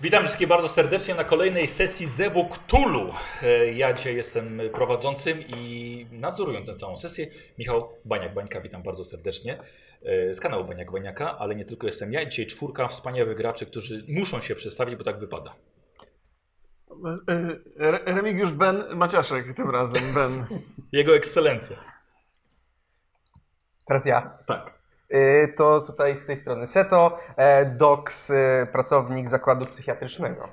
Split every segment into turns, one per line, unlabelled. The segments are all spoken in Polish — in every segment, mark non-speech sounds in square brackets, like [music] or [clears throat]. Witam wszystkich bardzo serdecznie na kolejnej sesji Zewu Ktulu. E, Ja dzisiaj jestem prowadzącym i nadzorując tę całą sesję. Michał Baniak-Bańka, witam bardzo serdecznie e, z kanału Baniak-Baniaka, ale nie tylko jestem ja. Dzisiaj czwórka wspaniałych graczy, którzy muszą się przedstawić, bo tak wypada.
E, Re- Remigiusz Ben Maciaszek tym razem, Ben.
Jego ekscelencja.
Teraz ja.
Tak.
Y, To tutaj z tej strony Seto, e, doks, y, pracownik zakładu psychiatrycznego.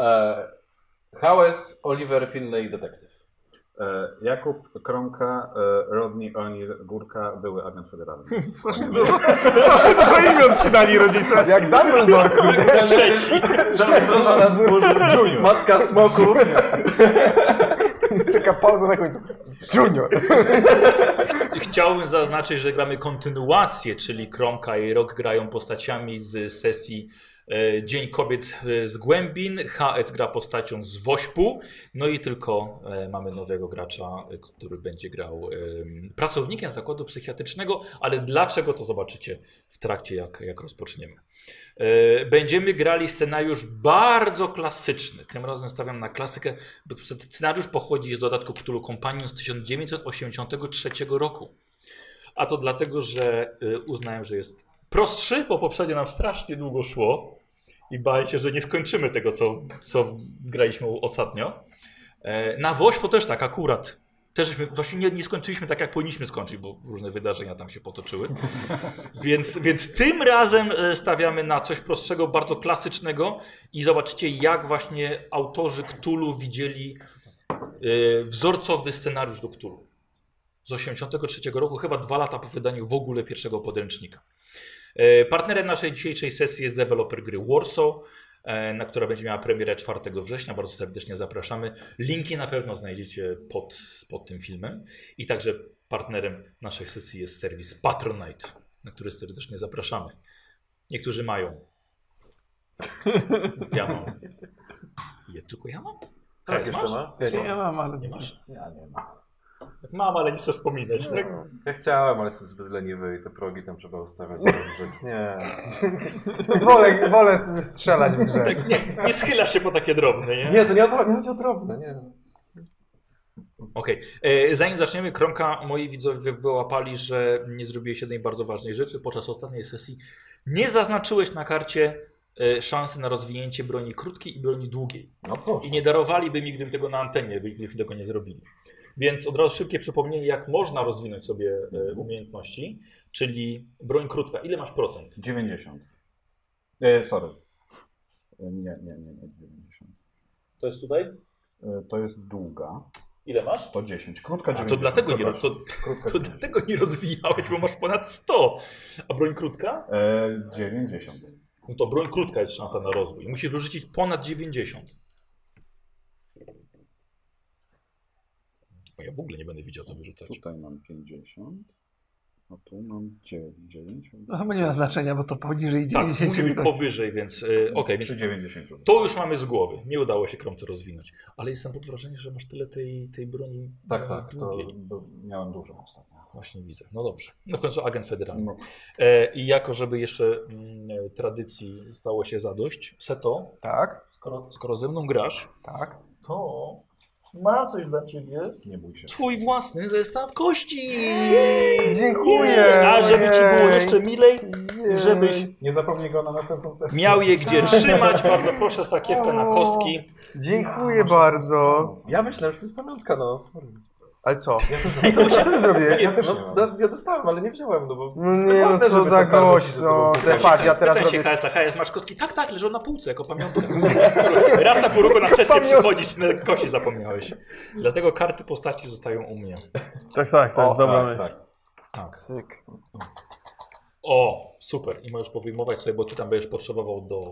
E, Hałes, Oliver Finlay, detektyw.
E, Jakub Kromka, e, Rodney O'Neill Górka, były agent federalny.
[laughs]
No
Strasznie dużo, strasznie dużo imion ci dali rodzice.
Jak Dumbledore, kurde.
Trzeci.
Matka smoków.
[laughs] Taka pauza na końcu. Junior.
Chciałbym zaznaczyć, że gramy kontynuację, czyli Kromka i Rock grają postaciami z sesji e, Dzień Kobiet e, z Głębin, HF gra postacią z Wośpu, no i tylko e, mamy nowego gracza, e, który będzie grał em, pracownikiem zakładu psychiatrycznego, ale dlaczego to zobaczycie w trakcie, jak, jak rozpoczniemy. E, Będziemy grali scenariusz bardzo klasyczny. Tym razem stawiam na klasykę, bo znaczy, scenariusz pochodzi z dodatku Cthulhu Companion z 1983 roku. A to dlatego, że y, uznałem, że jest prostszy, bo poprzednio nam strasznie długo szło i bałem się, że nie skończymy tego, co, co graliśmy ostatnio. E, Na Wośpo też tak, akurat. Też żeśmy, właśnie nie, nie skończyliśmy tak, jak powinniśmy skończyć, bo różne wydarzenia tam się potoczyły. [laughs] Więc, więc tym razem e, stawiamy na coś prostszego, bardzo klasycznego i zobaczycie, jak właśnie autorzy Cthulhu widzieli e, wzorcowy scenariusz do Cthulhu. Z 1983 roku, chyba dwa lata po wydaniu w ogóle pierwszego podręcznika. E, Partnerem naszej dzisiejszej sesji jest deweloper gry Warsaw, e, na która będzie miała premierę 4 września. Bardzo serdecznie zapraszamy. Linki na pewno znajdziecie pod, pod tym filmem. I także partnerem naszej sesji jest serwis Patronite na które serdecznie zapraszamy. Niektórzy mają. Ja [laughs] mam. Je, tylko ja mam? Tak, masz?
ma?
Nie, ja mam, ale...
Nie masz.
Ja nie mam.
Tak mam, ale nie chcę wspominać, tak?
Ja chciałem, ale jestem zbyt leniwy i te progi tam trzeba ustawiać. dobrze. [laughs] Nie.
Wolę, wolę strzelać w grze.
tak nie, nie schyla się po takie drobne, nie?
Nie, to nie o, to- nie chodzi o drobne, nie.
Okej. E, Zanim zaczniemy, Kromka, moi widzowie wyłapali, że nie zrobiłeś jednej bardzo ważnej rzeczy. Podczas ostatniej sesji nie zaznaczyłeś na karcie e, szansy na rozwinięcie broni krótkiej i broni długiej.
No proszę.
I nie darowaliby mi, gdybym tego na antenie, gdybyśmy tego nie zrobili. Więc od razu szybkie przypomnienie, jak można rozwinąć sobie e,
Mhm.
umiejętności, czyli broń krótka. Ile masz procent?
90. E, sorry. E, nie, nie, nie, nie 90.
To jest tutaj?
E, to jest długa.
Ile masz?
To 10. Krótka
A, to
90.
dlatego nie rob-
Przepraszam. Krótka
To
90.
dlatego nie rozwijałeś, bo masz ponad 100. A broń krótka?
E, 90.
No to broń krótka jest szansa na rozwój. Musisz wyrzucić ponad 90. Bo Ja w ogóle nie będę widział, co wyrzucać. Tak,
Tutaj mam 50. A tu mam 9.
No chyba nie ma znaczenia, bo to poniżej
Tak,
90.
musi być
tak.
powyżej, więc e, okej, więc
Przy 90.
To już mamy z głowy. Nie udało się kromce rozwinąć. Ale jestem pod wrażeniem, że masz tyle tej, tej broni. e,
Tak, tak. To
długiej.
bo miałem dużo ostatnio.
Właśnie widzę. No dobrze. No w końcu agent federalny.
No,
E, I jako, żeby jeszcze mm, e, tradycji stało się zadość, Seto,
Tak,
skoro, skoro ze mną grasz,
tak.
to mam coś dla ciebie.
nie bój się.
Twój własny zestaw kości!
Dziękuję!
A żeby ci było
Jej.
jeszcze milej, żebyś
Nie zapomnij go na następną sesję.
miał je gdzie trzymać, bardzo proszę, sakiewka na
O.
kostki.
Dziękuję bardzo.
No.
Ja myślałem, że to jest pamiątka, no. Sorry.
Ale co?
Ja też
Co, co ty zrobiłeś?
Ja też nie
no,
mam.
da- ja dostałem, ale nie wziąłem, no bo...
No nie, no
Ładne,
co
żeby
za
te farby się ze sobą
gościu. Te
pokrywały.
patrz, ja teraz
Pytaj się
robię...
HSA, HS masz kostki? Tak, tak, leżą na półce jako pamiątka. Raz na pół roku na sesję
Pamiątka.
przychodzić, na kości zapomniałeś. Dlatego karty postaci zostają u mnie.
Tak, tak, to
O,
jest dobra
tak,
myśl.
tak.
Cyk.
O, super. I możesz powyjmować sobie, bo ty tam będziesz potrzebował do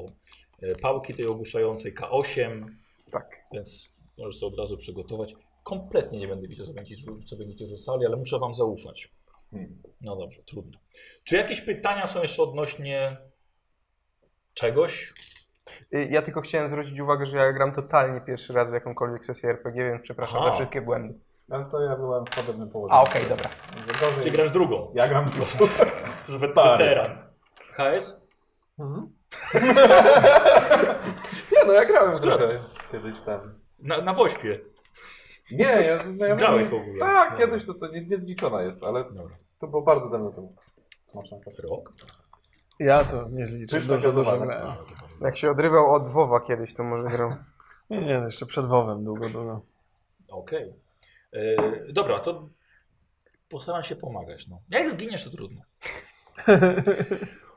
e, pałki tej ogłuszającej K8,
Tak.
więc możesz sobie od razu przygotować. Kompletnie nie będę wiedział, co będziecie, co będziecie rzucali, ale muszę wam zaufać.
Hmm.
No dobrze, trudno. Czy jakieś pytania są jeszcze odnośnie czegoś?
Y, Ja tylko chciałem zwrócić uwagę, że ja gram totalnie pierwszy raz w jakąkolwiek sesję RPG, więc przepraszam
Aha.
za wszystkie błędy.
Ale to ja byłem w podobnym położeniu.
A, okej, dobra.
Gorzej...
[laughs]
Ty grasz drugą.
Ja gram
Po
plus.
[laughs] prostu. Weteran. HS?
Mhm. no ja grałem w
Która
trochę kiedyś tam.
Na, na Wośpie.
Nie, ja ze znajomymi...
Grałeś w ogóle.
Tak,
Dobra.
kiedyś to, to nie, niezliczona jest, ale
Dobra.
to było bardzo dawno temu. Smaczne.
Rok?
Ja to nie zliczę.
Czyż to
Dużo, dużo
Tak.
gazowane?
grałem.
Jak się odrywał od WoWa kiedyś, to może grał.
[laughs] Nie, nie, no jeszcze przed WoWem długo, no, długo.
Okej. E, Dobra, to postaram się pomagać. No. Jak zginiesz, to trudno.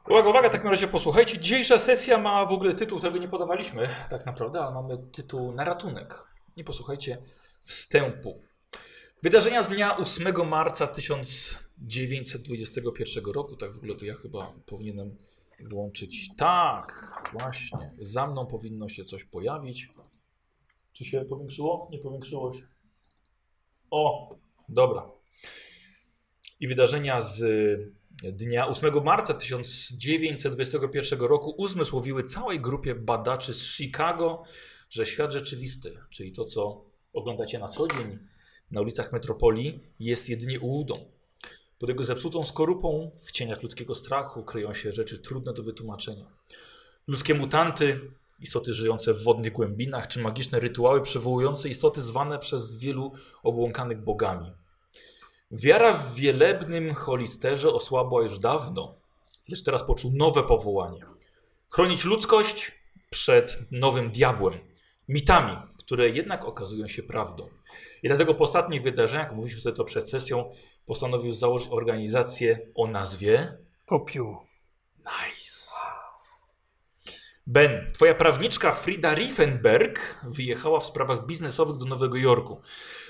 Uwaga, uwaga, w takim razie posłuchajcie. Dzisiejsza sesja ma w ogóle tytuł, którego nie podawaliśmy tak naprawdę, ale mamy tytuł na ratunek. I posłuchajcie wstępu. Wydarzenia z dnia 8 marca 1921 roku. Tak w ogóle to ja chyba powinienem włączyć. Tak, właśnie. Za mną powinno się coś pojawić. Czy się powiększyło? Nie powiększyło się. O, dobra. I wydarzenia z e, dnia 8 marca 1921 roku uzmysłowiły całej grupie badaczy z Chicago, że świat rzeczywisty, czyli to, co oglądacie na co dzień na ulicach metropolii, jest jedynie ułudą. Pod jego zepsutą skorupą, w cieniach ludzkiego strachu, kryją się rzeczy trudne do wytłumaczenia. Ludzkie mutanty, istoty żyjące w wodnych głębinach, czy magiczne rytuały przywołujące istoty zwane przez wielu obłąkanych bogami. Wiara w wielebnym holisterze osłabła już dawno, lecz teraz poczuł nowe powołanie. Chronić ludzkość przed nowym diabłem, mitami, które jednak okazują się prawdą. I dlatego po ostatnich wydarzeniach, mówiliśmy sobie to przed sesją, postanowił założyć organizację o nazwie
Popiół.
Nice. Ben, twoja prawniczka Frida Riefenberg wyjechała w sprawach biznesowych do Nowego Jorku,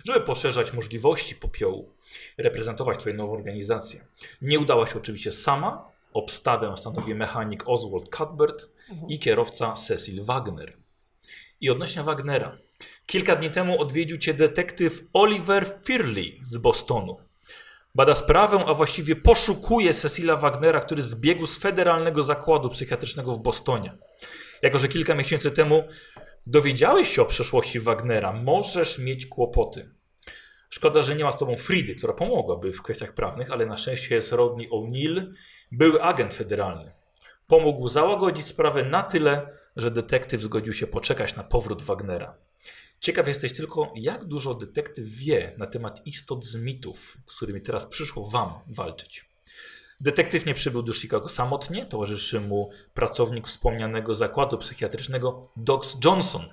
żeby poszerzać możliwości popiołu, reprezentować twoją nową organizację. Nie udała się oczywiście sama, obstawę stanowi mechanik Oswald Cuthbert i kierowca Cecil Wagner. I odnośnie Wagnera. Kilka dni temu odwiedził cię detektyw Oliver Firley z Bostonu. Bada sprawę, a właściwie poszukuje Cecila Wagnera, który zbiegł z Federalnego Zakładu Psychiatrycznego w Bostonie. Jako, że kilka miesięcy temu dowiedziałeś się o przeszłości Wagnera, możesz mieć kłopoty. Szkoda, że nie ma z tobą Fridy, która pomogłaby w kwestiach prawnych, ale na szczęście jest Rodney O'Neill, były agent federalny. Pomógł załagodzić sprawę na tyle, że detektyw zgodził się poczekać na powrót Wagnera. Ciekaw jesteś tylko, jak dużo detektyw wie na temat istot z mitów, z którymi teraz przyszło wam walczyć. Detektyw nie przybył do Chicago samotnie, towarzyszy mu pracownik wspomnianego zakładu psychiatrycznego Docs Johnson.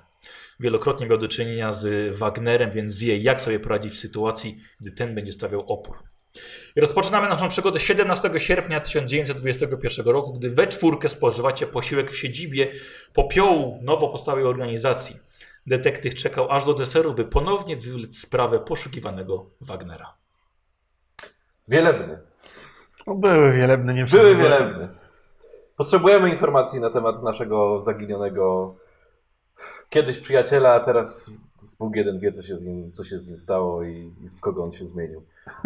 Wielokrotnie miał do czynienia z Wagnerem, więc wie, jak sobie poradzić w sytuacji, gdy ten będzie stawiał opór. I rozpoczynamy naszą przygodę 17 sierpnia 1921 roku, gdy we czwórkę spożywacie posiłek w siedzibie popiołu nowo powstałej organizacji. Detektyw czekał aż do deseru, by ponownie wywlec sprawę poszukiwanego Wagnera.
Wielebny.
No, były wielebne,
Były
nie przesadzajmy.
wielebny. Potrzebujemy informacji na temat naszego zaginionego kiedyś przyjaciela, a teraz Bóg jeden wie, co się z nim, co się z nim stało i i w kogo on się zmienił.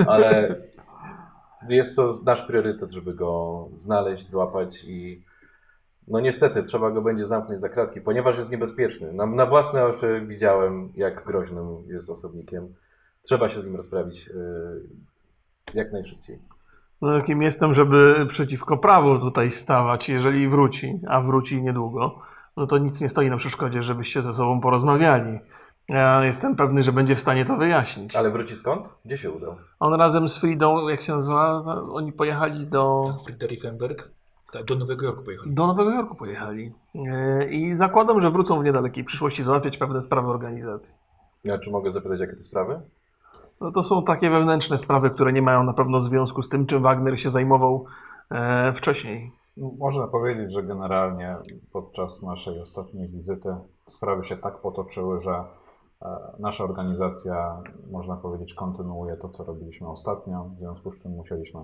Ale [laughs] jest to nasz priorytet, żeby go znaleźć, złapać i no niestety trzeba go będzie zamknąć za kratki, ponieważ jest niebezpieczny. Na, na własne oczy widziałem, jak groźnym jest osobnikiem. Trzeba się z nim rozprawić yy, jak najszybciej.
No jakim jestem, żeby przeciwko prawu tutaj stawać, jeżeli wróci, a wróci niedługo, no to nic nie stoi na przeszkodzie, żebyście ze sobą porozmawiali. Ja jestem pewny, że będzie w stanie to wyjaśnić.
Ale wróci skąd? Gdzie się udał?
On razem z Fridą, jak się nazywa, oni pojechali do,
Tak, Friedrich Riefenberg tak, do Nowego Jorku pojechali.
do Nowego Jorku pojechali. Yy, I zakładam, że wrócą w niedalekiej przyszłości załatwiać pewne sprawy organizacji.
Ja czy mogę zapytać, jakie to sprawy?
No to są takie wewnętrzne sprawy, które nie mają na pewno związku z tym, czym Wagner się zajmował e, wcześniej.
No, Można powiedzieć, że generalnie podczas naszej ostatniej wizyty sprawy się tak potoczyły, że e, nasza organizacja, można powiedzieć, kontynuuje to, co robiliśmy ostatnio, w związku z czym musieliśmy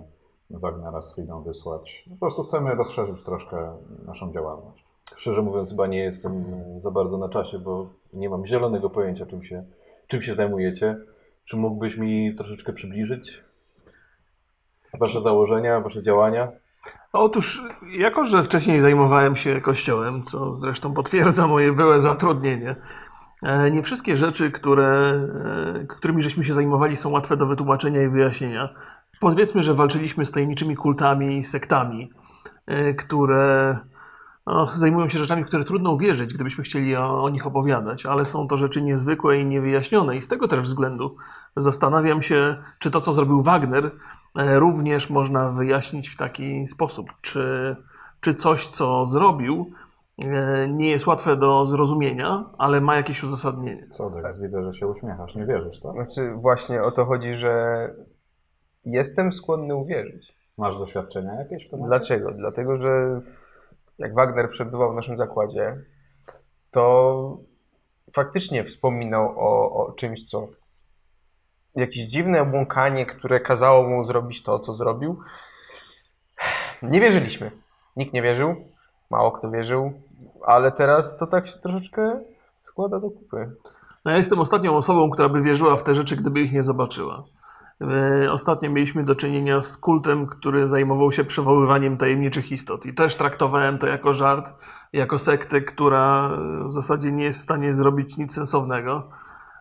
Wagnera z Fridą wysłać. Po prostu chcemy rozszerzyć troszkę naszą działalność.
Szczerze mówiąc, chyba nie jestem mm, za bardzo na czasie, bo nie mam zielonego pojęcia, czym się, czym się zajmujecie. Czy mógłbyś mi troszeczkę przybliżyć wasze założenia, wasze działania?
Otóż, jako że wcześniej zajmowałem się kościołem, co zresztą potwierdza moje byłe zatrudnienie, e, nie wszystkie rzeczy, które, e, którymi żeśmy się zajmowali, są łatwe do wytłumaczenia i wyjaśnienia. Powiedzmy, że walczyliśmy z tajemniczymi kultami i sektami, e, które no, zajmują się rzeczami, w które trudno uwierzyć, gdybyśmy chcieli o, o nich opowiadać, ale są to rzeczy niezwykłe i niewyjaśnione i z tego też względu zastanawiam się, czy to, co zrobił Wagner, e, również można wyjaśnić w taki sposób, czy, czy coś, co zrobił, e, nie jest łatwe do zrozumienia, ale ma jakieś uzasadnienie.
Co, Dex, widzę, że się uśmiechasz. Nie wierzysz, tak?
Znaczy, właśnie o to chodzi, że jestem skłonny uwierzyć.
Masz doświadczenia jakieś w tym?
Dlaczego? Dlatego, że jak Wagner przebywał w naszym zakładzie, to faktycznie wspominał o, o czymś, co. Jakieś dziwne obłąkanie, które kazało mu zrobić to, co zrobił. Nie wierzyliśmy. Nikt nie wierzył, mało kto wierzył, ale teraz to tak się troszeczkę składa do kupy.
No, ja jestem ostatnią osobą, która by wierzyła w te rzeczy, gdyby ich nie zobaczyła. E, Ostatnio mieliśmy do czynienia z kultem, który zajmował się przywoływaniem tajemniczych istot i też traktowałem to jako żart, jako sektę, która e, w zasadzie nie jest w stanie zrobić nic sensownego.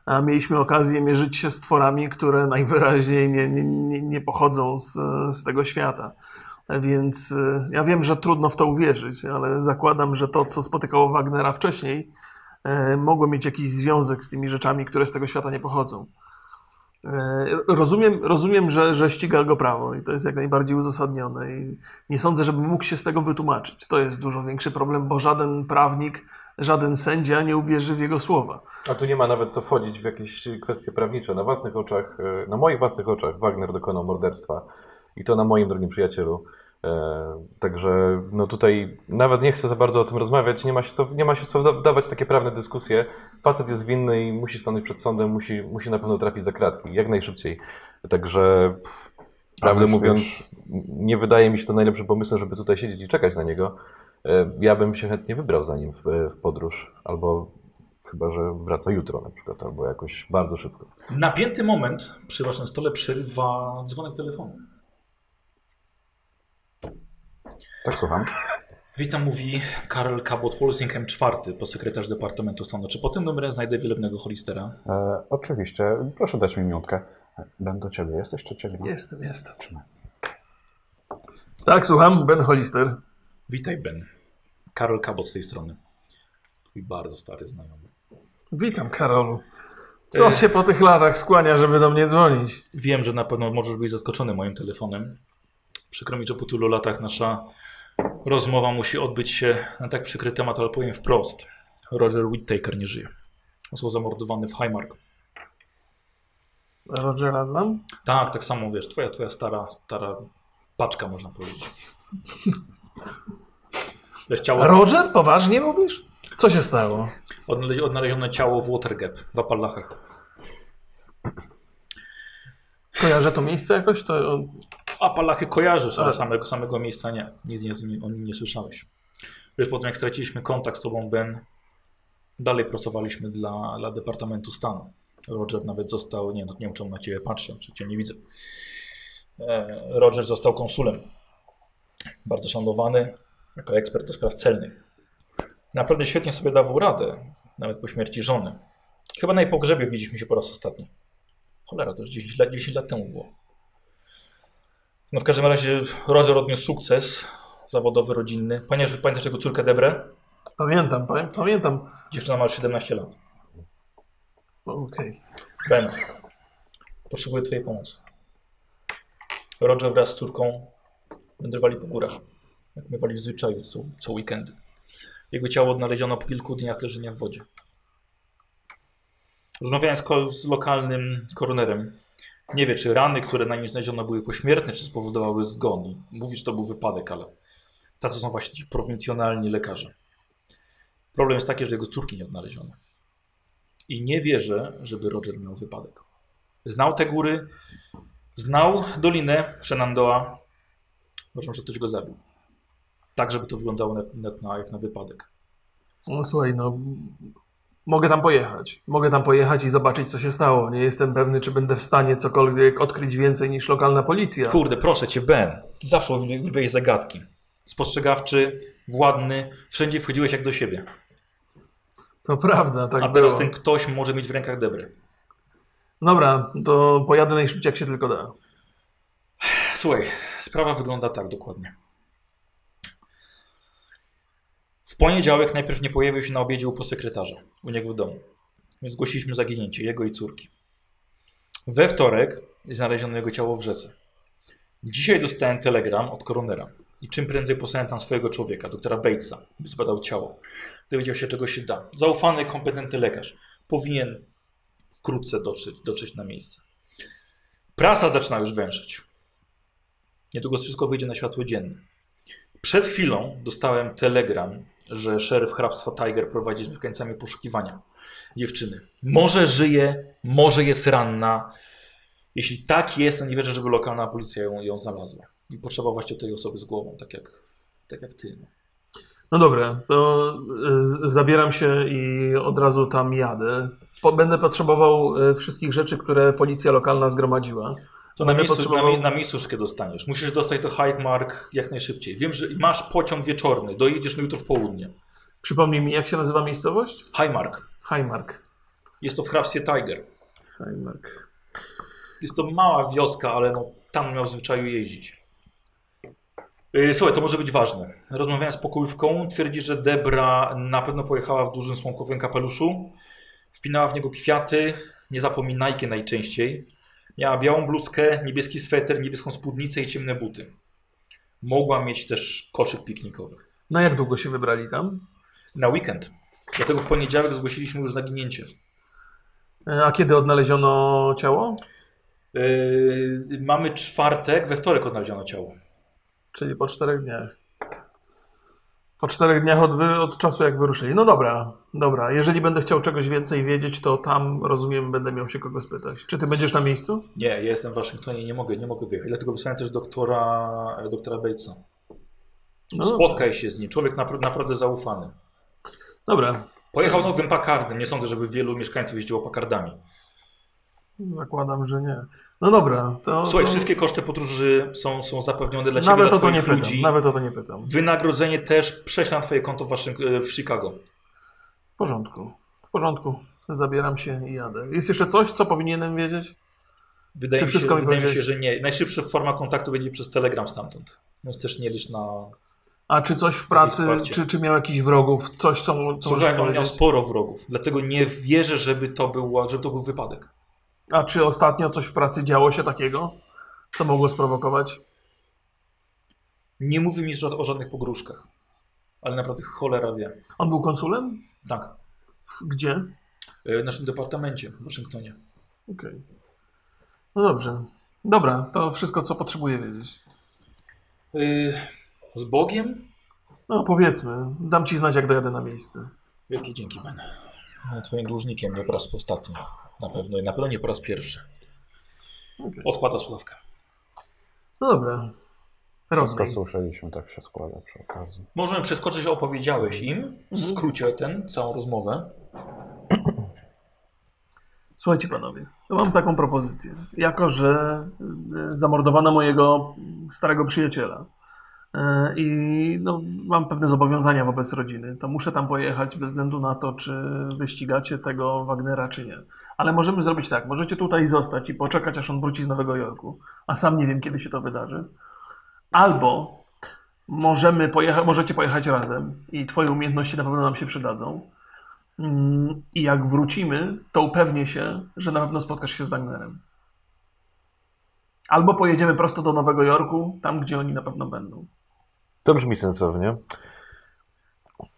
A mieliśmy okazję mierzyć się z tworami, które najwyraźniej nie, nie, nie, nie pochodzą z, z tego świata. Więc e, ja wiem, że trudno w to uwierzyć, ale zakładam, że to, co spotykało Wagnera wcześniej, e, mogło mieć jakiś związek z tymi rzeczami, które z tego świata nie pochodzą. E, Rozumiem, rozumiem że, że ściga go prawo i to jest jak najbardziej uzasadnione. I nie sądzę, żeby mógł się z tego wytłumaczyć. To jest dużo większy problem, bo żaden prawnik, żaden sędzia nie uwierzy w jego słowa.
A tu nie ma nawet co wchodzić w jakieś kwestie prawnicze. Na własnych oczach, e, na moich własnych oczach Wagner dokonał morderstwa. I to na moim drogim przyjacielu. E, Także no tutaj nawet nie chcę za bardzo o tym rozmawiać, nie ma się co, nie ma się co wda- wdawać w takie prawne dyskusje. Facet jest winny i musi stanąć przed sądem, musi, musi na pewno trafić za kratki, jak najszybciej. Także pff, prawdę
myślisz-
mówiąc, nie wydaje mi się to najlepszym pomysłem, żeby tutaj siedzieć i czekać na niego. E, Ja bym się chętnie wybrał za nim w, e, w podróż, albo chyba, że wraca jutro na przykład, albo jakoś bardzo szybko.
Napięty moment przy waszym stole przerywa dzwonek telefonu.
Tak, słucham.
Witam, mówi Karol Cabot Holsing M4, podsekretarz Departamentu Stanu. Czy pod tym numerem znajdę wielebnego holistera?
E, oczywiście, proszę dać mi minutkę. Ben do ciebie, jesteś czy ciebie? ma?
Jestem, jestem.
Trzymaj.
Tak, słucham, Ben Hollister.
Witaj, Ben. Karol Cabot z tej strony. Twój bardzo stary znajomy.
Witam, Karolu. Co cię po tych latach skłania, żeby do mnie dzwonić?
Wiem, że na pewno możesz być zaskoczony moim telefonem. Przykro mi, że po tylu latach nasza rozmowa musi odbyć się na tak przykry temat, ale powiem wprost. Roger Whittaker nie żyje. Został zamordowany w Highmark.
Rogera znam?
Tak, tak samo wiesz, twoja, twoja stara, stara paczka można powiedzieć. Wiesz, ciało,
Roger? Poważnie mówisz? Co się stało?
odnale- odnalezione ciało w Watergap w Appalachach.
Kojarzę to miejsce jakoś? To...
Appalachy kojarzysz, ale
Tak.
samego, samego miejsca nie. Nigdy nie, o tym- o nim nie słyszałeś. Wiesz, potem jak straciliśmy kontakt z tobą, Ben, dalej pracowaliśmy dla, dla Departamentu Stanu. Roger nawet został, nie, no, nie wiem czemu na ciebie patrzę, czy cię nie widzę. E, Roger został konsulem. Bardzo szanowany jako ekspert do spraw celnych. Naprawdę świetnie sobie dawał radę, nawet po śmierci żony. Chyba na jej pogrzebie widzieliśmy się po raz ostatni. Cholera, to już 10 lat, 10 lat temu było. No w każdym razie Roger odniósł sukces zawodowy, rodzinny. Pamiętasz, pamiętasz jego córkę Debrę?
Pamiętam, pamię- pamiętam.
Dziewczyna ma już 17 lat.
Okej.
Ben, potrzebuję twojej pomocy. Roger wraz z córką wędrowali po górach, jak miewali w zwyczaju co, co weekendy. Jego ciało odnaleziono po kilku dniach leżenia w wodzie. Rozmawiałem z, ko- z lokalnym koronerem. Nie wie, czy rany, które na nim znaleziono, były pośmiertne, czy spowodowały zgon. I Mówi, że to był wypadek, ale tacy są właśnie ci prowincjonalni lekarze. Problem jest taki, że jego córki nie odnaleziono. I nie wierzę, żeby Roger miał wypadek. Znał te góry, znał dolinę Shenandoah. Uważam, że ktoś go zabił. Tak, żeby to wyglądało jak na, na, jak na wypadek.
No słuchaj, no mogę tam pojechać. Mogę tam pojechać i zobaczyć, co się stało. Nie jestem pewny, czy będę w stanie cokolwiek odkryć więcej niż lokalna policja.
Kurde, proszę cię, Ben. Ty zawsze lubiłeś zagadki. Spostrzegawczy, władny, wszędzie wchodziłeś jak do siebie.
To prawda, tak
A teraz
było.
ten ktoś może mieć w rękach debry.
Dobra, to pojadę najszybciej, jak się tylko da.
Słuchaj, sprawa wygląda tak dokładnie. W poniedziałek najpierw nie pojawił się na obiedzie u podsekretarza, u niego w domu. Więc zgłosiliśmy zaginięcie jego i córki. We wtorek znaleziono jego ciało w rzece. Dzisiaj dostałem telegram od koronera i czym prędzej posłałem tam swojego człowieka, doktora Batesa, by zbadał ciało. Dowiedział się, czego się da. Zaufany, kompetentny lekarz. Powinien wkrótce dotrzeć, dotrzeć na miejsce. Prasa zaczyna już węszyć. Niedługo wszystko wyjdzie na światło dzienne. Przed chwilą dostałem telegram, że szeryf hrabstwa Tiger prowadzi z mieszkańcami poszukiwania dziewczyny. Może żyje, może jest ranna. Jeśli tak jest, to nie wierzę, żeby lokalna policja ją, ją znalazła. I potrzeba właśnie tej osoby z głową, tak jak, tak jak ty. no.
No dobra, to e, z- zabieram się i od razu tam jadę. Po, będę potrzebował e, wszystkich rzeczy, które policja lokalna zgromadziła.
To na
Będę
miejscu, na, mi-
potrzebował-
na miejscu wszystkie dostaniesz. Musisz dostać to Highmark jak najszybciej. Wiem, że masz pociąg wieczorny, dojedziesz na jutro w południe.
Przypomnij mi, jak się nazywa miejscowość?
Highmark.
Highmark.
Jest to w hrabstwie Tiger.
Highmark.
Jest to mała wioska, ale no, tam miał w zwyczaju jeździć. Yy, Słuchaj, to może być ważne. Rozmawiałem z pokojówką, twierdzi, że Debra na pewno pojechała w dużym słomkowym kapeluszu, wpinała w niego kwiaty, niezapominajkę najczęściej. Miała białą bluzkę, niebieski sweter, niebieską spódnicę i ciemne buty. Mogła mieć też koszyk piknikowy.
Na No, jak długo się wybrali tam?
Na weekend. Dlatego w poniedziałek zgłosiliśmy już zaginięcie.
E, A kiedy odnaleziono ciało?
Yy, mamy czwartek, we wtorek odnaleziono ciało.
Czyli po czterech dniach. Po czterech dniach od, wy, od czasu, jak wyruszyli. No dobra, dobra. Jeżeli będę chciał czegoś więcej wiedzieć, to tam, rozumiem, będę miał się kogo spytać. Czy ty będziesz na miejscu?
Nie, ja jestem w Waszyngtonie i nie mogę, nie mogę wyjechać. Dlatego wysłałem też doktora, e, doktora Batesa.
No dobrze.
Spotkaj się z nim. Człowiek napra- naprawdę zaufany.
Dobra, No
Pojechał nowym pakardem. Nie sądzę, żeby wielu mieszkańców jeździło pakardami.
zakładam, że nie. No dobra, to...
Słuchaj,
to...
wszystkie koszty podróży są, są zapewnione dla Ciebie,
Nawet
dla
o to nie
Twoich
pytam,
ludzi.
nawet o to nie pytam.
Wynagrodzenie też prześlę na Twoje konto w, Waszyng- e, w Chicago.
W porządku, w porządku. Zabieram się i jadę. Jest jeszcze coś, co powinienem wiedzieć?
Wydaje,
Czy
mi się,
wszystko mi
wydaje mi się,
powiedziałeś?
że nie. Najszybsza forma kontaktu będzie przez Telegram stamtąd. Więc też nie licz na...
A czy coś w pracy,
wsparcie.
czy, czy miał jakichś wrogów, coś, co, mu- co możesz
Słuchaj, no, on miał
powiedzieć?
sporo wrogów. Dlatego nie wierzę, żeby to, było, żeby to był wypadek.
A czy ostatnio coś w pracy działo się takiego, co mogło sprowokować?
Nie mówi mi ża- o żadnych pogróżkach. Ale naprawdę cholera wie.
On był konsulem?
Tak.
Gdzie?
E, W naszym departamencie w Waszyngtonie.
Okej. No dobrze. Dobra, to wszystko, co potrzebuję wiedzieć.
E, Z Bogiem?
No powiedzmy, dam ci znać, jak dojadę na miejsce.
Wielkie dzięki, Ben. Ja No, Twoim dłużnikiem nie po raz ostatni. Na pewno i na pewno nie po raz pierwszy.
Okej.
Odkłada słuchawkę.
No dobra.
Wszystko
Rozumiem.
słyszeliśmy, tak się składa przy okazji.
Możemy przeskoczyć, że opowiedziałeś im w
Mhm.
skrócie ten, całą rozmowę.
Słuchajcie panowie, ja mam taką propozycję. Jako, że y, zamordowano mojego starego przyjaciela y, i no, mam pewne zobowiązania wobec rodziny, to muszę tam pojechać bez względu na to, czy wyścigacie tego Wagnera, czy nie. Ale możemy zrobić tak, możecie tutaj zostać i poczekać, aż on wróci z Nowego Jorku, a sam nie wiem, kiedy się to wydarzy. Albo możemy pojecha- możecie pojechać razem i twoje umiejętności na pewno nam się przydadzą. Mm, I jak wrócimy, to upewnię się, że na pewno spotkasz się z Wagnerem. Albo pojedziemy prosto do Nowego Jorku, tam gdzie oni na pewno będą.
To brzmi sensownie.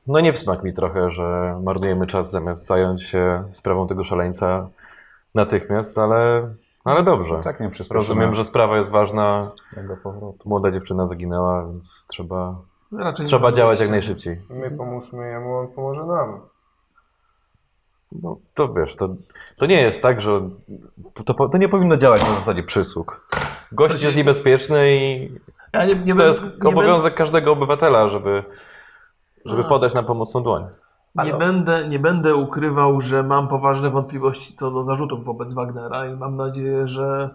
No nie wsmak mi trochę, że marnujemy czas zamiast zająć się sprawą tego szaleńca natychmiast, ale, ale dobrze.
Tak nie przyspieszymy
Rozumiem, że sprawa jest ważna.
jego powrotu.
Młoda dziewczyna zaginęła, więc trzeba,
Raczej nie
trzeba
będą
działać jak
wyjścia.
najszybciej.
My pomóżmy jemu, on pomoże nam.
No to wiesz, to, to nie jest tak, że to, po- to nie powinno działać na zasadzie przysług. Gość jest niebezpieczny i
Ja nie, nie
to
będę-
jest
nie
obowiązek każdego obywatela, żeby, żeby
A.
podać nam pomocną dłoń.
będę- Nie będę, nie będę ukrywał, że mam poważne wątpliwości co do zarzutów wobec Wagnera i mam nadzieję, że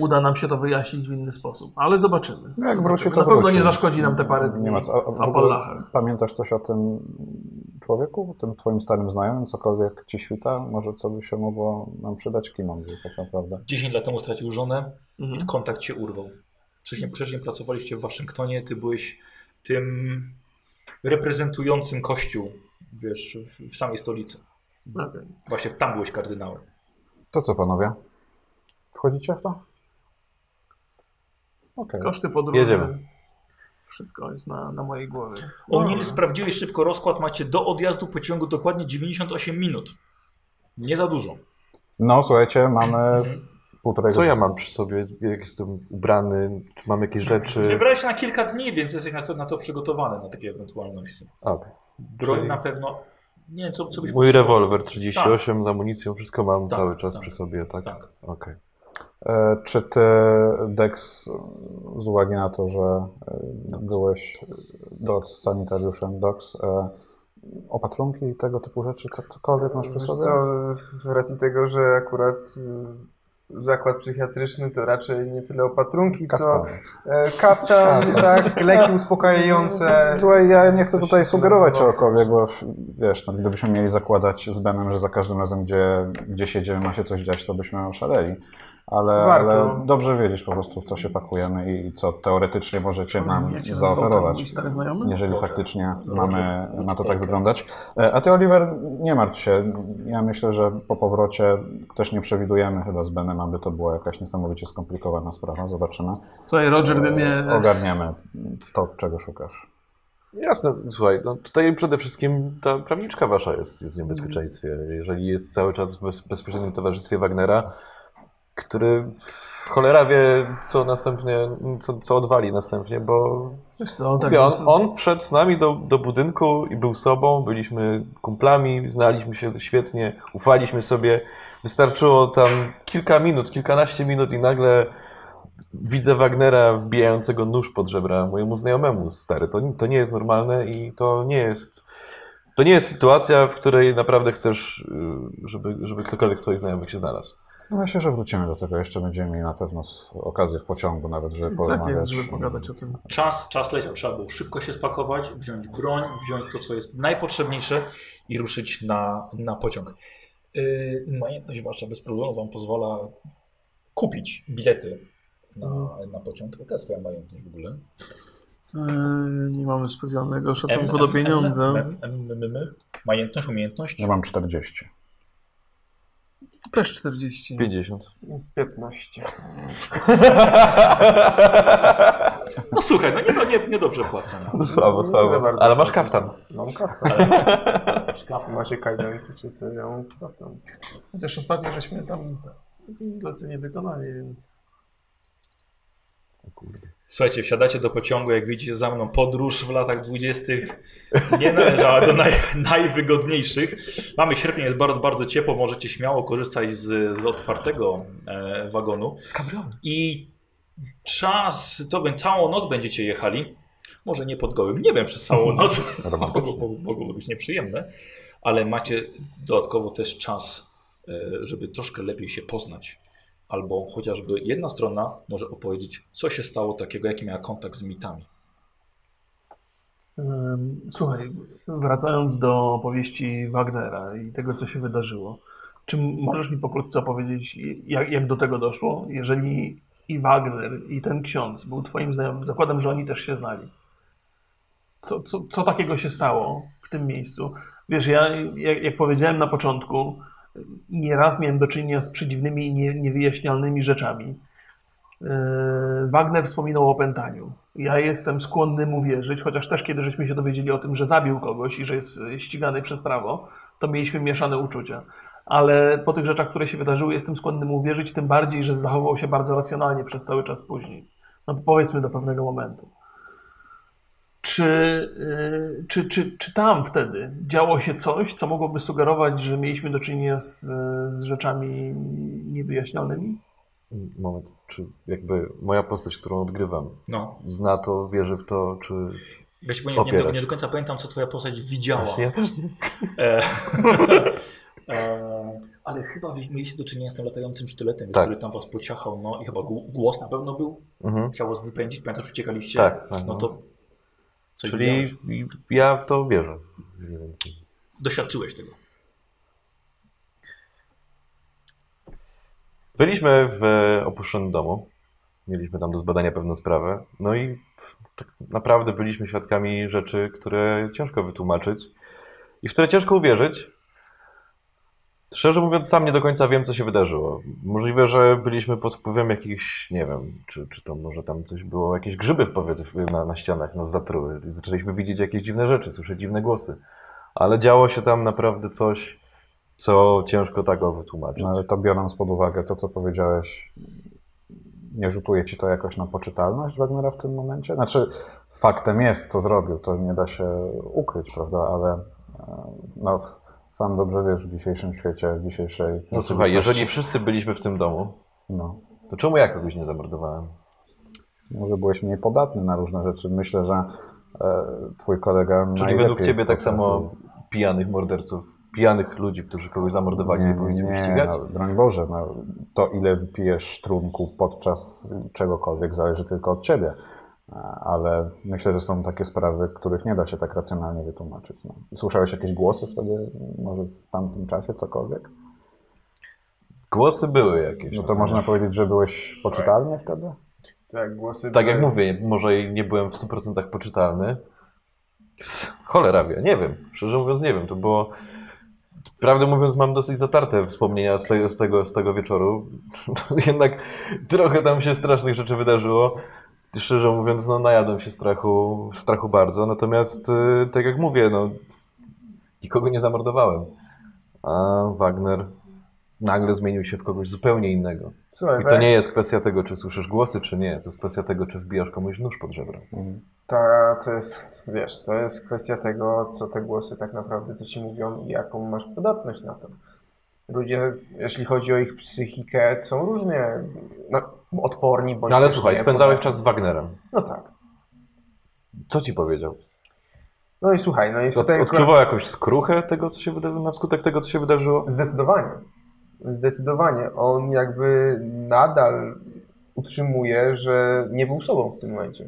uda nam się to wyjaśnić w inny sposób. Ale zobaczymy.
No Jak
zobaczymy.
wróci, to
na pewno
wróci.
nie zaszkodzi nam te parę dni
Nie ma co. A,
w
w ogóle
Apalachach.
pamiętasz coś o tym człowieku, o tym twoim starym znajomym, cokolwiek ci świta? Może co by się mogło nam przydać, kim on był tak naprawdę?
10 lat temu stracił żonę,
Mhm.
kontakt się urwał. Wcześniej, wcześniej pracowaliście w Waszyngtonie, ty byłeś tym reprezentującym kościół, wiesz, w, w samej stolicy.
Okej.
Właśnie tam byłeś kardynałem.
To co panowie? Wchodzicie w to? Okej.
Koszty podróży.
Jedziemy.
Wszystko jest na, na mojej głowie.
No.
Oni
Dobra.
sprawdziłeś szybko rozkład, macie do odjazdu pociągu dokładnie 98 minut. Nie za dużo. Mhm.
No słuchajcie, mamy półtorej
Co ja
godziny.
mam przy sobie? Jak jestem ubrany? Czy mam jakieś rzeczy?
Wybrałeś się na kilka dni, więc jesteś na to, na to przygotowany, na takie ewentualności.
A, okej.
Broń
Czyli-
na pewno. Nie wiem, co, co byś
Mój
potrzebował.
rewolwer 38 z amunicją, wszystko mam
Tak,
cały czas
tak.
przy sobie, tak?
Tak.
Okej.
E, Czy ty, Dex, z uwagi na to, że e, byłeś Dox, sanitariuszem Dox, e, opatrunki i tego typu rzeczy, co- cokolwiek masz przy
Wiesz
sobie?
Co, w racji tego, że akurat y, zakład psychiatryczny to raczej nie tyle opatrunki, co
Kaftany.
e, kaftan, tak, leki uspokajające.
Słuchaj, ja nie chcę
Coś
tutaj sugerować
zmarnowało.
czegokolwiek, bo wiesz, no, gdybyśmy mieli zakładać z Benem, że za każdym razem, gdzie, gdzie siedziemy, ma się coś dziać, to byśmy oszaleli. Ale,
Warto.
ale dobrze wiedzieć po prostu, w co się pakujemy i co teoretycznie możecie nam
Jak się nazywał ten mój
zaoferować.
stary znajomy?
Jeżeli
Roger.
faktycznie
No,
Roger.
mamy, ma to tak
Stejka.
wyglądać. E, A ty, Oliver, nie martw się. Ja myślę, że po powrocie też nie przewidujemy chyba z Benem, aby to była jakaś niesamowicie skomplikowana sprawa. Zobaczymy.
Słuchaj, Roger by
E,
mnie...
Ogarniemy to, czego szukasz.
Jasne, słuchaj, no tutaj przede wszystkim ta prawniczka wasza jest, jest w niebezpieczeństwie. Jeżeli jest cały czas w bez, bezpośrednim towarzystwie Wagnera, który cholera wie, co następnie, co, co odwali następnie, bo
Wiesz co, tak,
mówię, on,
z-
on wszedł z nami do, do budynku i był sobą, byliśmy kumplami, znaliśmy się świetnie, ufaliśmy sobie. Wystarczyło tam kilka minut, kilkanaście minut i nagle widzę Wagnera wbijającego nóż pod żebra mojemu znajomemu, stary. To, to nie jest normalne i to nie jest... To nie jest sytuacja, w której naprawdę chcesz, y, żeby, żeby ktokolwiek z twoich znajomych się znalazł.
Myślę, No że wrócimy do tego. Jeszcze będziemy mieli na pewno s- okazję w pociągu nawet, żeby
tak
porozmawiać.
jest, żeby pogadać o tym.
Czas, czas leciał. Trzeba było szybko się spakować, wziąć broń, wziąć to, co jest najpotrzebniejsze i ruszyć na, na pociąg. Yy, Majętność wasza bez problemu wam pozwala kupić bilety na, na pociąg. Jaka jest twoja majętność w ogóle?
Yy, nie mamy specjalnego szacunku
M,
do
M,
pieniądza.
M, M, M, M, M, M. Majętność, umiejętność?
Ja mam 40.
Też 40.
50.
15.
No słuchaj, no nie, no, nie, nie dobrze płacą.
Słabo,
Dziękuję
słabo.
bardzo.
Ale masz kaftan.
Mam kaftan. Macie kajdanki, czy co? Ja mam kaftan.
Chociaż ostatnio żeśmy tam jakieś zlecenie wykonali, więc...
Słuchajcie, wsiadacie do pociągu, jak widzicie za mną podróż w latach dwudziestych nie należała do naj, najwygodniejszych. Mamy sierpień, jest bardzo, bardzo ciepło, możecie śmiało korzystać z, z otwartego e, wagonu. I czas, to będzie całą noc będziecie jechali. Może nie pod gołym niebem przez całą noc, mogło, mogło, mogło być nieprzyjemne, ale macie dodatkowo też czas, e, żeby troszkę lepiej się poznać albo chociażby jedna strona może opowiedzieć, co się stało takiego, jaki miała kontakt z mitami.
Ym, Słuchaj, wracając do opowieści Wagnera i tego, co się wydarzyło, czy możesz mi pokrótce opowiedzieć, jak, jak do tego doszło? Jeżeli i Wagner, i ten ksiądz był twoim znajomym, zakładam, że oni też się znali. Co, co, co takiego się stało w tym miejscu? Wiesz, ja, jak, jak powiedziałem na początku, nieraz miałem do czynienia z przedziwnymi i nie, niewyjaśnialnymi rzeczami. Yy, Wagner wspominał o opętaniu. Ja jestem skłonny mu wierzyć, chociaż też kiedy żeśmy się dowiedzieli o tym, że zabił kogoś i że jest y, ścigany przez prawo, to mieliśmy mieszane uczucia. Ale po tych rzeczach, które się wydarzyły, jestem skłonny mu wierzyć, tym bardziej, że zachował się bardzo racjonalnie przez cały czas później. No powiedzmy do pewnego momentu. Czy, y, czy, czy, czy tam wtedy działo się coś, co mogłoby sugerować, że mieliśmy do czynienia z, z rzeczami niewyjaśnionymi?
Moment, czy jakby moja postać, którą odgrywam,
No,
zna to, wierzy w to, czy...
wiesz, bo nie, nie, do,
Popierasz.
nie do końca pamiętam, co twoja postać widziała.
Właśnie ja też nie.
E, [laughs] e, ale chyba wi- mieliście do czynienia z tym latającym sztyletem,
Tak.
który tam was pociachał, no i chyba gł- głos na pewno był.
Mhm.
Chciał was wypędzić, pamiętasz, uciekaliście.
Tak, tak.
No to coś widziałeś.
Czyli ja w to wierzę. mniej więcej.
doświadczyłeś tego.
Byliśmy w opuszczonym domu. Mieliśmy tam do zbadania pewną sprawę. No i tak naprawdę byliśmy świadkami rzeczy, które ciężko wytłumaczyć i w które ciężko uwierzyć. Szczerze mówiąc, sam nie do końca wiem, co się wydarzyło. Możliwe, że byliśmy pod wpływem jakichś, nie wiem, czy, czy to może tam coś było, jakieś grzyby w powietrzu na, na ścianach nas zatruły. Zaczęliśmy widzieć jakieś dziwne rzeczy, słyszeć dziwne głosy. Ale działo się tam naprawdę coś, co ciężko tak o wytłumaczyć.
No, ale to biorąc pod uwagę to, co powiedziałeś, nie rzutuje ci to jakoś na poczytalność Wagnera w tym momencie? Znaczy, faktem jest, co zrobił, to nie da się ukryć, prawda, ale e, no, sam dobrze wiesz w dzisiejszym świecie, w dzisiejszej...
No słuchaj, jeżeli wszyscy byliśmy w tym domu,
No,
to czemu ja kogoś nie zamordowałem?
może byłeś mniej podatny na różne rzeczy. Myślę, że e, twój kolega
Czyli
najlepiej
według ciebie tak
potrafił-
samo pijanych morderców, pijanych ludzi, którzy kogoś zamordowali, nie, powinniśmy ścigać?
no, broń Boże, no, to ile wypijesz trunku podczas czegokolwiek zależy tylko od ciebie. A- Ale myślę, że są takie sprawy, których nie da się tak racjonalnie wytłumaczyć. No. Słyszałeś jakieś głosy wtedy, może w tamtym czasie, cokolwiek?
Głosy były jakieś.
No to można powiedzieć, że byłeś poczytalny wtedy?
Tak, głosy
Tak jak
były-
mówię, może i nie byłem w 100% poczytalny. Ks, Cholera wie, nie wiem. Szczerze mówiąc, nie wiem. To było. Prawdę mówiąc, mam dosyć zatarte wspomnienia z tego, z tego, z tego wieczoru. [laughs] Jednak trochę tam się strasznych rzeczy wydarzyło. Szczerze mówiąc, no najadłem się strachu, strachu bardzo. Natomiast, y, tak jak mówię, no nikogo nie zamordowałem. A Wagner nagle zmienił się w kogoś zupełnie innego.
Słuchaj,
I to
Wag-
nie jest kwestia tego, czy słyszysz głosy, czy nie. To jest kwestia tego, czy wbijasz komuś nóż pod żebra.
Mm.
Ta, to jest, wiesz, to jest kwestia tego, co te głosy tak naprawdę to ci mówią i jaką masz podatność na to. Ludzie, jeśli chodzi o ich psychikę, są różnie no, odporni. Bądź
No ale
też
słuchaj,
nie, tak.
spędzałeś
podatni.
czas z Wagnerem.
No tak.
Co ci powiedział?
No i słuchaj, no i
Od,
tutaj
odczuwał jakąś skruchę tego, co się wydarzyło, na skutek tego, co się wydarzyło?
Zdecydowanie. Zdecydowanie. On jakby nadal utrzymuje, że nie był sobą w tym momencie.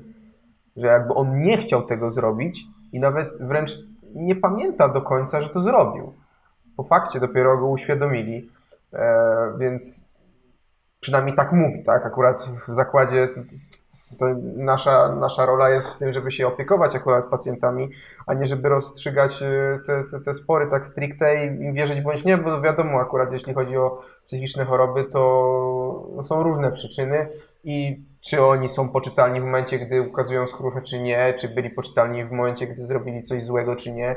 Że jakby on nie chciał tego zrobić i nawet wręcz nie pamięta do końca, że to zrobił. Po fakcie dopiero go uświadomili, e, więc przynajmniej tak mówi, tak? Akurat w zakładzie to nasza, nasza rola jest w tym, żeby się opiekować akurat pacjentami, a nie żeby rozstrzygać e, te, te, te spory tak stricte i im wierzyć bądź nie, bo wiadomo, akurat jeśli chodzi o psychiczne choroby, to są różne przyczyny i czy oni są poczytalni w momencie, gdy ukazują skruchę, czy nie, czy byli poczytalni w momencie, gdy zrobili coś złego, czy nie.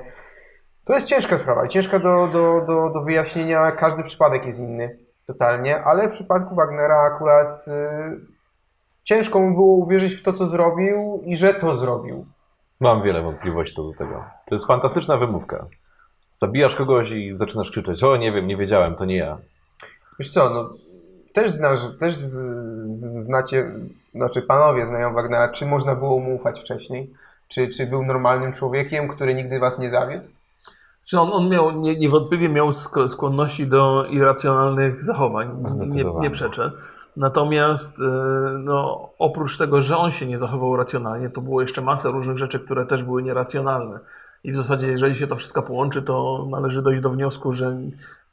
To jest ciężka sprawa i ciężka do, do, do, do wyjaśnienia. Każdy przypadek jest inny totalnie, ale w przypadku Wagnera akurat y, ciężko mu było uwierzyć w to, co zrobił i że to zrobił.
Mam wiele wątpliwości co do tego. To jest fantastyczna wymówka. Zabijasz kogoś i zaczynasz krzyczeć, o nie wiem, nie wiedziałem, to nie ja.
Wiesz co, no, też znasz, też z, z, znacie, znaczy panowie znają Wagnera, czy można było mu ufać wcześniej? Czy, czy był normalnym człowiekiem, który nigdy was nie zawiódł?
Czy on, on miał, nie, niewątpliwie miał sk- skłonności do irracjonalnych zachowań, nie,
Zdecydowanie.
nie przeczę. Natomiast e, no, oprócz tego, że on się nie zachował racjonalnie, to było jeszcze masa różnych rzeczy, które też były nieracjonalne. I w zasadzie, jeżeli się to wszystko połączy, to należy dojść do wniosku, że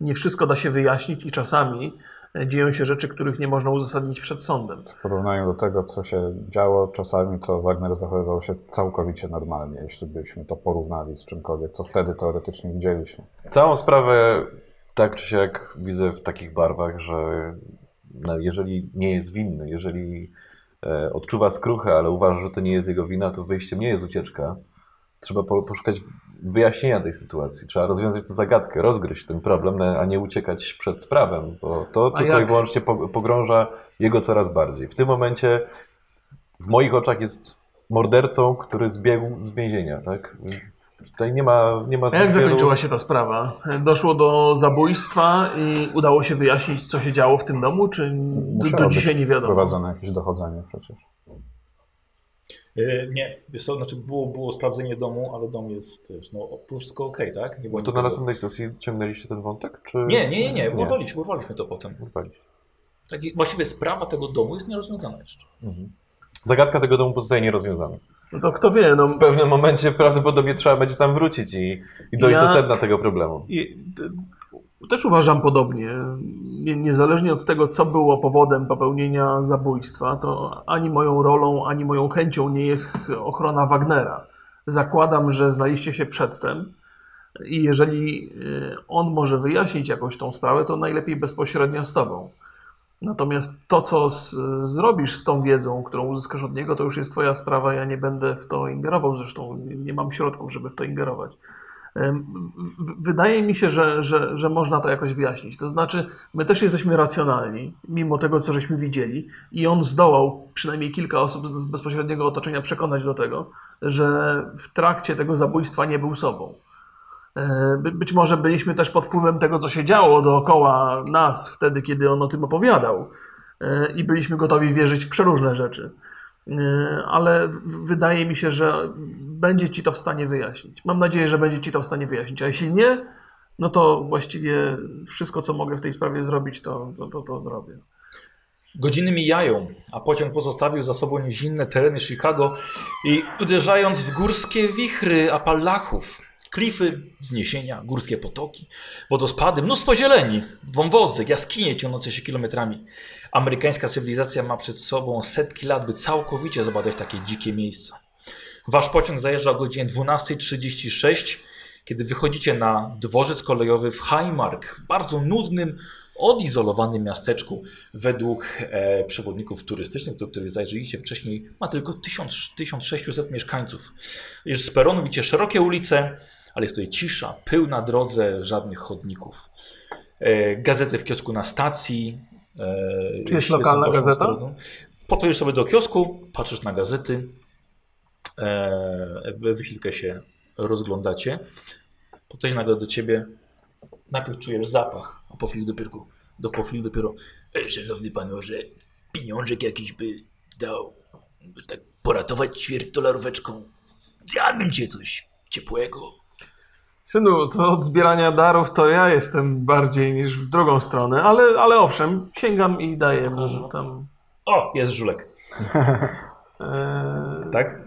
nie wszystko da się wyjaśnić i czasami e, dzieją się rzeczy, których nie można uzasadnić przed sądem.
W porównaniu do tego, co się działo, czasami to Wagner zachowywał się całkowicie normalnie, jeśli byśmy to porównali z czymkolwiek, co wtedy teoretycznie widzieliśmy.
Całą sprawę tak czy siak widzę w takich barwach, że no, jeżeli nie jest winny, jeżeli e, odczuwa skruchę, ale uważa, że to nie jest jego wina, to wyjściem nie jest ucieczka. Trzeba po, poszukać wyjaśnienia tej sytuacji. Trzeba rozwiązać tę zagadkę, rozgryźć ten problem, na- a nie uciekać przed sprawem, bo to
A
tylko i
jak?
wyłącznie po- pogrąża jego coraz bardziej. W tym momencie w moich oczach jest mordercą, który zbiegł z więzienia. Tak? Tutaj nie ma, nie ma
A jak
zbyt wielu-
zakończyła się ta sprawa? E, Doszło do zabójstwa i udało się wyjaśnić, co się działo w tym domu, czy do, do
Musiało
dzisiaj
być
nie wiadomo?
Prowadzone jakieś dochodzenie przecież.
E, Nie, wiesz co, znaczy było, było sprawdzenie domu, ale dom jest też, no wszystko okej, tak? Nie było
No To na
nikogo.
następnej sesji ciągnęliście ten wątek? Czy...
Nie, nie, nie, nie, urwaliśmy, urwaliśmy to potem.
Urwaliście.
Tak, i właściwie sprawa tego domu jest nierozwiązana jeszcze.
Mhm. Zagadka tego domu pozostaje nierozwiązana.
No to kto wie, no
W pewnym momencie prawdopodobnie trzeba będzie tam wrócić i, i dojść
Ja-
do sedna tego problemu.
I, d- Też uważam podobnie. Nie- Niezależnie od tego, co było powodem popełnienia zabójstwa, to ani moją rolą, ani moją chęcią nie jest ochrona Wagnera. Zakładam, że znaliście się przedtem i jeżeli y, on może wyjaśnić jakąś tą sprawę, to najlepiej bezpośrednio z tobą. Natomiast to, co z, zrobisz z tą wiedzą, którą uzyskasz od niego, to już jest twoja sprawa. Ja nie będę w to ingerował, zresztą nie- nie mam środków, żeby w to ingerować. Em, w- w- Wydaje mi się, że, że, że można to jakoś wyjaśnić. To znaczy, my też jesteśmy racjonalni, mimo tego, co żeśmy widzieli, i on zdołał przynajmniej kilka osób z z bezpośredniego otoczenia przekonać do tego, że w trakcie tego zabójstwa nie był sobą. E, By, być może byliśmy też pod wpływem tego, co się działo dookoła nas wtedy, kiedy on o tym opowiadał, E, i byliśmy gotowi wierzyć w przeróżne rzeczy. Yy, ale w- wydaje mi się, że będzie ci to w stanie wyjaśnić. Mam nadzieję, że będzie ci to w stanie wyjaśnić. A jeśli nie, no to właściwie wszystko, co mogę w tej sprawie zrobić, to, to, to, to zrobię.
Godziny mijają, a pociąg pozostawił za sobą niezinne tereny Chicago i uderzając w górskie wichry Apalachów, klify, wzniesienia, górskie potoki, wodospady, mnóstwo zieleni, wąwozy, jaskinie ciągnące się kilometrami. Amerykańska cywilizacja ma przed sobą setki lat, by całkowicie zbadać takie dzikie miejsca. Wasz pociąg zajeżdża o godzinie 12.36, kiedy wychodzicie na dworzec kolejowy w Highmark, w bardzo nudnym, odizolowanym miasteczku. Według e, przewodników turystycznych, do których zajrzyliście wcześniej, ma tylko 1000, 1600 mieszkańców. Już z peronu widzicie szerokie ulice, ale jest tutaj cisza, pył na drodze, żadnych chodników. E, gazety w kiosku na stacji. E,
Czy jest
świecą
lokalna
waszą
gazeta?
stroną. Podchodzisz sobie do kiosku, patrzysz na gazety, e, wy chwilkę się rozglądacie. Podchodzi nagle do ciebie, najpierw czujesz zapach, a po chwili dopiero, do, po chwili dopiero e, szanowny panu, że pieniążek jakiś by dał, by tak poratować ćwierćdolaróweczką. Zjadłbym cię coś ciepłego.
Synu, to od zbierania darów to ja jestem bardziej niż w drugą stronę, ale, ale owszem, sięgam i daję mu tam.
O, jest żulek.
e,
Tak?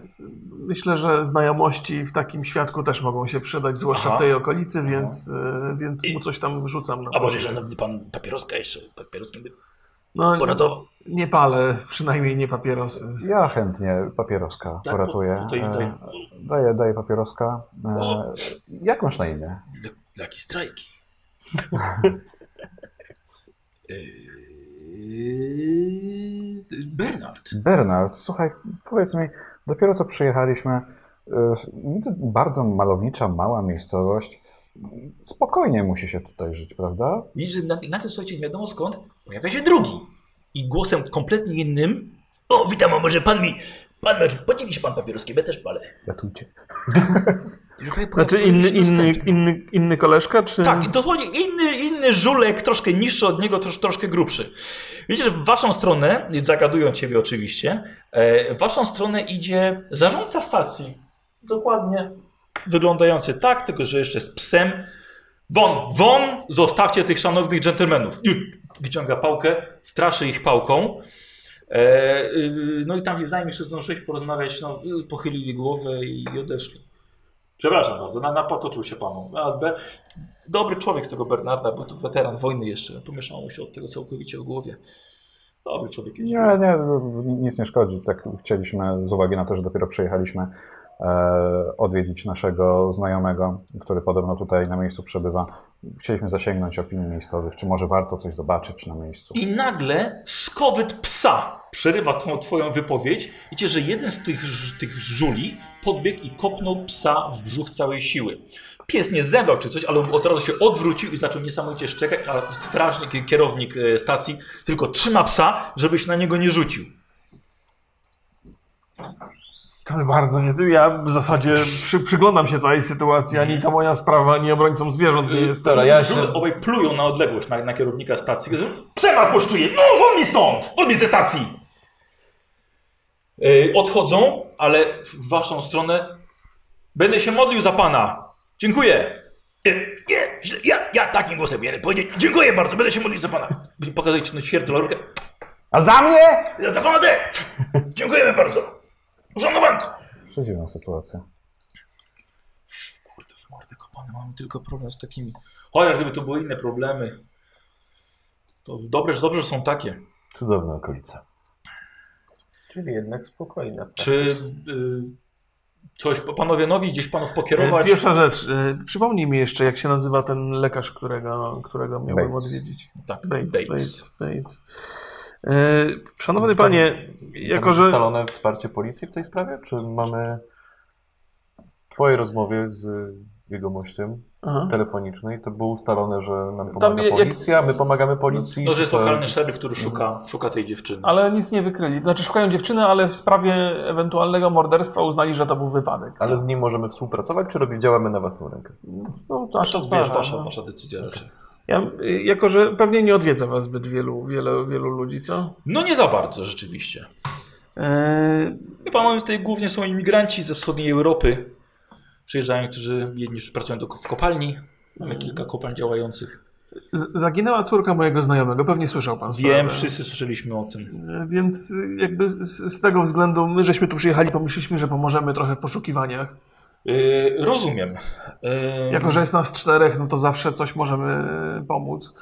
Myślę, że znajomości w takim świadku też mogą się przydać, zwłaszcza
Aha. Mhm.
w tej okolicy, więc, e, więc mu coś tam wrzucam. Na
A może szanowny pan papieroska jeszcze, papieroskiem by
no,
poratował.
Nie palę, przynajmniej nie papierosy.
Ja chętnie papieroska
Tak,
poratuję.
to- No. to idź
E,
dalej.
Daję, daję papieroska. E,
O.
jak masz na imię?
Dla- Laki
[laughs]
strajki. Eee, Bernard.
Bernard, słuchaj, powiedz mi, dopiero co przyjechaliśmy, y, widzę bardzo malownicza, mała miejscowość. Spokojnie musi się tutaj żyć, prawda?
Widzisz, że nag- nagle słuchajcie, nie wiadomo skąd, pojawia się drugi. I głosem kompletnie innym. O, witam, a może pan mi. Pan może podzieli się pan papieroskiem, ja też palę.
Ratujcie.
I słuchaj,
Znaczy
pojawia
inny,
się
inny,
następny.
inny, inny koleżka, czy...
Tak, i dosłownie inny, inny żulek, troszkę niższy od niego, trosz, troszkę grubszy. Widzisz, w waszą stronę, zagadują ciebie oczywiście, e, w waszą stronę idzie zarządca stacji. Dokładnie. Wyglądający tak, tylko że jeszcze z psem. Won, won, zostawcie tych szanownych dżentelmenów. Już Wyciąga pałkę, straszy ich pałką. E, y, no i tam się wzajemnie jeszcze zdążyli porozmawiać, no, y, pochylili głowę i odeszli. Przepraszam bardzo, na, napatoczył się panu. A, be, dobry człowiek z tego Bernarda, był to weteran wojny jeszcze. Pomieszało mu się od tego całkowicie o głowie. Dobry człowiek. jest.
Nie, nie, no, nic nie szkodzi. Tak chcieliśmy, z uwagi na to, że dopiero przyjechaliśmy, e, odwiedzić naszego znajomego, który podobno tutaj na miejscu przebywa. Chcieliśmy zasięgnąć opinii miejscowych, czy może warto coś zobaczyć na miejscu.
I nagle skowyt psa przerywa tą twoją wypowiedź. Widzicie, że jeden z tych, ż- tych żuli podbiegł i kopnął psa w brzuch z całej siły. Pies nie zemdlał czy coś, ale on od razu się odwrócił i zaczął niesamowicie szczekać, a strażnik, kierownik e, stacji tylko trzyma psa, żeby się na niego nie rzucił.
Ale bardzo nie... Ja w zasadzie przy, przyglądam się całej sytuacji, ani ta moja sprawa, ani obrońcą zwierząt nie jest...
Dobra, ja się...
Żule obaj plują na odległość na, na kierownika stacji. Przema kosztuje! No, wolni stąd! Wolni ze stacji! Yy, odchodzą, ale w waszą stronę. Będę się modlił za pana. Dziękuję. Yy, nie, źle, ja, ja takim głosem wiele powiedzieć. Dziękuję bardzo, będę się modlił za pana. Pokazuję ci na ćwiertolorówkę.
A za mnie?
Ja Za pana te! Dziękujemy bardzo. Uszanowanko.
Przedziwna sytuacja.
Kurde, w mordę kopał. Ale mamy tylko problem z takimi. Chociaż gdyby to były inne problemy, to dobrze, że- dobrze że są takie.
Cudowna okolica.
Czyli jednak spokojna. Tak.
Czy y, coś, panowie nowi, gdzieś panów pokierować?
Pierwsza rzecz. y, Przypomnij mi jeszcze, jak się nazywa ten lekarz, którego, którego miałbym
Bates.
odwiedzić.
Tak,
Bates,
Bates.
Bates, Bates. Y, Szanowny panie, jako że...
Ustalone wsparcie policji w tej sprawie? Czy mamy w twojej rozmowie z jegomościem
Aha.
telefonicznej to było ustalone, że nam pomaga
je- jak-
policja, my pomagamy policji?
No, że jest
czy to-
lokalny szeryf, który szuka, szuka tej dziewczyny.
Ale nic nie wykryli. Znaczy szukają dziewczyny, ale w sprawie ewentualnego morderstwa uznali, że to był wypadek.
Ale z nim możemy współpracować, czy robi, działamy na własną rękę?
No to aż
to wiesz, wasza, wasza decyzja raczej.
Ja, y, jako, że pewnie nie odwiedza was zbyt wielu, wiele, wielu ludzi, co?
No nie za bardzo rzeczywiście.
E,
Wie pan, mamy tutaj głównie są imigranci ze wschodniej Europy. Przyjeżdżają, którzy jedni pracują do, w kopalni. Mamy kilka kopalń działających.
z- zaginęła córka mojego znajomego, pewnie słyszał pan sprawę.
Wiem, wszyscy słyszeliśmy o tym.
E, Więc y, jakby z, z tego względu my żeśmy tu przyjechali, pomyśleliśmy, że pomożemy trochę w poszukiwaniach.
Yy, rozumiem. Yy,
Jako, że jest nas czterech, no to zawsze coś możemy pomóc.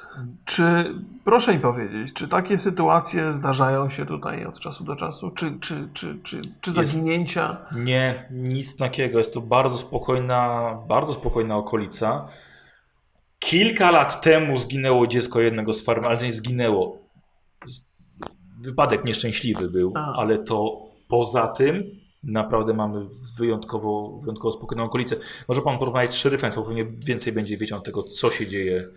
Czy, proszę mi powiedzieć, czy takie sytuacje zdarzają się tutaj od czasu do czasu? Czy, czy, czy, czy, czy
Jest.
zaginięcia?
Nie, nic takiego. Jest to bardzo spokojna, bardzo spokojna okolica. Kilka lat temu zginęło dziecko jednego z farm, ale nie zginęło. Z- Wypadek nieszczęśliwy był,
A.
ale to poza tym naprawdę mamy wyjątkowo, wyjątkowo spokojną okolicę. Może pan porozmawiać z szeryfem, to pewnie więcej będzie wiedział tego, co się dzieje.
No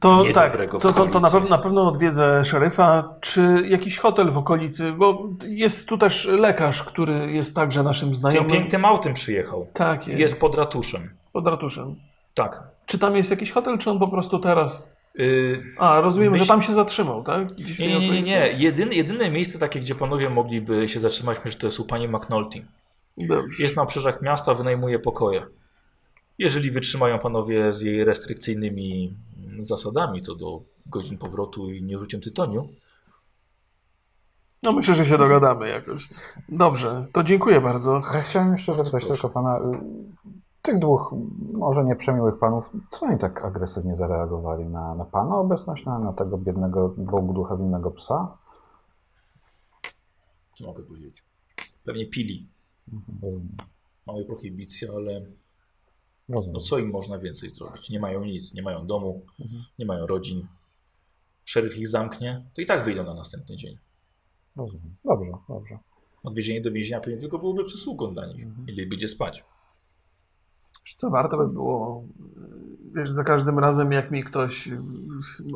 To tak,
niedobrego
to,
w
to, to na,
okolicy.
pewno, na pewno odwiedzę szeryfa, czy jakiś hotel w okolicy, bo jest tu też lekarz, który jest także naszym
Tym
znajomym.
pięknym autem przyjechał.
Tak, jest,
Jest pod ratuszem.
pod ratuszem.
Tak.
Czy tam jest jakiś hotel, czy on po prostu teraz...
Y,
A, rozumiem,
Myśl-
że tam się zatrzymał, tak? Gdzieś w tej
Nie, nie, nie, nie.
okolicy?
Jedyne, jedyne miejsce takie, gdzie panowie mogliby się zatrzymać, myślę, że to jest u pani McNulty.
Dobrze.
Jest na obrzeżach miasta, wynajmuje pokoje. Jeżeli wytrzymają panowie z jej restrykcyjnymi mm, zasadami co do godzin powrotu i nieużyciem tytoniu,
No myślę, że się dogadamy jakoś. Dobrze, to dziękuję bardzo.
Ja chciałem jeszcze zapytać tylko pana, y, tych dwóch może nieprzemiłych panów, co oni tak agresywnie zareagowali na, na pana obecność, na, na tego biednego, bogducha winnego psa?
co mogę powiedzieć? Pewnie pili.
Rozumiem.
Mamy prohibicję, ale
Rozumiem.
no co im można więcej zrobić? Nie mają nic, nie mają domu, nie mają rodzin. Szeryf ich zamknie, to i tak wyjdą na następny dzień.
Rozumiem. Dobrze, dobrze.
Odwiezienie do więzienia pewnie tylko byłoby przysługą dla nich. Mieliby gdzie spać.
Wiesz Co warto by było, wiesz, za każdym razem jak mi ktoś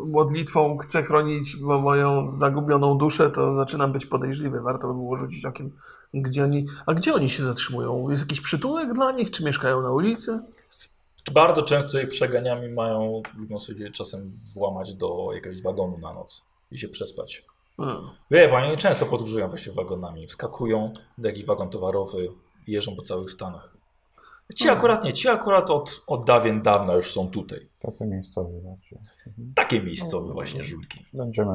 modlitwą chce chronić mo- moją zagubioną duszę, to zaczynam być podejrzliwy. Warto by było rzucić okiem, gdzie oni, a gdzie oni się zatrzymują? Jest jakiś przytułek dla nich, czy mieszkają na ulicy?
Bardzo często ich przeganiami mają, lubią sobie czasem włamać do jakiegoś wagonu na noc i się przespać.
Hmm.
Wie pan, oni często podróżują właśnie wagonami. Wskakują do jakiś wagon towarowy i jeżdżą po całych Stanach. Ci
Mhm.
akurat nie, ci akurat od, od dawien dawna już są tutaj.
Tacy miejscowi znaczy. raczej.
Takie miejscowe właśnie żulki.
Będziemy,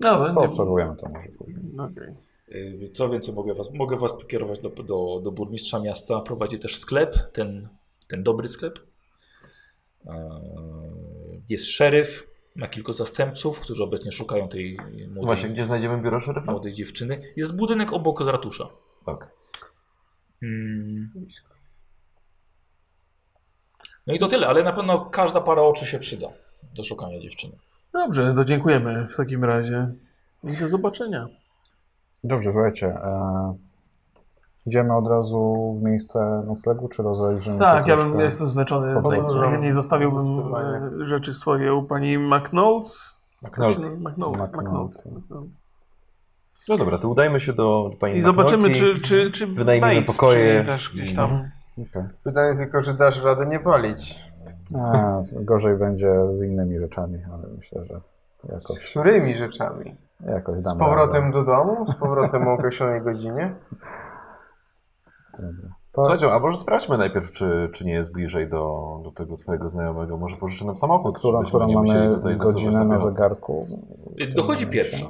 No, nie,
poobserwujemy to może później.
okej.
Yy, Co więcej mogę was, mogę was pokierować do, do, do burmistrza miasta. Prowadzi też sklep, ten, ten dobry sklep. Yy, Jest szeryf, ma kilku zastępców, którzy obecnie szukają tej
No
młodej,
właśnie, gdzie znajdziemy biuro szeryfa?
młodej dziewczyny. Jest budynek obok ratusza.
Tak.
Mm. No i to tyle, ale na pewno każda para oczu się przyda do szukania dziewczyny.
Dobrze, no to dziękujemy w takim razie. I do zobaczenia.
Dobrze, słuchajcie. E, idziemy od razu w miejsce noclegu, czy rozejrzymy
Tak,
się
ja
troszkę?
bym, ja jestem zmęczony.
Podobno,
Tak,
że-
Najchętniej zostawiłbym
zdecydowanie.
e, rzeczy swoje u pani McNotes. Znaczy,
McNulty.
McNaught,
McNaught.
McNaught.
No dobra, to udajmy się do do pani
I zobaczymy,
McNulty.
czy, czy, czy
wynajmiemy
Bates
pokoje.
przyjdzie też gdzieś tam.
Okej.
Pytanie tylko, czy dasz radę nie palić.
A, E, gorzej będzie z innymi rzeczami, ale myślę, że
Z
jakoś,
którymi rzeczami?
jakoś damy
Z
radę.
powrotem do domu? Z powrotem o określonej godzinie?
Słuchajcie, a może sprawdźmy najpierw, czy, czy nie jest bliżej do, do tego twojego znajomego. Może pożyczy nam samochód,
Którą,
żebyśmy
którą
nie musieli
mamy
tutaj zasuwać
godzinę na
piechotę.
zegarku?
Dochodzi pierwsza.
E,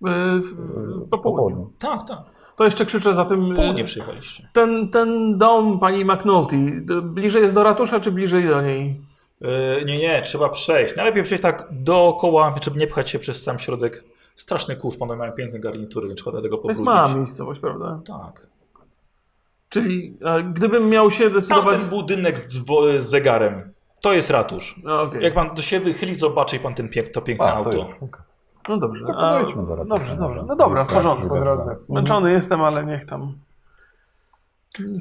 w- w-
Po południu.
Tak, tak.
To jeszcze krzyczę za tym.
W
e,
południe przyjechaliście.
Ten, ten dom pani McNulty, d- bliżej jest do ratusza, czy bliżej do niej?
E, nie, nie, trzeba przejść. Najlepiej przejść tak dookoła, żeby nie pchać się przez sam środek. Straszny kurz, panowie mają piękne garnitury, więc szkoda tego
To jest
pobrudzić.
mała miejscowość, prawda?
Tak.
Czyli e, gdybym miał się decydować.
Tamten budynek z, dzwo- z zegarem. To jest ratusz.
No, okej.
Jak pan się wychyli, zobaczy pan ten piek, to piękne
A, to
auto.
już. okej.
no dobrze.
To
a-
podejdźmy do ratusza.
Dobrze, dobrze. No dobra, w porządku.
po drodze.
Zmęczony jestem, ale niech tam.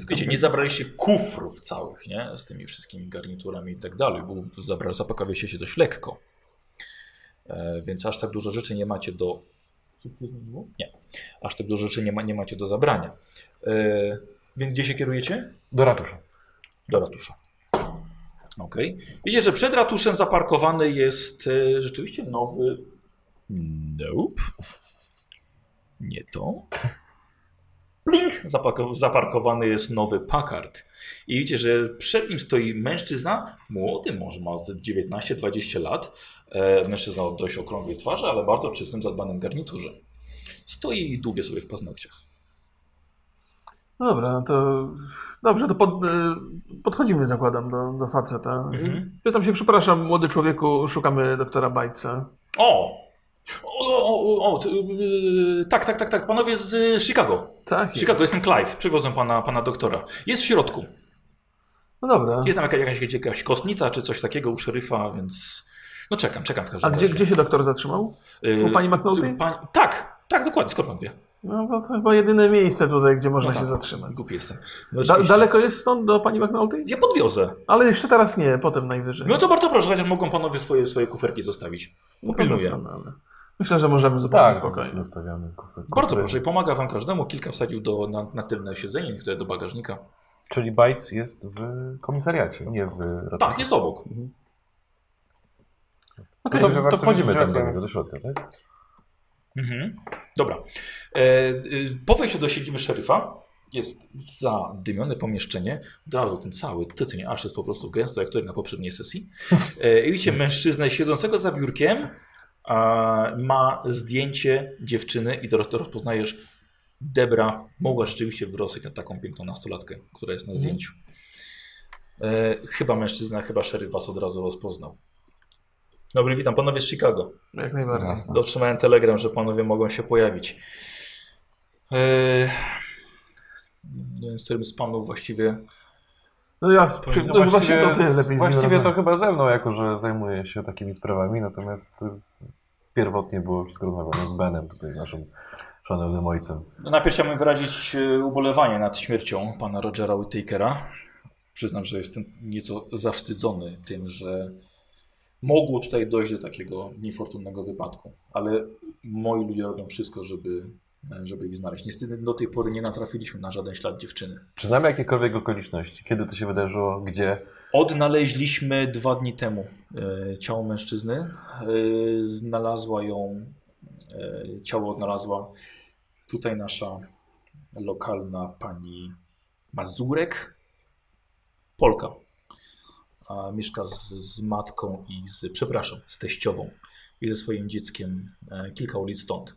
Wiecie, nie zabraliście kufrów całych, nie? Z tymi wszystkimi garniturami i tak dalej, bo zabra- zapakowaliście się dość lekko. E, więc aż tak dużo rzeczy nie macie do... Nie. Aż tak dużo rzeczy nie, ma, nie macie do zabrania. E, więc gdzie się kierujecie?
Do ratusza.
Do ratusza. Okej. Widzicie, że przed ratuszem zaparkowany jest e, rzeczywiście nowy...
Hmm.
Nope. Nie to. Pling! Zapako- Tak. zaparkowany jest nowy Packard. I widzicie, że przed nim stoi mężczyzna, młody może, ma z 19-20 lat. E, mężczyzna o dość okrągłej twarzy, ale bardzo czystym, zadbanym garniturze. Stoi i dłubie sobie w paznokciach.
No dobra, no to. Dobrze, to pod, e, podchodzimy, zakładam, do, do faceta.
Mhm.
Pytam się, przepraszam, młody człowieku, szukamy doktora Bajca.
O! O, o, o, o t- yy, tak, tak, tak, tak, panowie z y, Chicago.
Tak. jest.
Chicago, jestem Clive, przywodzę pana, pana doktora. Jest w środku.
No dobra.
Jest tam jakaś, jakaś, jakaś kostnica czy coś takiego u szeryfa, więc... No czekam, czekam w każdym
A gdzie,
razie.
gdzie się doktor zatrzymał?
Y,
U pani McNulty?
Pani- Tak, tak, dokładnie, skąd pan wie?
No bo to chyba jedyne miejsce tutaj, gdzie można
No tak.
się zatrzymać.
Głupi jestem.
Da,
No, Oczywiście.
daleko jest stąd do pani McNulty?
Ja podwiozę.
Ale jeszcze teraz nie, potem najwyżej.
No to bardzo proszę, chociaż mogą panowie swoje, swoje kuferki zostawić.
No to
pilnuję.
doskonale. Myślę, że możemy zupełnie
Tak,
spokojnie.
zostawiamy kufry.
Bardzo proszę, pomaga wam każdemu. Kilka wsadził do, na, na tylne siedzenie, niektóre do bagażnika.
Czyli Bajc jest w komisariacie, nie w ratuszu.
Tak, jest obok.
No
Okej. Że
to, to
warto
wchodzimy
się
tam do
wziąć.
niego, do środka, tak?
Mhm. Dobra. E, e, po wejściu do siedziby szeryfa jest zadymione pomieszczenie. Od razu ten cały tycyń aż jest po prostu gęsto, jak tutaj na poprzedniej sesji. E, i widzicie mężczyznę siedzącego za biurkiem. A, ma zdjęcie dziewczyny i teraz to rozpoznajesz Debra mogła rzeczywiście wyrosnąć na taką piękną nastolatkę, która jest na zdjęciu. E, chyba mężczyzna, chyba szeryf was od razu rozpoznał. Dobry, witam. Panowie z Chicago.
Jak najbardziej.
Jasne.
Otrzymałem telegram, że panowie mogą się pojawić. Eee, nie wiem, z którym z panów właściwie.
No ja z przy... no, właśnie to ty
z-
lepiej
Właściwie to
związany.
chyba ze mną, jako że zajmuję się takimi sprawami, natomiast y, pierwotnie było wszystko rozmawiane z Benem, tutaj z naszym szanownym ojcem.
No, najpierw chciałbym wyrazić e, ubolewanie nad śmiercią pana Rogera Whitakera. Przyznam, że jestem nieco zawstydzony tym, że mogło tutaj dojść do takiego niefortunnego wypadku, ale moi ludzie robią wszystko, żeby, żeby ich znaleźć. Niestety do tej pory nie natrafiliśmy na żaden ślad dziewczyny.
Czy znamy jakiekolwiek okoliczności? Kiedy to się wydarzyło? Gdzie?
Odnaleźliśmy dwa dni temu e, ciało mężczyzny. E, znalazła ją, e, ciało odnalazła tutaj nasza lokalna pani Mazurek, Polka. A mieszka z, z matką i z, przepraszam, z teściową i ze swoim dzieckiem e, kilka ulic stąd.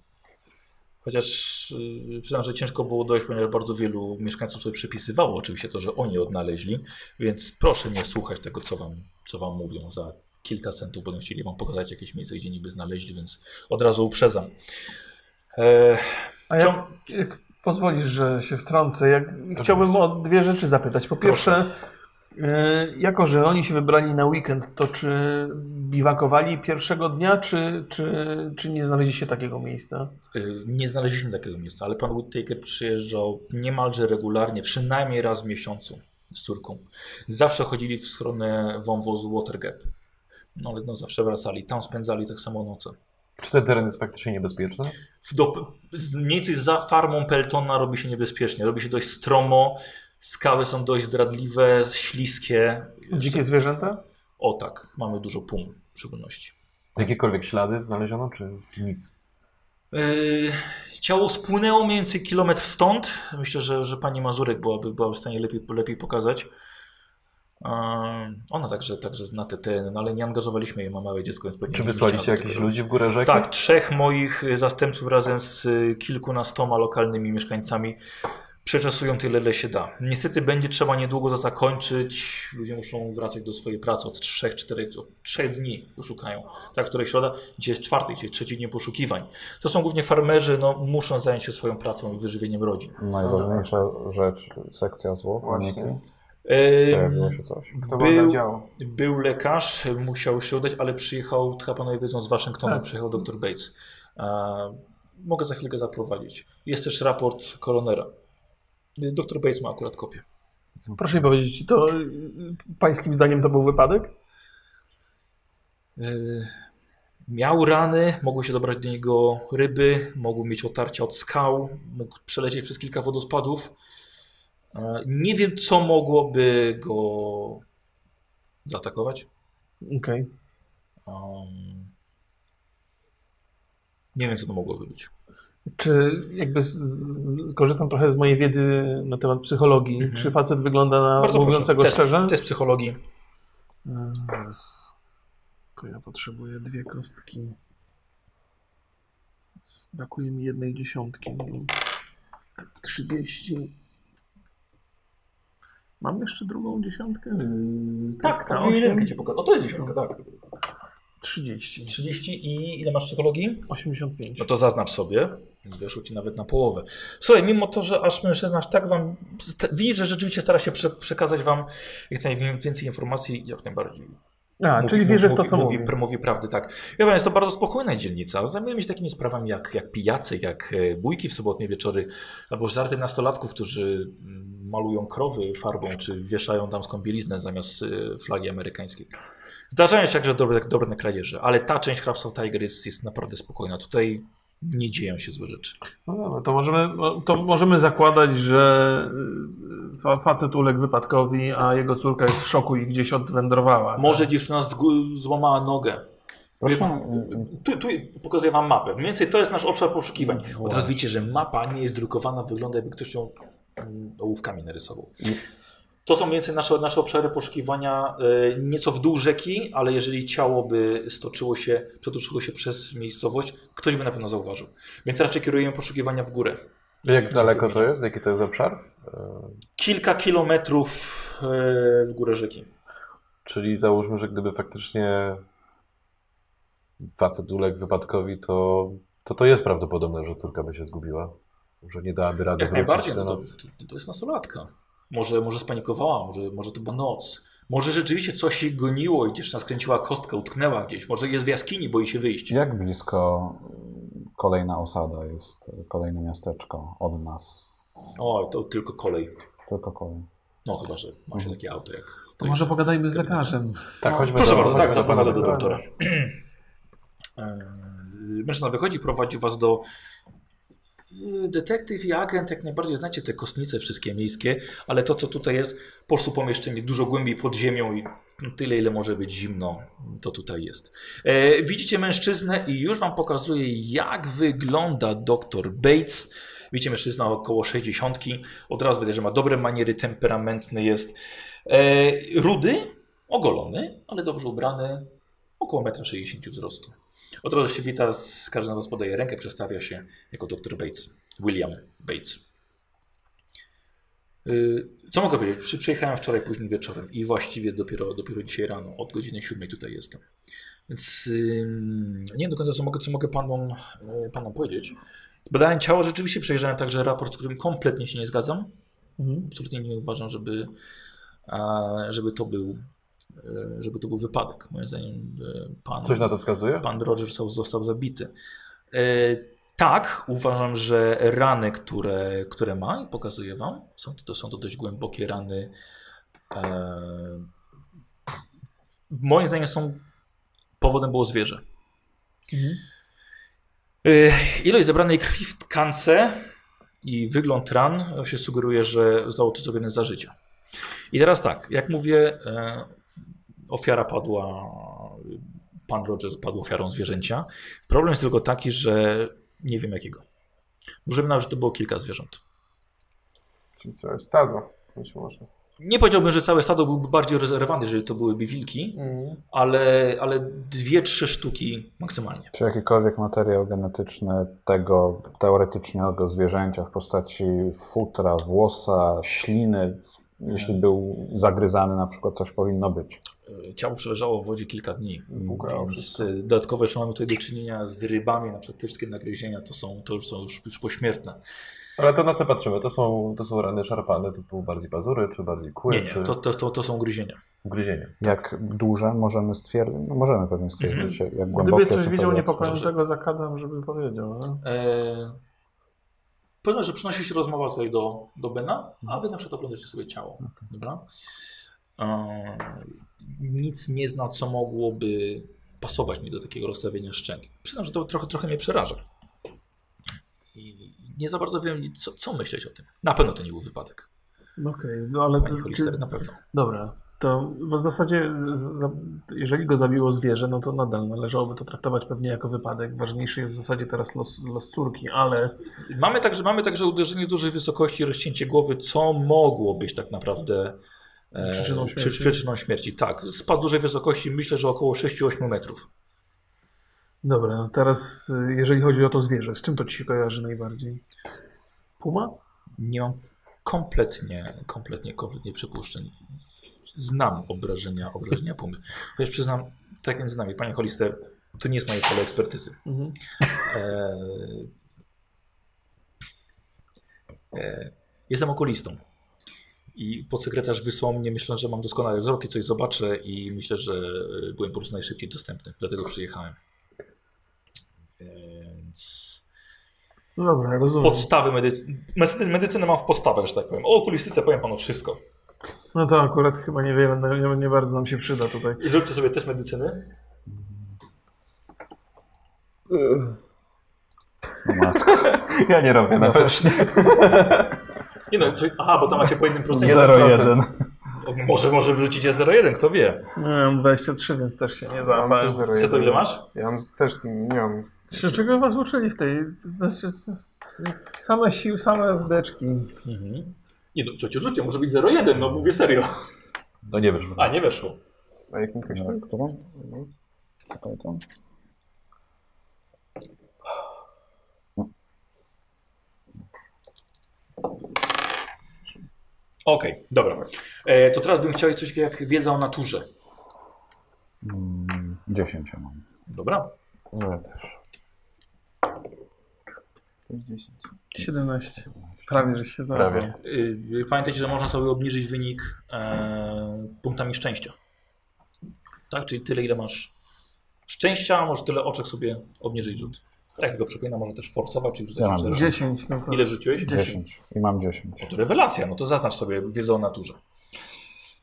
Chociaż e, przyznam, że ciężko było dojść, ponieważ bardzo wielu mieszkańców sobie przypisywało oczywiście to, że oni odnaleźli. Więc proszę nie słuchać tego, co wam, co wam mówią za kilka centów. Będą chcieli wam pokazać jakieś miejsce, gdzie niby znaleźli, więc od razu uprzedzam. E,
A
cią-
jak, jak pozwolisz, że się wtrącę, jak... chciałbym o dwie rzeczy zapytać. Po pierwsze, y, jako że oni się wybrali na weekend, to czy biwakowali pierwszego dnia, czy, czy, czy nie znaleźliście takiego miejsca?
y, nie znaleźliśmy takiego miejsca, ale pan Whittaker przyjeżdżał niemalże regularnie, przynajmniej raz w miesiącu z córką. Zawsze chodzili w stronę wąwozu Watergap. No ale no, zawsze wracali. Tam spędzali tak samo noce.
Czy ten teren jest faktycznie niebezpieczny?
w do, z- mniej więcej za farmą Peltona robi się niebezpiecznie. Robi się dość stromo, skały są dość zdradliwe, śliskie.
[laughs] Dzikie zwierzęta?
O tak, mamy dużo pum w szczególności.
Jakiekolwiek ślady znaleziono, czy nic?
Yy, ciało spłynęło mniej więcej kilometr stąd. Myślę, że, że pani Mazurek byłaby, byłaby w stanie lepiej, lepiej pokazać. Ehm, Ona także, także zna te tereny, no ale nie angażowaliśmy jej, ma małe dziecko, więc pewnie
Czy
nie
wysłaliście
chciała do
jakichś
tego
ludzi w górę rzeki?
tak, trzech moich y, zastępców razem z y, kilkunastoma lokalnymi mieszkańcami przeczesują tyle, ile się da. Niestety będzie trzeba niedługo to zakończyć. Ludzie muszą wracać do swojej pracy od trzech, czterech, od trzech dni poszukają. Tak, której środa, gdzie jest czwarty, gdzie jest trzeci dzień poszukiwań. To są głównie farmerzy, no muszą zająć się swoją pracą i wyżywieniem rodzin.
Najważniejsza rzecz, sekcja złot.
Właśnie.
uniki. Pojawiło
Ym,
się coś.
Kto
Był-
wam działo?
był lekarz, musiał się udać, ale przyjechał, chyba panowie wiedzą, z Waszyngtonu,
Tak.
przyjechał dr Bates. E, mogę za chwilkę zaprowadzić. Jest też raport koronera. Y, Dr Bates ma akurat kopię.
Proszę mi powiedzieć, to y, y, pańskim zdaniem to był wypadek?
Y, miał rany, mogły się dobrać do niego ryby, mogły mieć otarcia od skał, mógł przelecieć przez kilka wodospadów. E, nie wiem, co mogłoby go zaatakować.
Okej.
Um, nie wiem, co to mogłoby być.
Czy jakby z, z, korzystam trochę z mojej wiedzy na temat psychologii.
Mhm.
Czy facet wygląda na
Bardzo
No, mówiącego
proszę. Tak,
szczerze?
Test, test psychologii.
Mm, Teraz to ja potrzebuję dwie kostki. S- Brakuje mi jednej dziesiątki. 30. Mam jeszcze drugą dziesiątkę?
Tak,
ta
tak.
osiem.
Jedynkę cię poka- O, to jest dziesiątka, tak.
30.
30 i ile masz psychologii?
85.
No to zaznacz sobie. Więc Weszło ci nawet na połowę. Słuchaj, mimo to, że aż mężczyzna aż tak wam. sta- Widzisz, że rzeczywiście stara się prze, przekazać wam jak najwięcej informacji, jak najbardziej.
A, No, czyli wierzę w to, co
mówi.
mówi.
Mówi, mówi prawdy, tak. Ja wiem, jest to bardzo spokojna dzielnica. Zajmujemy się takimi sprawami jak, jak pijacy, jak e, bójki w sobotnie wieczory, albo żarty nastolatków, którzy mm, malują krowy farbą, czy wieszają damską bieliznę zamiast e, flagi amerykańskiej. Zdarzają się także dobre, dobre kradzieże, ale ta część Crabs of Tiger jest, jest naprawdę spokojna. Tutaj nie dzieją się złe rzeczy.
No dobra, to możemy, no, to możemy zakładać, że y, fa facet uległ wypadkowi, a jego córka jest w szoku i gdzieś odwędrowała. tak?
Może dziewczyna zgu- złamała nogę.
Proszę,
y,
Tu, tu pokazuję wam mapę. Mniej więcej to jest nasz obszar poszukiwań. Od razu widzicie, że mapa nie jest drukowana, wygląda jakby ktoś ją mm, ołówkami narysował. To są mniej więcej nasze, nasze obszary poszukiwania e, nieco w dół rzeki, ale jeżeli ciało by stoczyło się, przetoczyło się przez miejscowość, ktoś by na pewno zauważył. Więc raczej kierujemy poszukiwania w górę.
Jak daleko to jest? Jaki to jest obszar? E,
Kilka kilometrów e, w górę rzeki.
Czyli załóżmy, że gdyby faktycznie facet uległ wypadkowi, to to, to jest prawdopodobne, że córka by się zgubiła. Że nie dałaby rady
Jak
wrócić
najbardziej,
do
no to,
nas.
to, to jest nastolatka. Może, może spanikowała, może, może to była noc. Może rzeczywiście coś jej goniło i dziewczyna skręciła kostkę, utknęła gdzieś. Może jest w jaskini, boi się wyjść.
jak blisko
mm,
kolejna osada jest,
y,
kolejne miasteczko od nas?
O, to tylko kolej.
Tylko kolej.
No chyba, że ma się takie auto jak...
To może pogadajmy z lekarzem.
Tak, chodźmy
Proszę
do,
bardzo,
chodźmy
tak,
do pana
zapraszam do
doktora.
doktora. Yy, [clears throat] Mężczyzna wychodzi, prowadzi was do... Yy, Detektyw i agent, jak najbardziej znacie te kostnice wszystkie miejskie, ale to co tutaj jest, po prostu pomieszczenie dużo głębiej pod ziemią i tyle ile może być zimno, to tutaj jest. E, widzicie mężczyznę i już wam pokazuję jak wygląda dr Bates. Widzicie mężczyzna około 60. Od razu widać, że ma dobre maniery, temperamentny jest. E, rudy, ogolony, ale dobrze ubrany, około 1,60 m wzrostu. Od razu się wita, z każdym z was podaje rękę, przedstawia się jako dr Bates, William Bates. Y, Co mogę powiedzieć? Przy- Przyjechałem wczoraj późnym wieczorem i właściwie dopiero, dopiero dzisiaj rano, od godziny 7 tutaj jestem. Więc ym, nie do końca co mogę, co mogę panom, y, panom powiedzieć. Zbadałem ciało, rzeczywiście przejrzałem także raport, z którym kompletnie się nie zgadzam.
Mhm.
Absolutnie nie uważam, żeby, a, żeby, to był, e, żeby to był wypadek. Moim zdaniem e, pan,
Coś na to wskazuje?
pan Roger został, został zabity. E, Tak, uważam, że rany, które, które ma i pokazuję wam, są to, są to dość głębokie rany. E, moim zdaniem są powodem było zwierzę. Y, Ilość zebranej krwi w tkance i wygląd ran się sugeruje, że zostało to zrobione za życia. I teraz tak, jak mówię, e, ofiara padła, pan Roger padł ofiarą zwierzęcia. Problem jest tylko taki, że nie wiem jakiego. Możemy nawet, że to było kilka zwierząt.
Czyli co, stado być może.
Nie powiedziałbym, że całe stado byłby bardziej rozerwane, jeżeli to byłyby wilki,
Mhm.
ale, ale dwie, trzy sztuki maksymalnie.
Czy jakikolwiek materiał genetyczny tego teoretycznego zwierzęcia w postaci futra, włosa, śliny, jeśli
Tak.
był zagryzany na przykład, coś powinno być.
E, Ciało przeleżało w wodzie kilka dni.
Płukało
Więc e, dodatkowo jeszcze mamy tutaj do czynienia z rybami, na przykład te wszystkie nagryzienia to są, to są już, już pośmiertne.
Ale to na co patrzymy? To są, to są rany szarpane typu bardziej pazury, czy bardziej kły,
Nie, nie,
czy
to, to, to, to są gryzienia.
ugryzienie.
Jak duże możemy stwierdzić, no możemy pewnie stwierdzić, jak głębokie
Mhm. Gdyby coś
są
widział
te- [laughs]
niepokojącego, zakładam, żeby powiedział. No?
E, Pewno, że przynosi się rozmowa tutaj do, do Bena, a wy na przykład oglądacie sobie ciało. Dobra? E, nic nie zna, co mogłoby pasować mi do takiego rozstawienia szczęki. Przyznam, że to trochę, trochę mnie przeraża. I nie za bardzo wiem, co, co myśleć o tym. Na pewno to nie był wypadek.
Okej, no ale...
Pani Hollister, na pewno.
Dobra, to w zasadzie z- za- jeżeli go zabiło zwierzę, no to nadal należałoby to traktować pewnie jako wypadek. Ważniejszy jest w zasadzie teraz los, los córki, ale
Mamy także, mamy także uderzenie z dużej wysokości, rozcięcie głowy, co mogło być tak naprawdę e,
Przyczyną
przy-
śmierci.
przyczyną śmierci. Tak, spadł z dużej wysokości, myślę, że około 6-8 metrów.
dobra, teraz y, jeżeli chodzi o to zwierzę, z czym to ci się kojarzy najbardziej? Puma?
Nie mam kompletnie, kompletnie, kompletnie przypuszczeń. Znam obrażenia, obrażenia pumy. Chociaż przyznam, tak między nami, panie Hollister, to nie jest moje pole ekspertyzy.
Mhm.
E, e, jestem okulistą. I podsekretarz wysłał mnie, myślę, że mam doskonały wzrok i coś zobaczę i myślę, że e, byłem po prostu najszybciej dostępny, dlatego przyjechałem. E, Więc
No dobra, rozumiem.
podstawy medycyny, medycynę mam w podstawach, że tak powiem. O okulistyce powiem panu wszystko.
No to akurat chyba niewiele, nie, nie bardzo nam się przyda tutaj.
I zróbcie sobie test medycyny.
O matko.
Ja nie robię
na
nawet.
Nie no, czy, aha, bo tam macie po jednym procencie.
0,1.
O, Może, może wrzucicie 0,1, kto wie.
Miałem 23, więc też się nie
Ja mam
załapałem.
też zero
Co to ile
jeden.
masz?
Ja mam z- też nie mam.
Czy czego was uczyli w tej... Znaczy, co- same siły, same wdeczki.
Mhm. Nie no, co cię rzucie, może być 0,1, no mówię serio.
No nie wiesz.
A, nie weszło.
A jakim ktoś tak?
[laughs] Którą? Tutaj tą.
Okej, dobra. E, to teraz bym chciał coś takiego jak wiedza o naturze.
Mm, 10 ja mam.
Dobra.
No Ja też.
17. Prawie, że się
Prawie.
załapał.
Y, pamiętajcie, że można sobie obniżyć wynik e, punktami szczęścia. Tak, czyli tyle, ile masz szczęścia, może tyle oczek sobie obniżyć rzut. Tak, go przypomina, może też forsować, czyli rzucać
Ja mam
jeszcze raz.
10, no to...
Ile rzuciłeś?
10. I mam 10.
To rewelacja, no to zaznacz sobie wiedzę o naturze.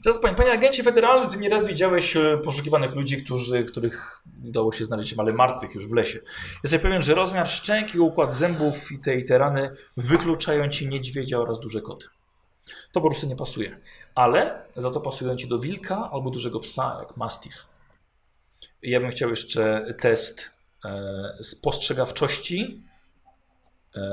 Teraz panie, panie agencie federalny, ty nieraz widziałeś e, poszukiwanych ludzi, którzy, których udało się znaleźć, ale martwych już w lesie. Jesteś pewien, że rozmiar szczęki, układ zębów i te, i te rany wykluczają ci niedźwiedzia oraz duże koty. To po prostu nie pasuje. Ale za to pasują ci do wilka albo dużego psa, jak mastiff. I Ja bym chciał jeszcze test e, spostrzegawczości. E,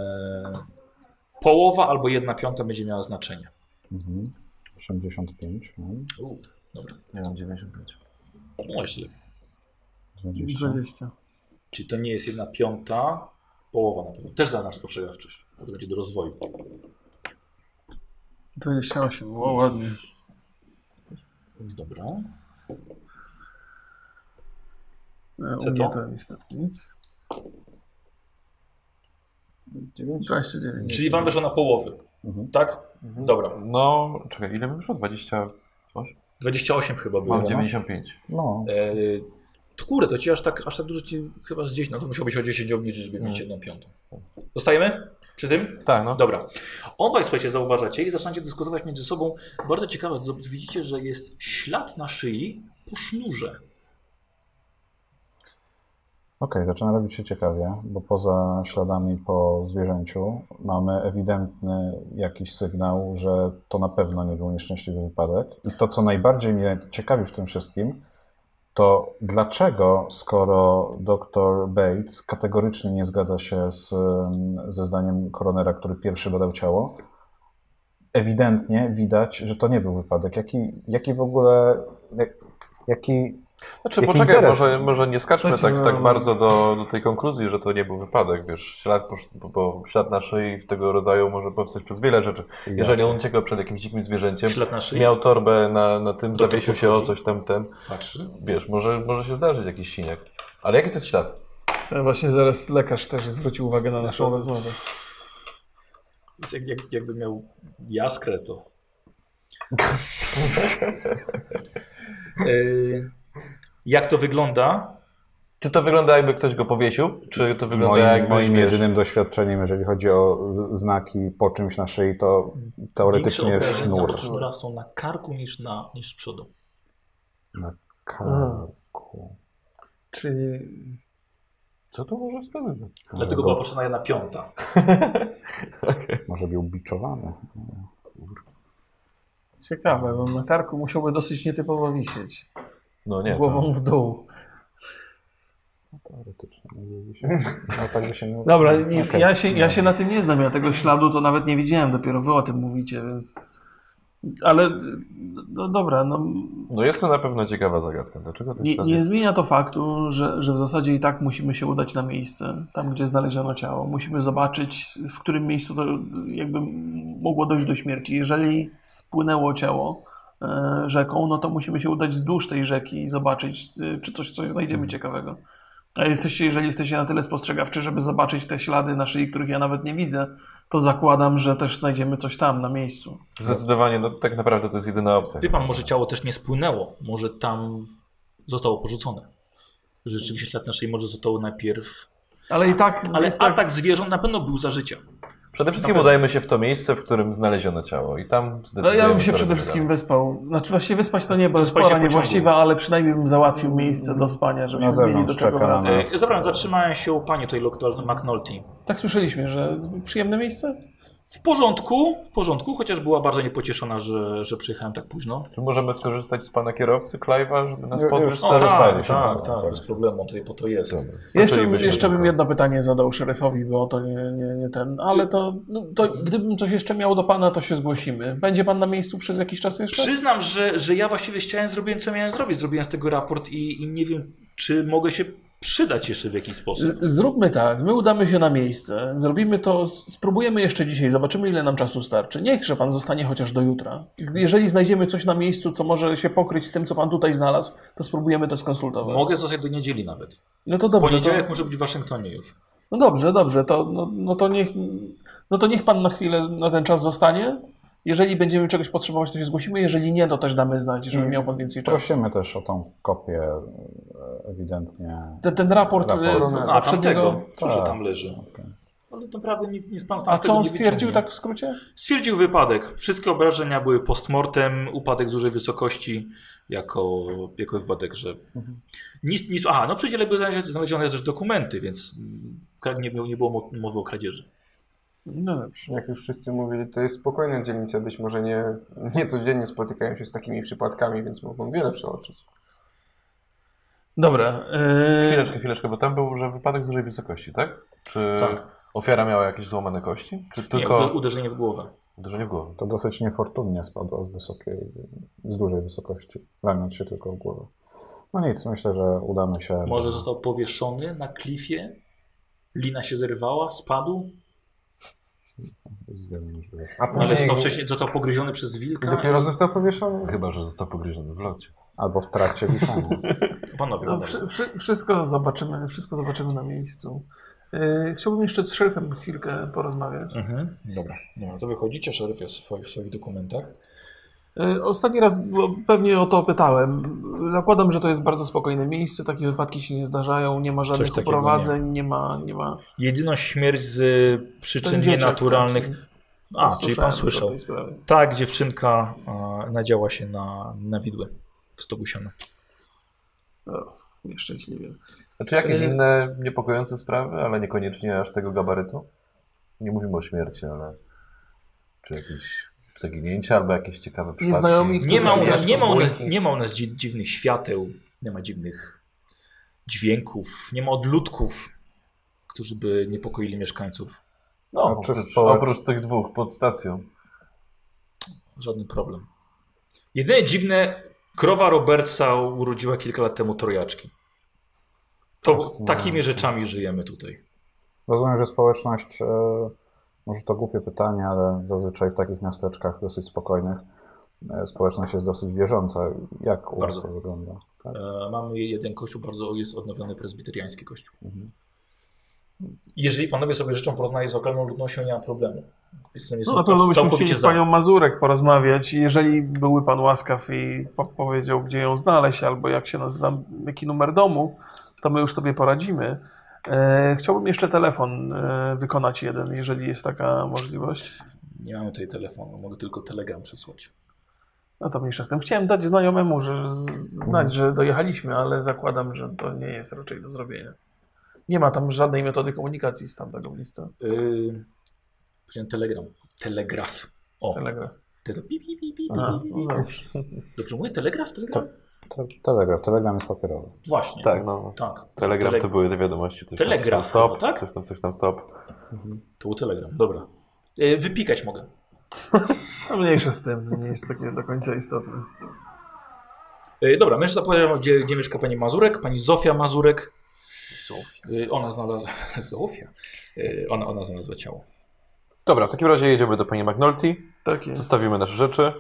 połowa albo jedna piąta będzie miała znaczenie.
Mhm. 85 mam.
U, dobra.
Nie mam 95.
No właśnie.
20.
20.
Czyli to nie jest jedna piąta, połowa na pewno. Też za nasz spostrzegawczość. Bo To będzie do rozwoju.
28, było ładnie.
Dobra.
E,
Co
U
to?
mnie to niestety nic. 29.
Czyli wam weszło na połowy.
Mhm.
Tak? Dobra.
No, czekaj, ile mi wyszło? 20.
28 chyba było.
Mam 95.
No,
E, to kurde, to ci aż tak, aż tak dużo ci chyba z 10. No to musiał być o 10 obniżyć, żeby
No.
mieć jedną piątą. Zostajemy? Przy tym?
Tak, no.
Dobra. Obaj słuchajcie, zauważacie i zaczynacie dyskutować między sobą. Bardzo ciekawe, zob- widzicie, że jest ślad na szyi po sznurze.
Okej, zaczyna robić się ciekawie, bo poza śladami po zwierzęciu mamy ewidentny jakiś sygnał, że to na pewno nie był nieszczęśliwy wypadek. I to, co najbardziej mnie ciekawi w tym wszystkim, to dlaczego, skoro dr Bates kategorycznie mm, nie zgadza się z, em, ze zdaniem koronera, który pierwszy badał ciało,
ewidentnie widać, że to nie był wypadek. Jaki, jaki w ogóle. Jak, jaki.
Znaczy,
Jaki
poczekaj,
interes?
może, może nie skaczmy
Słuchajcie,
tak, tak
no-
bardzo do, do tej konkluzji, że to nie był wypadek, wiesz, ślad, po, po- po, ślad na szyi tego rodzaju może powstać przez wiele rzeczy. Jeżeli on uciekał przed jakimś dzikim zwierzęciem,
Ślad na szyi.
miał torbę na, na tym,
Do
zawiesił
trupów
się o
chodzi.
coś tam, ten,
Patrzy.
wiesz, może, może się zdarzyć jakiś siniak. Ale jaki to jest ślad?
E, Właśnie zaraz lekarz też zwrócił uwagę na naszą rozmowę.
Więc Jak, jak, jakby miał jaskrę,
[laughs]
to. Y, jak to wygląda?
Czy to wygląda jakby ktoś go powiesił? Czy to wygląda
Moim,
jakby
moim
wiesz,
jedynym doświadczeniem, jeżeli chodzi o z- znaki po czymś na szyi, to teoretycznie
Większe obrażenia
sznur.
od sznura są na karku niż, na, niż z przodu.
Karku.
Czyli
Co to może wskazywać?
No,
Dlatego była potrzebna jedna piąta.
Może był biczowany.
ciekawe, bo na karku musiałby dosyć nietypowo wisieć.
No nie, to,
Głową w dół.
Teoretycznie. No, tak by się nie
Dobra,
Okej.
nie- ja, się, ja się na tym nie znam, ja tego śladu to nawet nie widziałem, dopiero wy o tym mówicie, więc... Ale, no dobra, no,
no jest to na pewno ciekawa zagadka. Dlaczego ten
nie,
ślad
nie
Tak, jest?
zmienia to faktu, że, że w zasadzie i tak musimy się udać na miejsce, tam gdzie znaleziono ciało. Musimy zobaczyć, w którym miejscu to jakby mogło dojść do śmierci. Jeżeli spłynęło ciało e, rzeką, no to musimy się udać wzdłuż tej rzeki i zobaczyć, e, czy coś, coś znajdziemy ciekawego. A jesteście, jeżeli jesteście na tyle spostrzegawczy, żeby zobaczyć te ślady na szyi, których ja nawet nie widzę, to zakładam, że też znajdziemy coś tam na miejscu.
Zdecydowanie, no tak naprawdę to jest jedyna opcja.
Wie pan, może ciało też nie spłynęło, może tam zostało porzucone. Że Rzeczywiście ślad na szyi może zostało najpierw.
Ale i tak. i
Ale
tak,
atak zwierząt na pewno był za życia.
Przede wszystkim
Na pewno.
udajmy się w to miejsce, w którym znaleziono ciało i tam
No
zdecydujemy.
ja bym się
co
przede
robimy
wszystkim
dalej.
wyspał. Znaczy właściwie wyspać to nie, bo jest
Wyspać się
pora
pociągu.
niewłaściwa, ale przynajmniej bym załatwił miejsce do spania,
Na
żebyśmy mieli do
zewnątrz
czego
czeka na
wracać.
nas.
E, Zapraszam, zatrzymałem się u pani tutaj lokal McNulty.
Tak słyszeliśmy, że przyjemne miejsce?
W porządku, w porządku, chociaż była bardzo niepocieszona, że, że przyjechałem tak późno.
Czy możemy skorzystać z pana kierowcy Clive'a, żeby nas
Ju-
podróż
już
No,
O,
starowały
tak,
się?
tak, tak, bez problemu, tutaj po to jest.
Dobra,
Jeszcze,
skończylibyśmy
jeszcze bym
tylko.
jedno pytanie zadał szeryfowi, bo to nie, nie, nie ten. Ale to, no, to gdybym coś jeszcze miał do pana, to się zgłosimy. Będzie pan na miejscu przez jakiś czas jeszcze?
Przyznam, że, że ja właściwie chciałem zrobić, co miałem zrobić. Zrobiłem z tego raport i, i nie wiem, czy mogę się przydać jeszcze w jakiś sposób.
Z- Zróbmy tak, my udamy się na miejsce, zrobimy to, s- spróbujemy jeszcze dzisiaj, zobaczymy ile nam czasu starczy. Niechże pan zostanie chociaż do jutra. Gdy- Jeżeli znajdziemy coś na miejscu, co może się pokryć z tym, co pan tutaj znalazł, to spróbujemy to skonsultować.
Mogę zostać do niedzieli nawet.
No to
W
dobrze, to,
Poniedziałek muszę być w Waszyngtonie już.
no dobrze, dobrze, to, no, no to niech, no to niech pan na chwilę, na ten czas zostanie. Jeżeli będziemy czegoś potrzebować, to się zgłosimy, jeżeli nie, to też damy znać, żeby
Mm.
miał pan więcej czasu.
Prosimy też o tą kopię e, ewidentnie.
Ten, ten raport,
Raport.
raport.
A,
A,
poprzedniego...
tamtego, proszę,
tak.
tam leży.
Okej.
Ale naprawdę nic, nic pan
A
sam z
co
tego
on
nie
stwierdził
wyciągnie.
tak w skrócie?
Stwierdził wypadek. Wszystkie obrażenia były postmortem, upadek z dużej wysokości jako, jako wypadek, że nic, nic, aha, no przy dziele były znalezione- znalezione też dokumenty, więc mm, krad- nie, było- nie było mo- mowy o kradzieży.
No dobrze.
Jak już wszyscy mówili, to jest spokojna dzielnica. Być może nie, nie codziennie spotykają się z takimi przypadkami, więc mogą wiele przeoczyć.
Dobra. Yy...
Chwileczkę, chwileczkę, bo tam był, że wypadek z dużej wysokości, tak? Czy
Tak.
ofiara miała jakieś złamane kości? Czy
Tylko... Nie, ude-
tylko
uderzenie w głowę.
uderzenie w głowę?
To dosyć niefortunnie spadła z wysokiej, z dużej wysokości, raniąc się tylko w głowę. No nic, myślę, że udamy się.
Może został powieszony na klifie, lina się zerwała, spadł,
Zwiemy, że-
A
No, ale został wcześniej, został pogryziony przez wilka.
dopiero został powieszony.
Chyba, że został pogryziony w locie.
Albo w trakcie wiszenia.
Panowie,
No,
no,
wszy, wszy, wszystko zobaczymy, wszystko zobaczymy na miejscu. Yy, chciałbym jeszcze z szeryfem chwilkę porozmawiać.
mhm. Dobra, no, to wychodzicie, szeryf jest w swoich, w swoich dokumentach.
Yy, ostatni raz bo pewnie o to pytałem. Zakładam, że to jest bardzo spokojne miejsce, takie wypadki się nie zdarzają, nie ma żadnych
takiego
uprowadzeń, nie. ma, nie ma
Jedyną śmierć z przyczyn
Ten dzieciak
nienaturalnych.
taki.
A, czyli
Słyszałem
pan
już o
słyszał.
tej sprawie.
Tak, dziewczynka a, nadziała się na, na widły w stogu siana.
O, nieszczęśliwie.
Znaczy jakieś
Yy.
Y-
inne niepokojące sprawy, ale niekoniecznie aż tego gabarytu? Nie mówimy o śmierci, ale czy jakieś zaginięcia albo jakieś ciekawe przypadki?
Nieznajomi,
Nie ma, u nas,
Jeszcze
nie, ma u nas,
bójki.
nie ma u nas dzi- dziwnych świateł, nie ma dziwnych dźwięków, nie ma odludków, którzy by niepokoili mieszkańców.
No,
Znaczy
oprócz,
społecz-
oprócz tych dwóch pod stacją.
Żaden problem. Jedyne dziwne, krowa Robertsa urodziła kilka lat temu trojaczki. To
Fascynujące.
takimi rzeczami żyjemy tutaj.
Rozumiem, że społeczność, e, może to głupie pytanie, ale zazwyczaj w takich miasteczkach dosyć spokojnych e, społeczność jest dosyć wierząca. Jak u
Bardzo.
was to wygląda? Tak?
E, mamy jeden kościół, bardzo jest odnowiony prezbiteriański kościół.
Mhm.
Jeżeli panowie sobie życzą porównania z lokalną ludnością, nie mam problemu. Jestem
No, na pewno byśmy chcieli
całkowicie
z
za.
panią Mazurek porozmawiać. i Jeżeli byłby pan łaskaw i po powiedział, gdzie ją znaleźć, albo jak się nazywa, jaki numer domu, to my już sobie poradzimy. E, chciałbym jeszcze telefon e, wykonać jeden, jeżeli jest taka możliwość.
Nie mamy tutaj telefonu, mogę tylko telegram przesłać.
No to mniejsza z tym. Chciałem dać znajomemu, że znać, że dojechaliśmy, ale zakładam, że to nie jest raczej do zrobienia. Nie ma tam żadnej metody komunikacji z tamtego miejsca.
Yy, powiedziałem telegram. Telegraf. O,
Telegraf.
Ty to pi, pi, pi, pi, pi,
Aha, Tak.
pi,
no
pi.
dobrze.
Dobrze mówię? Telegraf? Telegram?
Te, telegram, telegram jest papierowy.
Właśnie.
Tak, no.
Tak.
Telegram
Tele-
to były te wiadomości. Coś tam, coś tam
Telegraf,
stop,
tak?
Coś tam, coś tam stop.
To był telegram, dobra. E, Wypikać mogę.
No mniejsza z tym, nie jest takie do końca istotne.
E, Dobra, mężczyzna powiedział, gdzie, gdzie mieszka pani Mazurek, pani Zofia Mazurek. E, Ona znalazła. [laughs] Zofia. E, Ona, ona znalazła ciało.
Dobra, w takim razie jedziemy do pani McNulty,
Tak jest.
zostawimy nasze rzeczy,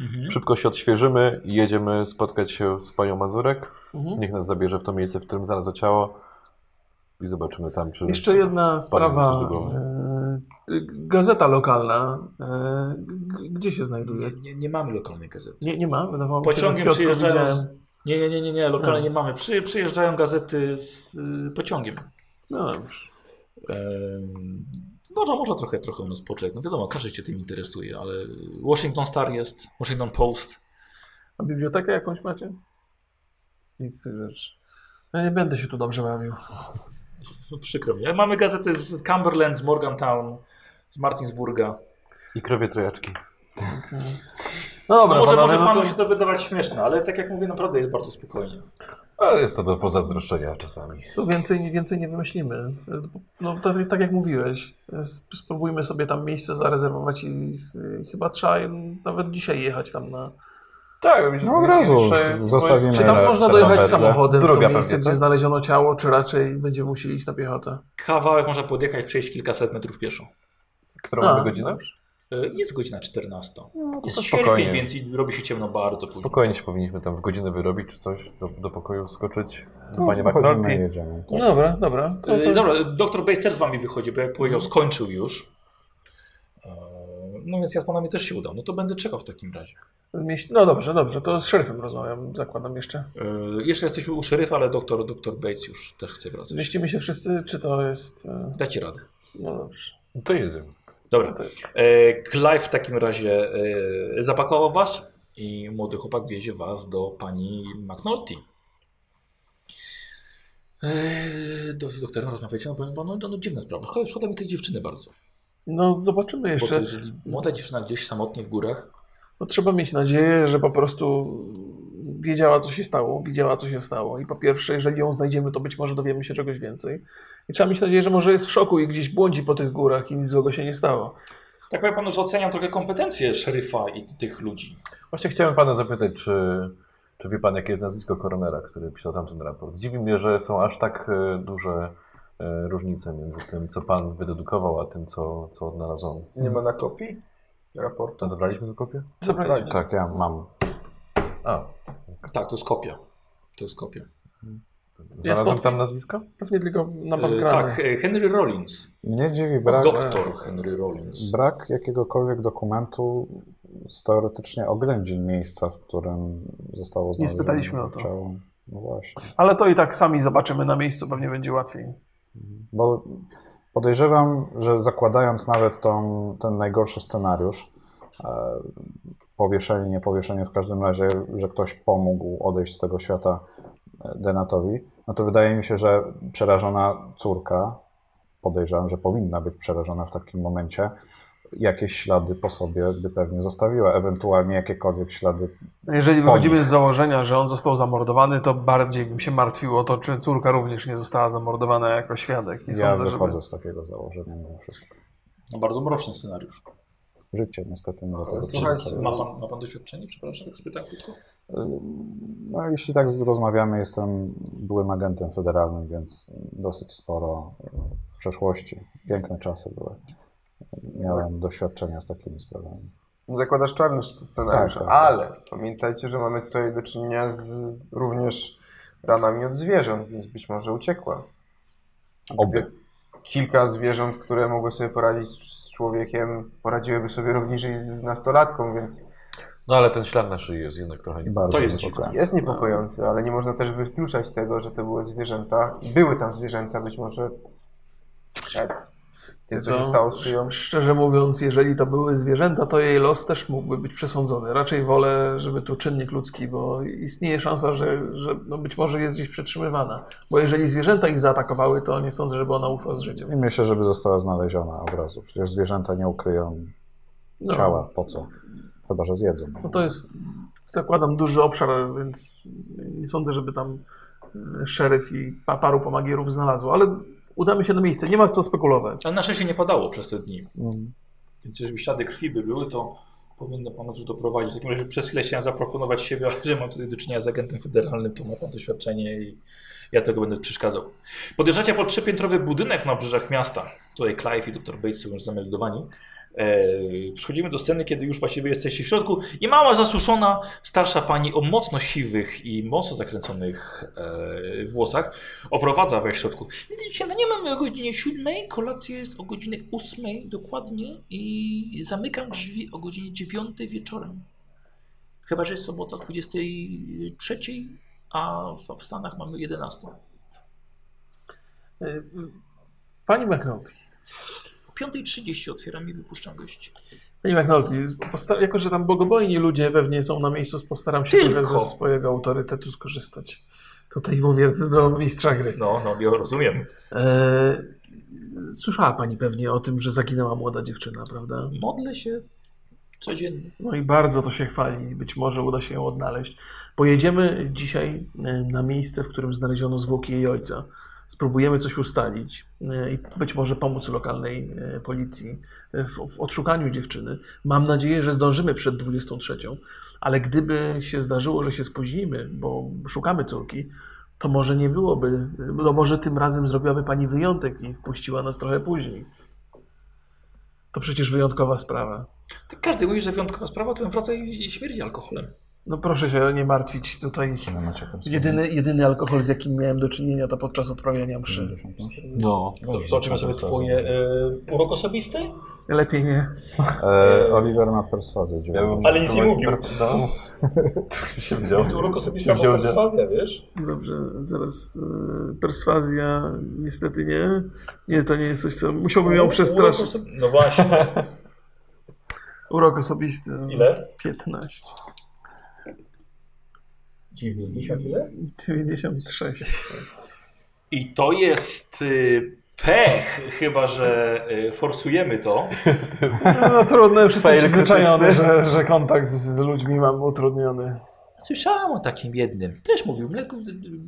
Mhm.
szybko się odświeżymy i jedziemy spotkać się z panią Mazurek.
Mhm.
Niech nas zabierze w to miejsce, w którym znalazło ciało i zobaczymy tam, czy...
Jeszcze jedna
Panie, coś
sprawa.
do głowy.
E, Gazeta lokalna. E, g- Gdzie się znajduje?
Nie, nie, nie mamy lokalnej gazety.
Nie, nie ma, wydawało mi się, że w
Pociągiem
kiosku
przyjeżdżają.
widziałem.
Z... Nie, nie, nie, nie, nie, lokalnie
No.
nie mamy. Przy, przyjeżdżają gazety z y, pociągiem.
No już.
Em, Może, może trochę, trochę u nas poczekać. No wiadomo, każdy się tym interesuje, ale Washington Star jest, Washington Post.
A bibliotekę jakąś macie? Nic z tych rzeczy. Ja nie będę się tu dobrze bawił.
No, przykro mi. ale Mamy gazety z z Cumberland, z Morgantown, z Martinsburga.
I krowie trojaczki.
No dobra,
no może,
panowie,
może
no
panu
to-
się to wydawać śmieszne, ale tak jak mówię, naprawdę jest bardzo spokojnie.
Ale jest to do pozazdroszczenia czasami.
To więcej, więcej nie wymyślimy. No tak, tak jak mówiłeś, sp- spróbujmy sobie tam miejsce zarezerwować i z, chyba trzeba nawet dzisiaj jechać tam na...
Tak, no od razu zostawimy.
Czy tam
Dobra,
można
to
dojechać
tam wedle.
samochodem w
Droga
to miejsce,
pewnie,
gdzie
tak?
znaleziono ciało, czy raczej będziemy musieli iść na piechotę?
Kawałek można podjechać, przejść kilkaset metrów pieszo.
Którą
A.
mamy godzinę?
E, Jest godzina 14. jest No,
to
sierpień,
spokojnie.
więc i robi się ciemno bardzo późno.
Spokojnie się powinniśmy tam w godzinę wyrobić czy coś, do, do pokoju wskoczyć.
No,
Do pani
Chodzimy,
McNulty.
jedziemy.
No dobra, dobra. To,
E,
to...
Dobra, doktor Bates też z wami wychodzi, bo jak powiedział, skończył już. E, No więc ja z panami też się udam. No to będę czekał w takim razie.
Zmieść... No dobrze, dobrze, to z szeryfem rozmawiam, zakładam jeszcze.
E, Jeszcze jesteśmy u szeryfa, ale doktor, doktor Bates już też chce wracać.
Zmieścimy się wszyscy, czy to jest... e,
Dacie radę.
No dobrze.
To jedziemy.
Dobra. E, Clive w takim razie e, zapakował was i młody chłopak wiezie was do pani McNulty. E, Do, z doktorem rozmawiacie, no powiem panu, no, no dziwna sprawa. Szkoda- Szkoda mi tej dziewczyny bardzo.
No zobaczymy
Bo to,
jeszcze.
jeżeli młoda dziewczyna gdzieś samotnie w górach,
No, trzeba mieć nadzieję, że po prostu wiedziała, co się stało, widziała, co się stało. I po pierwsze, jeżeli ją znajdziemy, to być może dowiemy się czegoś więcej. I trzeba mieć nadzieję, że może jest w szoku i gdzieś błądzi po tych górach i nic złego się nie stało.
tak powiem panu, że oceniam trochę kompetencje szeryfa i tych ludzi.
Właśnie chciałem pana zapytać, czy, czy wie pan, jakie jest nazwisko koronera, który pisał tamten raport? Dziwi mnie, że są aż tak e, duże e, różnice między tym, co pan wydedukował, a tym, co, co odnalazłem.
Nie ma na kopii raportu.
To zabraliśmy tę kopię?
Zabraliśmy.
Tak, ja mam.
A,
Tak, to jest kopia. To jest kopia.
znalazłem
podpis.
tam nazwisko?
Pewnie tylko na
E,
bazgrane.
tak, e, Henry Rollins.
Mnie dziwi brak,
Doktor Henry Rollins.
brak jakiegokolwiek dokumentu z teoretycznie oględzin miejsca, w którym zostało znalezione
spytaliśmy o to.
ciało. No właśnie.
Ale to i tak sami zobaczymy na miejscu, pewnie będzie łatwiej.
Bo podejrzewam, że zakładając nawet tą, ten najgorszy scenariusz, e, powieszenie, nie powieszenie, w każdym razie, że ktoś pomógł odejść z tego świata e, Denatowi, no to wydaje mi się, że przerażona córka, podejrzewam, że powinna być przerażona w takim momencie, jakieś ślady po sobie by pewnie zostawiła, ewentualnie jakiekolwiek ślady.
Jeżeli
Pomnik.
wychodzimy z założenia, że on został zamordowany, to bardziej bym się martwił o to, czy córka również nie została zamordowana jako świadek. Nie
ja
sądzę, żeby...
wychodzę z takiego założenia mimo wszystko.
No, bardzo mroczny scenariusz.
życie niestety na tego
słuchajcie,
przypadku.
Ma pan, ma pan doświadczenie? Przepraszam, tak spytam krótko.
No, jeśli tak rozmawiamy, jestem byłym agentem federalnym, więc dosyć sporo w przeszłości. Piękne czasy były. Miałem doświadczenia z takimi sprawami.
No, Zakładasz czarny scenariusz,
Tak, tak, tak.
ale pamiętajcie, że mamy tutaj do czynienia z również ranami od zwierząt, więc być może uciekła.
Oby.
Gdy Kilka zwierząt, które mogły sobie poradzić z z człowiekiem, poradziłyby sobie również i z- z nastolatką, więc
No ale ten ślad na szyi jest jednak trochę nie...
Bardzo
To jest
niespokojne.
jest niepokojący, ale nie można też wykluczać tego, że to były zwierzęta. Były tam zwierzęta, być może przed tym, co się stało z szyją.
Szczerze mówiąc, jeżeli to były zwierzęta, to jej los też mógłby być przesądzony. Raczej wolę, żeby tu czynnik ludzki, bo istnieje szansa, że, że no być może jest gdzieś przetrzymywana. Bo jeżeli zwierzęta ich zaatakowały, to nie sądzę, żeby ona uszła z życiem.
I myślę, żeby została znaleziona od razu. Przecież zwierzęta nie ukryją
No,
ciała. Po co? Chyba, że zjedzą.
No to jest, zakładam, duży obszar, więc nie sądzę, żeby tam y, szeryf i pa- paru pomagierów znalazło, ale udamy się na miejsce. Nie ma co spekulować.
Znaczy, Ale na szczęście nie padało przez te dni.
Mm.
Więc jeżeli ślady krwi by były, to powinno pan już doprowadzić. W takim razie przez chwilę chciałem zaproponować siebie, [laughs] ale że mam tutaj do czynienia z agentem federalnym, to ma pan doświadczenie i ja tego będę przeszkadzał. Podjeżdżacie pod trzypiętrowy budynek na obrzeżach miasta. Tutaj Clive i dr Bates są już zameldowani. Eee, Przechodzimy do sceny, kiedy już właściwie jesteście w środku i mała, zasuszona, starsza pani o mocno siwych i mocno zakręconych eee, włosach oprowadza we środku. Śniadanie no mamy o godzinie 7, kolacja jest o godzinie 8 dokładnie i zamykam drzwi o godzinie 9 wieczorem. Chyba, że jest sobota o 23, a w- w Stanach mamy 11.
Y, Pani McNulty,
O 5.30 otwieram i wypuszczam gości.
Pani McNulty, z- posta- jako że tam bogobojni ludzie pewnie są na miejscu, postaram się
Tylko.
trochę ze swojego autorytetu skorzystać. Tutaj mówię do mistrza gry.
No, no, ja rozumiem.
E, słyszała Pani pewnie o tym, że zaginęła młoda dziewczyna, prawda?
Modlę się codziennie.
No i bardzo to się chwali. Być może uda się ją odnaleźć. Pojedziemy dzisiaj e, na miejsce, w którym znaleziono zwłoki jej ojca. Spróbujemy coś ustalić e, i być może pomóc lokalnej e, policji e, w, w odszukaniu dziewczyny. Mam nadzieję, że zdążymy przed 23, ale gdyby się zdarzyło, że się spóźnimy, bo szukamy córki, to może nie byłoby, no może tym razem zrobiłaby pani wyjątek i wpuściła nas trochę później. To przecież wyjątkowa sprawa.
Tak każdy mówi, że wyjątkowa sprawa, to wraca i i śmierdzi alkoholem.
No proszę się nie martwić, tutaj
Nie macie konsensusu.
jedyny, jedyny alkohol, z jakim miałem do czynienia, to podczas odprawiania mszy.
No.
To Zobaczymy sobie twoje e, urok osobisty,
Lepiej nie.
E, Oliver ma perswazję. dziewięć.
ale nic nie mówił.
No. [laughs] Tu się wziął.
Jest urok osobisty albo
Wziął-
perswazja, wiesz?
Dobrze, zaraz. e, Perswazja, niestety nie. Nie, to nie jest coś, co... Musiałbym ją
Urok
przestraszyć.
osobi- No właśnie,
Urok osobisty.
ile?
15.
90 ile?
96.
I to jest y, pech, chyba że y, forsujemy to.
No trudne, już jestem
Fail
przyzwyczajony,
krytyczny.
że, że kontakt z, z ludźmi mam utrudniony.
Słyszałem o takim jednym. Też mówił, mleko,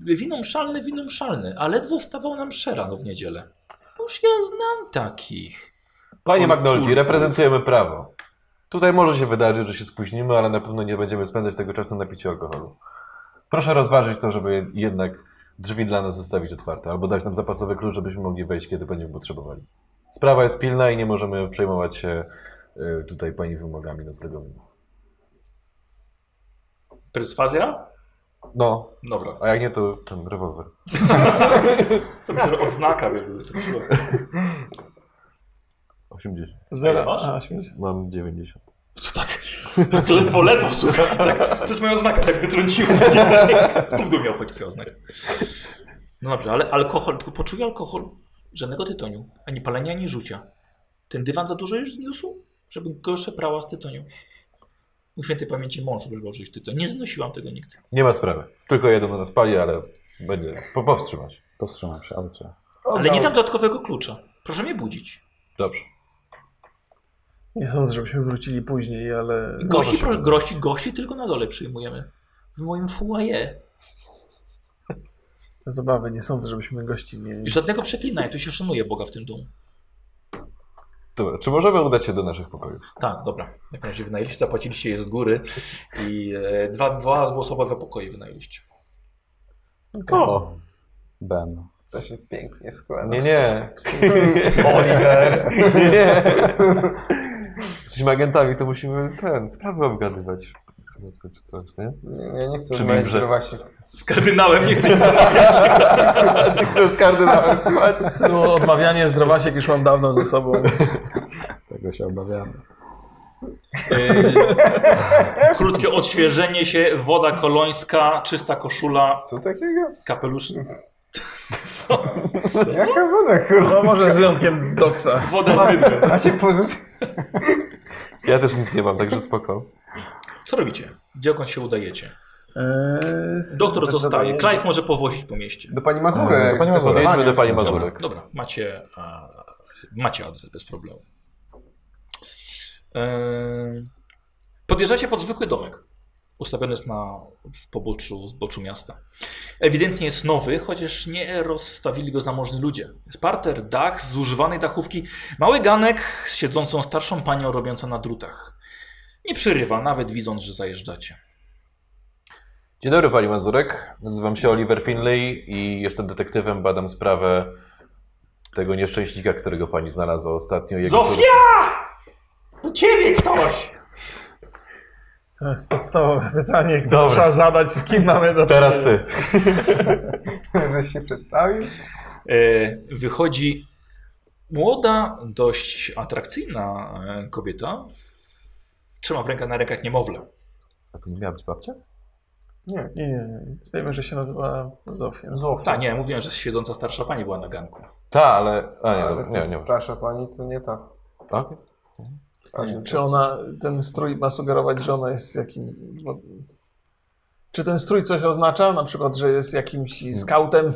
wino mszalne, wino mszalne, a ledwo wstawał nam szerano w niedzielę. Już ja znam takich.
Panie
Oj,
McNulty,
córko.
reprezentujemy prawo. Tutaj może się wydarzyć, że się spóźnimy, ale na pewno nie będziemy spędzać tego czasu na piciu alkoholu. Proszę rozważyć to, żeby jednak drzwi dla nas zostawić otwarte, albo dać nam zapasowy klucz, żebyśmy mogli wejść, kiedy będziemy potrzebowali. Sprawa jest pilna i nie możemy przejmować się y, tutaj pani wymogami noclegowymi.
Perswazja?
No,
Dobra.
a jak nie, to ten rewolwer.
To myślę, że odznaka by były. to myślę.
80.
Ile
Zero.
masz?
A, śmierć.
Mam 90.
Co tak? tak ledwo, ledwo, słuchaj. Tak, to jest moja oznaka, tak wytrąciłem. Gówno miał choć twoja oznaka. No dobrze, ale alkohol, tylko poczuj alkohol. Żadnego tytoniu, ani palenia, ani rzucia. Ten dywan za dużo już zniósł, żeby gorsze prała z tytoniu. U świętej pamięci mąż uwielbiał żyć tytoń. Nie znosiłam tego nigdy.
Nie ma sprawy. Tylko jeden do nas pali, ale będzie po- powstrzymać.
Powstrzymam się, ale co?
Ale nie dam dodatkowego klucza. Proszę mnie budzić.
Dobrze.
Nie sądzę, żebyśmy wrócili później, ale...
Gości, pro, gości, gości tylko na dole przyjmujemy. W moim foyer.
Z obawy nie sądzę, żebyśmy gości mieli.
I żadnego przeklinania, tu się szanuje Boga w tym domu.
Dobra, czy możemy udać się do naszych pokojów?
Tak, dobra. Jak najbardziej wynajęliście, zapłaciliście je z góry i e, dwa, dwa dwuosobowe pokoje wynajęliście.
O! Ben.
To się pięknie składa.
Nie, nie.
[laughs] Oliver.
Nie, nie. Jesteśmy agentami, to musimy ten, sprawy obgadywać. Czy coś, nie?
Nie, ja nie chcę
Czy mimże?
zrealizować się.
Z kardynałem nie chcę [laughs] nic rozmawiać.
Z kardynałem słuchać.
No, odmawianie zdrowasiek już mam dawno ze sobą.
Tego się obawiamy.
E, Krótkie odświeżenie się, woda kolońska, czysta koszula,
Co takiego?
kapelusz.
Jaka woda, kurwa.
[laughs] No może z wyjątkiem doksa.
Woda z mydłem.
A cię pożyczy.
Ja też nic nie mam, także spoko.
Co robicie? Dokąd się udajecie?
Eee, s-
Doktor zostaje.
zdecydowanie.
Clive może powozić po mieście.
Do pani Mazurek.
Do pani Mazurek.
Podejdźmy E, do pani
Dobra,
Mazurek.
dobra. Macie, a, macie adres bez problemu. Ehm, Podjeżdżacie pod zwykły domek. Ustawiony jest na w poboczu, zboczu miasta. Ewidentnie jest nowy, chociaż nie rozstawili go zamożni ludzie. Jest parter, dach, z używanej dachówki, mały ganek z siedzącą starszą panią robiącą na drutach. Nie przerywa, nawet widząc, że zajeżdżacie.
Dzień dobry pani Mazurek, nazywam się Oliver Finlay i jestem detektywem, badam sprawę tego nieszczęśnika, którego pani znalazła ostatnio. Jego
Zofia! To ciebie ktoś!
To jest podstawowe pytanie, które
Dobra.
trzeba zadać, z kim mamy do
Teraz ty.
[laughs] Żeś się przedstawił.
E, wychodzi młoda, dość atrakcyjna e, kobieta. Trzyma w rękach na rękach niemowlę.
A to nie miała być babcia?
Nie, nie, nie. Wiemy, że się nazywa Zofia.
Tak, nie, mówiłem, że siedząca starsza pani była na ganku.
Ta, ale... A nie,
Ale
dobra, nie,
to
nie.
Przepraszam pani, to nie ta.
Tak?
A, nie,
Czy ona, ten strój ma sugerować, że ona jest jakim... bo- Czy ten strój coś oznacza? Na przykład, że jest jakimś skautem?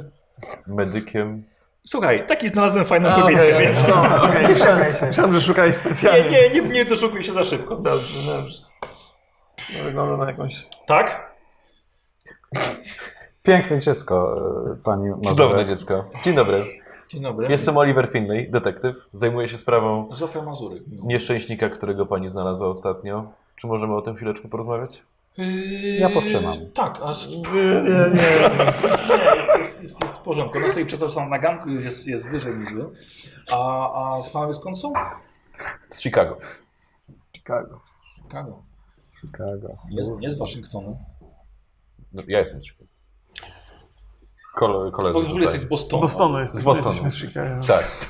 Medykiem.
Słuchaj, taki znalazłem fajną
A,
kobietkę,
okej, [laughs]
więc...
no,
[laughs]
okej.
Przemyśl się.
Myślałem, że szukaj
Nie,
specjalnie.
nie, nie, nie doszukuj się za szybko.
Dobrze, dobrze. No, Wygląda na jakąś...
Tak?
Piękne dziecko, e, pani
Cudowne
Mazurek.
dziecko. Dzień dobry.
Dzień dobry.
Jestem Oliver Finlay, detektyw. Zajmuję się sprawą
Zofia Mazury. miło.
nieszczęśnika, którego pani znalazła ostatnio. Czy możemy o tym chwileczkę porozmawiać?
Yy,
Ja potrzymam.
Tak, a z-
Nie,
[laughs]
nie, nie.
Nie, jest, jest, jest w porządku. Ona stoi przez to, że są na ganku i jest, jest wyżej niż wy. A, a z panowie skąd są?
Z Chicago.
Chicago.
Chicago.
Chicago.
Nie, z- nie z Waszyngtonu.
No, Ja jestem z Chicago. Kole,
Bo
koledzy
No w ogóle
tutaj.
jesteś z Bostonu.
Bostonu jesteśmy.
Z Bostonu.
Jesteśmy z Chicago.
Tak.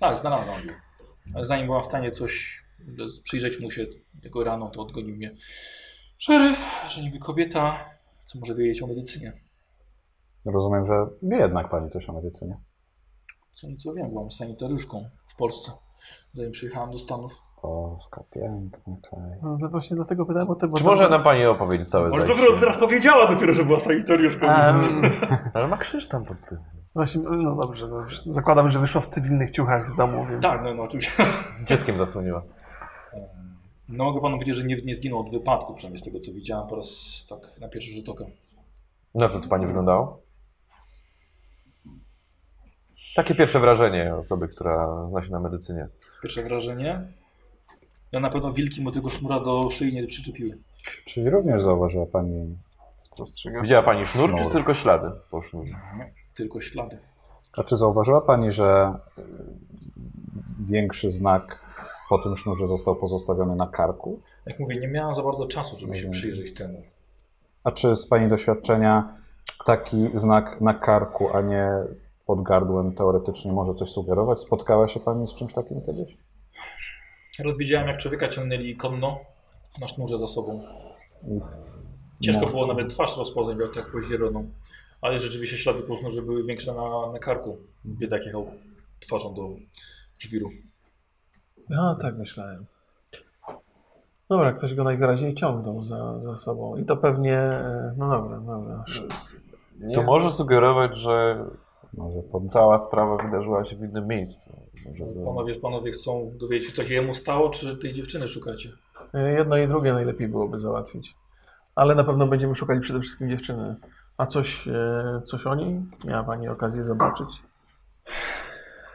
Tak, znalazłam go. Ale Zanim byłam w stanie coś przyjrzeć mu się tego rano, to odgonił mnie szeryf, że niby kobieta, co może wiedzieć o medycynie.
Rozumiem, że wie jednak pani coś o medycynie.
Co nieco wiem, byłam sanitariuszką w Polsce, zanim przyjechałam do Stanów.
Polska, piękna kraj.
No to właśnie dlatego pytałem o te... bo
Czy
to
może
było-
nam pani opowiedzieć całe zajście?
powiedziała dopiero, że była sanitariuszką.
Em,
Ale ma krzyż tam pod tym.
Właśnie, no dobrze, no już zakładam, że wyszła w cywilnych ciuchach z domu, więc...
Tak, no, no oczywiście.
Dzieckiem zasłoniła.
No mogę panu powiedzieć, że nie, nie zginął od wypadku, przynajmniej z tego co widziałam po raz tak na pierwszy rzut oka.
Na co to pani wyglądało? Takie pierwsze wrażenie osoby, która zna się na medycynie.
Pierwsze wrażenie. Ja na pewno wilki mu tego sznura do szyi nie przyczepiły.
Czyli również zauważyła pani
Spostrzegam.
Widziała pani sznur, czy
Sznur.
tylko ślady po sznurze?
Tylko ślady.
A czy zauważyła Pani, że y, większy znak po tym sznurze został pozostawiony na karku?
Jak mówię, nie miałam za bardzo czasu, żeby się
Mhm.
przyjrzeć temu.
A czy z Pani doświadczenia taki znak na karku, a nie pod gardłem teoretycznie może coś sugerować? Spotkała się Pani z czymś takim kiedyś?
Raz widziałem, jak człowieka ciągnęli konno na sznurze za sobą. Ciężko
No.
było nawet twarz rozpoznać, bo tak pozieloną. Ale rzeczywiście ślady po sznurze były większe na, na karku.
Mhm.
Biedak jechał twarzą do żwiru.
No, tak myślałem. Dobra, ktoś go najwyraźniej ciągnął za, za sobą i to pewnie... e, No dobra, dobra.
Nie,
To może sugerować, że
Może pod...
cała sprawa wydarzyła się w innym miejscu. Może to-
Panowie, panowie chcą dowiedzieć się, co się jemu stało, czy tej dziewczyny szukacie?
E, Jedno i drugie najlepiej byłoby załatwić. Ale na pewno będziemy szukali przede wszystkim dziewczyny. A coś, e, coś o niej? Miała Pani okazję zobaczyć?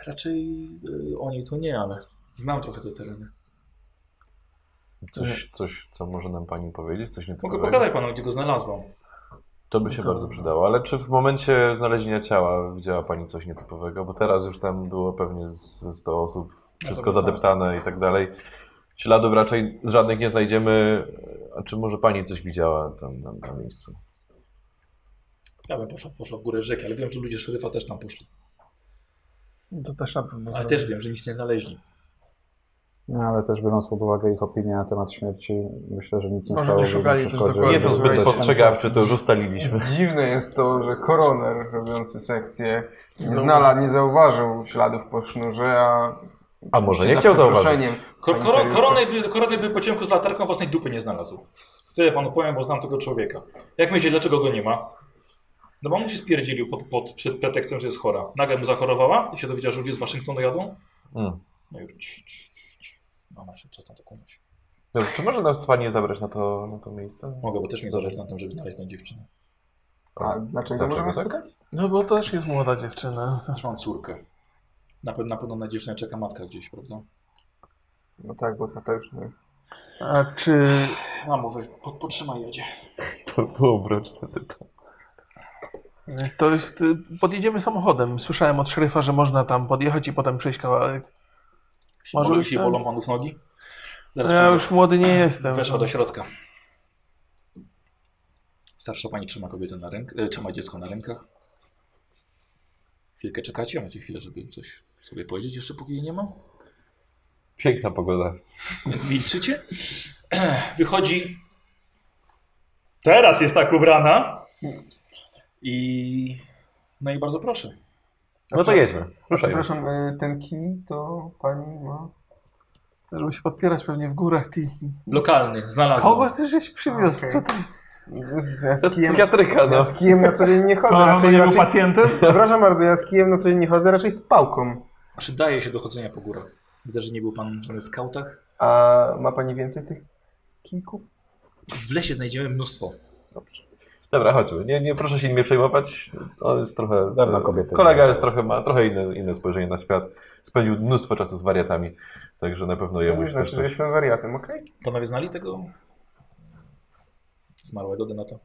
Raczej y, oni to nie, ale znam trochę te tereny.
Coś, coś, co może nam pani powiedzieć? Coś
Mogę
nietypowego?
pokazać panu, gdzie go znalazłam.
To by się bardzo przydało, ale czy w momencie znalezienia ciała widziała pani coś nietypowego? Bo teraz już tam było pewnie z z 100 osób, wszystko
pewno tak.
zadeptane i tak dalej. Śladów raczej z żadnych nie znajdziemy. A czy może pani coś widziała tam, tam na miejscu?
Ja bym poszedł, poszedł w górę rzeki, ale wiem, że ludzie szeryfa też tam poszli.
To też na pewno.
Ale
zrobię.
też wiem, że nic nie znaleźli.
No, ale też biorąc pod uwagę ich opinię na temat śmierci, myślę, że nic nie
Może
stało,
nie
żeby
szukali też
przeszkodziło.
dokładnie.
Nie są zbyt postrzegawczy, to już ustaliliśmy.
Dziwne jest to, że koroner robiący sekcję nie,
No.
znala, nie zauważył śladów po sznurze, a...
A może nie
za
chciał zauważyć?
przeproszeniem
Kor kor
sanitariuszka-
koronę, by, koronę by po ciemku z latarką własnej dupy nie znalazł. Tyle panu powiem, bo znam tego człowieka. Jak myślicie, dlaczego go nie ma? No bo mu się spierdzielił pod, pod, przed pretekstem, że jest chora. Nagle mu zachorowała i się dowiedziała, że ludzie z Waszyngtonu jadą.
Mm.
No i już. ci, ci, ci, ci. No ona się czasem taką myśl.
Dobrze, Czy może nas pani zabrać na to, na to miejsce?
Mogę, bo też mnie zależy na tym, żeby znaleźć tą dziewczynę.
A dlaczego
Dlaczego
możemy
tak?
spytać?
No bo też jest młoda dziewczyna.
Też mam córkę. Na pewno, na pewno na dziewczynę czeka matka gdzieś, prawda?
No tak, bo tata już nie.
A czy
Mamo, weź, po- potrzymaj jadzie.
To było mroczne cytat.
to jest... y, Podjedziemy samochodem. Słyszałem od szeryfa, że można tam podjechać i potem przejść kawałek.
Może
Może już
jeśli
tak?
bolą panów nogi? Zaraz
Ja
przyjdę.
już młody nie jestem.
Weszła do środka. Starsza pani trzyma kobietę na ręk- e, trzyma dziecko na rękach. Chwilkę czekacie, macie chwilę, żeby im coś sobie powiedzieć jeszcze póki jej nie ma.
Piękna pogoda.
Milczycie? [clears throat] Wychodzi. Teraz jest tak ubrana. I. No i bardzo proszę.
No to jedźmy.
Przepraszam, y, ten kij to pani ma?
Żeby się podpierać pewnie w górach. Ty.
Lokalny, znalazłem.
Kogo ty żeś przywiózł?
Okej.
Co ty?
Z- Ja
To
z
jest
kijem,
psychiatryka, no.
ja z kijem na co dzień nie chodzę. Raczej, raczej, z-
pacjentem?
[laughs] przepraszam bardzo, ja z kijem na co dzień nie chodzę, raczej z pałką.
Przydaje się do chodzenia po górach. Widać, że nie był pan w skautach.
A ma pani więcej tych kijków?
W lesie znajdziemy mnóstwo.
Dobra, chodźmy. Nie, nie, proszę się nie przejmować. On jest trochę.
Dawno
e,
kobiety
Kolega
nie
jest
widziały.
trochę, ma trochę inne, inne spojrzenie na świat. Spędził mnóstwo czasu z wariatami. Także na pewno
To
jemu
nie
się też
znaczy, że
coś...
jestem wariatem, okej?
Panowie znali tego zmarłego denata?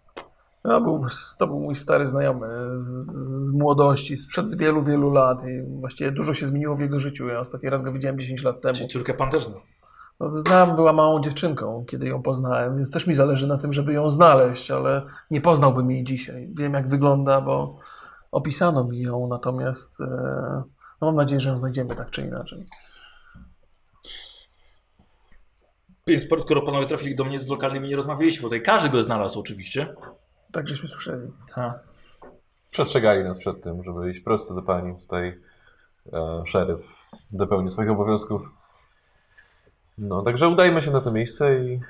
Ja był, to był mój stary znajomy z, z młodości, sprzed wielu, wielu lat i właściwie dużo się zmieniło w jego życiu. Ja ostatni raz go widziałem 10 lat temu.
Czyli córkę pan też zna.
No, znam, była małą dziewczynką, kiedy ją poznałem, więc też mi zależy na tym, żeby ją znaleźć, ale nie poznałbym jej dzisiaj. Wiem, jak wygląda, bo opisano mi ją, natomiast e, no, mam nadzieję, że ją znajdziemy tak czy inaczej.
Więc po- skoro panowie trafili do mnie z lokalnymi, nie rozmawialiśmy, bo tutaj każdy go znalazł oczywiście.
Tak, żeśmy słyszeli.
Tak.
Przestrzegali nas przed tym, żeby iść prosto do pani. Tutaj e, szeryf dopełni swoich obowiązków. No, także udajmy się na to miejsce i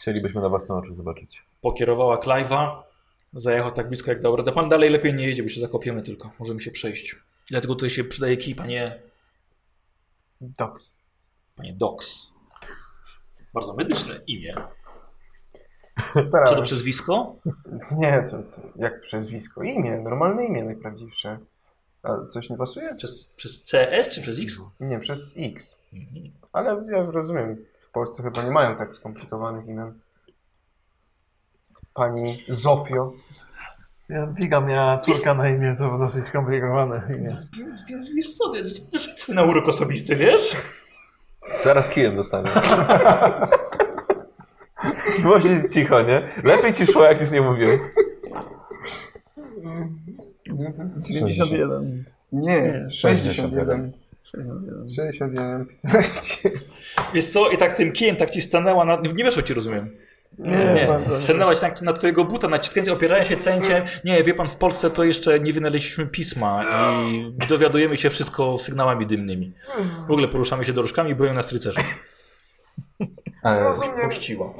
chcielibyśmy na własne oczy zobaczyć.
Pokierowała Clive'a, zajechał tak blisko jak dał radę. Pan dalej lepiej nie jedzie, bo się zakopiemy tylko. Możemy się przejść. Dlatego tutaj się przydaje kij, panie,
Doks.
panie Dox. Bardzo medyczne imię. Co to
Starałem się.
przezwisko?
Nie, to, to jak przezwisko? Imię, normalne imię najprawdziwsze. A coś nie pasuje?
Przez, przez CS czy przez X?
Nie, przez X. Ale ja rozumiem, w Polsce chyba nie mają tak skomplikowanych imion. Pani Zofio.
Ja, Biga miała córka na imię, to było dosyć skomplikowane. imię.
Wiesz co, rzuć sobie na urok osobisty, wiesz?
Zaraz kijem dostanę. Właśnie cicho, nie? Lepiej ci szło, jak nic nie mówiłem.
91.
Nie,
61.
61.
61.
Wiesz co, i tak tym kijem tak ci stanęła na... Nie weszło ci, rozumiem.
Nie, bardzo
Nie,
nie.
stanęła ci na, na twojego buta, naciskając, opierając się cięciem. Nie, wie pan, w Polsce to jeszcze nie wynaleźliśmy pisma i dowiadujemy się wszystko sygnałami dymnymi. W ogóle poruszamy się dorożkami i boją nas rycerze.
E,
Rozumiem.
Puściła.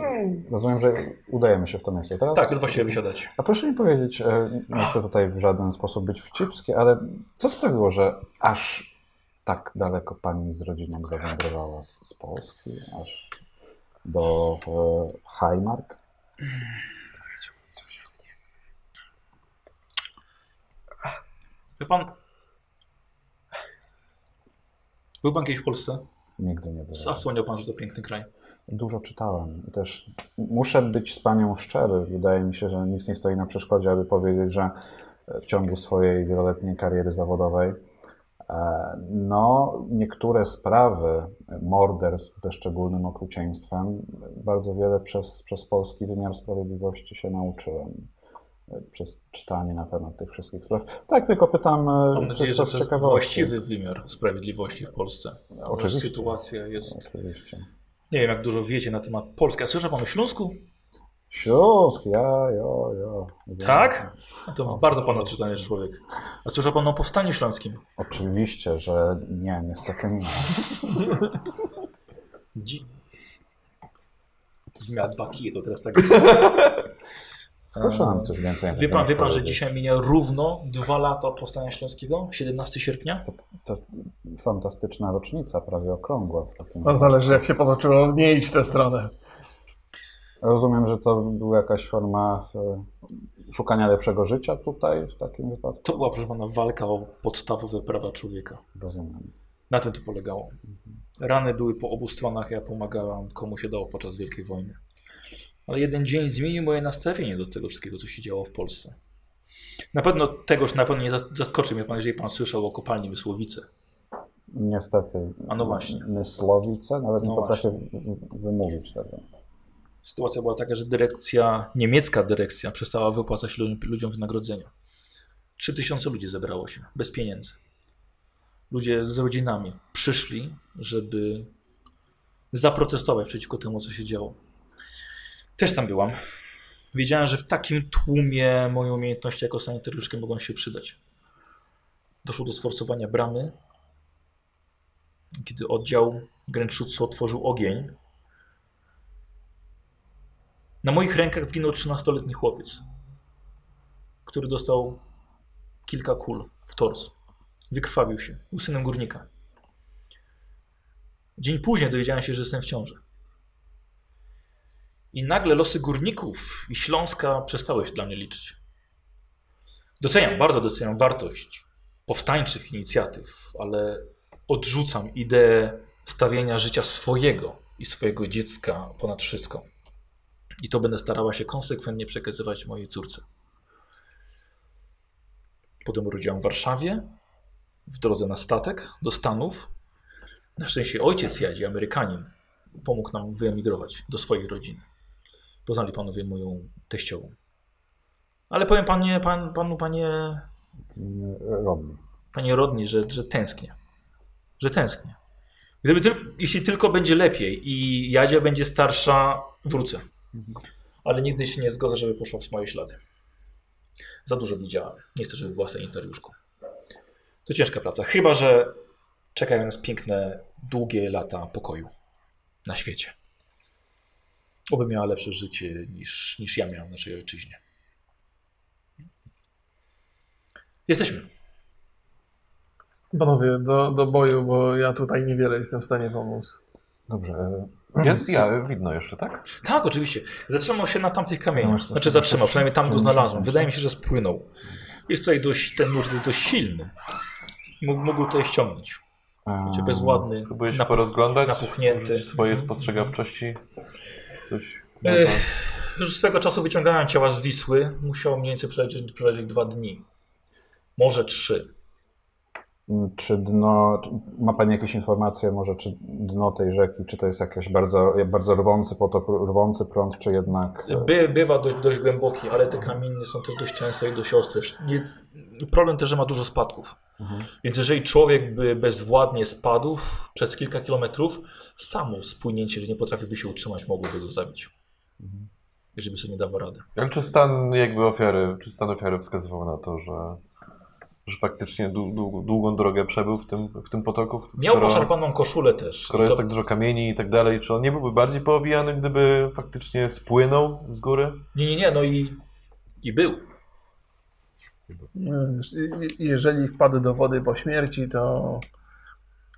rozumiem, że udajemy się w to miejsce teraz?
Tak, już właściwie wysiadać.
A proszę mi powiedzieć, e, nie chcę tutaj w żaden sposób być wcipski, ale co sprawiło, że aż tak daleko pani z rodziną zawędrowała z, z Polski, aż do e, Highmark?
Wie pan, Był pan kiedyś w Polsce?
Nigdy nie byłem.
A wspomniał pan, że to piękny kraj.
Dużo czytałem i też muszę być z panią szczery. Wydaje mi się, że nic nie stoi na przeszkodzie, aby powiedzieć, że w ciągu swojej wieloletniej kariery zawodowej e, no, niektóre sprawy morderstw ze szczególnym okrucieństwem bardzo wiele przez, przez polski wymiar sprawiedliwości się nauczyłem. e, Przez czytanie na temat tych wszystkich spraw. Tak, tylko pytam. e,
Mam nadzieję, że
czysto z
przez
ciekawości.
właściwy wymiar sprawiedliwości w Polsce. Że
Oczywiście.
sytuacja jest.
Oczywiście.
Nie wiem, jak dużo wiecie na temat Polski. A słyszał pan o Śląsku?
Śląsk, ja, jo, jo.
Tak? A To bardzo pan odczytany człowiek. A słyszał pan o Powstaniu Śląskim?
Oczywiście, że nie, niestety nie.
Dzi... Miała dwa kije, to teraz tak.
Proszę nam coś więcej. na
Ehm, Wie
ten
pan, wie pan, że
powiedzieć.
dzisiaj minie równo dwa lata od Powstania Śląskiego? 17 sierpnia?
Fantastyczna rocznica, prawie okrągła. W takim...
No zależy jak się potoczyło, nie idź w tę stronę.
Rozumiem, że to była jakaś forma e, szukania lepszego życia tutaj, w takim wypadku.
To była, proszę pana, walka o podstawowe prawa człowieka.
Rozumiem.
Na tym to polegało. Mhm. Rany były po obu stronach, ja pomagałam komu się dało podczas Wielkiej Wojny. Ale jeden dzień zmienił moje nastawienie do tego wszystkiego, co się działo w Polsce. Na pewno tegoż na pewno nie zas- zaskoczy mnie pan, jeżeli pan słyszał o kopalni Mysłowice.
Niestety.
A no właśnie.
Mysłowice, nawet
No
nie potrafię w- wymówić tego.
Sytuacja była taka, że dyrekcja, niemiecka dyrekcja przestała wypłacać lu- ludziom wynagrodzenia. 3000 ludzi zebrało się, bez pieniędzy. Ludzie z rodzinami przyszli, żeby zaprotestować przeciwko temu, co się działo. Też tam byłam. Wiedziałem, że w takim tłumie moje umiejętności jako sanitariuszki mogą się przydać. Doszło do sforsowania bramy. Kiedy oddział Gręczutsu otworzył ogień, na moich rękach zginął 13-letni chłopiec, który dostał kilka kul w tors. Wykrwawił się. Był synem górnika. Dzień później dowiedziałem się, że jestem w ciąży. I nagle losy górników i Śląska przestały się dla mnie liczyć. Doceniam, bardzo doceniam wartość powstańczych inicjatyw, ale odrzucam ideę stawienia życia swojego i swojego dziecka ponad wszystko. I to będę starała się konsekwentnie przekazywać mojej córce. Potem urodziłam w Warszawie, w drodze na statek do Stanów. Na szczęście ojciec Jadzi, Amerykanin, pomógł nam wyemigrować do swojej rodziny. Poznali panowie moją teściową. Ale powiem panie, pan, panu, panie,
Rodny.
panie Rodni, że, że tęsknię. Że tęsknię. Gdyby tyl, jeśli tylko będzie lepiej i Jadzia będzie starsza, wrócę. Ale nigdy się nie zgodzę, żeby poszła w moje ślady. Za dużo widziałem. Nie chcę, żeby była sanitariuszką. To ciężka praca. Chyba, że czekają nas piękne, długie lata pokoju na świecie. Oby miała lepsze życie niż, niż ja miałem w naszej ojczyźnie. Jesteśmy.
Panowie, do, do boju, bo ja tutaj niewiele jestem w stanie pomóc.
Dobrze, e,
[clears throat] Jest ja, widno jeszcze, tak?
Tak, oczywiście. Zatrzymał się na tamtych kamieniach.
No,
Znaczy zatrzymał, przynajmniej tam go znalazłem. Wydaje mi się, że spłynął. Jest tutaj dość, ten nurt jest dość silny. Mógł, mógł tutaj ściągnąć. Znaczy
Eee,
bezładny,
Próbuję się
napu-
porozglądać,
napuchnięty.
użyć swojej spostrzegawczości, coś...
no. Ech. Już swego czasu wyciągałem ciała z Wisły. Musiał mniej więcej przelecieć, przelecieć dwa dni. Może trzy.
Czy dno, czy ma Pani jakieś informacje może, czy dno tej rzeki, czy to jest jakiś bardzo, bardzo rwący potok, rwący prąd, czy jednak... e,
By, bywa dość, dość głęboki, ale te kamienie są też dość częste i dość ostre. Nie, problem też, że ma dużo spadków.
Mhm.
Więc jeżeli człowiek by bezwładnie spadł przez kilka kilometrów, samo spłynięcie, że nie potrafiłby się utrzymać, mogłoby go zabić.
Mhm.
Jeżeli by sobie nie dawał rady.
Ale czy stan jakby ofiary, czy stan ofiary wskazywał na to, że, że faktycznie dłu- dłu- długą drogę przebył w tym, w tym potoku?
Miał
Skoro-
poszarpaną koszulę też.
Skoro jest
To-
tak dużo kamieni i tak dalej, czy on nie byłby bardziej poobijany, gdyby faktycznie spłynął z góry?
Nie, nie, nie, no i, i był.
No Je- Jeżeli wpadł do wody po śmierci, to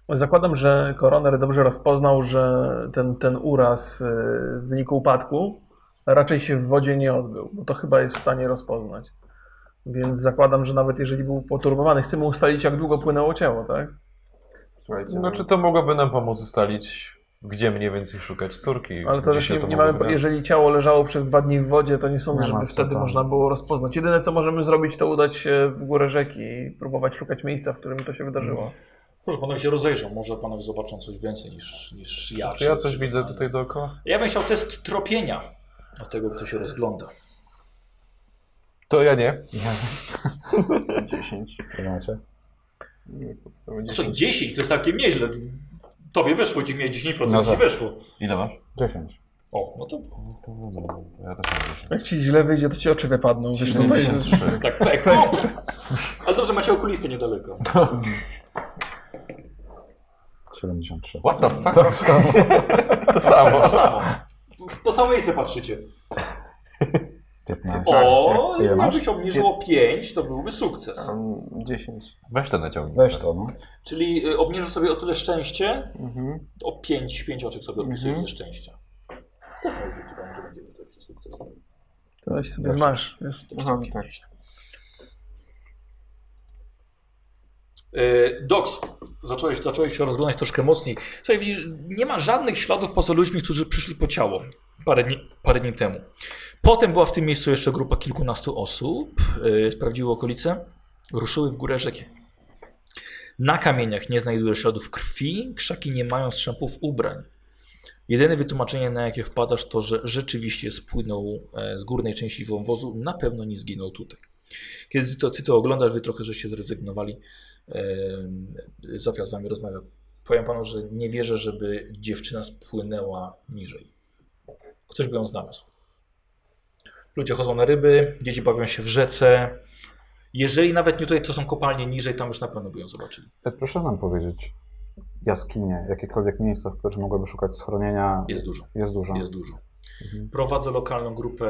zakładam, że koroner dobrze rozpoznał, że ten, ten uraz y, w wyniku upadku raczej się w wodzie nie odbył, bo to chyba jest w stanie rozpoznać. Więc zakładam, że nawet jeżeli był poturbowany, chcemy ustalić, jak długo płynęło ciało, tak?
Słuchajcie, no,
Znaczy to mogłoby nam pomóc ustalić, gdzie mniej więcej szukać córki.
Ale to
gdzie
też
się
nie, nie
mogło
mamy,
wydarzyć.
jeżeli ciało leżało przez dwa dni w wodzie, to nie sądzę,
Nie ma
żeby
co
wtedy
tam.
można było rozpoznać. Jedyne co możemy zrobić, to udać się w górę rzeki i próbować szukać miejsca, w którym to się wydarzyło.
Proszę, panowie się rozejrzą, może panowie zobaczą coś więcej niż, niż ja.
Czy ja coś widzę tutaj dookoła?
Ja bym chciał test tropienia od tego, kto się rozgląda.
To ja nie.
Znaczy-
10.
Ile macie?
Nie, podstawy
No co,
10.
10 to jest całkiem nieźle. Tobie weszło, ci miałeś 10%,
No
ci
tak.
weszło.
10.
O, no to
Ja też mam 10.
No. Jak ci źle wyjdzie, to ci oczy wypadną. Wiesz, tutaj,
tak, pech. O! Ale dobrze, macie okulistę niedaleko.
73.
What the fuck? To samo. to samo.
To samo. W to samo miejsce patrzycie.
15.
O,
Ile Tak masz?
jakby się obniżyło 5, to byłby sukces.
Tam 10.
Weź to naciągnij.
Weź to, no.
Czyli y, obniżysz sobie o tyle szczęście,
Mhm.
o 5, 5 oczek sobie odpisujesz
Mhm.
ze szczęścia. Też może być, chyba, że będzie lepszy sukces.
to weź sobie zmasz. Wiesz.
To jest
Aha,
całkiem
tak.
nieźle. E, Doks, zacząłeś, zacząłeś się rozglądać troszkę mocniej. Słuchaj, widzisz, nie ma żadnych śladów poza ludźmi, którzy przyszli po ciało parę dni, parę dni temu. Potem była w tym miejscu jeszcze grupa kilkunastu osób, e, sprawdziły okolice, ruszyły w górę rzeki. Na kamieniach nie znajdujesz śladów krwi, krzaki nie mają strzępów ubrań. Jedyne wytłumaczenie, na jakie wpadasz, to, że rzeczywiście spłynął e, z górnej części wąwozu, na pewno nie zginął tutaj. Kiedy ty to, ty to oglądasz, wy trochę żeście zrezygnowali. Em, Zofia z wami rozmawia. Powiem panu, że nie wierzę, żeby dziewczyna spłynęła niżej. Ktoś by ją znalazł. Ludzie chodzą na ryby, dzieci bawią się w rzece. Jeżeli nawet nie tutaj, to są kopalnie niżej, tam już na pewno by ją zobaczyli.
E, Proszę nam powiedzieć, jaskinie, jakiekolwiek miejsca, w których mogłaby szukać schronienia,
Jest dużo.
jest dużo.
Jest dużo. Prowadzę lokalną grupę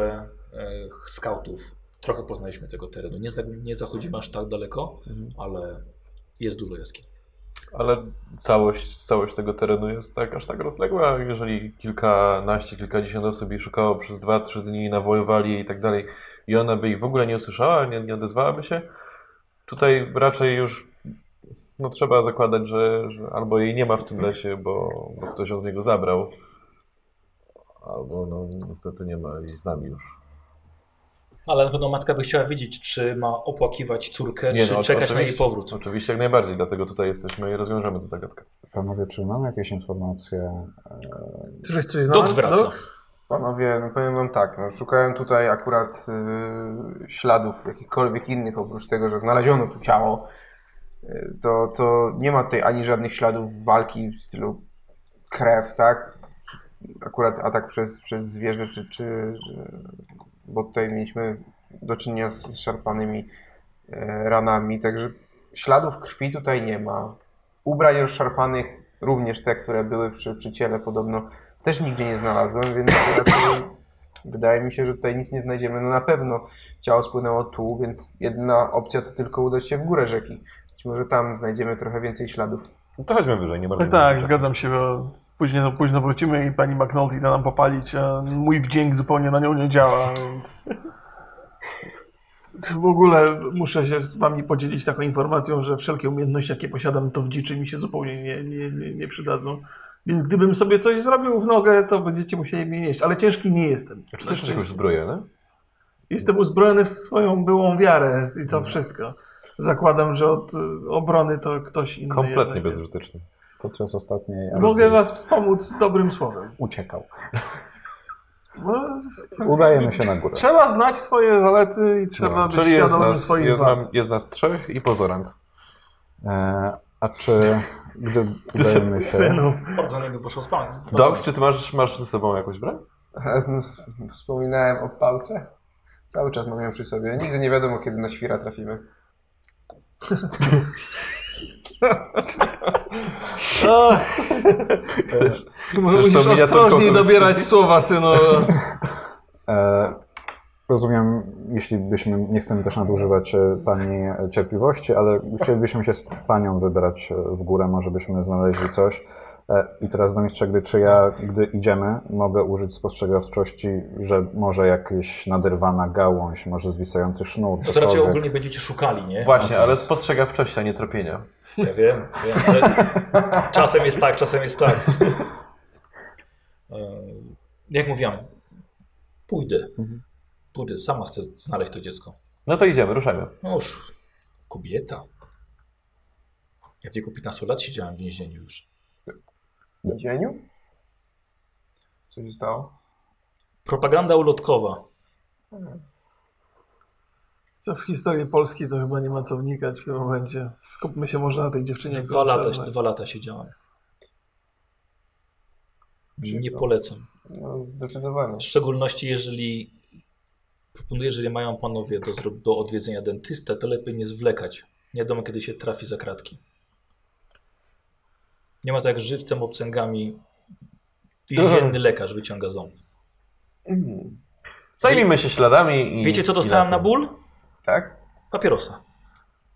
e, skautów. Trochę poznaliśmy tego terenu. Nie, za, nie zachodzimy aż tak daleko, ale jest dużo jaskiń.
Ale całość, całość tego terenu jest tak, aż tak rozległa. Jeżeli kilkanaście, kilkadziesiąt osób jej szukało przez dwa, trzy dni, nawoływali jej i tak dalej, i ona by ich w ogóle nie usłyszała, nie, nie odezwałaby się, tutaj raczej już no, trzeba zakładać, że, że albo jej nie ma w tym lesie, bo, bo ktoś ją z niego zabrał, albo no, niestety nie ma jej z nami już.
Ale na pewno matka by chciała wiedzieć, czy ma opłakiwać córkę,
Nie,
czy
no,
czekać na
oczywiście-
jej powrót.
Oczywiście jak najbardziej, dlatego tutaj jesteśmy i rozwiążemy tę zagadkę.
Panowie, czy mamy jakieś informacje?
Ty żeś coś No,
Dok
no,
znalazł?
zwraca.
Dok?
Panowie, no powiem wam tak, no szukałem tutaj akurat y, śladów jakichkolwiek innych, oprócz tego, że znaleziono tu ciało, y, to, to nie ma tutaj ani żadnych śladów walki w stylu krew, tak? Akurat atak przez, przez zwierzę, czy, czy, czy... Bo tutaj mieliśmy do czynienia z z szarpanymi e, ranami, także śladów krwi tutaj nie ma. Ubrań rozszarpanych, również te, które były przy, przy ciele podobno, też nigdzie nie znalazłem, więc raczej wydaje mi się, że tutaj nic nie znajdziemy. No na pewno ciało spłynęło tu, więc jedna opcja to tylko udać się w górę rzeki. Być może tam znajdziemy trochę więcej śladów. [laughs]
No to chodźmy wyżej, nie bardzo.
Tak, tak, zgadzam się. Bo późno, późno wrócimy i pani McNulty da nam popalić, a mój wdzięk zupełnie na nią nie działa, więc... [laughs] W ogóle muszę się z wami podzielić taką informacją, że wszelkie umiejętności, jakie posiadam, to w dziczy mi się zupełnie nie, nie, nie, nie przydadzą. Więc gdybym sobie coś zrobił w nogę, to będziecie musieli mnie nieść. Ale ciężki nie jestem.
Czy
Też
też jakąś
ciężki.
zbroję, no?
Jestem uzbrojony w swoją byłą wiarę i to wszystko. Zakładam, że od y, obrony to ktoś inny.
Kompletnie
jednak jest.
bezużyteczny.
Podczas ostatniej
Mogę
akcji
was wspomóc dobrym słowem.
uciekał.
Bo
Udajemy się na górę.
trzeba znać swoje zalety i trzeba
No,
być
czyli jest
świadomym
nas,
swoich
jest,
wad.
nam, jest nas trzech i pozorant.
No
E, a
[laughs]
czy gdy udajemy się...
Synu.
no.
Bardzo nie by poszło spać.
Dogs, czy ty masz, masz ze sobą jakąś broń?
Wspominałem o palce. Cały czas mam ją przy sobie. Nigdy nie wiadomo, kiedy na świra trafimy.
Zresztą
Musisz
miniaturką
ostrożniej
kogoś-
dobierać słowa, synu.
E, rozumiem, jeśli byśmy, nie chcemy też nadużywać e, Pani cierpliwości, ale chcielibyśmy się z Panią wybrać e, w górę, może byśmy znaleźli coś. E, I teraz do mistrza gry, czy ja, gdy idziemy, mogę użyć spostrzegawczości, że może jakaś naderwana gałąź, może zwisający sznur,
To, to raczej
cokolwiek.
ogólnie będziecie szukali, nie?
Właśnie, ale spostrzegawczości, a nie tropienia.
Ja wiem, wiem ale czasem jest tak, czasem jest tak. E, Jak mówiłam, pójdę.
Mhm.
Pójdę, sama chcę znaleźć to dziecko.
No to idziemy, ruszajmy.
No już, kobieta. Ja w wieku 15 lat siedziałem w więzieniu już.
W dzieniu? Co się stało?
Propaganda ulotkowa.
Co w historii Polski to chyba nie ma co wnikać w tym momencie. Skupmy się może na tej dziewczynie.
Dwa
którą
lata,
przerwę.
dwa lata siedziałem. Nie polecam.
No, zdecydowanie.
W szczególności jeżeli proponuję, jeżeli mają panowie do, zro- do odwiedzenia dentystę, to lepiej nie zwlekać. Nie wiadomo, kiedy się trafi za kratki. Nie ma tak jak żywcem, obcęgami więzienny lekarz wyciąga ząb.
Mm,
Zajmijmy się śladami i.
Wiecie, co
i
dostałem
lasem.
na ból?
tak?
Papierosa.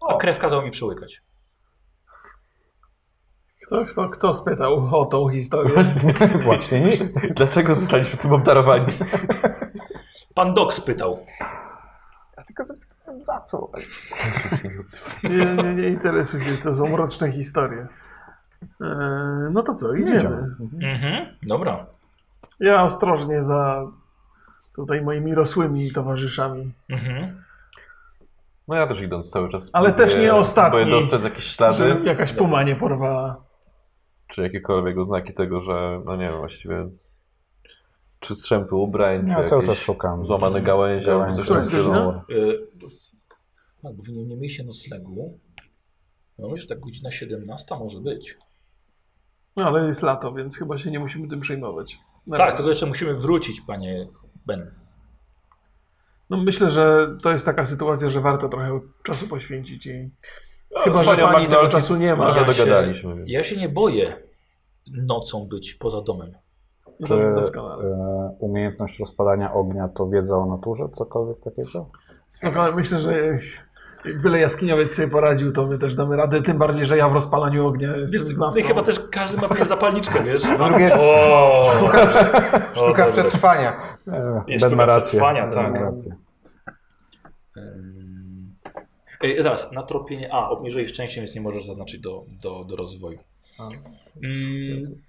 A krew kazał mi przyłykać.
Kto, kto, kto spytał o tą historię?
[laughs]
Właśnie nie. Dlaczego zostaliśmy tym obdarowani?
Pan Dok spytał.
Ja tylko zapytałem za co?
Nie, nie, nie interesuj się, to są mroczne historie. E, no to co, idziemy.
Mhm, dobra.
Ja ostrożnie za tutaj moimi rosłymi towarzyszami.
Mhm.
[laughs] No ja też idąc cały czas.
Ale
próbuję-
też nie ostatni.
Próbuję dostrzec jakieś ślady,
Żeby jakaś puma nie porwała.
czy jakiekolwiek oznaki tego, że, no nie wiem, właściwie. Czy strzępy ubrań,
Ja
czy
No, cały czas
jakieś
szukam.
złamane gałęzie, albo
Gałęzie.
coś tam
jest godzina?
stylu.
Y, tak, bo wy nie, nie mieliście noclegu. No myślę, że tak godzina 17 może być.
No ale jest lato, więc chyba się nie musimy tym przejmować. Na
Tak,
razie.
tylko jeszcze musimy wrócić, panie Ben.
No myślę, że to jest taka sytuacja, że warto trochę czasu poświęcić i Chyba,
z
że
panią
pani tego
McDonald's
czasu nie ma.
trochę
Ja się-
No, dogadaliśmy. więc-
Ja się nie boję nocą być poza domem.
no
Czy
to
e,
doskonale.
umiejętność rozpalania ognia to wiedza o naturze? Cokolwiek takiego?
Spokojnie, myślę, że jak byle jaskiniowiec sobie poradził, to my też damy radę, tym bardziej, że ja w rozpalaniu ognia jestem znawcą.
ty chyba też każdy ma pewnie zapalniczkę, wiesz?
Drugie jest
O,
sztuka, prze,
o,
sztuka
dobra.
przetrwania.
E,
Jest
Ben
sztuka
ma rację. No.
przetrwania,
Ben
tak.
ma rację.
Ym. Ej, y, zaraz, na tropienie A, obniżej szczęście, więc nie możesz zaznaczyć do, do, do rozwoju. Ym,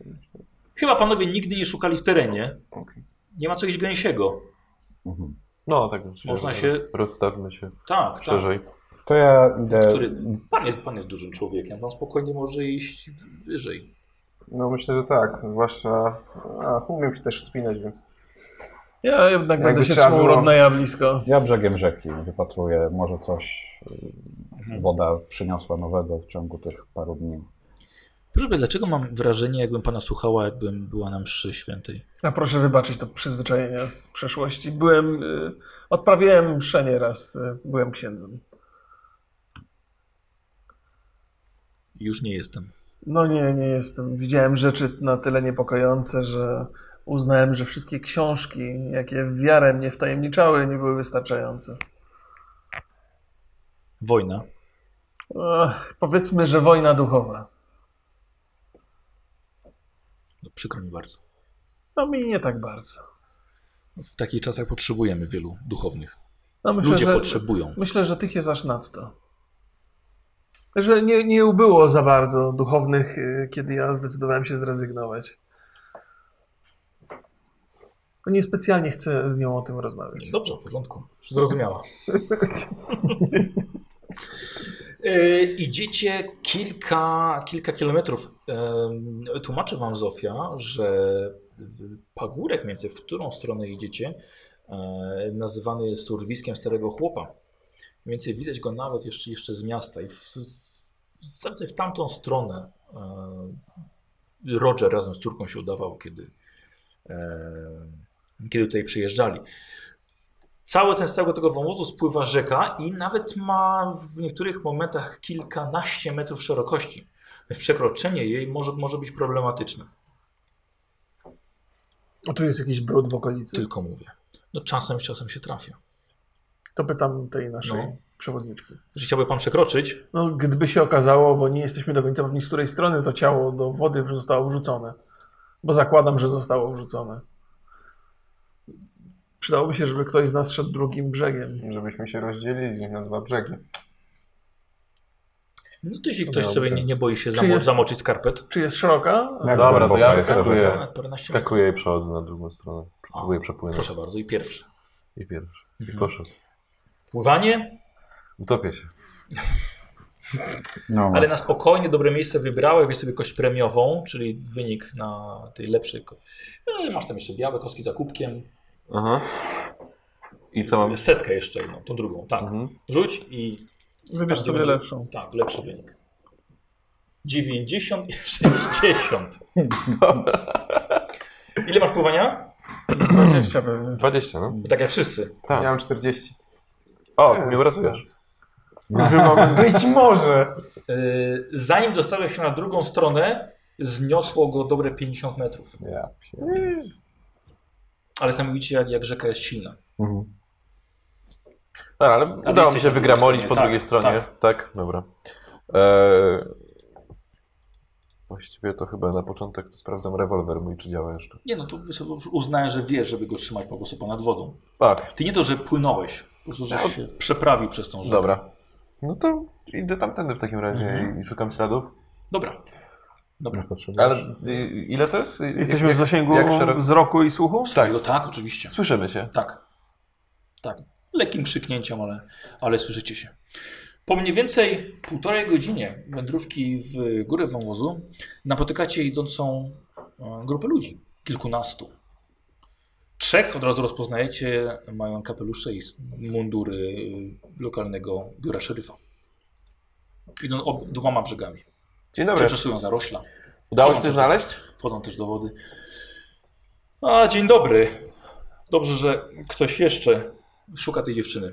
chyba panowie nigdy nie szukali w terenie. Nie ma czegoś gęsiego.
Mhm.
No, tak. myślę,
Można
że
się-
Rozstawmy się
Tak, tak.
szerzej.
To ja idę.
Który, pan, jest, pan jest dużym człowiekiem, pan spokojnie może iść wyżej.
No myślę, że tak. Zwłaszcza a, umiem się też wspinać, więc
Ja jednak
Jakby
będę się
trzeba
trzymał
było-
Rodneya blisko.
Ja brzegiem rzeki wypatruję, może coś y, woda przyniosła nowego w ciągu tych paru dni.
Proszę, pana, dlaczego mam wrażenie, jakbym pana słuchała, jakbym była na mszy świętej?
Ja No proszę wybaczyć to przyzwyczajenia z przeszłości. Byłem, y, odprawiałem mszę nieraz, y, byłem księdzem.
Już nie jestem.
No nie, nie jestem. Widziałem rzeczy na tyle niepokojące, że uznałem, że wszystkie książki, jakie w wiarę mnie wtajemniczały, nie były wystarczające.
Wojna.
Ach, powiedzmy, że wojna duchowa.
No, przykro mi bardzo.
No mi nie tak bardzo.
W takich czasach potrzebujemy wielu duchownych.
No myślę,
Ludzie
że,
potrzebują.
myślę, że tych jest aż nadto. Że nie, nie ubyło za bardzo duchownych, y, kiedy ja zdecydowałem się zrezygnować. Niespecjalnie chcę z nią o tym rozmawiać.
Dobrze, w porządku. [laughs] Zrozumiała. Y, idziecie kilka, kilka kilometrów. E, tłumaczy wam Zofia, że pagórek między w którą stronę idziecie e, nazywany jest urwiskiem starego chłopa. Mniej Więcej widać go nawet jeszcze, jeszcze z miasta i w, z- w, w tamtą stronę e, Roger razem z córką się udawał, kiedy, e, kiedy tutaj przyjeżdżali. Cały ten, z całego tego wąwozu spływa rzeka i nawet ma w niektórych momentach kilkanaście metrów szerokości. Więc Przekroczenie jej może, może być problematyczne.
A tu jest jakiś brud w okolicy.
Tylko mówię. No czasem, czasem się trafia.
To pytam tej naszej
No.
przewodniczki.
Jeżeli chciałby pan przekroczyć,
No, gdyby się okazało, bo nie jesteśmy do końca pewni, z której strony to ciało do wody zostało wrzucone. Bo zakładam, że zostało wrzucone. Przydałoby się, żeby ktoś z nas szedł drugim brzegiem.
żebyśmy się rozdzielili na dwa brzegi.
No to jeśli ktoś
miałoby
sobie nie,
sens.
nie boi się
Czy
zamo-
jest-
zamoczyć skarpet.
Czy jest szeroka?
Jak
Dobra, to
głęboko
ja
jest ta rzeka?
wskakuję.
Paręnaście metrów.
Wskakuję i przechodzę na drugą stronę. Próbuję przepłynąć.
Proszę bardzo, i pierwszy.
I pierwszy. I
Mhm.
proszę.
Pływanie,
Utopię się.
No,
ale na spokojnie, dobre miejsce wybrałeś, weź sobie kość premiową, czyli wynik na tej lepszej. ko- No, i masz tam jeszcze białe kostki za kubkiem.
Aha. I co mam?
Setkę jeszcze jedną, tą drugą, tak.
Mhm.
Rzuć i
Wybierz
Tak,
sobie
będzie-
lepszą.
tak, lepszy wynik. 90 i
[laughs]
60. Ile masz pływania?
20 pewnie.
20, no.
Bo Tak jak wszyscy.
Tak.
Ja mam 40.
O, ty mnie wracasz.
[laughs] Być może.
Yy, zanim dostałeś się na drugą stronę, zniosło go dobre 50 metrów.
Ja
Ale sami widzicie, jak, jak rzeka jest silna.
No, ale udało mi
jesteś
się
na drugiej
wygramolić
stronie.
po
Tak,
drugiej stronie. Tak, dobra. Eee, właściwie to chyba na początek to sprawdzam rewolwer mój, czy działa jeszcze.
Nie no, to wy sobie już uznałem, że wiesz, żeby go trzymać po prostu ponad wodą.
Tak,
Ty nie to, że płynąłeś, po prostu, że się przeprawił przez tą rzekę.
No. dobra. No to idę tamtędy w takim razie
Mhm.
i szukam śladów.
Dobra. Dobra.
Ale y, ile to jest? I-
Jesteśmy
jak-
w zasięgu
jak szeroko-
wzroku i słuchu?
Tak,
No, tak, oczywiście.
słyszymy się.
Tak. Tak. Lekkim krzyknięciem, ale, ale słyszycie się. Po mniej więcej półtorej godzinie wędrówki w górę wąwozu napotykacie idącą e, grupę ludzi. Kilkunastu. Trzech od razu rozpoznajecie, mają kapelusze i s- mundury e, lokalnego biura szeryfa. Idą ob, dwoma brzegami.
Dzień dobry.
Przeczesują zarośla,
Udało się
Są
coś
też-
znaleźć?
wchodzą też do wody. A, dzień dobry. Dobrze, że ktoś jeszcze szuka tej dziewczyny.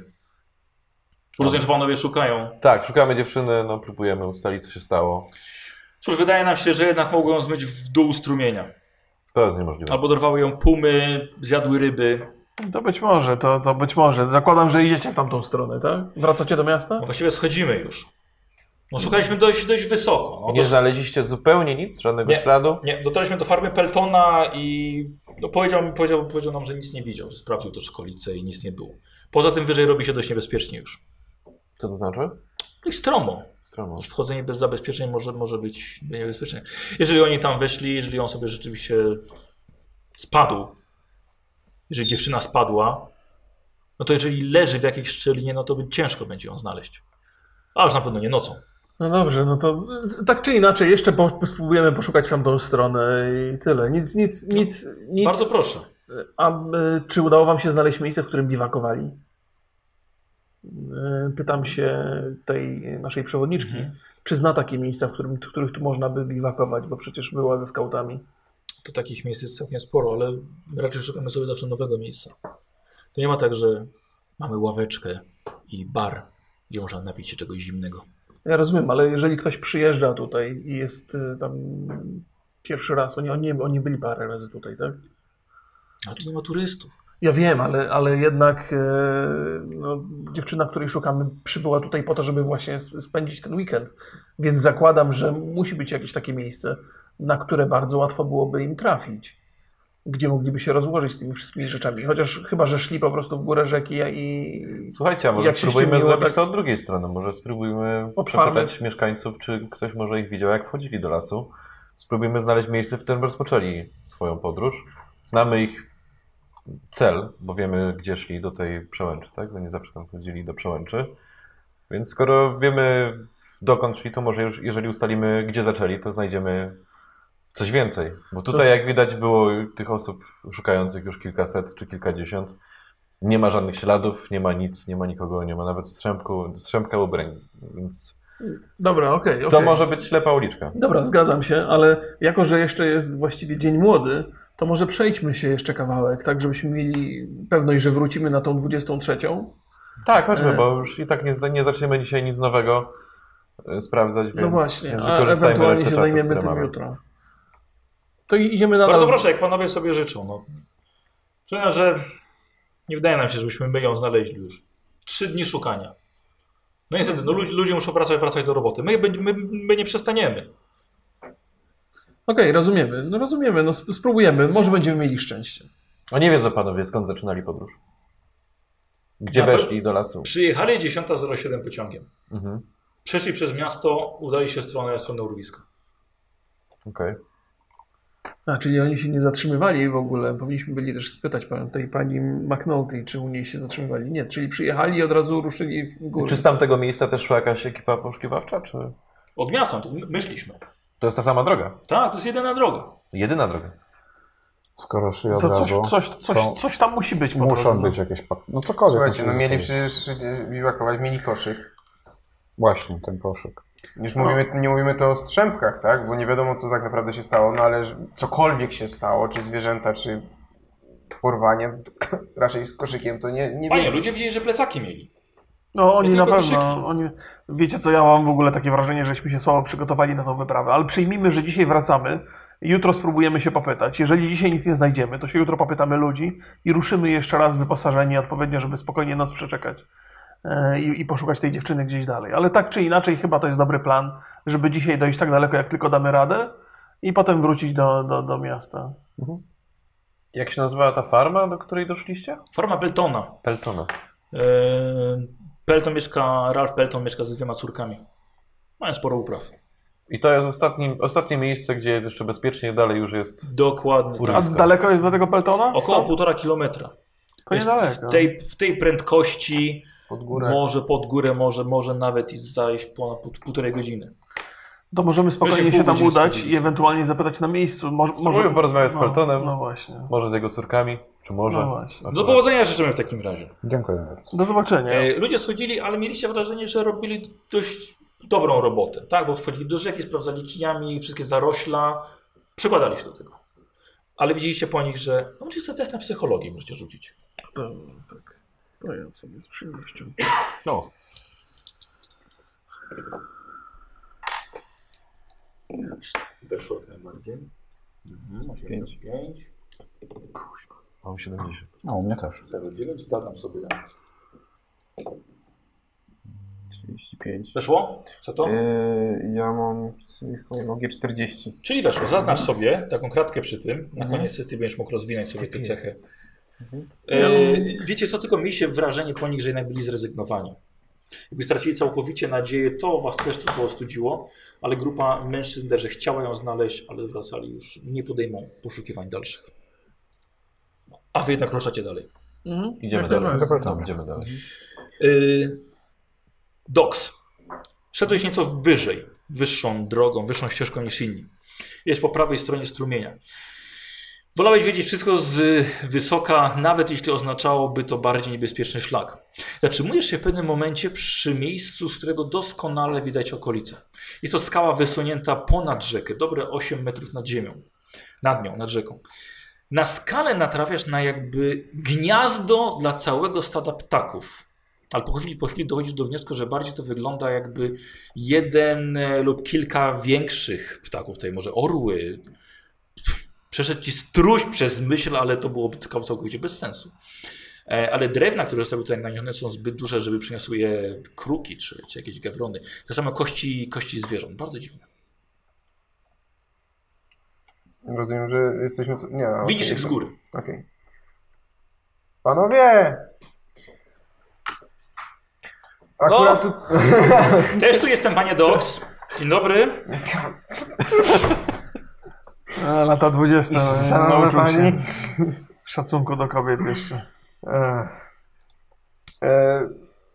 Rozumiem, że panowie szukają.
Tak, szukamy dziewczyny, no próbujemy ustalić, co się stało.
Cóż, wydaje nam się, że jednak mogą ją zmyć w dół strumienia.
To jest niemożliwe.
Albo dorwały ją pumy, zjadły ryby.
To być może, to, to być może. Zakładam, że idziecie w tamtą stronę, tak? Wracacie do miasta?
No właściwie schodzimy już. No szukaliśmy dość, dość wysoko. No,
Nie
dosz-
znaleźliście zupełnie nic, żadnego
Nie.
śladu?
nie, dotarliśmy do farmy Peltona i no, powiedział, mi- powiedział, powiedział nam, że nic nie widział, że sprawdził też okolice i nic nie było. Poza tym wyżej robi się dość niebezpiecznie już.
Co to znaczy?
No i stromo.
Stromo.
Już Wchodzenie bez zabezpieczeń może, może być niebezpieczne. Jeżeli oni tam weszli, jeżeli on sobie rzeczywiście spadł, jeżeli dziewczyna spadła, no to jeżeli leży w jakiejś szczelinie, no to by- ciężko będzie ją znaleźć. A już na pewno nie nocą.
No dobrze, no to y, tak czy inaczej, jeszcze po, spróbujemy poszukać w tamtą stronę i tyle. Nic, nic, nic, nic.
Bardzo proszę.
A y, czy udało wam się znaleźć miejsce, w którym biwakowali? Y, Pytam się tej naszej przewodniczki, czy zna takie miejsca, w, którym, w których tu można by biwakować, bo przecież była ze skautami.
To takich miejsc jest całkiem sporo, ale raczej szukamy sobie zawsze nowego miejsca. To nie ma tak, że mamy ławeczkę i bar, gdzie można napić się czegoś zimnego.
Ja rozumiem, ale jeżeli ktoś przyjeżdża tutaj i jest y, tam pierwszy raz, oni, oni, oni byli parę razy tutaj, tak?
Ale tu nie ma turystów.
Ja wiem, ale, ale jednak e, no, dziewczyna, której szukamy, przybyła tutaj po to, żeby właśnie sp- spędzić ten weekend. Więc zakładam, że musi być jakieś takie miejsce, na które bardzo łatwo byłoby im trafić. Gdzie mogliby się rozłożyć z tymi wszystkimi rzeczami. Chociaż chyba, że szli po prostu w górę rzeki i.
Słuchajcie, a może
Jak się
spróbujmy
ściemniło,
zrobić
tak-
to od drugiej strony. Może spróbujmy
Od
przepytać mieszkańców, czy ktoś może ich widział, jak wchodzili do lasu. Spróbujmy znaleźć miejsce, w którym rozpoczęli swoją podróż. Znamy ich cel, bo wiemy, gdzie szli do tej przełęczy, tak? Bo nie zawsze tam chodzili do przełęczy. Więc skoro wiemy, dokąd szli, to może już, jeżeli ustalimy, gdzie zaczęli, to znajdziemy coś więcej. Bo tutaj, jak widać, było tych osób szukających już kilkaset czy kilkadziesiąt. Nie ma żadnych śladów, nie ma nic, nie ma nikogo, nie ma nawet strzępku, strzępka ubrań. Więc
Dobra, okej.
to
okej.
może być ślepa uliczka.
Dobra, zgadzam się, ale jako, że jeszcze jest właściwie dzień młody, to może przejdźmy się jeszcze kawałek, tak żebyśmy mieli pewność, że wrócimy na tą 23.
Tak, chodźmy,
E.
bo już i tak nie, zda- nie zaczniemy dzisiaj nic nowego e, sprawdzać, więc,
No właśnie,
więc
a
wykorzystajmy
ewentualnie
resztę
się
czasu,
zajmiemy
który
tym
mamy.
jutro. To i- idziemy dalej.
No Bardzo proszę, jak panowie sobie życzą. No. Przyznam, że nie wydaje nam się, żebyśmy my ją znaleźli już. Trzy dni szukania. No niestety, no, ludzie, ludzie muszą wracać, wracać do roboty. My, będziemy- my, my nie przestaniemy.
Okej, rozumiemy. No rozumiemy, no sp- spróbujemy. Może będziemy mieli szczęście.
A nie wiedzą panowie, skąd zaczynali podróż? Gdzie
Na pe-
weszli do lasu?
Przyjechali 10.07 pociągiem.
Mhm.
Przeszli przez miasto, udali się w stronę, w stronę urwiska.
Okej.
A, czyli oni się nie zatrzymywali w ogóle. Powinniśmy byli też spytać pan, tej pani McNulty, czy u niej się zatrzymywali. Nie, czyli przyjechali i od razu ruszyli w górę.
Czy z tamtego miejsca też szła jakaś ekipa poszukiwawcza, czy...
Od miasta, tu my- myśliśmy.
To jest ta sama droga.
Tak, to jest jedyna droga.
Jedyna droga.
Skoro szli od
To
razu,
coś, coś, coś, coś tam musi być po
muszą
prostu.
być jakieś pak... No cokolwiek.
Słuchajcie,
musi
no mieli
być.
przecież, y, Biwakować mieli koszyk.
Właśnie, ten koszyk.
Już mówimy, nie mówimy to o strzępkach, tak? Bo nie wiadomo, co tak naprawdę się stało, no ale ż- cokolwiek się stało, czy zwierzęta, czy porwanie, to [laughs] raczej z koszykiem to nie, nie
Panie,
wiem.
ludzie widzieli, że plecaki mieli.
No oni
Nie
na
tylko
pewno,
koszyki.
oni, wiecie co, ja mam w ogóle takie wrażenie, żeśmy się słabo przygotowali na tą wyprawę, ale przyjmijmy, że dzisiaj wracamy, jutro spróbujemy się popytać. Jeżeli dzisiaj nic nie znajdziemy, to się jutro popytamy ludzi i ruszymy jeszcze raz wyposażeni odpowiednio, żeby spokojnie noc przeczekać e, i, i poszukać tej dziewczyny gdzieś dalej. Ale tak czy inaczej chyba to jest dobry plan, żeby dzisiaj dojść tak daleko, jak tylko damy radę i potem wrócić do, do, do miasta.
Jak się nazywała ta farma, do której doszliście?
Forma Peltona.
Peltona.
Eee, Pelton mieszka, Ralph Pelton mieszka ze dwiema córkami. Mają sporo upraw.
I to jest ostatni, ostatnie miejsce, gdzie jest jeszcze bezpiecznie, dalej już jest...
Dokładnie.
Kurwa.
Tak.
A
Blisko.
daleko jest do tego peltona?
Około
Stąd?
półtora kilometra.
To
Jest
niedaleko.
w, tej, w tej prędkości
Pod górę.
może pod górę, może, może nawet i zajść ponad pół- półtorej godziny.
To możemy spokojnie
Myślę,
się
pół
tam
godziny
udać i
spędziliśmy.
ewentualnie zapytać na miejscu. Może, może
Możemy porozmawiać z Peltonem,
No, no właśnie.
może z jego córkami, czy może...
No właśnie.
Do powodzenia życzymy w takim razie.
Dziękuję bardzo.
Do zobaczenia.
E, Ludzie sądzili, ale mieliście wrażenie, że robili dość dobrą robotę, tak? Bo wchodzili do rzeki, sprawdzali kijami wszystkie zarośla, przykładali się do tego. Ale widzieliście po nich, że no, czy chcę test na psychologię możecie rzucić.
To, tak. To ja sobie z przyjemnością.
No. Weszło jak najbardziej. Mhm, 85.
Mam 70.
No, u mnie też.
09, zadam sobie. 35. Weszło? Co to?
Y, ja mam psychologię 40.
Czyli weszło. Zaznacz sobie taką kratkę przy tym. Na koniec sesji będziesz mógł rozwinąć sobie te cechy. E, wiecie co, tylko mi się wrażenie po nich, że jednak byli zrezygnowani. Jakby stracili całkowicie nadzieję, to was też trochę ostudziło, ale grupa mężczyzn też, że chciała ją znaleźć, ale wracali już, nie podejmą poszukiwań dalszych. No, A wy jednak ruszacie dalej.
Mhm.
Idziemy
Jak
dalej.
najbardziej.
Tam, idziemy dalej.
Y, Doks. Szedłeś nieco wyżej, wyższą drogą, wyższą ścieżką niż inni. Jest po prawej stronie strumienia. Wolałeś wiedzieć wszystko z wysoka, nawet jeśli oznaczałoby to bardziej niebezpieczny szlak. Zatrzymujesz się w pewnym momencie przy miejscu, z którego doskonale widać okolice. Jest to skała wysunięta ponad rzekę, dobre 8 metrów nad ziemią. Nad nią, nad rzeką. Na skalę natrafiasz na jakby gniazdo dla całego stada ptaków. Ale po chwili, po chwili dochodzisz do wniosku, że bardziej to wygląda jakby jeden e, lub kilka większych ptaków, tutaj może orły. Pff, Przeszedł ci struś przez myśl, ale to byłoby tylko całkowicie bez sensu. E, Ale drewna, które zostały tutaj nanione, są zbyt duże, żeby przyniosły je kruki czy, czy jakieś gawrony. Te same kości, kości zwierząt. Bardzo dziwne.
Rozumiem, że jesteśmy... co- Nie, no,
Widzisz
okej,
ich z
no,
góry.
Okej. Panowie!
No.
Akurat tu...
Też tu jestem, panie Doks. Dzień dobry.
E, Lata 20.
Szanowna
nauczył
pani.
się szacunku do kobiet jeszcze.
Ech. E,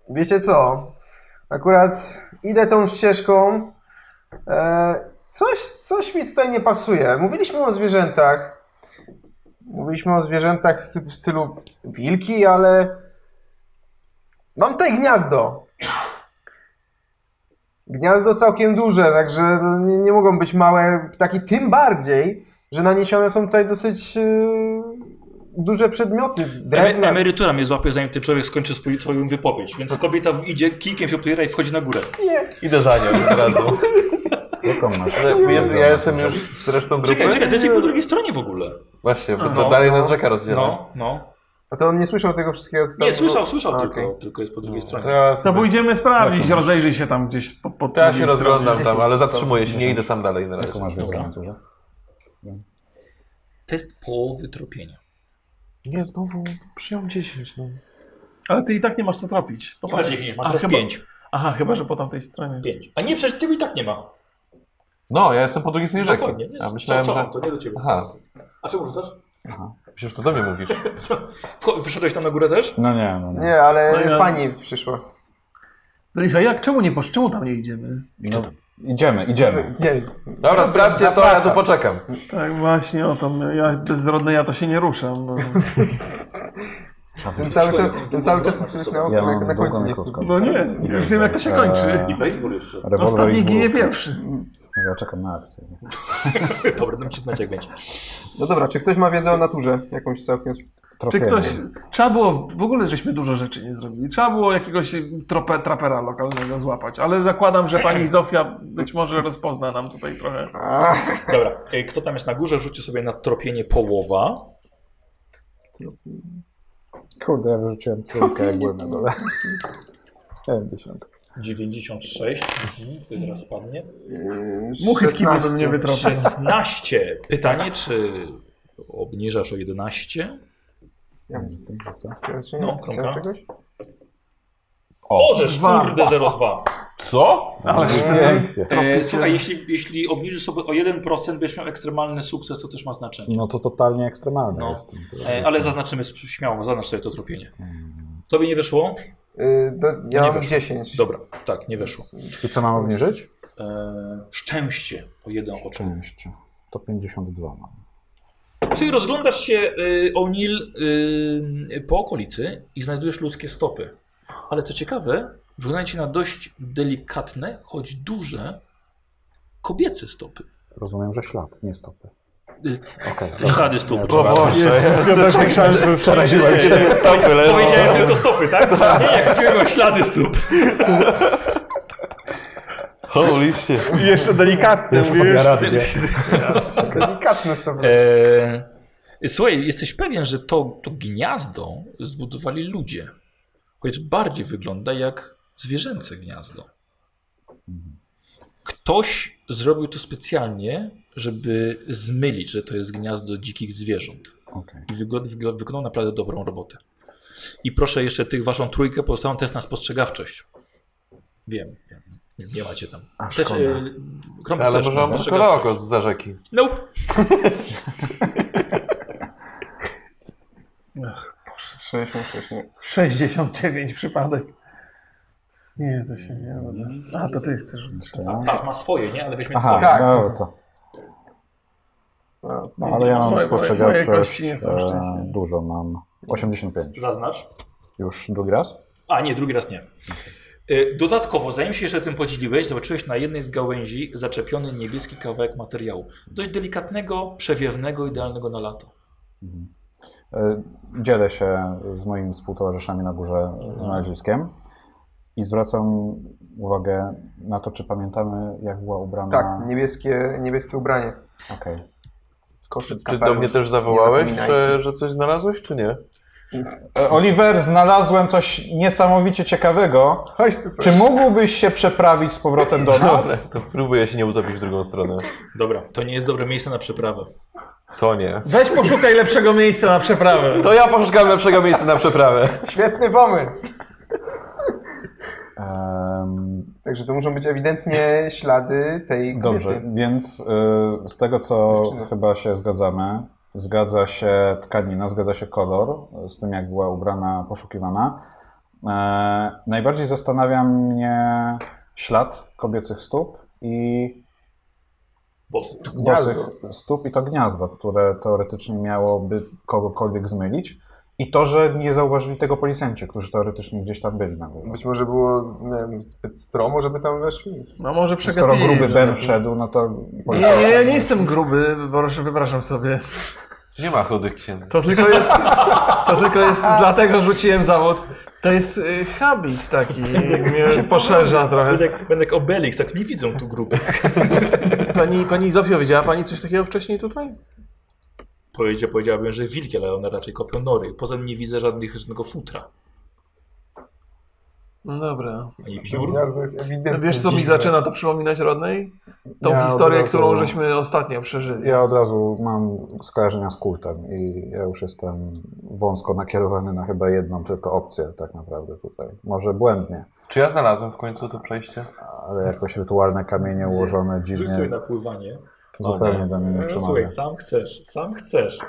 wiecie co? Akurat idę tą ścieżką. E, coś, coś mi tutaj nie pasuje. Mówiliśmy o zwierzętach. Mówiliśmy o zwierzętach w sty- w stylu wilki, ale mam tutaj gniazdo. Gniazdo całkiem duże, także to nie, nie mogą być małe ptaki, tym bardziej, że naniesione są tutaj dosyć e, duże przedmioty.
Emery,
Drewna,
emerytura mnie złapie, zanim ten człowiek skończy swój, swoją wypowiedź.
[laughs]
Więc kobieta idzie, kijkiem się opiera i wchodzi na górę.
Idę za nią od [laughs] razu.
Jaką masz?
Ale Jest, ja jestem już z resztą grupy.
Czekaj, czekaj, ty jesteś po drugiej stronie w ogóle.
Właśnie, bo
No.
to dalej nas rzeka rozdziela.
No, no.
A to on nie słyszał tego wszystkiego, co tam
Nie,
było?
słyszał, słyszał
A,
tylko,
okej.
tylko jest po drugiej
To
stronie.
ja,
To
sobie,
rozejrzyj
No.
sprawdzić, rozejrzyj się tam gdzieś po, po
to ja się
drugiej stronie.
rozglądam tam, ale zatrzymuję się, nie
Dziesięć.
idę sam dalej na
Jaką
razie.
masz wiedzę
Dobra.
na naturze?
Test połowy tropienia.
Nie, znowu przyjąłem 10. No.
Ale ty i tak nie masz co tropić.
Popatrz, nie, ma
A,
teraz
chyba-
pięć.
Aha, chyba, że po tamtej stronie.
Pięć. A nie, przecież tego i tak nie ma.
No, ja jestem po drugiej stronie rzeki.
Dokładnie.
Ja
Więc
myślałem,
co,
że...
cofam, to nie do ciebie.
Aha,
A czemu rzucasz?
przecież to do mnie mówisz.
Co? Wcho- Wyszedłeś tam na górę też? [laughs]
No nie, no nie.
Nie, ale
No ja-
pani przyszła.
No Licha, jak? Czemu nie posz... Czemu tam nie idziemy?
No, idziemy, idziemy.
Nie,
Dobra, sprawdźcie to, ja tu poczekam.
Tak, właśnie o to. Ja bezrodny ja to się nie ruszam. No,
ten cały czas, ten cały czas muszę być na,
Ja
na,
mam
na końcu
długą
nie chcę.
krótką.
no nie, już wiem jak to się kończy.
Eee,
Bejtbur jeszcze.
rewolwer i
Ostatni
dwór.
ginie pierwszy.
Ja czekam na akcję.
Dobra, dam ci znać jak będzie.
No dobra, czy ktoś ma wiedzę o naturze? Jakąś całkiem...
Czy
Tropienie.
ktoś. Trzeba było. W ogóle żeśmy dużo rzeczy nie zrobili. Trzeba było jakiegoś trope, trapera lokalnego złapać, ale zakładam, że [clears throat] pani Zofia być może rozpozna nam tutaj trochę.
A,
Dobra, e, kto tam jest na górze, rzuci sobie na tropienie połowa.
Kurde, ja wyrzuciłem trójkę, jak byłem na dole. [laughs] 70.
96. Mhm, wtedy teraz spadnie.
Muchy w kibie bym
16.
nie wytropił.
16. Pytanie, czy obniżasz o 11?
Ja mam Czy
No,
Znaczy, nie napisałem
kromka.
czegoś?
Możesz, kurde, 0,2.
Co?
Ale
Pięknie.
E, słuchaj, jeśli, jeśli obniżysz sobie o 1%, będziesz miał ekstremalny sukces, to też ma znaczenie.
No to totalnie ekstremalne
No.
jest.
E, ale zaznaczymy s- śmiało, zaznacz sobie to tropienie. Tobie nie weszło?
Y, do, ja
Nie
mam
weszło.
10.
Dobra, tak, nie weszło.
I co mam obniżyć?
E, szczęście o jeden oczy.
Szczęście. To 52 mam.
Czyli rozglądasz się, y, O'Neill, y, po okolicy i znajdujesz ludzkie stopy. Ale co ciekawe, wyglądają ci na dość delikatne, choć duże, kobiece stopy.
Rozumiem, że ślad, nie stopy.
Y,
Okej.
Ślady stóp.
Ja też myślałem, że przeraziłem się.
Tak, Powiedziałem tylko stopy, tak? Nie, nie, chodziłem o ślady stóp.
Holy shit.
Jeszcze delikatny,
Już podjaradnie.
Delikatne stopy.
E, słuchaj, jesteś pewien, że to, to gniazdo zbudowali ludzie. Chociaż bardziej wygląda jak zwierzęce gniazdo. Ktoś zrobił to specjalnie, żeby zmylić, że to jest gniazdo dzikich zwierząt.
Okej.
I wygląda, wygląda, wykonał naprawdę dobrą robotę. I proszę jeszcze tych waszą trójkę pozostałą test na spostrzegawczość. Wiem, wiem. Nie macie tam.
A,
Też,
szkoda.
e, Kromka
Ale
też
może mam tylko
spostrzegawczość.
logo z zarzeki.
Nope.
Ach,
66, nie.
69 przypadek. Nie, to się nie uda. A, to ty chcesz.
Tak, ma swoje, nie? Ale weźmie
Aha,
twoje.
Tak.
no to. No, ale ja mam
Moje- moje
spostrzegawczość.
kości nie są
e,
szczęśliwe.
Dużo mam. 85.
Zaznacz.
Już drugi raz?
A nie, drugi raz nie. Y, Dodatkowo, zanim się jeszcze tym podzieliłeś, zobaczyłeś na jednej z gałęzi zaczepiony niebieski kawałek materiału. Dość delikatnego, przewiewnego, idealnego na lato.
E, Dzielę się z moimi współtowarzyszami na górze znaleziskiem i zwracam uwagę na to, czy pamiętamy, jak była ubrana.
Tak, niebieskie, niebieskie ubranie.
Okej.
Koszyk,
Czy do
kapelusz.
mnie też zawołałeś,
Nie zapominajcie.
że, że coś znalazłeś, czy nie?
E, Oliver, znalazłem coś niesamowicie ciekawego.
Chodź super.
Czy mógłbyś się przeprawić z powrotem
[laughs]
do nas?
Tak. To próbuję się nie utopić w drugą stronę.
Dobra, to nie jest dobre miejsce na przeprawę.
To nie.
Weź poszukaj lepszego miejsca na przeprawę.
To ja poszukam lepszego miejsca na przeprawę.
Świetny pomysł.
Em,
Także to muszą być ewidentnie ślady tej
dobrze,
kobiety.
więc y, z tego, co
Dziewczyny.
chyba się zgadzamy, zgadza się tkanina, zgadza się kolor y, z tym, jak była ubrana, poszukiwana. E, najbardziej zastanawia mnie ślad kobiecych stóp i
Boss.
bosych stóp i to gniazdo, które teoretycznie miałoby kogokolwiek zmylić. I to, że nie zauważyli tego policjanci, którzy teoretycznie gz tam byli na górze.
Być może było nie wiem, zbyt stromo, żeby tam weszli.
No może
Skoro
przegapili.
gruby Ben
tak.
wszedł, no to
Nie, nie, ja nie jestem gruby, bo wypraszam sobie.
Nie ma chudych księdza.
To tylko jest, to tylko jest, dlatego rzuciłem zawód. To jest y, habit taki,
[laughs]
się poszerza trochę.
Będę jak, będę jak Obelix, tak nie widzą tu grupy.
Pani, pani Zofio, widziała pani coś takiego wcześniej tutaj?
Powiedział, powiedziałbym, że wilki, ale one raczej kopią nory. Poza tym nie widzę żadnych, żadnego futra.
No dobra.
Ani
To
piór.
gniazdo jest
No
ewidentnie
wiesz co mi
dziwne.
zaczyna to przypominać rodnej? Tą
Ja od
historię,
razu-
którą żeśmy ostatnio przeżyli.
Ja od razu mam skojarzenia z kultem i ja już jestem wąsko nakierowany na chyba jedną tylko opcję tak naprawdę tutaj. Może błędnie,
Czy ja znalazłem w końcu to przejście?
Ale jakoś rytualne kamienie ułożone
Rzuć sobie
dziwnie.
na pływanie.
Zupełnie do mnie nie
No,
przemawia.
słuchaj, sam chcesz, sam chcesz.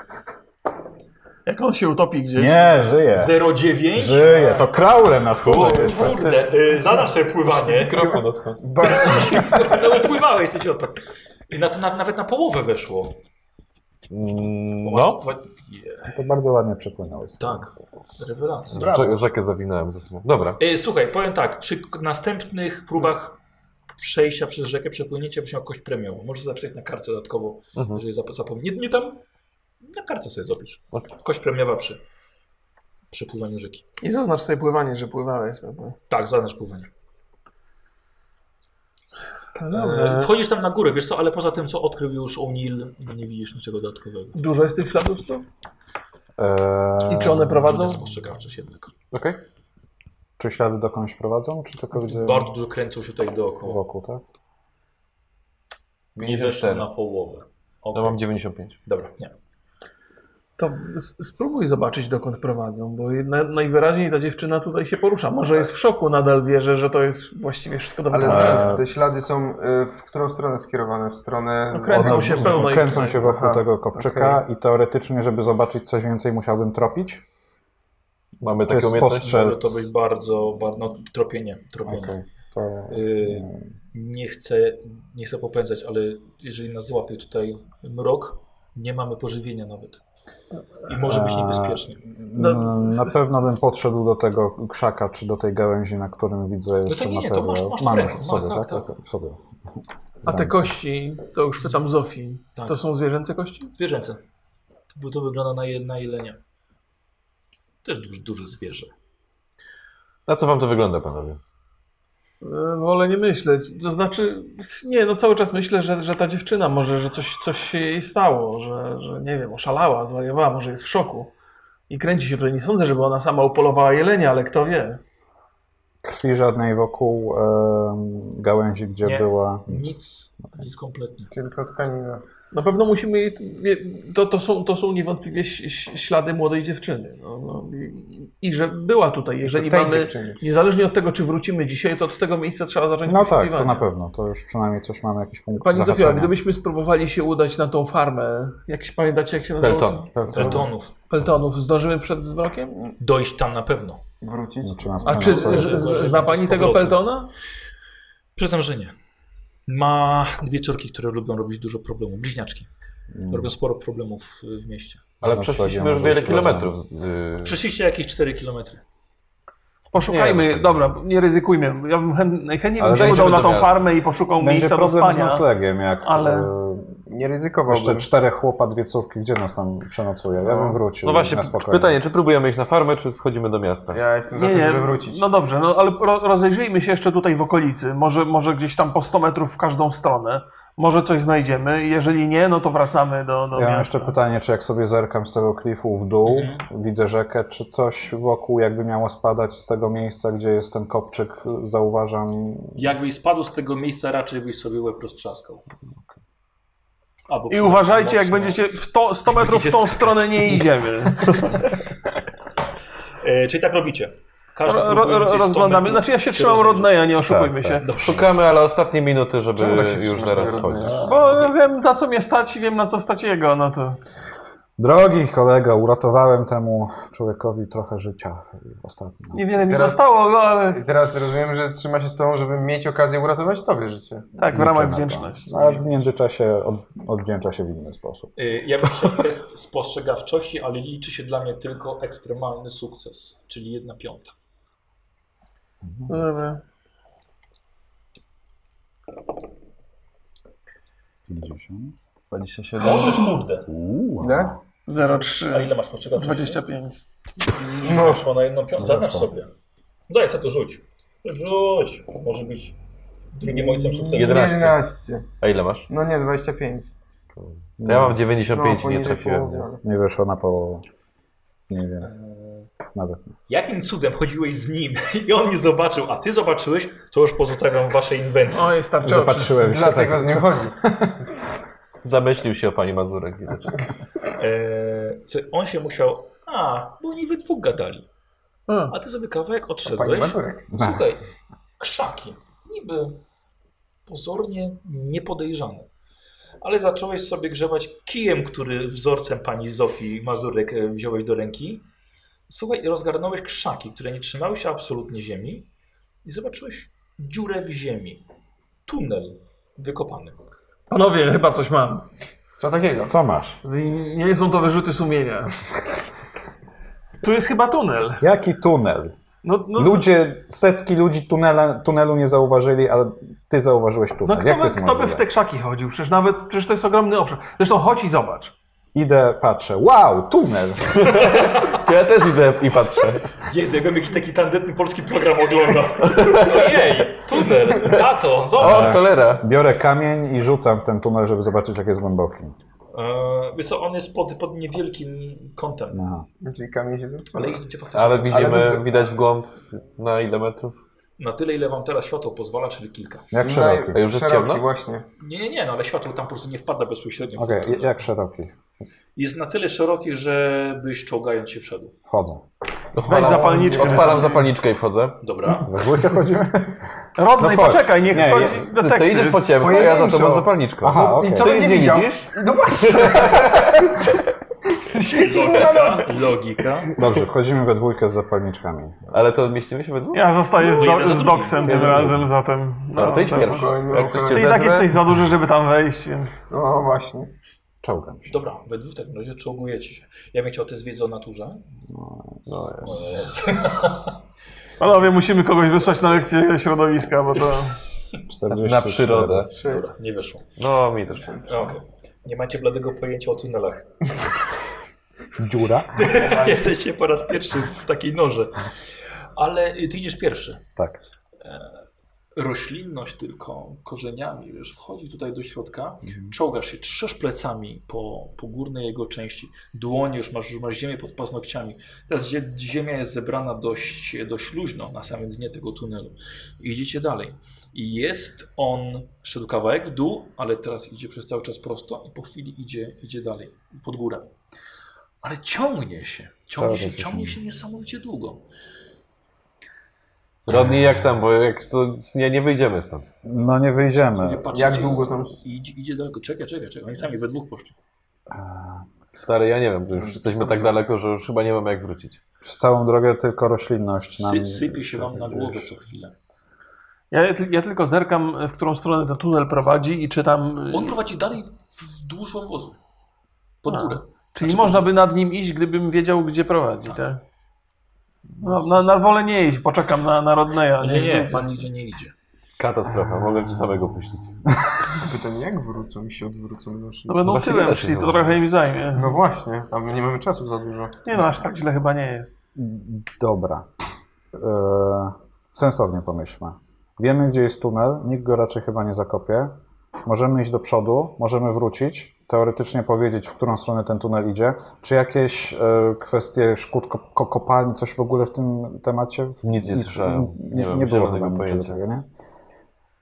Jak on się utopi gdzieś.
Nie, żyje.
09?
Żyje. To kraule na
O
schodach.
kurde, y, za nasze pływanie.
Mikrofon odchodzi.
No upływałeś, to ci odpadł. I na to na, nawet na połowę weszło. Bo masz
No,
dwa- Je,
To bardzo ładnie przepłynąłeś.
tak, rewelacja.
Rze- rzekę zawinąłem ze sobą. Dobra.
Y, Słuchaj, powiem tak, przy k- następnych próbach przejścia przez rzekę, przepłynięcia byś miał kość premiową. Możesz zapisać na kartce dodatkowo,
Mhm.
jeżeli zap- zapomnisz. Nie, nie tam, na kartce sobie zapisz.
Okej.
Kość premiowa przy przepływaniu rzeki.
I zaznacz sobie pływanie, że pływałeś. Prawda?
Tak, zaznacz pływanie. E,
E,
Wchodzisz tam na górę, wiesz co, ale poza tym, co odkrył już O'Neill, nie widzisz niczego dodatkowego.
Dużo jest tych śladów tu?
Eee,
I czy one prowadzą?
Rzucę spostrzegawczość jednak.
Okej.
Czy ślady dokądś prowadzą, czy tylko widzę
Bardzo dużo kręcą się tutaj dookoła.
wokół, tak?
Nie weszło na połowę.
No
Okay.
mam 95.
Dobra, nie.
To s- spróbuj zobaczyć, dokąd prowadzą, bo jedna, najwyraźniej ta dziewczyna tutaj się porusza. Może jest w szoku, nadal wierzy, że to jest właściwie wszystko do
Ale
Eee.
wykonania.
zaraz te ślady są y, w którą stronę skierowane? W stronę...
No kręcą
One-
się pełno
Kręcą
ich-
się wokół
Aha,
tego kopczyka i teoretycznie, żeby zobaczyć coś więcej, musiałbym tropić.
Mamy
To
takie
jest
umiejętności.
Może
postrzelc.
to być bardzo, bardzo no, tropienie. tropienie.
Okej, to...
Y, nie, chcę, nie chcę popędzać, ale jeżeli nas złapie tutaj mrok, nie mamy pożywienia nawet. I może być
A,
niebezpiecznie.
No, na pewno bym podszedł do tego krzaka, czy do tej gałęzi, na którym widzę jeszcze
tak, nie, nie, to
materiał.
masz- masz w
Mam
ręku,
już w
masz,
sobie,
tak,
tak?
tak.
W sobie.
A te kości, to już pytam Zofii,
Tak.
to są zwierzęce kości?
Zwierzęce. Bo to wygląda na, je, na jelenia. Też duże, duże zwierzę.
Na co wam to wygląda, panowie?
E, Wolę nie myśleć. To znaczy, nie, no cały czas myślę, że, że ta dziewczyna może, że coś, coś się jej stało, że, że nie wiem, oszalała, zwariowała, może jest w szoku. I kręci się tutaj. Nie sądzę, żeby ona sama upolowała jelenia, ale kto wie.
Krwi żadnej wokół em, gałęzi, gdzie
Nie.
była.
Nic, nic kompletnie.
Tylko tkanina.
Na pewno musimy jej. wie- To, to, są, to są niewątpliwie ś- ś- ślady młodej dziewczyny. No, no, i, I że była tutaj. Jeżeli
To tej
mamy.
dziewczyny.
Niezależnie od tego, czy wrócimy dzisiaj, to od tego miejsca trzeba zacząć
No tak, to
poszukiwania.
na pewno. To już przynajmniej coś mamy, jakiś punkt
Pani Zofia,
zahaczenia.
gdybyśmy spróbowali się udać na tą farmę, jak się pamiętacie, jak się nazywa?
Pelton.
Eltonów.
Peltonów, zdążymy przed zmrokiem?
Dojść tam na pewno.
Wrócić.
Czy nas
A
nie
czy
ma, Tak, no, to jest-
z, z, zna pani
Z
tego
powrotem.
Peltona?
Przyznam, że nie. Ma dwie córki, które lubią robić dużo problemów. Bliźniaczki. Robią sporo problemów y, w mieście.
Ale
Znaczy,
przeszliśmy
ja
już
może
wiele
z-
kilometrów. z- z-
Przeszliście jakieś 4 km.
Poszukajmy,
Nie, no to-
dobra, nie ryzykujmy. Ja bym chęt, najchętniej
Ale
bym się
zejdziemy
udał na
do
tą
miasta.
farmę i poszukał
Będzie
miejsca do
problem z
spania.
noclegiem, jak
ale-
e,
Nie
jeszcze
ryzykowałbym.
czterech chłopa, dwie córki, gdzie nas tam przenocuje? Ja bym wrócił
No właśnie,
na spokojnie.
pytanie, czy próbujemy iść na farmę, czy schodzimy do miasta?
Ja jestem za tym, żeby wrócić.
No dobrze, no ale ro, rozejrzyjmy się jeszcze tutaj w okolicy. Może, może gdzieś tam po 100 metrów w każdą stronę. Może coś znajdziemy. Jeżeli nie, no to wracamy do, do
Ja mam
miasta.
jeszcze pytanie, czy jak sobie zerkam z tego klifu w dół,
Mhm.
widzę rzekę, czy coś wokół jakby miało spadać z tego miejsca, gdzie jest ten kopczyk, zauważam.
Jakbyś spadł z tego miejsca, raczej byś sobie łeb roztrzaskał. Albo
I
przynajmniej
uważajcie, jak
mocno.
będziecie w to, 100 metrów w tą
Będziecie
stronę nie idziemy.
E, czyli tak robicie. Każdy
Ro,
próbuje
ro,
więcej 100
rozglądamy.
metrów
Znaczy ja się
się
trzymam
rozejrzeć.
Rodneya, nie oszukujmy
Tak,
się.
Szukamy, ale ostatnie minuty, żeby
Czemu tak się
już
trzymasz
zaraz
tego
schodzić.
Rodneya?
Bo wiem na co mnie stać i wiem na co stać jego, no to...
Drogi kolego, uratowałem temu człowiekowi trochę życia ostatnio.
Niewiele mi
Teraz-
zostało, no ale
I teraz rozumiem, że trzyma się z tobą, żeby mieć okazję uratować tobie życie.
tak, w
Liczę na
ramach
to.
wdzięczności.
A w międzyczasie od, odwdzięcza się w inny sposób.
Y, Ja bym chciał test spostrzegawczości, ale liczy się dla mnie tylko ekstremalny sukces, czyli jedna piąta.
No Dobra.
50.
27.
Możesz, kurde.
Uuu,
Tak?
Ile?
0,3.
A ile masz postrzegawczości?
25.
No. Weszło na jedną piątą. Zadasz
Weszło.
sobie. Daj sobie to rzuć. Rzuć. Może być drugim ojcem sukcesu.
11.
11.
A ile masz?
No nie, 25.
To ja mam
No,
95 i nie
poniżej
trafiłem.
połowy,
Nie?
ale-
Nie wyszło na połowę. Mniej więcej. Nawet nie.
Jakim cudem chodziłeś z nim [laughs] i on nie zobaczył, a ty zobaczyłeś, to już pozostawiam wasze inwencje.
Oj, starczy
Zapatrzyłem się. tak-
Dlatego z nim chodzi.
Zamyślił się o pani Mazurek. widać.
E, Eee, co, on się musiał... A, bo oni we dwóch gadali.
A,
A ty sobie kawałek
Pani
odszedłeś.
Mazurek.
Tak.
tak-
Słuchaj, krzaki, niby pozornie niepodejrzane, ale zacząłeś sobie grzebać kijem, który wzorcem pani Zofii Mazurek e, wziąłeś do ręki. Słuchaj, rozgarnąłeś krzaki, które nie trzymały się absolutnie ziemi i zobaczyłeś dziurę w ziemi, tunel wykopany.
Panowie, chyba coś mam.
Co takiego?
Co masz?
Nie są to wyrzuty sumienia. Tu jest chyba tunel.
[laughs] Jaki tunel?
No, no,
Ludzie, setki ludzi tunela, tunelu nie zauważyli, ale ty zauważyłeś tunel.
no kto,
Jak to
by,
jest
kto by
możliwe?
w te krzaki chodził? Przecież nawet, przecież to jest ogromny obszar. Zresztą chodź i zobacz.
Idę, patrzę. Wow, tunel!
To ja też idę i patrzę.
Jezu, jakbym jakiś taki tandetny polski program oglądał. [laughs] Ojej, tunel, tato,
O,
zobacz.
cholera.
Biorę kamień i rzucam w ten tunel, żeby zobaczyć, jak jest głęboki.
E, Wiesz co, on jest pod, pod niewielkim kątem.
Aha.
Czyli kamień się zepsuł.
Ale idzie faktycznie
No. Ale widzimy,
dobrze.
widać w głąb na ile metrów?
na tyle, ile wam teraz światło pozwala, czyli kilka.
No
Jak szeroki?
No A już jest
Szeroki,
ciemno?
właśnie.
Nie, nie, nie, no ale światło tam po prostu nie wpada bezpośrednio w
Okej,
ten tunel.
jak szeroki?
Jest na tyle szeroki, żebyś czołgając się wszedł.
Wchodzę.
Weź zapalniczkę.
Odpalam zapalniczkę i wchodzę.
Dobra.
We dwójkę chodzimy?
Rodnej,
No chodź.
poczekaj, niech
Nie,
chodzi
nie.
Ty, ty
detektyw.
idziesz po ciemku, a ja za tobą
Pojedynczo.
zapalniczkę.
Aha,
I
okej.
co
Ty
będzie
nie
widział?
widzisz?
No właśnie. Świeci mu na nogi.
[laughs] Logika, logika.
Dobrze, wchodzimy we dwójkę z zapalniczkami.
Ale to mieścimy się we dwóch?
Ja zostaję z,
No jeden
do,
za
z
drugim.
Doksem tym
Jeden za
razem, zatem...
No, to idź
tak.
pierwszy. Jak coś cię
Ty i tak
zerwie-
jesteś za duży, żeby tam wejść, więc...
No właśnie.
Czołgam się.
Dobra, we dwóch w takim razie czołgujecie się. Ja bym chciał też wiedzę o naturze.
No, jest.
O Jezu.
Panowie, musimy kogoś wysłać na lekcję środowiska, bo to...
44.
Na przyrodę.
Dobra, nie wyszło.
No, mi też.
Okej. Nie macie bladego pojęcia o tunelach.
Dziura?
Tak. [laughs] Jesteście po raz pierwszy w takiej noże. Ale y, ty idziesz pierwszy.
Tak.
roślinność tylko korzeniami, wiesz, wchodzi tutaj do środka,
Mhm.
czołgasz się, trzesz plecami po, po górnej jego części, dłonie już masz, masz ziemię pod paznokciami. Teraz zie- ziemia jest zebrana dość, dość luźno na samym dnie tego tunelu. Idziecie dalej. I jest on, szedł kawałek w dół, ale teraz idzie przez cały czas prosto i po chwili idzie, idzie dalej, pod górę. Ale ciągnie się, ciągnie
Cały
się,
czas się
ciągnie się niesamowicie długo.
Rodnij jak tam, bo jak to, nie, nie wyjdziemy stąd.
No nie
Ludzie
wyjdziemy.
patrzycie
Jak
i-
długo tam...
Idzie, idzie daleko. Czekaj, czekaj, czekaj. Oni sami we dwóch poszli.
Eee,
Stary, ja nie wiem, to już jesteśmy tak daleko, że już chyba nie mamy jak wrócić.
Przez całą drogę tylko roślinność nam...
Sy, sypie się wam na głowę co chwilę.
Ja, ja tylko zerkam, w którą stronę ten tunel prowadzi i czy tam...
On prowadzi dalej wzdłuż wąwozu. Pod
A.
górę.
Czyli
Znaczy-
można by nad nim iść, gdybym wiedział, gdzie prowadzi,
Tak.
tak? No,
Tak.
na, na wolę nie iść, poczekam na, na Rodneya.
Nie, nie, pan nigdzie nie idzie.
Katastrofa, mogę cię samego puścić.
Pytanie, jak wrócą i się odwrócą? No,
No będą
Właśnie
tyłem
ile się
szli, to
może?
trochę im zajmie.
no właśnie, a my nie mamy czasu za dużo.
Nie no, aż tak źle chyba nie jest.
Dobra. E, sensownie pomyślmy. Wiemy, gdzie jest tunel, nikt go raczej chyba nie zakopie. Możemy iść do przodu, możemy wrócić, teoretycznie powiedzieć, w którą stronę ten tunel idzie. Czy jakieś e, kwestie szkód ko- ko- kopalni, coś w ogóle w tym temacie?
Nic nie słyszałem.
Nie,
Nie
nie,
mam
było
zielonego
chyba niczego
pojęcia.
takiego, nie?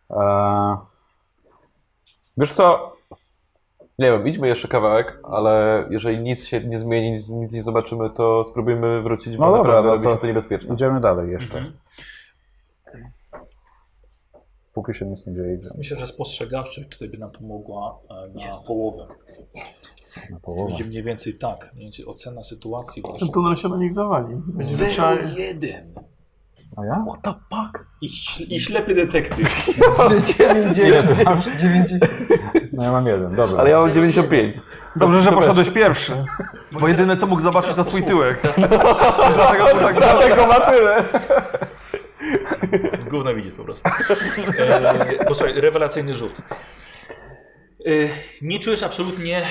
E,
Wiesz co? Nie wiem, idźmy jeszcze kawałek, ale jeżeli nic się nie zmieni, nic, nic nie zobaczymy, to spróbujmy wrócić, bo
No dobra,
tak naprawdę
no
robi
to-
się to niebezpieczne.
idziemy dalej
tak.
jeszcze.
Mhm.
Póki się nic nie dzieje, idziemy
Myślę, że spostrzegawczość tutaj by nam pomogła e, na połowę.
na połowę.
Będzie mniej więcej tak. Mniej więcej ocena sytuacji.
Ten tunel się na nich zawali. Będziemy trzeba-
1.
A ja?
What the fuck? I, śl- i ślepy detektyw.
No ja mam jeden, dobra.
Ale ja mam 95.
Dobrze, że poszedłeś pierwszy, bo jedyne co mógł zobaczyć to twój
[laughs]
tyłek. Dlatego to tak
Gówno widzieć po prostu. E, posłuchaj, rewelacyjny rzut. E, nie czujesz absolutnie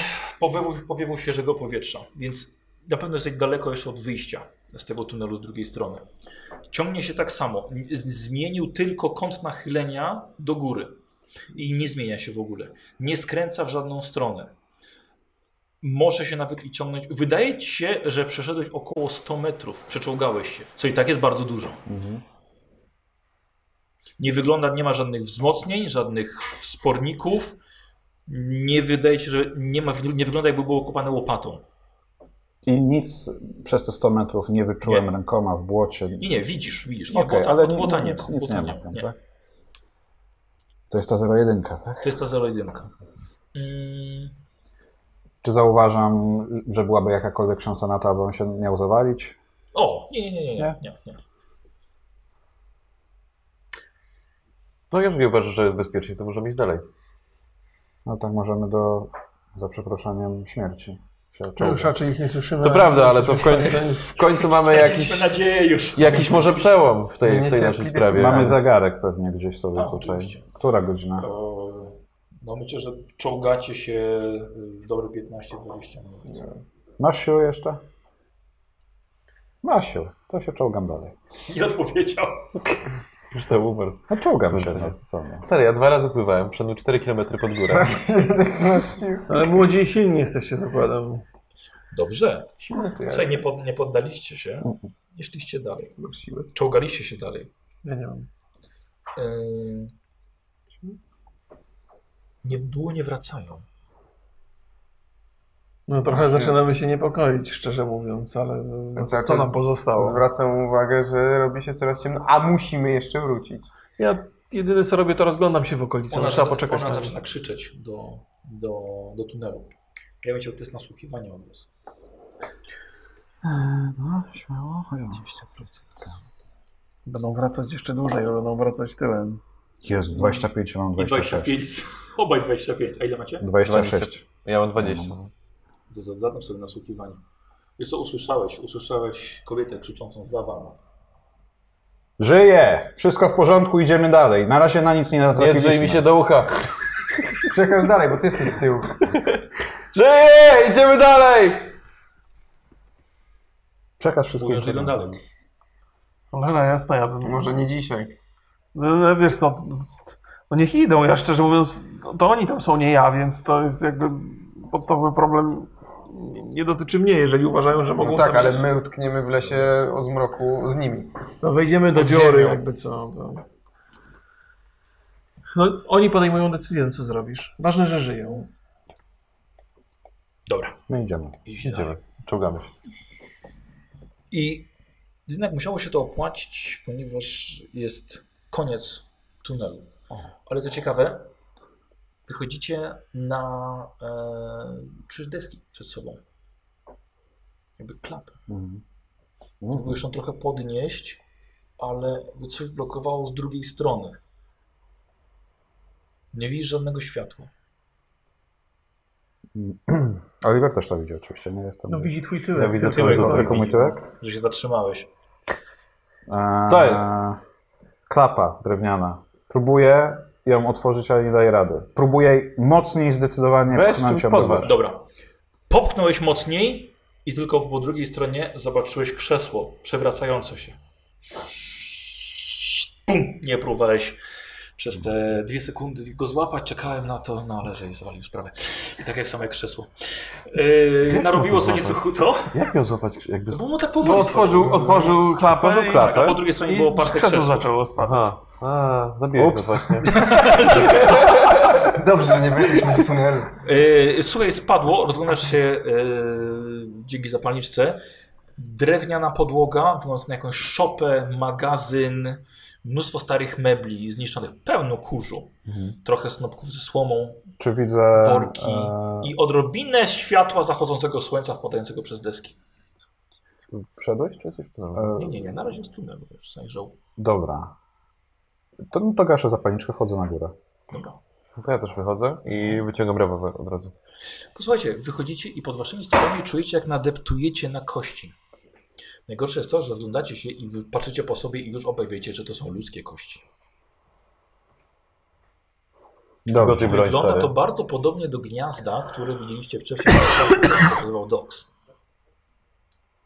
powiewu, powiewu świeżego powietrza, więc na pewno jesteś daleko jeszcze od wyjścia z tego tunelu z drugiej strony. Ciągnie się tak samo. N- Zmienił tylko kąt nachylenia do góry i nie zmienia się w ogóle. Nie skręca w żadną stronę. Może się nawet i ciągnąć. Wydaje ci się, że przeszedłeś około 100 metrów, przeczołgałeś się, co i tak jest bardzo dużo. Nie wygląda, nie ma żadnych wzmocnień, żadnych sporników. Nie wydaje się, że nie, ma, nie wygląda jakby było kopane łopatą.
I nic przez te 100 metrów nie wyczułem
Nie.
rękoma w błocie.
I nie, widzisz, widzisz. Nie,
Okej,
błota,
ale
ale błota nie ma.
nic, nic
błota
nie
nie
ma,
ma.
tam,
Nie.
tak? To jest ta 01, tak?
To jest ta 01. Mm,
Czy zauważam, że byłaby jakakolwiek szansa na to, aby on się miał zawalić?
O, nie, nie, nie, nie, nie.
Nie?
nie, nie.
No jeżeli uważasz, że jest bezpiecznie, to możemy iść dalej.
No tak możemy do, za przeproszeniem, śmierci. się
No
czołgać.
już raczej ich nie słyszymy.
To prawda, ale to w końcu, w końcu mamy
Straciliśmy
jakiś,
nadzieję już.
jakiś może przełom w tej, w tej naszej
Niecierpliwy
sprawie.
Mamy
więc-
zegarek pewnie gdzieś sobie
Tak,
tutaj.
oczywiście.
Która godzina?
No myślę, że czołgacie się y, dobre 15-20 minut.
Masz siłę jeszcze? Masz siłę. To się czołgam dalej.
Nie odpowiedział.
Już to umarł.
No czołgam się,
Super.
no co nie.
Stary, ja dwa razy pływałem, przeszedłem 4 km pod górę.
Ale młodzi i silni jesteście, zakładam.
Dobrze.
Silny to jest.
Słuchaj, nie, pod, nie poddaliście się. Nie szliście dalej. Czołgaliście się dalej.
Ja nie mam.
Yy... Nie w dłonie wracają.
No trochę zaczynamy się niepokoić, szczerze mówiąc, ale no,
Cały
co nam
czas
pozostało?
Zwracam uwagę, że robi się coraz ciemno, a musimy jeszcze wrócić.
Ja jedyne co robię, to rozglądam się w okolicy.
Ona,
no, trzeba
zada-
poczekać
ona
na nich.
zaczyna krzyczeć do, do, do tunelu. Ja bym chciał test nasłuchiwania od was.
No, śmiało.
Będą wracać jeszcze dłużej, bo będą wracać tyłem.
Jest 25, ja mam
I
26.
25. Obaj 25. A ile macie?
26.
Ja mam 20.
No,
To- to Zatem sobie nasłuchiwanie. Wiesz co, usłyszałeś? Usłyszałeś kobietę krzyczącą za wami.
Żyje! Wszystko w porządku, idziemy dalej. Na razie na nic nie
Nie
natrafiliśmy.
drzyj mi się do ucha.
Przekaż dalej, bo ty jesteś z tyłu.
Żyje! Idziemy dalej!
Przekaż wszystko.
Mówią, że idą dalej.
Cholera jasna, ja bym...
Może nie dzisiaj.
No, no, wiesz co, no niech idą, ja szczerze mówiąc, to- to oni tam są, nie ja, więc to jest jakby podstawowy problem nie- nie dotyczy mnie, jeżeli uważają, że mogą
No tak,
tam
ale my utkniemy w lesie o zmroku z nimi.
No wejdziemy do
Pod
dziury,
ziemią.
jakby co. To... No oni podejmują decyzję, no co zrobisz. Ważne, że żyją.
Dobra.
My idziemy.
Idziemy.
Idziemy. Czołgamy się.
I jednak musiało się to opłacić, ponieważ jest koniec tunelu. Ale co ciekawe, wychodzicie na e, trzy deski przed sobą. Jakby klapy.
Mhm.
Mogły jeszcze trochę podnieść, ale jakby coś blokowało z drugiej strony. Nie widzisz żadnego światła.
Oliver też to widzi oczywiście, nie jestem.
No widzi twój tyłek.
ja widzę
Tyłek
tyłek,
widzi.
tylko mój tyłek.
Że się zatrzymałeś.
Eee,
Co jest?
Klapa drewniana. Próbuję ją otworzyć, ale nie daję rady. Próbuję jej mocniej zdecydowanie
Weź
pchnąć
czymś
ją do
podważ.
góry.
Dobra. Popchnąłeś mocniej i tylko po drugiej stronie zobaczyłeś krzesło przewracające się. Pum! Nie próbowałeś przez te dwie sekundy go złapać. Czekałem na to, no ale że zwalił sprawę. I tak jak same krzesło. Yy, narobiło sobie nieco co?
Jak miał złapać? Jakby...
No bo tak
Bo
powoli.
otworzył, otworzył
No,
klapę,
Otworzył
i-
klapę.
Tak, a po drugiej stronie
i
było oparte
krzesło
krzesło.
zaczęło spadać.
Aha. A, zabiłeś go
Ups.
właśnie.
Dobrze, że nie weszliśmy do tunelu. Tak
Yy, słuchaj, spadło, rozglądasz się yy, dzięki zapalniczce. Drewniana podłoga, wygląda na jakąś szopę, magazyn, mnóstwo starych mebli zniszczonych, pełno kurzu, trochę snopków ze słomą
Czy widzę.
Worki.
eee,
i odrobinę światła zachodzącego słońca wpadającego przez deski.
Wszedłeś czy coś?
No.
Nie,
Eee,
nie, nie, na razie jest tunel, bo już zajrzał.
Dobra. To, no to gaszę zapalniczkę, wchodzę na górę.
Dobra.
No To ja też wychodzę i wyciągam rewolwer od razu.
Posłuchajcie, wychodzicie i pod waszymi stopami czujecie, jak nadeptujecie na kości. Najgorsze jest to, że rozglądacie się i wy- patrzycie po sobie i już obaj wiecie, że to są ludzkie kości.
Dobra.
Gotuj broń,
Wygląda
stary.
to bardzo podobnie do gniazda, które widzieliście wcześniej, który nazywał Dox.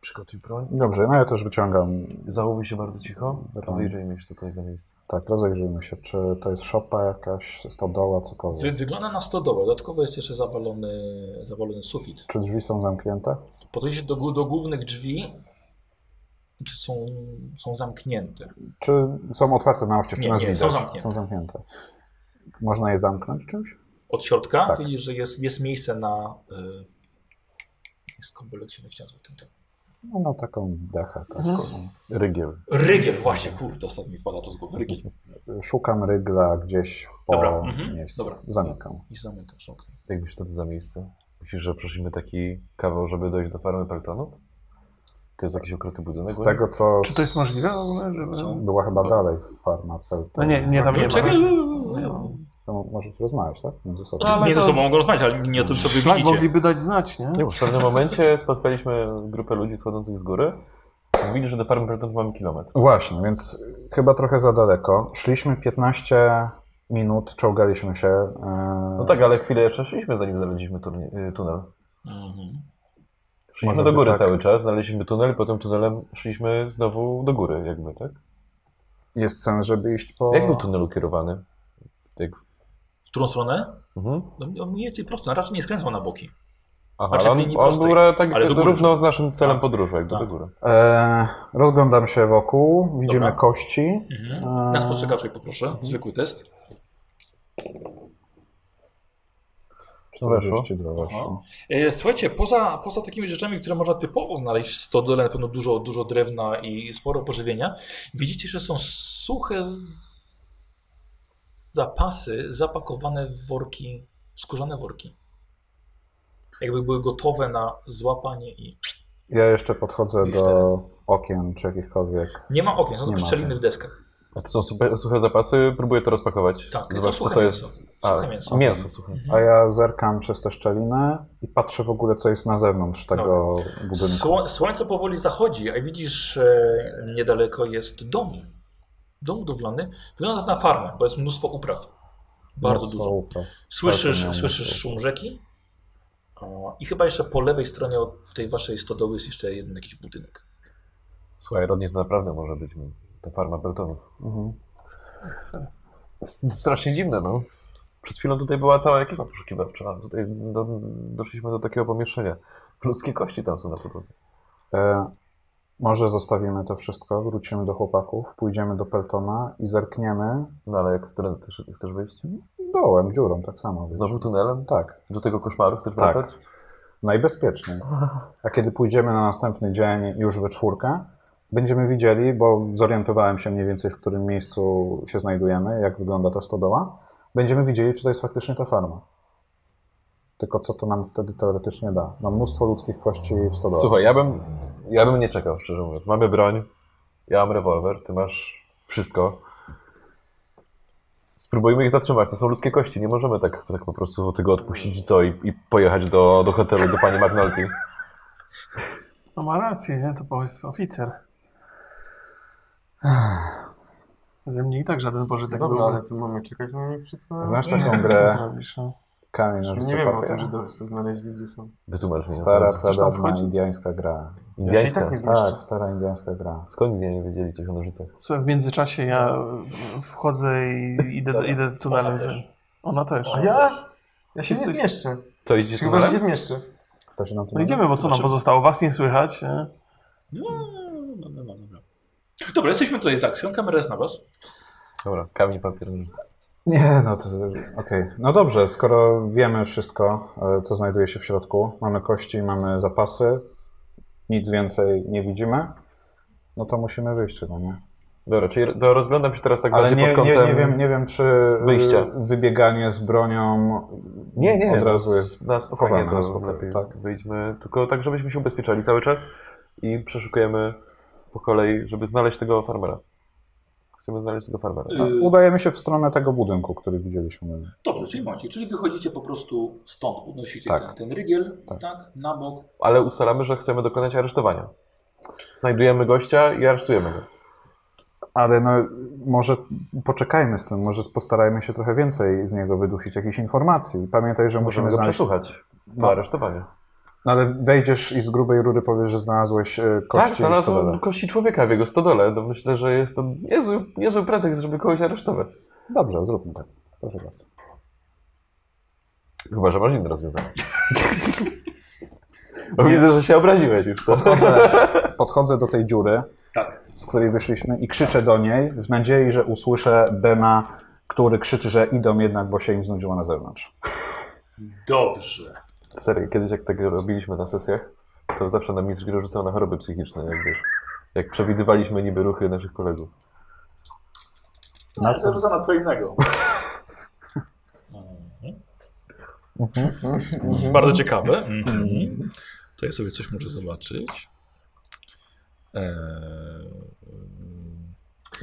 Przygotuj broń.
Dobrze, no ja też wyciągam.
Zachowuj się bardzo cicho.
Tak.
Rozejrzyjmy się, co to jest za miejsce.
Tak, rozejrzyjmy się, czy to jest szopa jakaś, stodoła,
Wy,
cokolwiek.
wygląda na stodołę, dodatkowo jest jeszcze zawalony, zawalony sufit.
Czy drzwi są zamknięte?
Podejście do, gó- do głównych drzwi czy są, są zamknięte.
Czy są otwarte na oścież, czy
Nie,
nas
nie,
widać?
są zamknięte.
Są zamknięte. Można je zamknąć czymś?
Od środka
Tak.
widzisz, że e, jest, jest miejsce na, y, skąd lecimy chciałem tym tak. tematem.
No, no taką dechę, taką
Mhm.
rygiel.
Rygiel, właśnie, kurde, ostatnio mi wpada to z głowy. Rygiel.
Szukam rygla gdzieś po
Dobra, mhm,
miejscu.
dobra.
Zamykam.
I zamykasz, okej.
Jakbyś co to za miejsce? Myślisz, że prosimy taki kawał, żeby dojść do farmy Peltonów? To jest jakiś ukryty budynek?
Z tego co...
Czy to jest możliwe w ogóle? Żeby...
Co?
Była chyba dalej farma Felton.
No nie, nie, tam nie
Czekaj,
ma. No
To mo- możecie rozmawiać, tak? Między sobą.
Ale
nie ze
to-
sobą mogą rozmawiać, ale nie o tym, co wy
Tak,
widzicie.
mogliby dać znać, nie?
Nie, bo w pewnym momencie spotkaliśmy grupę ludzi schodzących z góry. Mówili, że do farmy Peltonów mamy kilometr.
Właśnie, więc chyba trochę za daleko. Szliśmy 15 minut, czołgaliśmy się. e,
No tak, ale chwilę jeszcze szliśmy, zanim znaleźliśmy turnie- y, tunel.
Mhm.
Szliśmy
Może
do
by
góry
tak.
cały czas, znaleźliśmy tunel, potem tunelem szliśmy znowu do góry, jakby, tak?
Jest sens, żeby iść po...
Jak był tunel ukierowany? Tak.
W którą stronę?
Mhm.
No, Mniej prosto, raczej nie skręcał na boki.
Aha,
Znaczy,
ale on,
linii
on
prostej,
był ra- tak
ale do góry
równo z naszym celem
Tak.
podróży, jakby
Tak.
do góry.
E, rozglądam się wokół, widzimy
Dobra.
kości. E,
Mhm.
A.
Na spostrzegawczej poproszę,
Mhm.
zwykły test.
Co weszło?
42 weszło.
E, Słuchajcie, poza, poza takimi rzeczami, które można typowo znaleźć w stodole, na pewno dużo, dużo drewna i sporo pożywienia, widzicie, że są suche z- zapasy zapakowane w worki, skórzane worki. Jakby były gotowe na złapanie i...
Ja jeszcze podchodzę
I
do okien czy jakichkolwiek.
Nie ma okien, są
Nie
tylko
ma
szczeliny
okien.
w deskach.
A to są super, suche zapasy, próbuję to rozpakować.
Tak, to
Zobacz, co
suche mięso. Suche mięso.
Mięso suche.
A ja zerkam przez tę szczelinę i patrzę w ogóle, co jest na zewnątrz tego budynku.
Sło, słońce powoli zachodzi, a widzisz, e, niedaleko jest dom. Dom budowlany. Wygląda na farmę, bo jest mnóstwo upraw. Bardzo
Mocno
dużo.
upa.
Słyszysz,
Bardzo miło.
słyszysz szum rzeki. O, I chyba jeszcze po lewej stronie od tej waszej stodoły jest jeszcze jeden jakiś budynek.
Słuchaj, rodnie to naprawdę może być mi. Ta farma peltonów.
Mhm.
Strasznie dziwne, no. Przed chwilą tutaj była cała ekipa poszukiwawcza. a Tutaj do, doszliśmy do takiego pomieszczenia. Ludzkie kości tam są na podłodze.
E, może zostawimy to wszystko, wrócimy do chłopaków, pójdziemy do Peltona i zerkniemy
No ale jak którym ty chcesz- chcesz wyjść?
dołem, dziurą, tak samo. wiesz.
Znowu tunelem?
Tak,
Do tego koszmaru chcesz
Tak.
wracać?
[laughs]
najbezpieczniej. A kiedy pójdziemy na następny dzień już we czwórkę, będziemy widzieli, bo zorientowałem się mniej więcej, w którym miejscu się znajdujemy, jak wygląda ta stodoła, będziemy widzieli, czy to jest faktycznie ta farma. Tylko co to nam wtedy teoretycznie da? No mnóstwo ludzkich kości w stodole.
Słuchaj, ja bym, ja bym nie czekał, szczerze mówiąc. Mamy broń, ja mam rewolwer, ty masz wszystko. Spróbujmy ich zatrzymać, to są ludzkie kości, nie możemy tak, tak po prostu tego odpuścić i co i, i pojechać do, do hotelu do pani McNulty.
No ma rację, nie? To bo jest oficer. Ze mnie i tak żaden pożytek
Dobra,
był.
ale co mamy czekać na nich przed chwilą?
Znasz
Nie
taką
wiem, co
grę?
ty zrobisz, no.
Kamień,
Przecież
nożyce,
Nie wiemy o
papier.
tym, że dorsy znaleźli, gdzie są.
Wytłumacz mi. no
Stara,
co-
pradawna,
wchodzi?
indiańska gra.
Ja się i
Indiańska.
tak nie zmieszczę.
Tak, stara indiańska gra.
Skąd nie, nie wiedzieli coś o nożycach?
Słuchaj, w międzyczasie ja y, wchodzę i idę, idę
Ona
tunelem. Ona
też.
też. Ona też.
A ja? Ja się nie
Jesteś-
zmieszczę.
To idzie
Czy chyba, że
tunelem?
się zmieszczę?
Kto się na tym
No idziemy, bo co nam
Znaczy-
pozostało? Was nie słychać. nie?
No, dobra, dobra, dobra. Dobra, jesteśmy tutaj z akcją, kamera jest na was.
Dobra, kamień, papier, nożyce.
Nie, no to. Okej. No dobrze, skoro wiemy wszystko, e, co znajduje się w środku, mamy kości, mamy zapasy, nic więcej nie widzimy, no to musimy wyjść chyba, nie?
Dobra, czyli to rozglądam się teraz tak
Ale
bardziej
nie,
pod kątem...
nie, nie, wiem, nie wiem, czy e,
wyjścia.
wybieganie z bronią
Nie, nie, no
od razu jest.
Na spokojnie
chowane,
to
na spokojnie,
lepiej
tak.
wyjdźmy, tylko tak, żebyśmy się ubezpieczali cały czas i przeszukujemy po kolei, żeby znaleźć tego farmera. Chcemy znaleźć tego farmera.
Y,
No, Udajemy się w stronę tego budynku, który widzieliśmy.
Dobrze, czyli macie, czyli wychodzicie po prostu stąd, podnosicie
Tak.
ten, ten rygiel, tak.
Tak.
na bok.
Ale ustalamy, że chcemy dokonać aresztowania. Znajdujemy gościa i aresztujemy go.
Ale no, może poczekajmy z tym, może postarajmy się trochę więcej z niego wydusić, jakichś informacji. Pamiętaj, że
Musimy
musimy
go
znaleźć
przesłuchać po
No.
aresztowaniu.
No ale wejdziesz i z grubej rury powiesz, że znalazłeś e, kości
tak,
w
znalazłem
stodole.
kości człowieka w jego stodole. No myślę, że jest to niezły, niezły pretekst, żeby kogoś aresztować.
Dobrze, zróbmy tak. Proszę bardzo.
Chyba, że masz inne rozwiązanie. [laughs] Bo widzę, że się obraziłeś już. To. [laughs]
Podchodzę do tej dziury,
Tak.
z której wyszliśmy i krzyczę do niej w nadziei, że usłyszę Bena, który krzyczy, że idą jednak, bo się im znudziło na zewnątrz.
Dobrze.
Serio, kiedyś jak tak robiliśmy na sesjach, To zawsze na mistrz gry rzucał na choroby psychiczne, jak wiesz. Jak przewidywaliśmy niby ruchy naszych kolegów.
Na
No, Ale
co?
to rzuca na co innego.
Bardzo ciekawe. Mhm. To ja sobie coś muszę zobaczyć. Eee...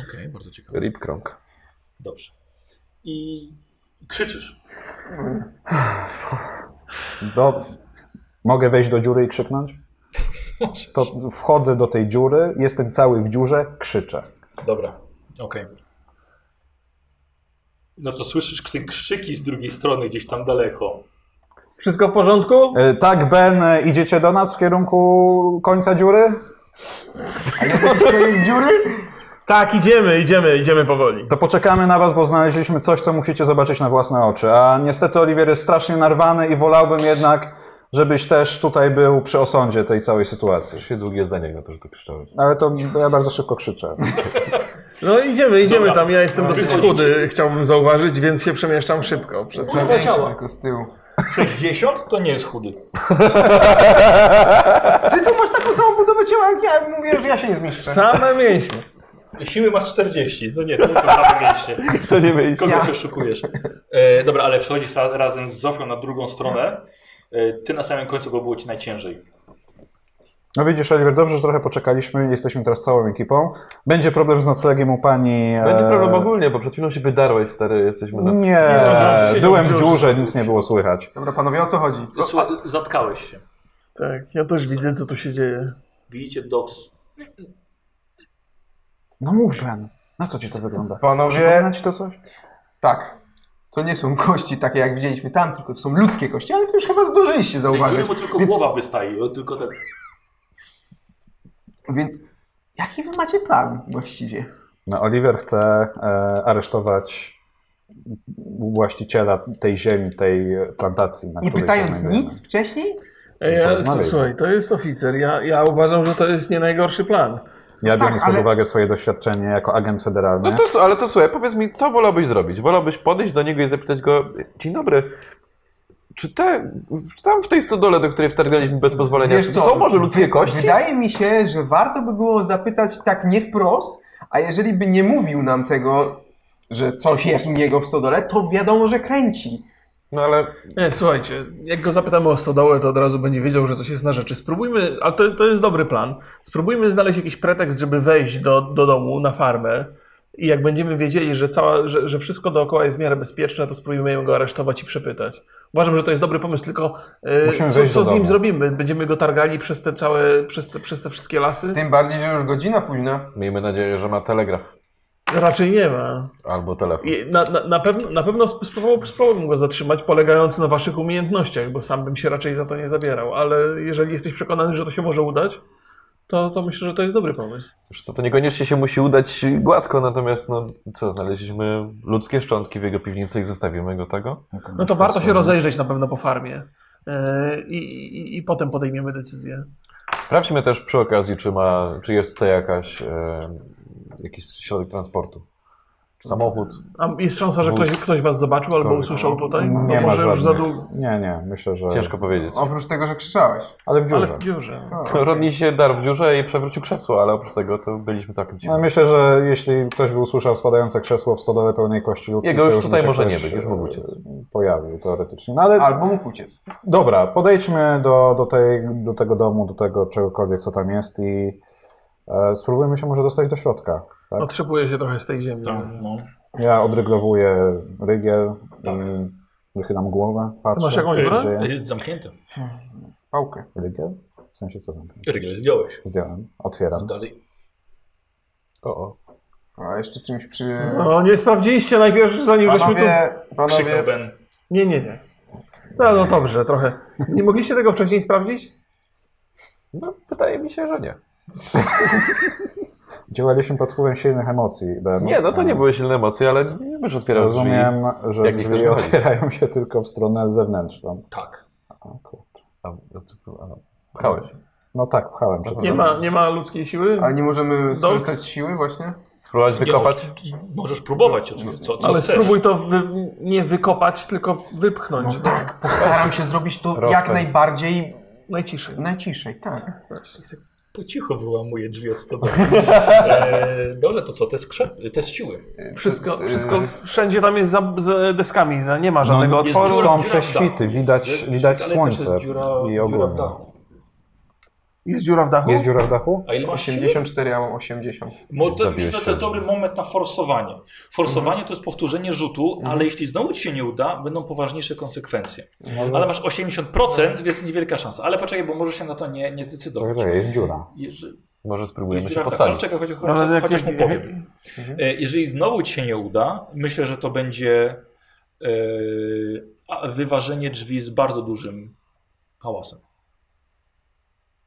Okej, bardzo ciekawe.
Rip krąg.
Dobrze.
I krzyczysz.
Do... Mogę wejść do dziury i krzyknąć? To wchodzę do tej dziury, jestem cały w dziurze, krzyczę.
Dobra, okej.
No to słyszysz k- krzyki z drugiej strony gdzieś tam daleko.
Wszystko w porządku?
E, Tak, Ben, e, idziecie do nas w kierunku końca dziury?
Tak, idziemy, idziemy, idziemy powoli.
To poczekamy na was, bo znaleźliśmy coś, co musicie zobaczyć na własne oczy. A niestety Oliwier jest strasznie narwany i wolałbym jednak, żebyś też tutaj był przy osądzie tej całej sytuacji.
Się długie zdanie na to, że to krzyczałeś.
Ale to ja bardzo szybko krzyczę.
No idziemy, idziemy
Dobra.
tam. Ja jestem dosyć chudy, chciałbym zauważyć, więc się przemieszczam szybko. Przez ten...
Większy tylko z tyłu.
60 to nie jest chudy.
Ty tu masz taką samą budowę ciała jak ja, mówię, że ja się nie zmieszczę.
Same mięśnie.
Siły masz 40, no nie, to nie są same mieście.
To nie wyjdzie.
Kogo się oszukujesz? E, dobra, ale przechodzisz ra razem z Zofią na drugą stronę. E, ty na samym końcu, bo było ci najciężej.
No widzisz, Oliwier, dobrze, że trochę poczekaliśmy. Jesteśmy teraz całą ekipą. Będzie problem z noclegiem u pani. e,
Będzie problem no, ogólnie, bo przed chwilą się wydarłeś, stary, jesteśmy na...
Nie, byłem w dziurze, nic nie było słychać.
Dobra, panowie, o co chodzi?
No,
Słuchaj, zatkałeś się.
Tak, ja też widzę, co tu się dzieje.
Widzicie doks.
No mów, Ben, na co ci to wygląda?
Panowie,
Przypomina ci to coś?
tak. To nie są kości takie, jak widzieliśmy tam, tylko to są ludzkie kości, ale to już chyba zdążyliście
Widzicie,
zauważyć.
bo tylko
Więc-
głowa wystaje, bo tylko tak.
Więc jaki wy macie plan właściwie?
No, Oliver chce e, aresztować właściciela tej ziemi, tej plantacji, na
Nie
której się
pytając
znajdujemy.
nic wcześniej?
Ej, Ja,
porozmawiaj.
słuchaj, to jest oficer. Ja, ja uważam, że to jest nie najgorszy plan.
Ja
No tak,
biorąc pod
ale-
uwagę swoje doświadczenie jako agent federalny,
No to, s- ale to słuchaj, powiedz mi, co wolałbyś zrobić? Wolałbyś podejść do niego i zapytać go, dzień dobry, czy, te, czy tam w tej stodole, do której wtargnęliśmy bez pozwolenia, czy są może ludzkie kości?
Wydaje mi się, że warto by było zapytać tak nie wprost, a jeżeli by nie mówił nam tego, że coś jest u niego w stodole, to wiadomo, że kręci.
[laughs] No ale
Nie, E, słuchajcie, jak go zapytamy o stodołę, to od razu będzie wiedział, że coś jest na rzeczy. Spróbujmy, a to, to jest dobry plan, spróbujmy znaleźć jakiś pretekst, żeby wejść do, do domu na farmę i jak będziemy wiedzieli, że, cała, że, że wszystko dookoła jest w miarę bezpieczne, to spróbujemy go aresztować i przepytać. Uważam, że to jest dobry pomysł, tylko e,
Musimy
co,
wejść
co
do
z nim
domu.
zrobimy? Będziemy go targali przez te całe, przez te, przez te wszystkie lasy?
Tym bardziej, że już godzina późna.
miejmy nadzieję, że ma telegraf
Raczej nie ma.
albo telefon.
I Na, na, na pewno, na pewno sp- spróbował- spróbowałbym go zatrzymać, polegając na waszych umiejętnościach, bo sam bym się raczej za to nie zabierał. Ale jeżeli jesteś przekonany, że to się może udać, to, to myślę, że to jest dobry pomysł.
Wiesz co, to niekoniecznie się musi udać gładko, natomiast no co, znaleźliśmy ludzkie szczątki w jego piwnicy i zostawimy go tego?
No to warto się rozejrzeć na pewno po farmie. Yy, I, i, I potem podejmiemy decyzję.
Sprawdźmy też przy okazji, czy, ma, czy jest tutaj jakaś, e, jakiś środek transportu. Samochód.
A jest szansa, że ktoś, ktoś was zobaczył albo usłyszał tutaj? Bo
nie ma
może już za
żadnych.
długo.
Nie, nie, myślę, że...
Ciężko powiedzieć.
Oprócz tego, że krzyczałeś. No.
Ale w dziurze. Tak.
Ale w dziurze.
O, okej.
Rodni się dar w dziurze i przewrócił krzesło, ale oprócz tego to byliśmy całkiem
No,
cicho.
myślę, że jeśli ktoś by usłyszał spadające krzesło w stodole pełnej kości ludzkiej,
Jego
to
już tutaj
by się
może
ktoś,
nie być, już mógł uciec.
e, Pojawił teoretycznie. No, ale
Albo mógł uciec.
dobra, podejdźmy do, do, tej, do tego domu, do tego czegokolwiek, co tam jest i e, spróbujmy się może dostać do środka. Tak?
Otrzepuję się trochę z tej ziemi.
Tak, no.
Ja odryglowuję rygiel
Tak.
i wychylam głowę, patrzę.
masz jakąś
co się
broń?
dzieje.
Jest zamknięte.
Pałkę.
Rygiel? W sensie co zamknę?
Rygiel zdjąłeś.
Zdjąłem,
No
otwieram.
Dalej.
O, o.
A jeszcze czymś przy...
No, nie sprawdziliście najpierw, zanim żeśmy tu
Panowie,
Krzyknął
panowie,
Ben.
Nie, nie, nie. No, no dobrze, trochę. Nie mogliście tego wcześniej sprawdzić?
No, wydaje mi się, że nie.
Działaliśmy pod wpływem silnych emocji. Ben.
Nie, no to nie były silne emocje, ale nie będziesz otwierał drzwi.
Rozumiem, że
Jak nie chcesz
drzwi
wychodzić.
otwierają się tylko w stronę zewnętrzną.
Tak.
O kurczę.
A, no, to- a, Pchałeś.
No tak, pchałem przed
Nie ma, nie ma ludzkiej siły?
a nie możemy
Dogs.
skorzystać z siły właśnie?
Spróbowałeś wykopać?
Nie, no, możesz próbować oczywiście. Co, co
Ale
chcesz?
spróbuj to wy, nie wykopać, tylko wypchnąć.
No tak. Postaram się zrobić to jak
Rozpęd.
najbardziej
Najciszej.
Najciszej, tak.
Po cichu wyłamuje drzwi od
[laughs]
stodoły. E, dobrze, to co? Te, skrzep, te z siły.
Wszystko,
Yy,
wszystko wszędzie tam jest za, za deskami, za, nie ma żadnego
No,
otworu.
dziura,
są
dziura w
prześwity,
dachu.
widać,
Jest-
widać
ale też jest
słońce
dziura-
i
dziura w
ogólnie.
dachu.
Jest dziura w dachu?
Jest dziura w dachu?
A ile masz siły?
84, ja mam 80.
Mo, to,
Zabiłeś Mhm.
myślę, że to jest
wtedy.
dobry moment na forsowanie. Forsowanie to jest powtórzenie rzutu,
Mhm.
ale jeśli znowu ci się nie uda, będą poważniejsze konsekwencje.
No,
Ale masz 80%, więc niewielka szansa. Ale poczekaj, bo możesz się na to nie, nie
Tak,
decydować.
tak, jest dziura.
Jeżeli,
Może spróbujemy
jeżeli,
się
tak, ale
posadzić.
czekaj, choć,
No, Ale jak-
chociaż mu
jak-
powiem.
Mhm.
E, Jeżeli znowu ci się nie uda, myślę, że to będzie e, a- wyważenie drzwi z bardzo dużym hałasem.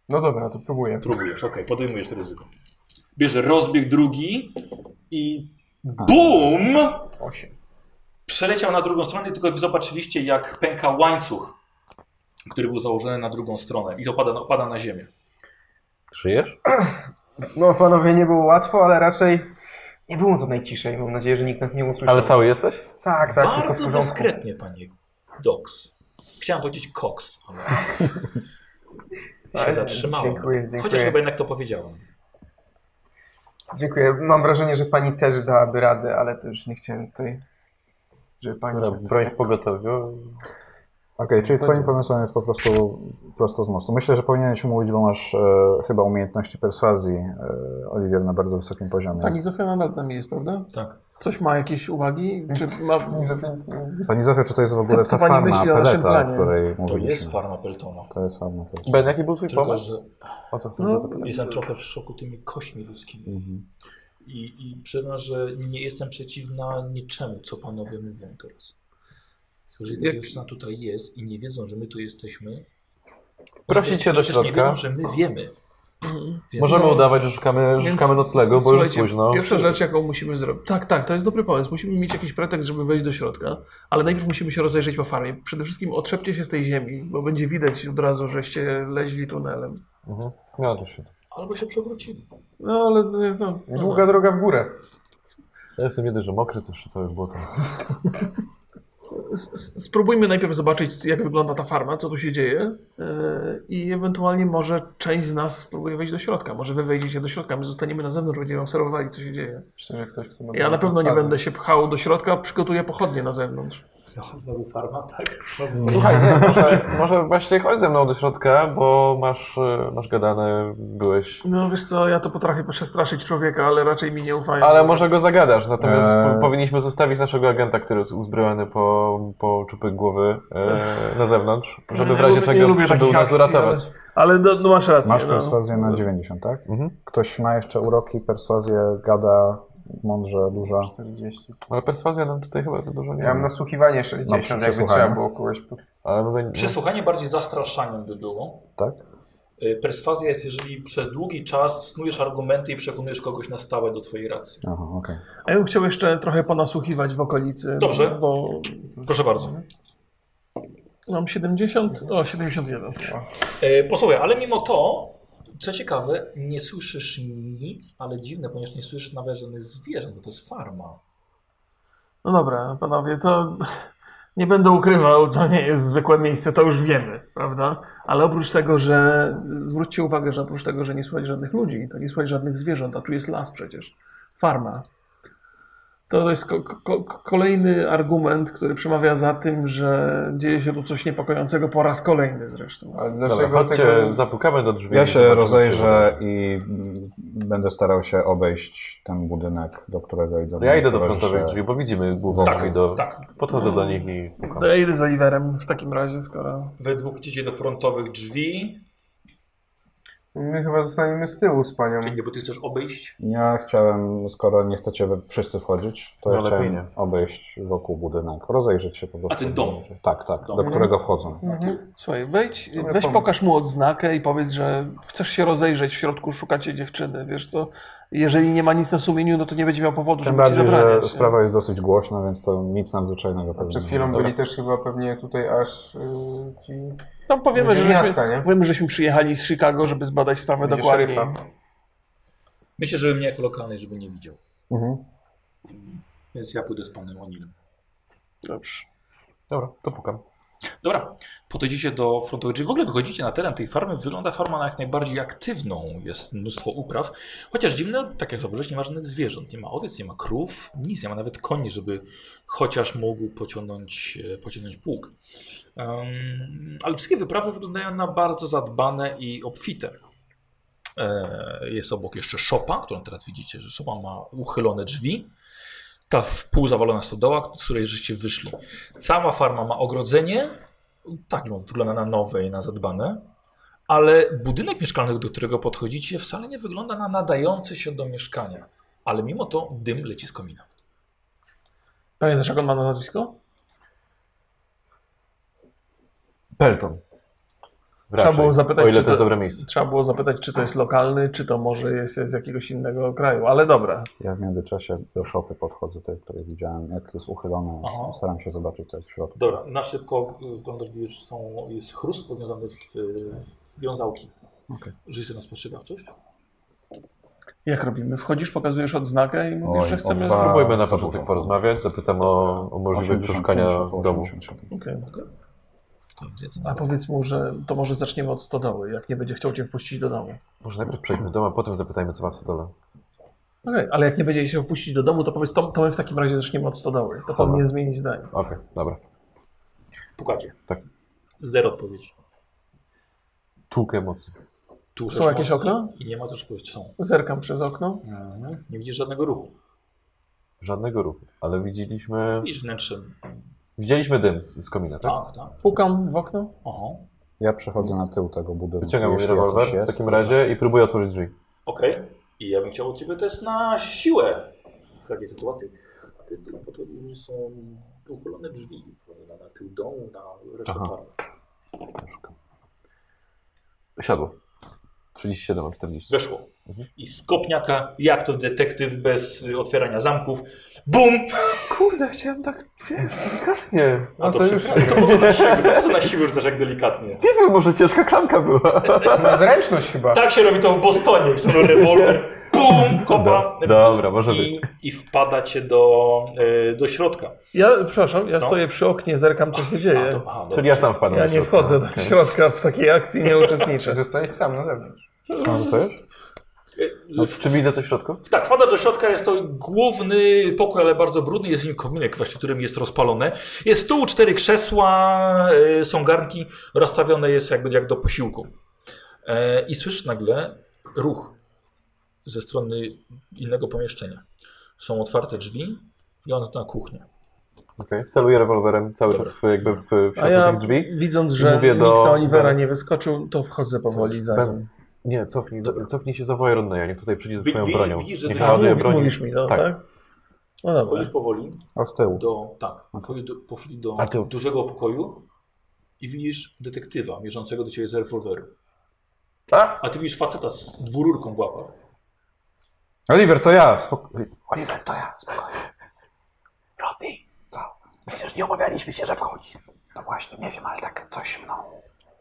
No dobra, to próbuję.
Próbujesz, okej, podejmujesz to ryzyko. Bierzesz rozbieg drugi i BUM!
8.
przeleciał na drugą stronę, i tylko zobaczyliście, jak pęka łańcuch, który był założony na drugą stronę i opada, opada na ziemię.
Żyjesz?
No panowie, nie było łatwo, ale raczej nie było to najciszej. Mam nadzieję, że nikt nas nie usłyszał.
Ale cały jesteś?
Tak, tak, wszystko w
Bardzo
porządku.
dyskretnie, panie Dox. Chciałem powiedzieć Cox, ale się
Ale-
zatrzymałem.
Dziękuję, dziękuję.
Chociaż chyba jednak to powiedziałem.
Dziękuję. Mam wrażenie, że pani też dałaby radę, ale to już nie chciałem tutaj, żeby pani...
Dobra, No, broń w pogotowiu.
Okej, czyli twoim pomysłem jest po prostu prosto z mostu. Myślę, że powinieneś mówić, bo masz e, chyba umiejętności perswazji, e, Oliwier, na bardzo wysokim poziomie.
Pani Tak, Zofia nadal tam jest, prawda?
Tak.
Coś ma jakieś uwagi? Czy ma...
Nie zapamiętam.
Pani Zofia, czy to jest w ogóle
Co- co
ta
pani
farma
myśli o naszym
Peleta, o
planie?
której
To
mówiliśmy?
jest farma Peltona.
To jest farma Peleta.
Ben, jaki był twój
Tylko,
pomysł?
że
O co chcesz
No,
zapytać?
jestem trochę w szoku tymi kośćmi ludzkimi.
Mhm.
I, i przyznam, że nie jestem przeciwna niczemu, co panowie mówią teraz. Jeżeli ta
Jak-
dziewczyna tutaj jest i nie wiedzą, że my tu jesteśmy,
Prosić
Chociaż-
się do
chociaż nie
środka.
wiedzą, że my wiemy. Więc
Możemy udawać, że szukamy,
Więc-
szukamy noclegu, bo już jest
Słuchajcie,
późno.
Pierwsza rzecz, jaką musimy zrobić. Tak, tak, to jest dobry pomysł. Musimy mieć jakiś pretekst, żeby wejść do środka, ale najpierw musimy się rozejrzeć po farmie. Przede wszystkim otrzepcie się z tej ziemi, bo będzie widać od razu, żeście leźli tunelem.
Mhm. No, to się.
Albo się przewrócili.
No ale no, no,
Długa droga w górę.
Ja jestem jeden, że mokry, to jeszcze całe błoto.
S- s- spróbujmy najpierw zobaczyć, jak wygląda ta farma, co tu się dzieje yy, i ewentualnie może część z nas spróbuje wejść do środka. Może wy wejdziecie do środka, my zostaniemy na zewnątrz, będziemy obserwowali, co się dzieje.
Myślę, że ktoś, kto ma
Ja na pewno nie
fazę.
będę się pchał do środka, przygotuję pochodnie na zewnątrz.
Znowu, No, znowu farma, tak?
Słuchaj, nie, może, może właśnie chodź ze mną do środka, bo masz, e, masz gadane, byłeś.
No wiesz co, ja to potrafię przestraszyć człowieka, ale raczej mi nie ufają.
Ale może go zagadasz, natomiast
Eee.
po- powinniśmy zostawić naszego agenta, który jest uzbrojony po, po czupy głowy e, na zewnątrz, żeby
Ja
w razie
lubię- nie
czego
lubię
przybył
takich
nas
akcji,
uratować.
Ale no, no masz rację.
Masz
no.
perswazję na 90, tak?
Mhm.
Ktoś ma jeszcze uroki, perswazję, gada, mądrze, duża.
40.
Ale perswazja nam tutaj chyba za dużo nie
Ja mam
da.
nasłuchiwanie
No,
60, jakby
przesłuchanie.
trzeba było kogoś... po-
Ale mówię, no,
Przesłuchanie bardziej zastraszaniem by było.
Tak.
Y, Perswazja jest, jeżeli przez długi czas snujesz argumenty i przekonujesz kogoś na stałe do twojej racji.
Aha, okej.
A ja bym chciał jeszcze trochę ponasłuchiwać w okolicy. no,
Dobrze.
Bo
Proszę bardzo.
mam 70, o 71.
E, Posłuchaj, ale mimo to, co ciekawe, nie słyszysz nic, ale dziwne, ponieważ nie słyszysz nawet żadnych zwierząt, bo to jest farma.
No dobra, panowie, to nie będę ukrywał, to nie jest zwykłe miejsce, to już wiemy, prawda?
Ale oprócz tego, że zwróćcie uwagę, że oprócz tego, że nie słychać żadnych ludzi, to nie słychać żadnych zwierząt, a tu jest las przecież, farma. To jest ko- ko- ko- kolejny argument, który przemawia za tym, że dzieje się tu coś niepokojącego po raz kolejny zresztą.
Ale
Dobra,
dlaczego
chodźcie,
tego...
zapukamy do drzwi.
Ja
i
się
zobaczymy,
rozejrzę i mm, będę starał się obejść ten budynek, do którego idą.
co- Ja idę do
towarzysze.
frontowej drzwi, bo widzimy głową tak, do...
tak.
Podchodzę do nich i pukam.
To ja idę z Oliverem w takim razie, skoro...
Wy dwóch idziecie do frontowych drzwi,
My chyba zostaniemy z tyłu z panią.
czyli nie, bo ty chcesz obejść.
Ja chciałem, skoro nie chcecie wy wszyscy wchodzić, to
No
ja
lepiej
chciałem
nie.
obejść wokół budynku, rozejrzeć się po prostu.
A ten dom?
Tak,
Dom.
tak,
Mhm.
do którego wchodzą.
Mhm. Słuchaj, wejdź,
Dobra,
weź
pomysł.
pokaż mu odznakę i powiedz, że chcesz się rozejrzeć w środku, szukacie dziewczyny, wiesz, to jeżeli nie ma nic na sumieniu, no to nie będzie miał powodu,
Tym
żeby ci
bardziej, że
zabraniać. nie?
E, sprawa jest dosyć głośna, więc to nic nadzwyczajnego pewnie. no
Przed
nie
chwilą
będzie.
byli też chyba pewnie tutaj aż yy, ci...
No powiemy,
ludzie
że
z
miasta,
miasta, nie?
powiemy, żeśmy przyjechali z Chicago, żeby zbadać
No
sprawę
Będzie
dokładnie.
szeryfa.
Myślę, żeby mnie jako lokalny, żeby nie widział.
Mhm.
Więc ja pójdę z panem Onilem.
Dobrze.
Dobra, to pukam.
Dobra, podejdziecie do frontowej drzwi. W ogóle wychodzicie na teren tej farmy. Wygląda farma na jak najbardziej aktywną. Jest mnóstwo upraw. Chociaż dziwne, tak jak zauważyłeś, nie ma żadnych zwierząt. Nie ma owiec, nie ma krów, nic. Nie ma nawet koni, żeby chociaż mógł pociągnąć, e, pociągnąć pług. Em, ale wszystkie wyprawy wyglądają na bardzo zadbane i obfite. E, Jest obok jeszcze szopa, którą teraz widzicie, że szopa ma uchylone drzwi. Ta w pół zawalona stodoła, z której żeście wyszli. Cała farma ma ogrodzenie, tak no, wygląda na nowe i na zadbane, ale budynek mieszkalny, do którego podchodzicie, wcale nie wygląda na nadający się do mieszkania. Ale mimo to dym leci z komina.
Pamiętasz, jak on ma na nazwisko?
Pelton.
Trzeba było zapytać,
o ile
czy
to jest
to-
dobre miejsce.
Trzeba było zapytać, czy to jest lokalny, czy to może jest z jakiegoś innego kraju, ale dobra.
Ja w międzyczasie do szopy podchodzę, tej, której widziałem, jak jest uchylone.
Aha.
Staram się zobaczyć, co jest w środku.
Dobra, na szybko y, wyglądasz, widzisz, są, jest chrust powiązany w, y, w wiązałki.
Okej.
Żyj sobie na spostrzegawczość.
Jak robimy? Wchodzisz, pokazujesz odznakę i mówisz,
Oj,
że chcemy...
odwa-
Dwa...
Spróbujmy na
co
początek
było?
porozmawiać, zapytam o, o możliwość
85
przeszukania
albo
domu.
87.
To jest jedzenie.
A powiedz mu, że to może zaczniemy od stodoły, jak nie będzie chciał cię wpuścić do domu.
Może najpierw przejdźmy do domu, a potem zapytajmy, co ma w stodole.
Okej, ale jak nie będzie się wpuścić do domu, to powiedz, to, to my w takim razie zaczniemy od stodoły. To powinien zmienić zdanie.
Okej, dobra.
Pukacie.
Tak.
Zero odpowiedzi.
Tłuk emocji.
Tu też
Są jakieś
ma-
okna?
I nie ma też odpowiedzi. Są.
Zerkam przez okno.
Nie widzisz żadnego ruchu.
Żadnego ruchu, ale widzieliśmy...
Widzisz wnętrzem.
Widzieliśmy dym z, z komina, tak?
Tak, tak.
Pukam w okno.
Aha.
Ja przechodzę na tył tego budynku.
Wyciągam mój
Jeśli jakiś
rewolwer w
jest,
takim
to
razie i próbuję otworzyć drzwi.
Okej. I ja bym chciał od ciebie test na siłę w takiej sytuacji. To jest tylko po to, że są uchylone drzwi na, na tył domu, na resztę
Aha.
farmy.
Siadło. 37 a 40.
Weszło.
Mhm.
I z kopniaka, jak to detektyw bez y, otwierania zamków, bum!
Kurde, chciałem tak... No Kasnie.
A to, to, to po co na siłę, to po co na siłę, że też jak delikatnie.
Nie wiem, może ciężka klamka była.
To na zręczność chyba.
Tak się robi to w Bostonie, że to rewolwer, bum, kopa.
Do- dobra, może
I, i wpada cię do, y, do środka.
Ja, przepraszam, ja
No.
stoję przy oknie, zerkam, co się
A,
dzieje.
to, aha,
[laughs] Czyli ja sam wpadłem
Ja
do
nie
środka.
wchodzę do
no Okej.
środka w takiej akcji, nie uczestniczę.
Zostałeś sam na zewnątrz.
A, co jest? No,
dobra.
czy widzę coś w środku?
Tak, wpada do środka, jest to główny pokój, ale bardzo brudny, jest w nim kominek, właśnie, którym jest rozpalone. Jest stół, cztery krzesła, y, są garnki, rozstawione jest jakby jak do posiłku. E, I słyszysz nagle ruch ze strony innego pomieszczenia. Są otwarte drzwi, wygląda to na kuchnię.
Okej. Celuję rewolwerem cały czas w, jakby w, w środku
A ja,
tych drzwi.
widząc, że
Mówię
nikt
do-
na Olivera
do-
nie wyskoczył, to wchodzę powoli za
Ben,
nim.
nie, cofnij, za- cofnij się, zawołaj Rodneya, niech tutaj przyjdzie ze
Wi-
swoją
wi-
bronią.
widzisz, że
niech
to-
ładuje
Mów,
broni.
mówisz mi, no,
Tak.
tak? No dobra.
Wchodzisz powoli
Od tyłu.
do, tak, wchodzisz do, po chwili do
A tył.
dużego pokoju i widzisz detektywa mierzącego do ciebie z rewolweru.
A?
A ty widzisz faceta z dwururką w łapach.
Oliver, to ja! Spok-
Oliver, to ja, spokojnie. Rodney, co? Przecież nie omawialiśmy się, że wchodzi. No właśnie, nie wiem, ale tak coś mną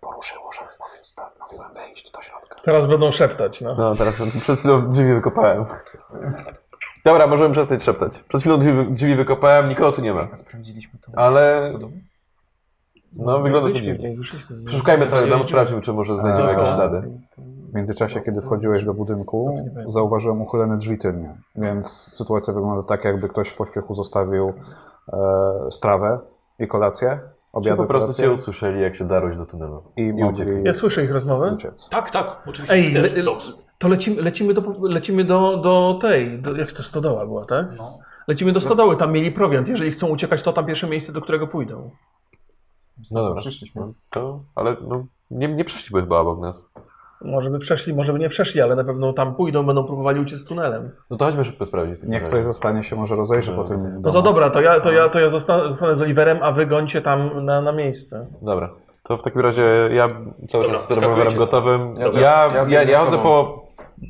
poruszyło, że postanowiłem wejść do środka.
Teraz będą szeptać, no.
No, teraz przed chwilą drzwi wykopałem. Dobra, możemy przestać szeptać. Przed chwilą drzwi, drzwi wykopałem, nikogo tu nie ma.
Sprawdziliśmy to.
Ale,
Stodoły?
no, wygląda to
Byliśmy w
dziwnie.
niej, wyszliśmy z niej.
Przeszukajmy cały dom, sprawdźmy, czy może znajdziemy jakieś
Dobra.
ślady.
W międzyczasie, kiedy wchodziłeś do budynku, zauważyłem uchylone drzwi tylnie, więc sytuacja wygląda tak, jakby ktoś w pośpiechu zostawił e, strawę i kolację,
Czy
obiad
po prostu cię usłyszeli, jak się darłeś do tunelu.
i mogli
Ja słyszę ich rozmowę.
uciec.
Tak, tak, oczywiście
Ej,
Ej, też.
le-
Dobrze.
To lecimy, lecimy, do, lecimy do, do tej, do, jak to stodoła była, tak?
No.
Lecimy do stodoły, tam mieli prowiant. Jeżeli chcą uciekać, to tam pierwsze miejsce, do którego pójdą.
No dobra. No, to, ale no, nie, nie przeszliby chyba obok nas.
Może by przeszli, może by nie przeszli, ale na pewno tam pójdą, będą próbowali uciec tunelem.
No to chodźmy szybko sprawdzić. w takim
Niech
razie.
ktoś zostanie się może rozejrzy po tym
No to
domu.
dobra, to
Tak.
ja, to ja, to ja zosta- zostanę z Oliverem, a wy gońcie tam na, na miejsce.
Dobra. To w takim razie ja cały
Dobra,
czas z rewolwerem
wskakujecie.
gotowym. Ja,
Dobra.
ja,
Ja
ja,
biegnę z
chodzę
tobą.
po,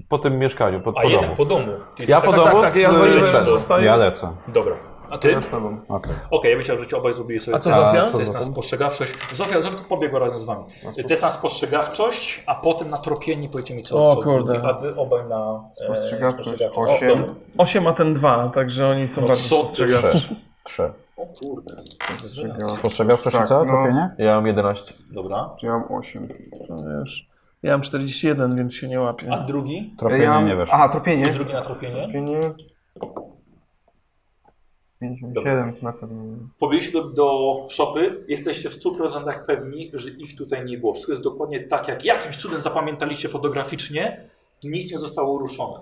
po tym mieszkaniu, po,
A
po domu.
jednak po domu. Ty-
Ja
ty
po
tak-
domu
tak,
z
tak,
y, No
ja
Leśem.
z-
Ja lecę.
Dobra. A ty?
Ja
Okej,
z tobą.
Okej.
ja bym chciał, żebyście obaj zrobili sobie
A co
test.
Zofia?
To jest na spostrzegawczość. Zofia, Zofia pobiegła razem z wami. Test na spostrzegawczość, a potem na tropienie powiecie mi co.
O,
co
kurde.
zrobi, A wy obaj na e,
Spostrzegawczość
O,
osiem.
dobra.
Osiem ma ten dwa, także oni są
No
bardziej
co ty
spostrzegawczy.
Trzy. Trzy.
O kurde.
Spostrzegał wcześniej
Tak,
całe
no.
trafienie?
Ja mam 11.
Dobra.
Czy ja mam 8?
No wiesz. Ja mam 41, więc się nie łapię.
A drugi?
Tropienie
ja mam...
nie weszło.
Aha, tropienie.
Drugi na tropienie?
Tropienie. 57 to na pewno. nie.
Pobiegliście do, do szopy, jesteście w 100% pewni, że ich tutaj nie było. Wszystko jest dokładnie tak, jak jakimś cudem zapamiętaliście fotograficznie. Nic nie zostało ruszone.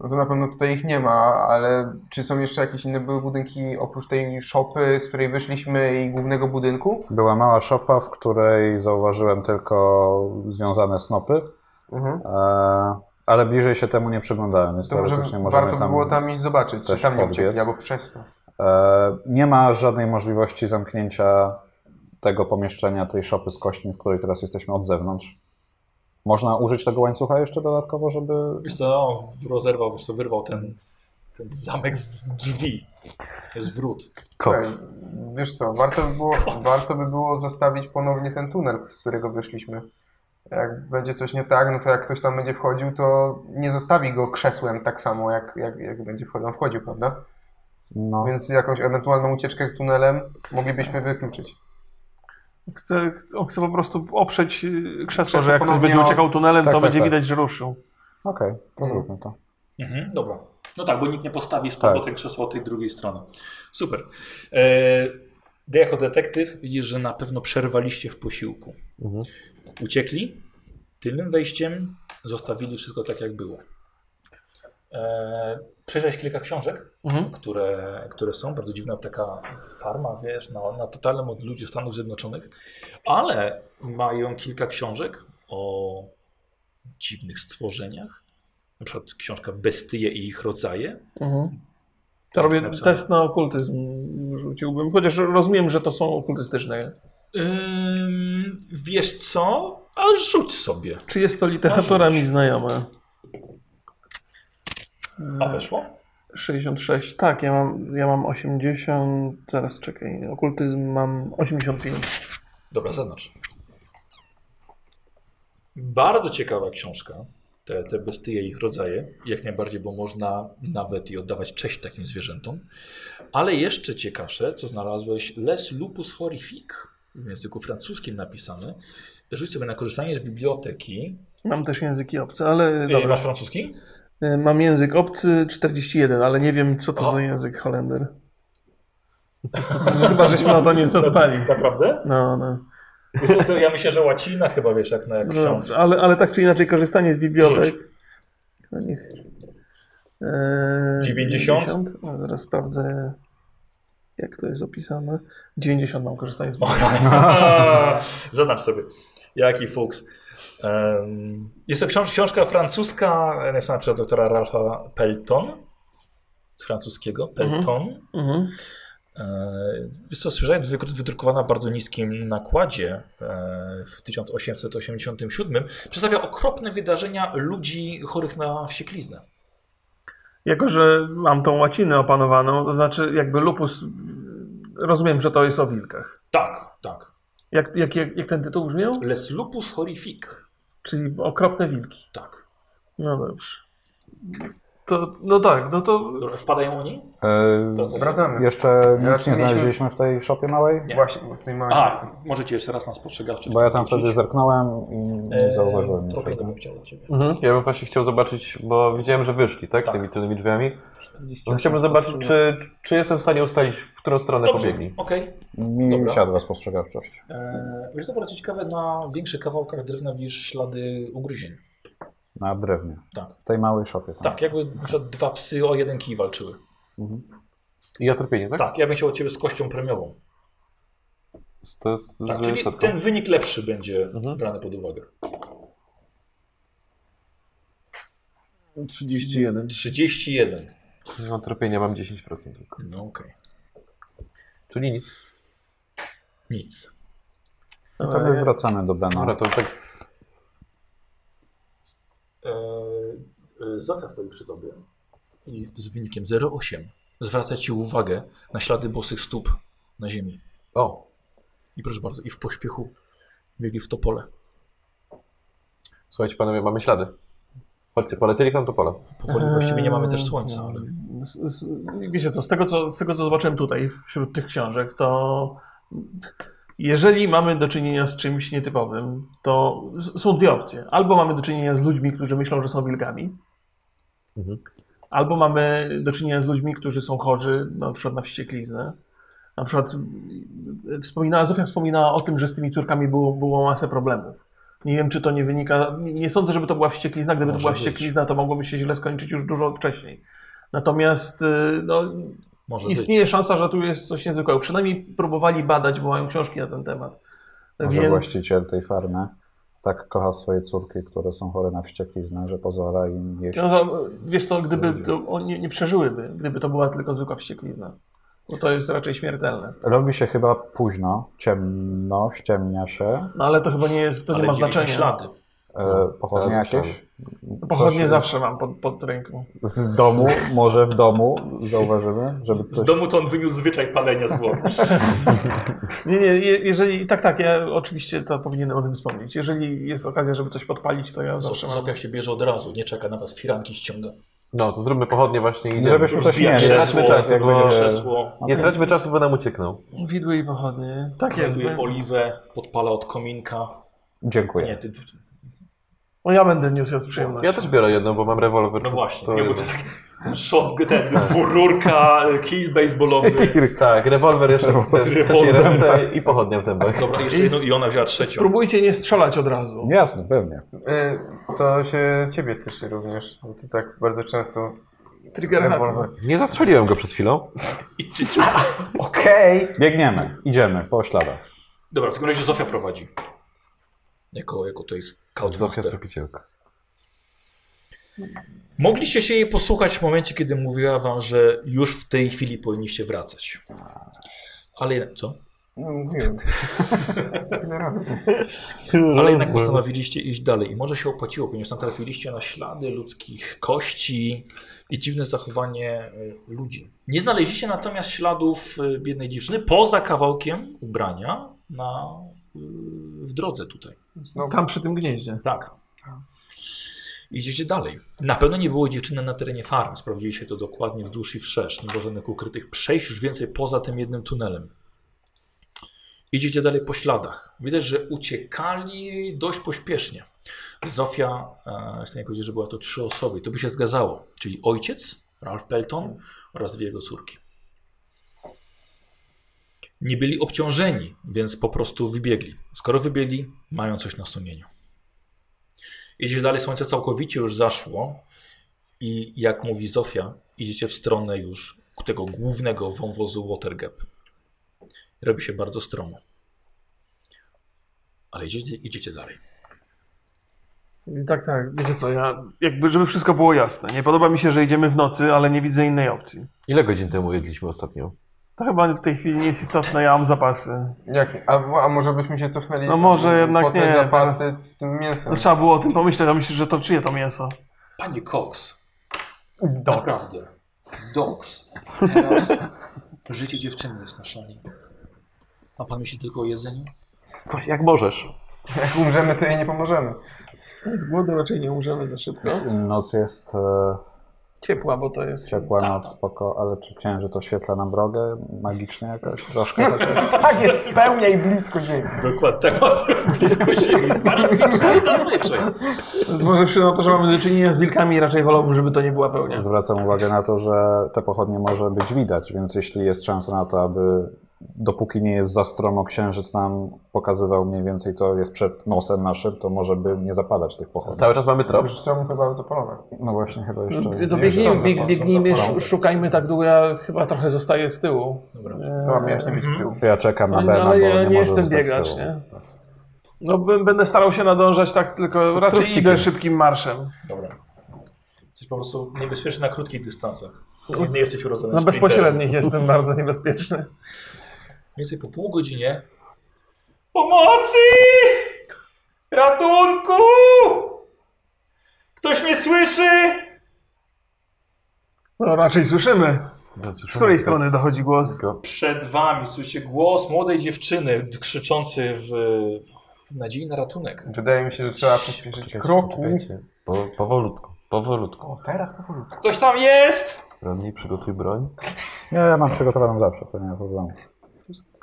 No to na pewno tutaj ich nie ma, ale czy są jeszcze jakieś inne były budynki oprócz tej szopy, z której wyszliśmy i głównego budynku?
Była mała szopa, w której zauważyłem tylko związane snopy,
Mhm.
e, ale bliżej się temu nie przyglądałem, więc
To może
teoretycznie możemy
warto by było tam iść zobaczyć, czy
też
tam nie
podbiec.
uciekli, albo przez to.
E, nie ma żadnej możliwości zamknięcia tego pomieszczenia, tej szopy z kośćmi, w której teraz jesteśmy od zewnątrz. Można użyć tego łańcucha jeszcze dodatkowo, żeby...
Wiesz co, on rozerwał, wiesz co, wyrwał ten, ten zamek z drzwi. To jest wrót.
Okej, Wiesz co, warto by, było, warto by było zastawić ponownie ten tunel, z którego wyszliśmy. Jak będzie coś nie tak, no to jak ktoś tam będzie wchodził, to nie zastawi go krzesłem tak samo, jak, jak, jak będzie wchodził, wchodził, prawda?
No,
Więc jakąś ewentualną ucieczkę tunelem moglibyśmy wykluczyć.
Chcę, ch- on chce po prostu oprzeć y, krzesło,
Krzesło
że jak ktoś
ponownie
będzie
o-
uciekał tunelem,
Tak,
to
tak,
będzie
tak.
widać, że ruszył.
okej, to zróbmy to.
Mhm, dobra. No tak, bo nikt nie postawi z powrotem krzesła od tej drugiej strony. Super. E, ty jako detektyw widzisz, że na pewno przerwaliście w posiłku. Uciekli tylnym wejściem, zostawili wszystko tak, jak było. E, Przejrzałeś kilka książek, które, które są. Bardzo dziwna taka farma, wiesz, na, na totalnym od ludzi Stanów Zjednoczonych, ale mają kilka książek o dziwnych stworzeniach. Na przykład książka Bestie i ich rodzaje.
Mhm. To robię
Napisane.
test na okultyzm, rzuciłbym. Chociaż rozumiem, że to są okultystyczne.
Ym, wiesz co? A rzuć sobie.
Czy jest to literatura
A rzuć.
mi znajoma?
A weszło?
66, tak, ja mam, ja mam 80, zaraz czekaj, okultyzm mam 85.
Dobra, zaznacz. Bardzo ciekawa książka. Te, te bestie i ich rodzaje. Jak najbardziej, bo można nawet i oddawać cześć takim zwierzętom. Ale jeszcze ciekawsze, co znalazłeś, Les lupus horrific, w języku francuskim napisane. Rzuć sobie na korzystanie z biblioteki.
Mam też języki obce, ale
Dobra.
dobra.
Masz francuski?
Y, Mam język obcy 41, ale nie wiem co to
O.
za język
[laughs]
Holender. Chyba żeśmy o No, to nie zadbali.
tak Naprawdę?
No, no.
Wiesz co, to ja myślę, że łacina chyba, wiesz, jak na jak
No,
ksiądz.
ale, ale tak czy inaczej korzystanie z bibliotek.
Rzuć.
No niech. Eee,
90?
No, zaraz sprawdzę, jak to jest opisane. 90 mam korzystanie z
[laughs]
bibliotek.
Aha. Zaznacz sobie. Jaki fuks. Em, jest to książ książka francuska, e, napisana przez doktora Ralfa Pelton. Z francuskiego, Pelton.
Mhm.
E, Wiesz co, słyszałem, jest wykru- wydrukowana w bardzo niskim nakładzie e, w 1887. Przedstawia okropne wydarzenia ludzi chorych na wściekliznę.
Jako, że mam tą łacinę opanowaną, to znaczy jakby lupus, y, rozumiem, że to jest o wilkach.
Tak, tak.
Jak, jak, jak, jak ten tytuł brzmiał?
Les lupus horrific.
Czyli okropne wilki.
Tak.
No dobrze. To, no tak, no to
Dobra, wpadają oni?
E,
Wracacie?
Tak.
Wracamy.
jeszcze nic nie
mieliśmy-
znaleźliśmy w tej szopie małej,
Nie.
Właśnie, bo tutaj mamy...
A, możecie jeszcze raz na spostrzegawczy.
bo ja tam
wrzucić.
wtedy zerknąłem i nie zauważyłem
E, Trochę tak.
niczego.
bym chciał od ciebie.
Ja bym właśnie chciał zobaczyć, bo widziałem, że wyszli, tak?
Tak.
Tymi tylnymi drzwiami. Bym chciałbym zobaczyć, czy, czy jestem w stanie ustalić, w którą stronę
Dobrze,
pobiegli.
Okej.
Mi
Dobra.
siadła spostrzegawczość.
Okay. Wiesz, to bardzo ciekawe, na większych kawałkach drewna widzisz ślady ugryzień.
Na drewnie.
Tak.
W tej małej szopie. Tam.
Tak, jakby na przykład dwa psy o jeden kij walczyły.
I ja tropienie, tak?
Tak, ja bym chciał od ciebie z kością premiową.
To jest z Mhm.
Tak, czyli
setką.
ten wynik lepszy będzie brany pod uwagę.
31.
31.
No tropienia mam 10% tylko.
No okej.
Czyli nic.
Nic.
No to my wracamy do Bena.
Dobra, to tak
E, e, Zofia stoi przy tobie. I z wynikiem 0,8 zwraca ci uwagę na ślady bosych stóp na ziemi. O! I proszę bardzo, i w pośpiechu biegli w to pole.
Słuchajcie panowie, mamy ślady. Chodźcie, polecieli tam to pole.
Powoli właściwie nie mamy też słońca, ale
z, z, Eee, wiecie co, z tego co, z tego co zobaczyłem tutaj wśród tych książek, to jeżeli mamy do czynienia z czymś nietypowym, to s- są dwie opcje. Albo mamy do czynienia z ludźmi, którzy myślą, że są wilkami,
Mhm.
albo mamy do czynienia z ludźmi, którzy są chorzy, na przykład na wściekliznę. Na przykład y, y, wspominała, Zofia wspominała o tym, że z tymi córkami było, było masę problemów. Nie wiem, czy to nie wynika. Nie, nie sądzę, żeby to była wścieklizna. Gdyby to
Może
była
być.
wścieklizna, to mogłoby się źle skończyć już dużo wcześniej. Natomiast y, no,
Może
istnieje szansa, że tu jest coś niezwykłego. Przynajmniej próbowali badać, bo mają książki na ten temat.
Może właściciel tej farmy tak kocha swoje córki, które są chore na wściekliznę, że pozwala im jeść.
No to, wiesz co, gdyby to, on nie, nie przeżyłyby, gdyby to była tylko zwykła wścieklizna. Bo to jest raczej śmiertelne.
Robi się chyba późno, ciemno, ściemnia się.
No ale to chyba nie jest, to nie
ale
ma
dziwne
znaczenia. No
ślady.
E, pochodnie
zaraz
jakieś?
Pochodnie
Coś
zawsze mam pod, pod ręką.
Z domu, może w domu zauważymy, żeby
Z
ktoś...
domu to on wyniósł zwyczaj palenia
[laughs]
zwłok.
Nie, nie, je- jeżeli, tak, tak, ja oczywiście to powinienem o tym wspomnieć. Jeżeli jest okazja, żeby coś podpalić, to ja zawsze
Zofia,
mam.
Zofia się bierze od razu, nie czeka na was, firanki ściąga.
No, to zróbmy pochodnie właśnie i idziemy.
Żebyśmy coś
Rozbija
nie
krzesło,
traćmy
tak,
czasu, jak
rozbija
będzie-
Krzesło,
Nie traćmy czasu, bo nam ucieknął.
Widły i pochodnie. Tak jest.
znajduje oliwę, podpala od kominka. Nie,
Dziękuję.
ty,
No ja będę niósł ja z przyjemnością.
Ja też biorę jedną, bo mam rewolwer.
no właśnie,
To
nie, bo to
jest-
tak [laughs] shot, ten dwururka, kij
[laughs]
baseballowy.
Tak, rewolwer jeszcze w ręce-
Rewolwer
w
w
ręce i pochodnia w zębach.
Dobra, jeszcze jedną i ona wzięła trzecią.
Spróbujcie nie strzelać od razu.
Jasne, pewnie.
Y, To się ciebie tyczy również, bo ty tak bardzo często...
Trigger happy.
rewolwer.
Nie zastrzeliłem go przed chwilą.
I czy, czy-
Okej!
Biegniemy, idziemy po śladach.
Dobra, w takim razie Zofia prowadzi. Jako, jako to jest
Zofia
scoutmaster.
tropicielka.
Mogliście się jej posłuchać w momencie, kiedy mówiła wam, że już w tej chwili powinniście wracać. Ale jednak, co?
No mówiłem. Tyle razy.
No,
Ale jednak
Mhm.
postanowiliście iść dalej i może się opłaciło, ponieważ natrafiliście na ślady ludzkich kości i dziwne zachowanie y, ludzi. Nie znaleźliście natomiast śladów y, biednej dziewczyny poza kawałkiem ubrania na, y, w drodze tutaj.
No, Tam przy tym gnieździe.
Tak. Idziecie dalej. Na pewno nie było dziewczyny na terenie farm. Sprawdziliście to dokładnie wzdłuż i wszerz. Nie było żadnych ukrytych przejść już więcej poza tym jednym tunelem. Idziecie dalej po śladach. Widać, że uciekali dość pośpiesznie. Zofia, e, jestem jak powiedzieć, że była to trzy osoby. To by się zgadzało. Czyli ojciec, Ralph Pelton oraz dwie jego córki. Nie byli obciążeni, więc po prostu wybiegli. Skoro wybiegli, mają coś na sumieniu. Idziecie dalej, słońce całkowicie już zaszło i jak mówi Zofia, idziecie w stronę już tego głównego wąwozu Watergap. Robi się bardzo stromo. Ale idziecie, idziecie dalej.
I Tak, tak. Wiecie co, ja jakby, żeby wszystko było jasne. Nie podoba mi się, że idziemy w nocy, ale nie widzę innej opcji.
Ile godzin temu jedliśmy ostatnio?
To chyba w tej chwili nie jest istotne, ja mam zapasy.
Jak, a, a może byśmy się cofnęli
No może jednak
po te
nie,
zapasy z tym mięsem.
No trzeba było o tym pomyśleć, a myślę, że to czyje to mięso.
Panie Cox. Naprawdę. Dogs. Teraz [laughs] życie dziewczyny jest na szali. Ma pan myśli tylko o jedzeniu?
Jak możesz.
Jak umrzemy, to jej nie pomożemy.
Z głodu raczej nie umrzemy za szybko.
Noc jest e,
Ciepła, bo to jest...
ciepła, noc
tak.
spoko, ale czy księżyc oświetla nam drogę magicznie jakoś? Troszkę
[laughs]
chociaż.
Tak, jest pełnia i blisko ziemi.
Dokładnie, tak bardzo blisko siebie. Zazwyczaj, zazwyczaj.
Zważywszy na to, że mamy do czynienia z wilkami, raczej wolałbym, żeby to nie była pełnia.
Zwracam uwagę na to, że te pochodnie może być widać, więc jeśli jest szansa na to, aby dopóki nie jest za stromo księżyc nam pokazywał mniej więcej co jest przed nosem naszym, to może by nie zapadać tych pochodni.
Cały czas mamy trop.
Już są chyba zapalone.
No właśnie, chyba jeszcze...
To
są
biegnijmy,
zapasy,
bieg,
są
biegnijmy
zapalone.
szu- szukajmy tak długo, ja chyba trochę zostaję z tyłu. E, no,
Dobra.
To miałeś nie być
Mhm.
z tyłu.
Ja czekam na
Ale,
Bena,
ale
bo
ja
nie,
nie
może
jestem
zostać z
biegacz,
tyłu.
nie? No b- będę starał się nadążać tak, tylko raczej idę szybkim marszem. No,
Dobra. Jesteś po prostu niebezpieczny na krótkich dystansach. Nie, nie jesteś urodzony
Na
sprinterem.
bezpośrednich jestem bardzo niebezpieczny.
Mniej więcej po pół godzinie. Pomocy! Ratunku! Ktoś mnie słyszy!
No raczej słyszymy. No, Z której strony dochodzi głos?
Przed wami słyszycie głos młodej dziewczyny d- krzyczący w, w nadziei na ratunek.
Wydaje mi się, że trzeba przyspieszyć kroku.
Po, powolutku, powolutku.
O, teraz powolutku.
Ktoś tam jest!
Ronnie, przygotuj broń.
Nie, ja mam przygotowaną zawsze, to nie ma problemu.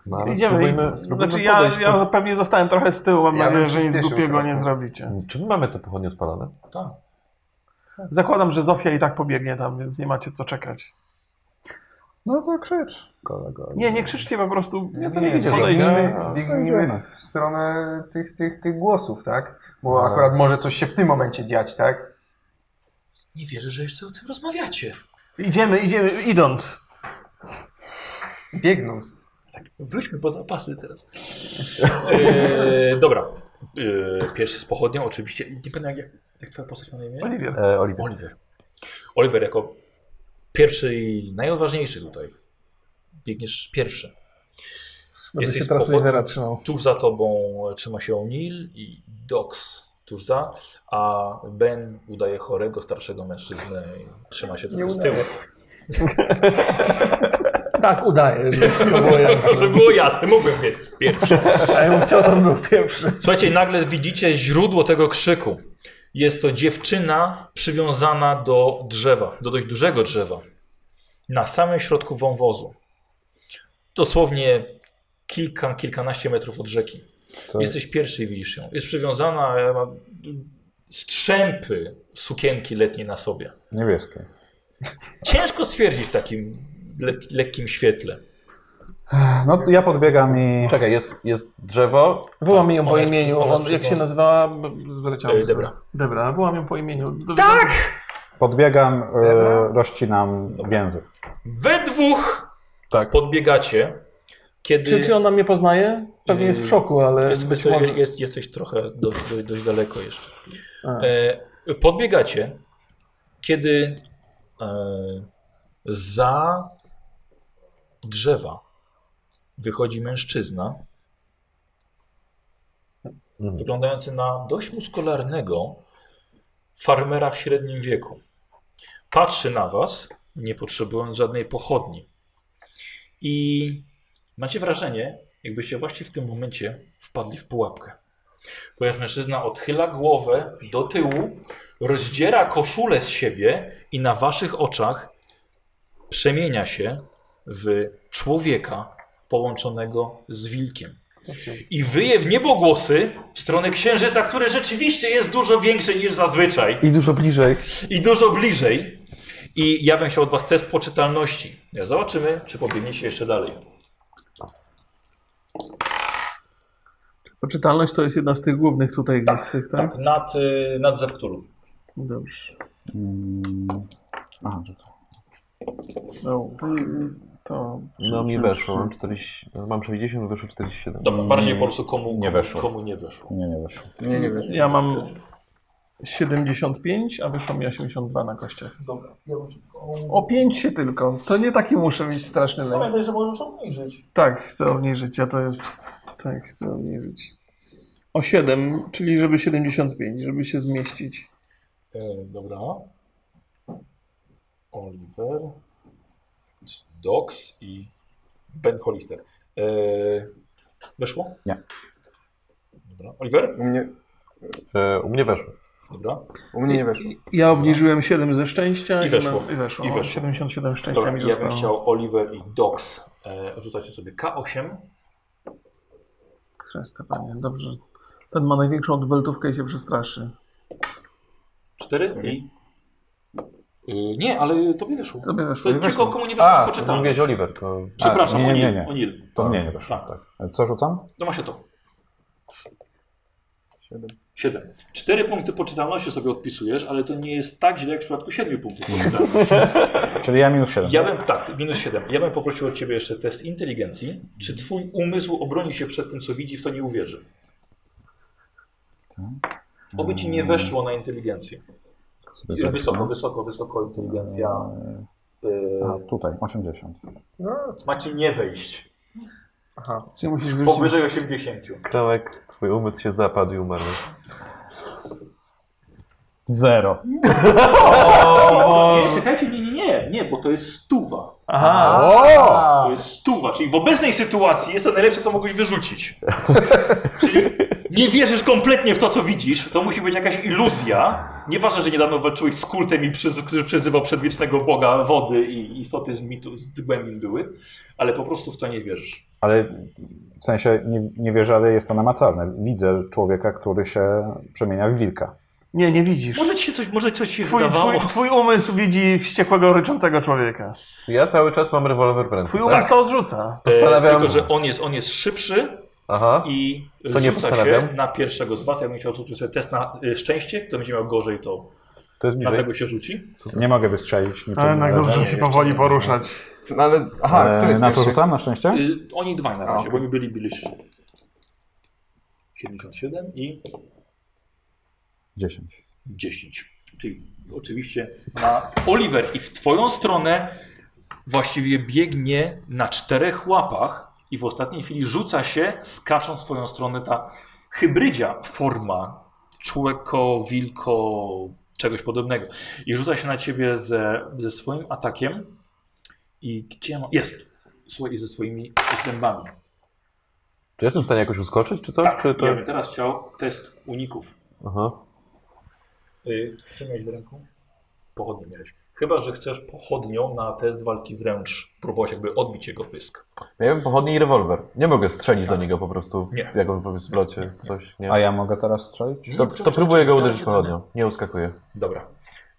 No, ale
Idziemy.
Spróbujmy, spróbujmy
znaczy ja,
podejść
ja
pod...
pewnie zostałem trochę z tyłu, mam
Ja
nadzieję,
bym
że nic
przyspieszył
głupiego
trochę.
nie zrobicie.
Czy my mamy te pochodnie odpalone?
Tak.
Zakładam, że Zofia i tak pobiegnie tam, więc nie macie co czekać.
No to krzycz, kolego.
Nie, nie krzyczcie po prostu. Nie, to nie,
Nie,
idzie.
nie,
Podejdźmy.
nie.
Biegnijmy w stronę tych, tych, tych głosów, tak? Bo
Ale-
akurat może coś się w tym momencie dziać, tak?
Nie wierzę, że jeszcze o tym rozmawiacie.
Idziemy, idziemy, idąc.
Biegnąc.
Tak, Wróćmy po zapasy [laughs] teraz. E, dobra. E, pierwszy z pochodnią, oczywiście. Nie pamiętam, jak, jak twoja postać ma na imię?
Oliwier.
E, Oliwier.
Oliver. Oliver jako pierwszy i najodważniejszy tutaj. Biegniesz pierwszy.
Będę
Jesteś
się teraz
spoko-
Olivera trzymał.
Tuż za tobą trzyma się O'Neill i Dox tuż za, a Ben udaje chorego, starszego mężczyznę i trzyma się trochę z tyłu. [laughs]
Tak, udaje. Że wszystko było jasne.
Żeby było jasne, mógłbym biec pierwszy.
A ja bym chciał, to był pierwszy.
Słuchajcie, nagle widzicie źródło tego krzyku. Jest to dziewczyna przywiązana do drzewa, do dość dużego drzewa. Na samym środku wąwozu. Dosłownie kilka, kilkanaście metrów od rzeki. Jesteś pierwszy i widzisz ją. Jest przywiązana, e, ma strzępy sukienki letniej na sobie.
Niebieskie.
Ciężko stwierdzić w takim lek- lekkim świetle.
No ja podbiegam i...
Czekaj, jest, jest drzewo.
Wołam ją
Ona
po
jest
imieniu.
przy- ona
On,
jest
jak
przy-
się nazywała? B-
E,
Wyleciałem.
Dobra.
Dobra, wołam ją po imieniu. Tak!
Podbiegam, e, rozcinam więzy.
We dwóch
Tak.
podbiegacie, kiedy...
Czy, czy ona mnie poznaje? Pewnie jest w szoku, ale
Jest,
być
jest-
może...
jest, jesteś trochę dość, dość, dość daleko jeszcze. E, podbiegacie, kiedy e, za drzewa wychodzi mężczyzna wyglądający na dość muskularnego farmera w średnim wieku. Patrzy na was, nie potrzebując żadnej pochodni. I macie wrażenie, jakbyście właśnie w tym momencie wpadli w pułapkę. Ponieważ mężczyzna odchyla głowę do tyłu, rozdziera koszulę z siebie i na waszych oczach przemienia się w człowieka połączonego z wilkiem. I wyje w niebogłosy w stronę księżyca, który rzeczywiście jest dużo większy niż zazwyczaj
I dużo bliżej.
i dużo bliżej. I ja bym chciał od was test poczytalności. Ja zobaczymy, czy pobiegniecie jeszcze dalej.
Poczytalność to jest jedna z tych głównych tutaj tak, tych, tak?
Tak, nad, y, nad Zewktulu.
Dobrze.
Mm. Aha, że to-
No, to...
No mi weszło, mam 40, mam 60, wyszło 47.
Dobra, bardziej po prostu komu
Nie weszło.
Komu Mm. nie weszło.
nie, nie weszło.
Ja mam 75, a wyszło mi 82 na kościach. O 5 się tylko. To nie taki muszę mieć straszny lek.
że możesz obniżyć.
Tak, chcę obniżyć. Ja to jest... Tak, chcę obniżyć. O 7, czyli żeby 75, żeby się zmieścić.
E, dobra. Oliver, Dox i Ben Hollister. E, weszło?
Nie.
Dobra. Oliver?
U mnie,
E, u mnie weszło.
Dobra.
u mnie nie weszło.
Ja obniżyłem 7 ze szczęścia
I weszło.
mam- I weszło.
I
O,
weszło.
77 szczęścia
Dobra,
mi
ja
zostało.
bym chciał Oliver i Dox. E, rzucacie sobie K8.
Chryste, panie, dobrze. Ten ma największą odbeltówkę i się przestraszy.
4 i... Y, nie, ale tobie weszło.
Tobie weszło.
To tylko komu nie weszło, poczytam.
mówiłeś Oliver, to...
Przepraszam,
A, Tak, nie, nie, nie,
O'Neill.
nie.
O'Neill.
To mnie nie weszło.
Tak.
Tak. Co rzucam?
No właśnie to. 7. 4 punkty poczytalności sobie odpisujesz, ale to nie jest tak źle jak w przypadku 7 punktów poczytalności.
Czyli ja minus 7.
Ja bym, tak, minus 7. Ja bym poprosił od ciebie jeszcze test inteligencji. Czy twój umysł obroni się przed tym, co widzi, w to nie uwierzy? Oby ci nie weszło na inteligencję. Wysoko, wysoko, wysoko inteligencja. Yy,
A, tutaj, 80.
macie y, nie wejść.
Czyli musisz wyrzucić
Powyżej 80.
Tomek, twój umysł się zapadł i umarł.
Zero.
[laughs] Nie, czekajcie, nie, nie, nie, nie, bo to jest stuwa.
O!
[laughs]
To jest stuwa, czyli w obecnej sytuacji jest to najlepsze, co mogłeś wyrzucić. czyli nie wierzysz kompletnie w to, co widzisz, to musi być jakaś iluzja. Nieważne, że niedawno walczyłeś z kultem i przyz, który przyzywał przedwiecznego boga wody i istoty z mitu, z głębin były, ale po prostu w to nie wierzysz.
Ale w sensie nie, nie wierzę, ale jest to namacalne. Widzę człowieka, który się przemienia w wilka.
Nie, nie widzisz.
Może ci się coś, może coś się
Twój,
wydawało.
twój, twój umysł widzi wściekłego, ryczącego człowieka.
Ja cały czas mam rewolwer w ręce.
Twój
tak?
umysł to odrzuca.
E,
Postanawiam.
tylko, że on jest, on jest szybszy
Aha.
i
To nie
rzuca się
postanawiam.
na pierwszego z was. Ja bym chciał rzucić sobie test na y, szczęście, kto będzie miał gorzej, to
To jest bliżej.
dlatego się rzuci.
Nie mogę wystrzelić niczym.
Ale na
Eee,
górze się
jeszcze
powoli
nie.
poruszać.
No ale, aha, kto jest
E, Na co
pierwszy?
rzucam na szczęście?
Y, oni dwaj na
A,
razie,
okej.
bo oni byli bliżsi. 77 i
10.
10. Czyli oczywiście na Oliver i w twoją stronę właściwie biegnie na czterech łapach i w ostatniej chwili rzuca się, skacząc w twoją stronę ta hybrydzia forma człeko, wilko, czegoś podobnego. I rzuca się na ciebie ze, ze swoim atakiem i gdzie ma... Jest! Słuchaj, i ze swoimi zębami.
Czy jestem w stanie jakoś uskoczyć, czy coś?
Tak,
czy to...
ja bym teraz chciał test uników.
Aha.
Y, Co miałeś w ręku? Pochodnie miałeś. Chyba, że chcesz pochodnią na test walki wręcz próbować jakby odbić jego pysk.
Miałem pochodnie i rewolwer. Nie mogę strzelić do niego po prostu.
Tak. Nie.
Jak on powiedz w locie, coś. Nie.
A ja mogę teraz strzelić?
To, to próbuję go
Czekaj,
uderzyć
czekaj,
pochodnią. Nie uskakuje.
Dobra.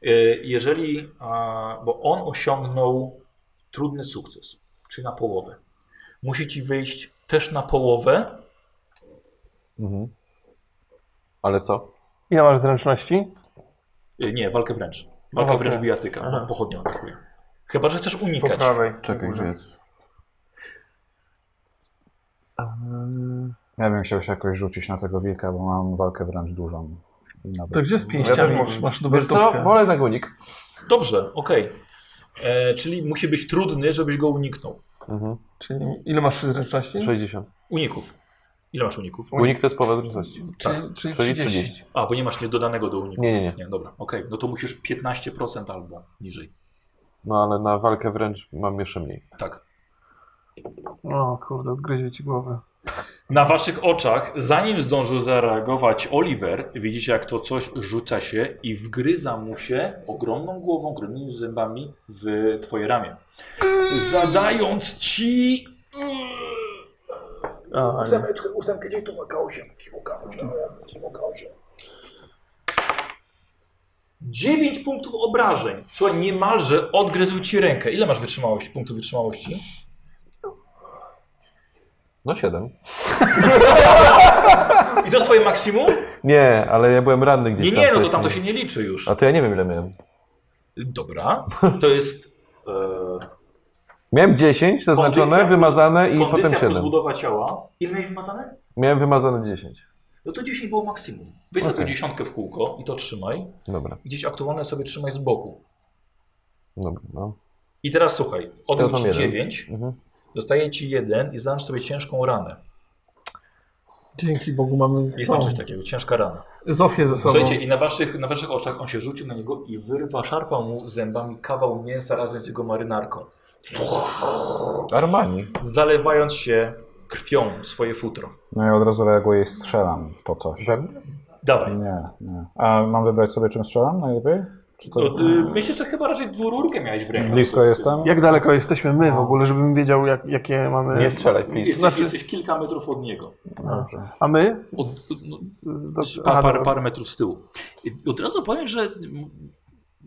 Y, Jeżeli, a, bo on osiągnął trudny sukces, czy na połowę. Musi ci wyjść też na połowę.
Mhm. Ale co?
Ile masz zręczności?
Y, Nie, walkę wręcz. Walka
Walkę.
wręcz bijatyka, bo
Aha.
pochodnią atakuje. Chyba, że chcesz
Po
unikać.
prawej.
Czekaj,
górze.
gdzie jest?
Ja bym chciał się jakoś rzucić na tego wilka, bo mam walkę wręcz dużą. Nawet.
To gdzie z
Ja też
pięściami? Masz
mogę.
Wiesz co?
numertówkę.
Wolę na gunik.
Dobrze, okej. E, Czyli musi być trudny, żebyś go uniknął.
Mhm.
Czyli ile masz zręczności?
60.
Uników. Ile masz uników?
Gunik to jest połowa wydolności.
Czyli, czyli
Czyli
30.
30.
A, bo nie masz nie dodanego do uników.
Nie, nie, nie.
dobra, okej. No to musisz 15% albo niżej.
No ale na walkę wręcz mam jeszcze mniej.
Tak.
O kurde, odgryzie ci głowę.
Na waszych oczach, zanim zdążył zareagować Oliver, widzicie jak to coś rzuca się i wgryza mu się ogromną głową, ogromnymi zębami w twoje ramię. Zadając ci...
A,
Ósemeczkę, ósemkę, gdzie tu ma No, osiem? Siłka, siłka osiem. Dziewięć punktów obrażeń. Słuchaj, niemalże odgryzł ci rękę. Ile masz wytrzymałości, punktów wytrzymałości?
No 7.
I to swoje maksimum?
Nie, ale ja byłem ranny gdzieś
Nie,
tam.
nie, no to tam to się
wcześniej.
nie liczy już.
A to ja nie wiem ile miałem.
Dobra, to jest e,
Miałem 10 zaznaczone,
Kondycja-
wymazane i potem
kondycja
7.
plus budowa ciała. Ile miałeś wymazane?
Miałem wymazane 10.
No to 10 było maksimum. Weź okay.
Okej.
tą dziesiątkę w kółko i to trzymaj.
Dobra,
Gdzieś aktualne sobie trzymaj z boku.
dobra. No.
I teraz słuchaj,
Teraz mam
odłóż
jeden.
9,
Mhm.
zostaje ci 1 i zadam sobie ciężką ranę.
Dzięki Bogu mamy z...
Jest tam coś takiego, ciężka rana.
Zofię ze sobą.
Słuchajcie, i na waszych, na waszych oczach on się rzucił na niego i wyrwa, szarpał mu zębami kawał mięsa razem z jego marynarką,
Armani.
zalewając się krwią swoje futro.
No ja od razu reaguję i strzelam w to coś.
Dawaj.
Nie, nie. A mam wybrać sobie czym strzelam najlepiej? Czy to...
No, y, myślę, że chyba raczej dwururkę miałeś w ręku.
Blisko jestem?
Jak daleko jesteśmy my w ogóle, żebym wiedział, jak, jakie mamy.
Nie strzelaj,
Jesteś,
please.
Znaczy-
jesteś kilka metrów od niego.
Dobrze.
A my?
Od, no,
Z- z- do-
pa,
aha,
parę,
dobra.
parę metrów z tyłu. I Od razu powiem, że mm,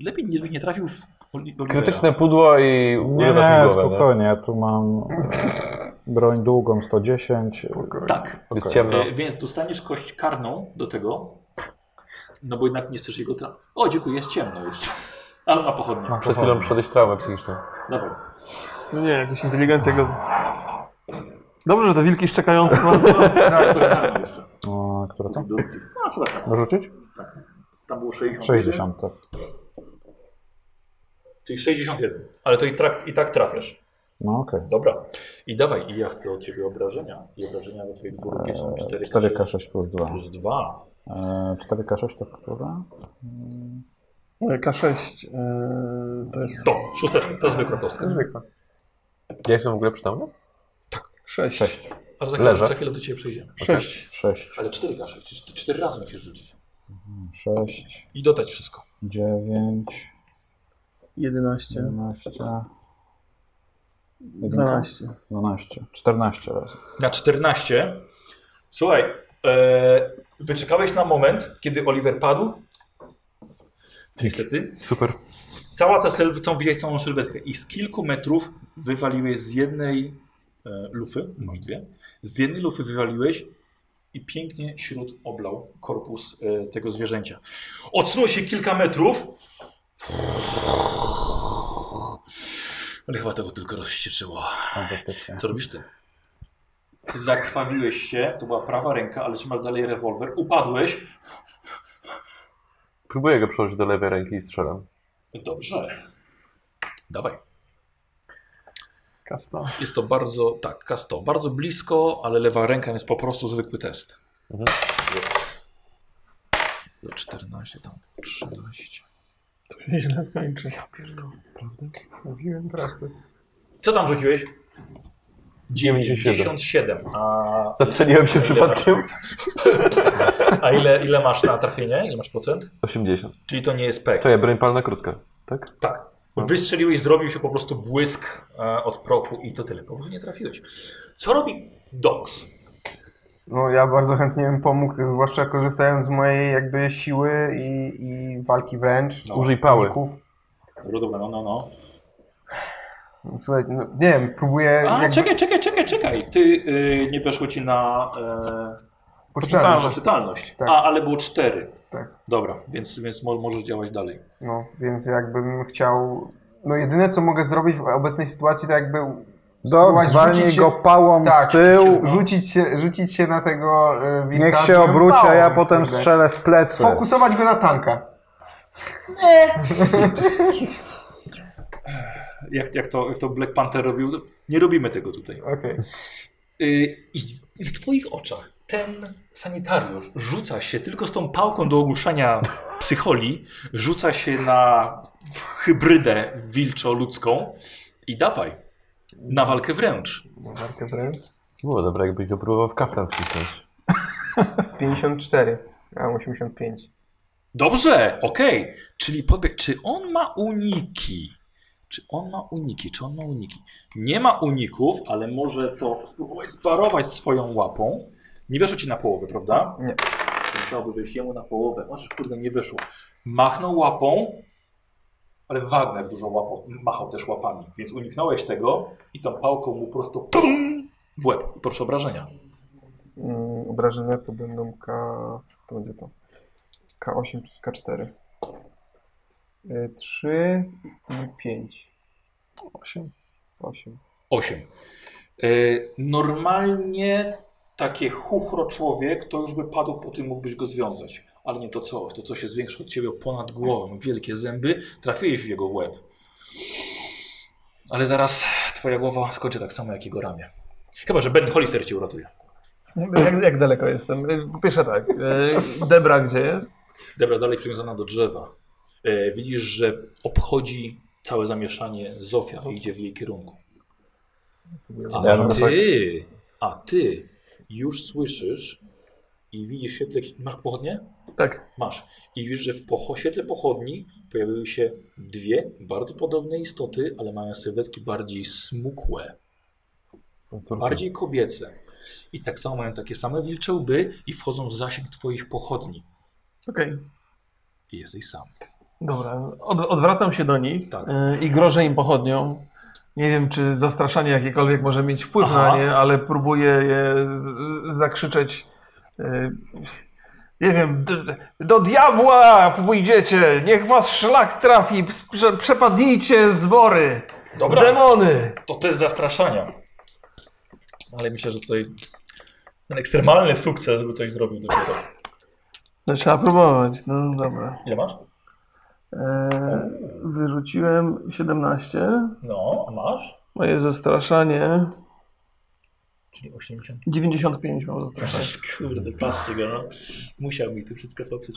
lepiej nie, nie trafił w Oli- Olivera.
Krytyczne pudło i
Nie,
urywasz
nie,
mi głowę.
spokojnie. Ja tu mam broń długą 110.
Tak,
Jest
Okej.
No.
ciemno.
e, więc dostaniesz kość karną do tego, no bo jednak nie chcesz jego tra... O, dziękuję, jest ciemno jeszcze. [laughs] Ale ma pochodnie.
Przed chwilą przeszedłeś traumę psychiczną.
Dawaj.
No nie, jakaś inteligencja go. z- Dobrze, że te
[laughs]
wilki szczekające nas.
Tak, to karną jeszcze.
O, które
No.
to?
Do- A, co tak,
Rzucić?
tam było 60.
60, tak.
Czyli 61. Ale to i, trak, i tak trafiasz.
No okej.
Dobra. I dawaj, i ja chcę od ciebie obrażenia. I obrażenia do twojej dwórki są 4
4K6 plus 2.
plus 2.
Eee, 4K6 to która?
K6 yy, to jest
To, szósteczka, to zwykła kostka.
Ja jestem w ogóle przytomny?
6.
Ale za chwilę,
Leżę.
za chwilę do ciebie przejdziemy.
Sześć. Sześć.
Ale cztery kasze, czy- cztery razy musisz rzucić.
Sześć.
I dodać wszystko.
Dziewięć.
11,
Jedenaście.
12.
Dwanaście. Czternaście razy.
Na 14. Słuchaj, e, wyczekałeś na moment, kiedy Oliver padł. Niestety.
Super.
Cała ta sylwetka, widziałeś całą sylwetkę i z kilku metrów wywaliłeś z jednej e, lufy, masz dwie, z jednej lufy wywaliłeś i pięknie śród oblał korpus e, tego zwierzęcia. Odsunął się kilka metrów, ale chyba tego tylko rozścieczyło.
Fantastycznie.
Co robisz ty? Zakrwawiłeś się, to była prawa ręka, ale trzymasz dalej rewolwer, upadłeś.
Próbuję go przełożyć do lewej ręki i strzelam.
Dobrze. Dawaj.
Kasta.
Jest to bardzo, tak, kasto, bardzo blisko, ale lewa ręka jest po prostu zwykły test. Do 14, tam 13.
To się źle skończy. Ja pierdolę.
Mówiłem pracę.
Co tam rzuciłeś?
97.
97. A,
Zastrzeliłem się [laughs] przypadkiem.
a ile, ile masz na trafienie? Ile masz procent?
80.
Czyli to nie jest pech.
To ja broń palna krótka, tak?
Tak. Wystrzeliłeś, zrobił się po prostu błysk e, od prochu i to tyle. Po prostu nie trafiłeś. Co robi Dox?
No ja bardzo chętnie bym pomógł, zwłaszcza korzystając z mojej jakby siły i, i walki wręcz.
No.
Użyj pały.
uników.
No dobra, no, no, no.
No, Słuchajcie, no, nie wiem, próbuję...
A,
jakby
czekaj, czekaj, czekaj, czekaj. Ty y, nie weszło ci na
poczytałem.
e, czytalność.
Tak.
A, ale było cztery.
Tak.
Dobra, więc, więc mo- możesz działać dalej.
No, więc jakbym chciał... No jedyne co mogę zrobić w obecnej sytuacji to jakby...
Dog,
spróbować
zwalnij
rzucić
go
się-
pałą
Tak,
w tył.
no.
rzucić się, rzucić się na tego e, wilka.
Niech
z
się
którym
obróci, a ja
bałem,
potem
kurde.
strzelę w plecy.
Sfokusować go na tanka.
Jak, jak, to, jak to Black Panther robił? Nie robimy tego tutaj.
Okej.
Y, I w twoich oczach ten sanitariusz rzuca się tylko z tą pałką do ogłuszania psycholi, rzuca się na hybrydę wilczo-ludzką i dawaj, na walkę wręcz.
Markę wręcz.
Było dobra, jakbyś go próbował w kaftan wcisnąć.
54. Ja mam 85.
Dobrze, okej, czyli podbieg, czy on ma uniki? Czy on ma uniki? Czy on ma uniki? Nie ma uników, ale może to spróbować sparować swoją łapą. Nie weszło ci na połowę, prawda?
Nie.
Musiałoby wyjść jemu na połowę. Może kurde nie wyszło. Machnął łapą, ale Wagner dużo łapą, machał też łapami, więc uniknąłeś tego i tą pałką mu prosto pum, w łeb. Proszę obrażenia.
Mm, obrażenia to będą K... To będzie to. K8 plus K4. 3 i 5. 8. 8.
8. Yy, normalnie takie chuchro człowiek, to już by padł po tym, mógłbyś go związać. Ale nie to co, to co się zwiększa od ciebie ponad głową. Wielkie zęby, trafiłeś w jego łeb. Ale zaraz twoja głowa skoczy tak samo jak jego ramię. Chyba, że Ben Hollister cię uratuje.
No,
Jak, jak daleko jestem?
E,
Y, Po pierwsze tak, y, Debra gdzie jest?
Dobra, dalej przywiązana do drzewa. E, widzisz, że obchodzi całe zamieszanie Zofia i idzie w jej kierunku. A ty, a ty już słyszysz i widzisz świetle... Masz pochodnie?
Tak.
Masz. I widzisz, że w pocho, świetle pochodni pojawiły się dwie bardzo podobne istoty, ale mają sylwetki bardziej smukłe,
No
bardziej kobiece. I tak samo mają takie same wilcze łby i wchodzą w zasięg twoich pochodni.
Okej.
I jesteś sam.
Dobra, od, odwracam się do nich
Tak.
y, i grożę im pochodnią. Nie wiem, czy zastraszanie jakiekolwiek może mieć wpływ
Aha.
na nie, ale próbuję je z, z, zakrzyczeć. y, Nie wiem, d, d, do diabła pójdziecie! Niech was szlak trafi! Prze, przepadnijcie zbory!
Dobra.
Demony!
To test zastraszania. Ale myślę, że tutaj ten ekstremalny sukces by coś zrobił dopiero.
No trzeba próbować, no dobra.
Ile masz?
E, wyrzuciłem 17.
No, a masz?
Moje zastraszanie
Czyli 80.
95 mam zostać.
[laughs]
Kurde, patrzcie go, no. Musiał mi tu wszystko [laughs] popsuć.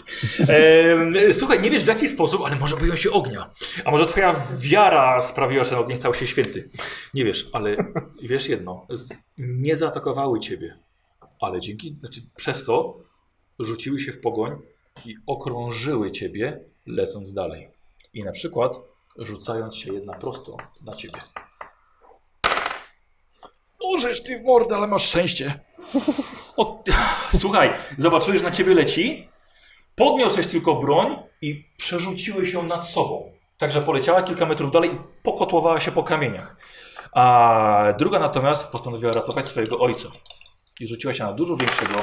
Em, słuchaj, nie wiesz w jaki sposób, ale może boją się ognia. A może twoja wiara sprawiła, że ten ogień stał się święty. Nie wiesz, [laughs] ale wiesz jedno. Z, nie zaatakowały ciebie, ale dzięki, znaczy przez to rzuciły się w pogoń i okrążyły ciebie, lecąc dalej. I na przykład rzucając się jedna prosto na ciebie. Urzesz ty w mordę, ale masz szczęście. O, słuchaj, zobaczyłeś, że na ciebie leci, podniosłeś tylko broń i przerzuciłeś ją nad sobą. Także poleciała kilka metrów dalej i pokotłowała się po kamieniach. A druga natomiast postanowiła ratować swojego ojca. I rzuciła się na dużo większego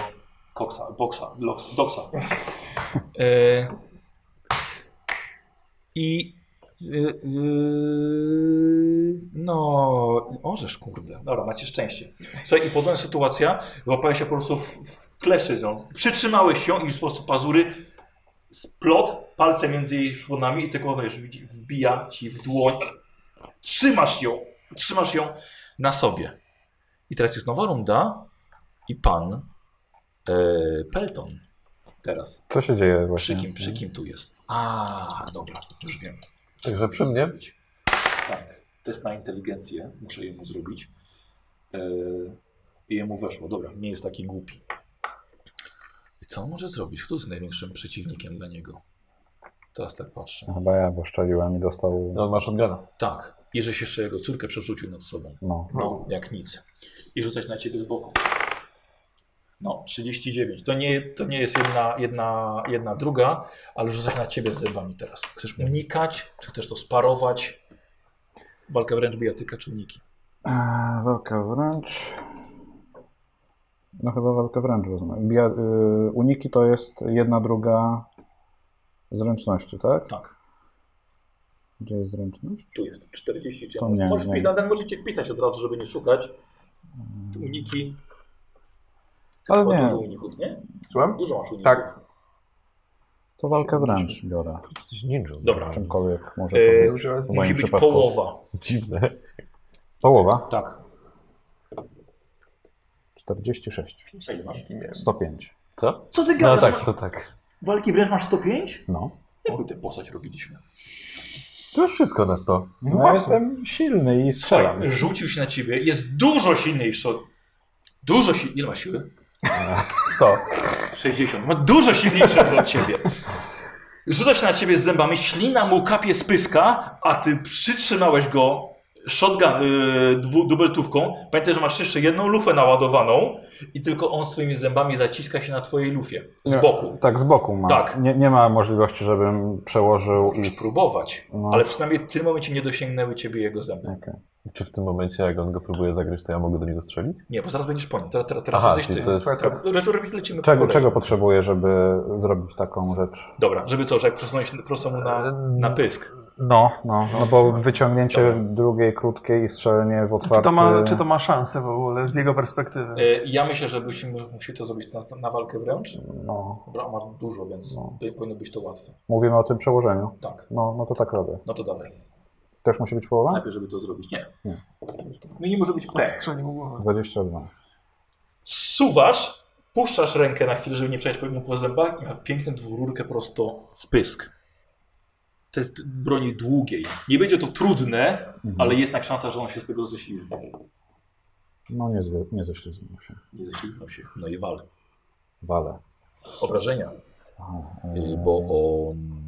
koksa, boksa, loks, doksa. E, I Yy, yy, No, orzesz, kurde. Dobra, macie szczęście. Słuchaj, i podobna sytuacja, łapałeś się po prostu w, w kleszy z nią. Przytrzymałeś się i w sposób pazury splot palce między jej szponami i tylko ona już widzi- wbija ci w dłoń. ale Trzymasz ją, trzymasz ją na sobie. I teraz jest nowa runda i pan yy, Pelton teraz.
Co się dzieje właśnie?
Przy kim, przy kim tu jest? A, dobra, już wiem.
Także przy mnie?
Tak. Test na inteligencję muszę jemu zrobić. Yy, I jemu weszło. Dobra, nie jest taki głupi. I co on może zrobić? Kto jest największym przeciwnikiem dla niego? Teraz tak patrzę.
No, Chyba ja go szczeliłem i dostał...
No, masz odgana.
Tak. I żeś jeszcze jego córkę przerzucił nad sobą.
No.
No, jak nic. I rzucać na ciebie z boku. No, 39. To nie, to nie jest jedna, jedna, jedna druga, ale rzucać na ciebie z zębami teraz. Chcesz unikać, czy chcesz to sparować? Walka wręcz bijatyka, czy uniki?
Eee, walka wręcz. No chyba walka wręcz rozumiem. Bia, y, uniki to jest jedna druga zręczności, tak?
Tak.
Gdzie jest zręczność?
Tu jest 40.
To nie,
Możesz
nie.
wpis- na ten możecie wpisać od razu, żeby nie szukać. Tu Uniki.
Ale
Chyba
nie.
Dużo uników, nie?
Słucham?
Dużo masz uników.
Tak.
To walka wręcz biorę.
Jesteś ninja.
Dobra.
Czymkolwiek może
Eee,
powiedzieć.
Dużo raz
W moim
Musi być
przypadku.
połowa.
Dziwne.
Połowa?
Tak.
46.
Ile masz?
105.
Co?
Co ty
No
gadasz?
tak, to tak.
Walki wręcz masz 105?
No.
Jaką tę postać robiliśmy?
To już wszystko na 100.
No, ja jestem silny i strzelam.
Słuchaj, rzucił się na ciebie. Jest dużo silniejszy. od- Dużo si... Ile ma siły?
100.
60. Ma dużo silniejsze od ciebie. Rzuca się na ciebie z zębami, ślina mu kapie z pyska, a ty przytrzymałeś go shotgun, yy, dwu, dubeltówką. Pamiętaj, że masz jeszcze jedną lufę naładowaną i tylko on swoimi zębami zaciska się na twojej lufie. Z
Nie.
boku.
Tak, z boku mam.
Tak.
Nie, nie ma możliwości, żebym przełożył i...
Możesz próbować,
No.
ale przynajmniej w tym momencie nie dosięgnęły ciebie jego zęby.
Okej.
Czy w tym momencie, jak on go próbuje zagryźć, to ja mogę do niego strzelić?
Nie, bo zaraz będziesz po nim. Teraz, teraz, teraz
Aha,
jesteś
czyli
ty.
to jest-
Twoja tra- Lecz- robi- Lecimy po
Czego,
kolei.
czego potrzebuję, żeby zrobić taką rzecz?
Dobra, żeby co, że jak prosunąłeś prosto mu na, na pysk.
No, no, no bo wyciągnięcie drugiej krótkiej i strzelenie w otwarty...
Czy to, ma, czy to ma szansę w ogóle z jego perspektywy?
Yy, Ja myślę, że byśmy musieli to zrobić na, na walkę wręcz.
No,
Dobra, masz dużo, więc
No.
tutaj powinno być to łatwe.
mówimy o tym przełożeniu.
Tak,
No, no to tak robię.
no to dalej.
Też musi być połowa?
Najpierw, żeby to zrobić. Nie.
Nie.
Minimum, może być P.
Strzelił głowę.
22.
Suwasz, puszczasz rękę na chwilę, żeby nie przejść po mu po zębach i ma piękną dwururkę prosto w pysk. To jest broni długiej. Nie będzie to trudne,
Mhm.
ale jest na szansa, że on się z tego ześlizgnie.
No nie, zwie- nie ześlizgnął się.
Nie ześlizgnął się. No i wal.
Wale.
Obrażenia.
Aha,
Yy,
e,
Bo on...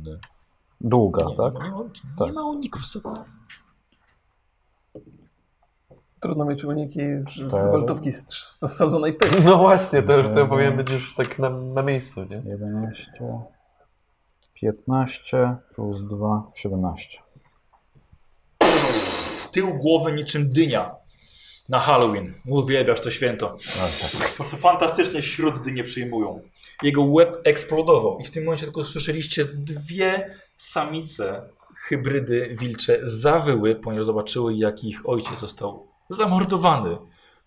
Długa,
Nie,
tak?
nie, ma- nie
Tak.
ma uników. Co-
Trudno mieć uniki z, z
Tak.
Cztery.
dubeltówki z, z sadzonej pyski.
No właśnie, to, to powinien być już tak na, na miejscu, nie?
11, 15 plus 2, 17.
tył głowy niczym dynia na Halloween. Uwielbiasz to święto. Po prostu fantastycznie śródy nie przyjmują. Jego łeb eksplodował i w tym momencie tylko słyszeliście dwie samice hybrydy wilcze zawyły, ponieważ zobaczyły jak ich ojciec został zamordowany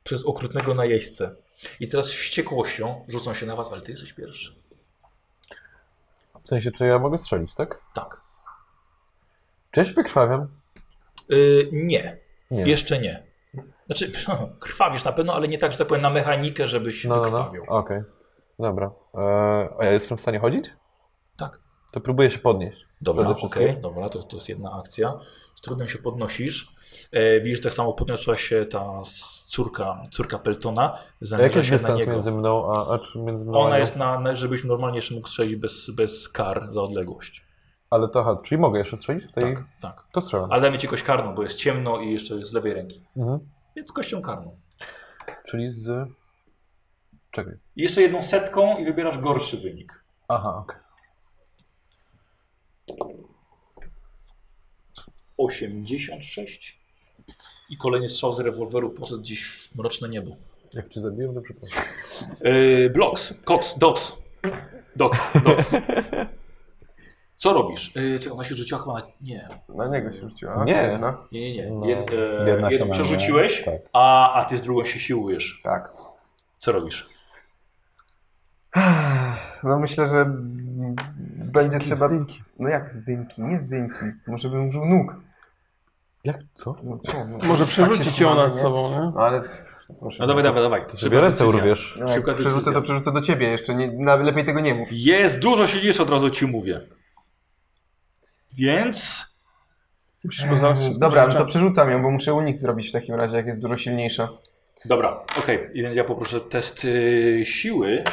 przez okrutnego najeźdźcę. I teraz z wściekłością rzucą się na was, ale ty jesteś pierwszy.
W sensie, czy ja mogę strzelić, tak?
Tak.
Czy ja się wykrwawiam?
Y, nie.
Nie.
Jeszcze nie. Znaczy, [laughs] krwawisz na pewno, ale nie tak, że tak powiem, na mechanikę, żebyś się
No,
wykrwawił.
Okej. Dobra. E, a ja jestem w stanie chodzić?
Tak.
To próbuję się podnieść.
Dobra,
Przede
okej,
wszystkim.
dobra, to, to jest jedna akcja. Z trudem się podnosisz. E, widzisz, tak samo podniosła się ta s- córka, córka Peltona.
A jaki
Zamierza
jest
Tak, się na
dystans
niego.
między mną a, a czy między mną a
Ona
nią?
jest na, na żebyś normalnie jeszcze mógł strzelić bez, bez kar za odległość.
Ale to aha, czyli mogę jeszcze strzelić? Tutaj...
Tak, tak.
To strzelam.
Ale damy ci kość karną, bo jest ciemno i jeszcze z lewej ręki.
Mhm.
Więc z kością karną.
Czyli z... Czekaj.
I jeszcze jedną setką i wybierasz gorszy wynik.
Aha, okej.
86. I kolejny strzał z rewolweru poszedł gdzieś w mroczne niebo.
Jak cię zabiłem, to przepraszam.
Yy, blocks, Cox, Dox. Dox, Dox. Co robisz? Yy, czekaj, ona się rzuciła chyba na... Nie,
Na niego się rzuciła.
Nie.
Jedna.
nie, nie. nie.
No,
Jed, e,
jedna się
jedną
na mnie.
przerzuciłeś,
Tak.
a, a ty z drugą się siłujesz.
Tak.
Co robisz?
No myślę, że mm, będzie trzeba... No jak z dymki? Nie z dymki. Może bym użył nóg.
Jak co?
No co? No,
Może
tak się
przerzucić ją
trzymamy,
nad
nie?
sobą, nie?
No ale... Muszę
No dawaj, dawaj, dawaj.
To
Szybka
sobie ręce
decyzja.
urwiesz.
No,
Szybka
jak przerzucę,
decyzja.
to przerzucę do ciebie jeszcze. Nie, na, lepiej tego nie mów.
Jest, dużo siedzisz, od razu ci mówię. Więc...
Musisz go zaraz...
Dobra, no to przerzucam ją, bo muszę unik zrobić w takim razie, jak jest dużo silniejsza.
Dobra, okej. I więc ja poproszę test y, siły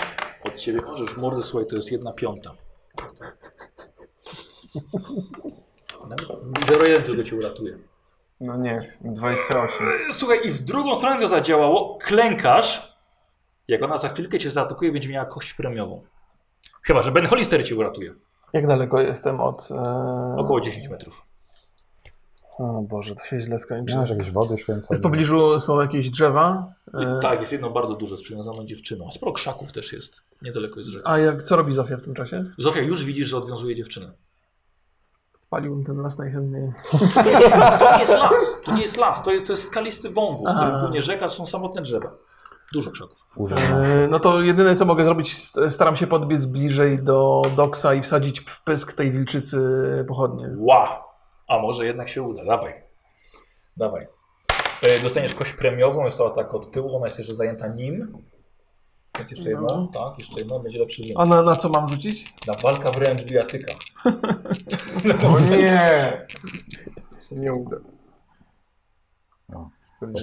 od ciebie. Możesz mordę, słuchaj, to jest jedna piąta. 0,1 tylko cię uratuje.
No nie, 28.
Słuchaj, i w drugą stronę to zadziałało. Klękasz. Jak ona za chwilkę cię zaatakuje, będzie miała kość premiową. Chyba, że Ben Hollister cię uratuje.
Jak daleko jestem od... E...
Około 10 metrów.
O Boże, to się źle skończy.
Masz jakieś wody święcone?
No. W pobliżu są jakieś drzewa. E...
I tak, jest jedno bardzo duże z przywiązaną dziewczyną. Sporo krzaków też jest. Niedaleko jest rzeka.
A jak, co robi Zofia w tym czasie?
Zofia, już widzisz, że odwiązuje dziewczynę.
Paliłbym ten las najchętniej.
To nie jest las, to nie jest las, to jest, to jest skalisty wąwóz, który
A.
płynie rzeka, są samotne drzewa. Dużo krzaków.
E, no to jedyne co mogę zrobić, st- staram się podbiec bliżej do doksa i wsadzić w pysk tej wilczycy pochodnie.
Ła! A może jednak się uda, dawaj. Dawaj. E, Dostaniesz kość premiową, jest to tak od tyłu, ona jest jeszcze zajęta nim. Więc jeszcze jedna,
No.
tak, jeszcze jedna, będzie lepszy wynik.
A na, na co mam rzucić?
Na walka wręcz bijatyka.
O nie! Się nie uda.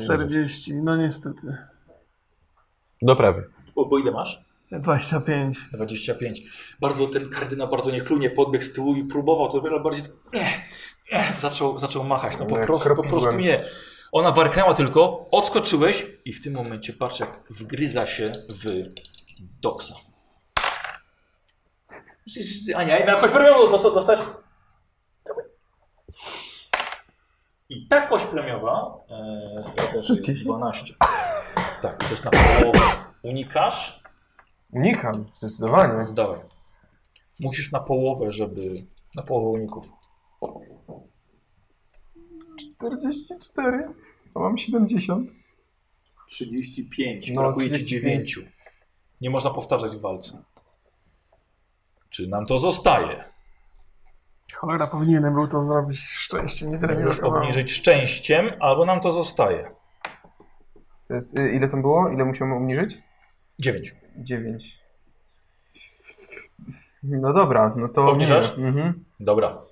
40, no niestety.
Do prawie.
Bo, bo ile masz?
25.
25. Bardzo ten kardynał bardzo niechlujnie podbiegł z tyłu i próbował to wiele bardziej. Ech, ech, zaczął, zaczął machać. No po
Nie,
prostu, po
kropiłem.
prostu nie. Ona warknęła tylko, odskoczyłeś i w tym momencie patrz jak wgryza się w doksa. Ania, ja miałem kość premiową, to co dostać? I ta kość premiowa e, sprawia, że jest 12. Tak, i to jest na połowę. Unikasz.
Unikam, zdecydowanie.
Zdawaj. Musisz na połowę, żeby. Na połowę uników.
44, a mam 70.
35.
No,
Brakuje ci
39.
9. Nie można powtarzać w walce. Czy nam to zostaje?
Cholera, powinienem był to zrobić. Szczęście, nie tyle mi
Możesz
brakowało.
obniżyć szczęściem, albo nam to zostaje.
To jest, y, ile tam było? Ile musiałem obniżyć?
9.
9. No dobra, no to...
Obniżasz?
obniżę. Mhm.
Dobra.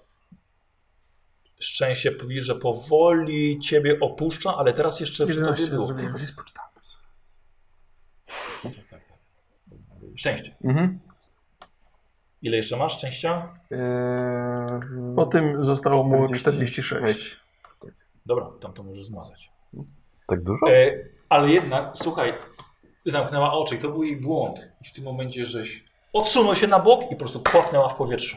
Szczęście powiesz, że powoli ciebie opuszcza, ale teraz jeszcze przy tobie
11
było.
zrobiłem.
Szczęście.
Mhm.
Ile jeszcze masz szczęścia?
Yy,
Po tym zostało mu 46.
46.
Dobra, tam to możesz zmazać.
Tak dużo?
E, ale jednak, słuchaj, zamknęła oczy i to był jej błąd. I w tym momencie żeś odsunął się na bok i po prostu płaknęła w powietrzu.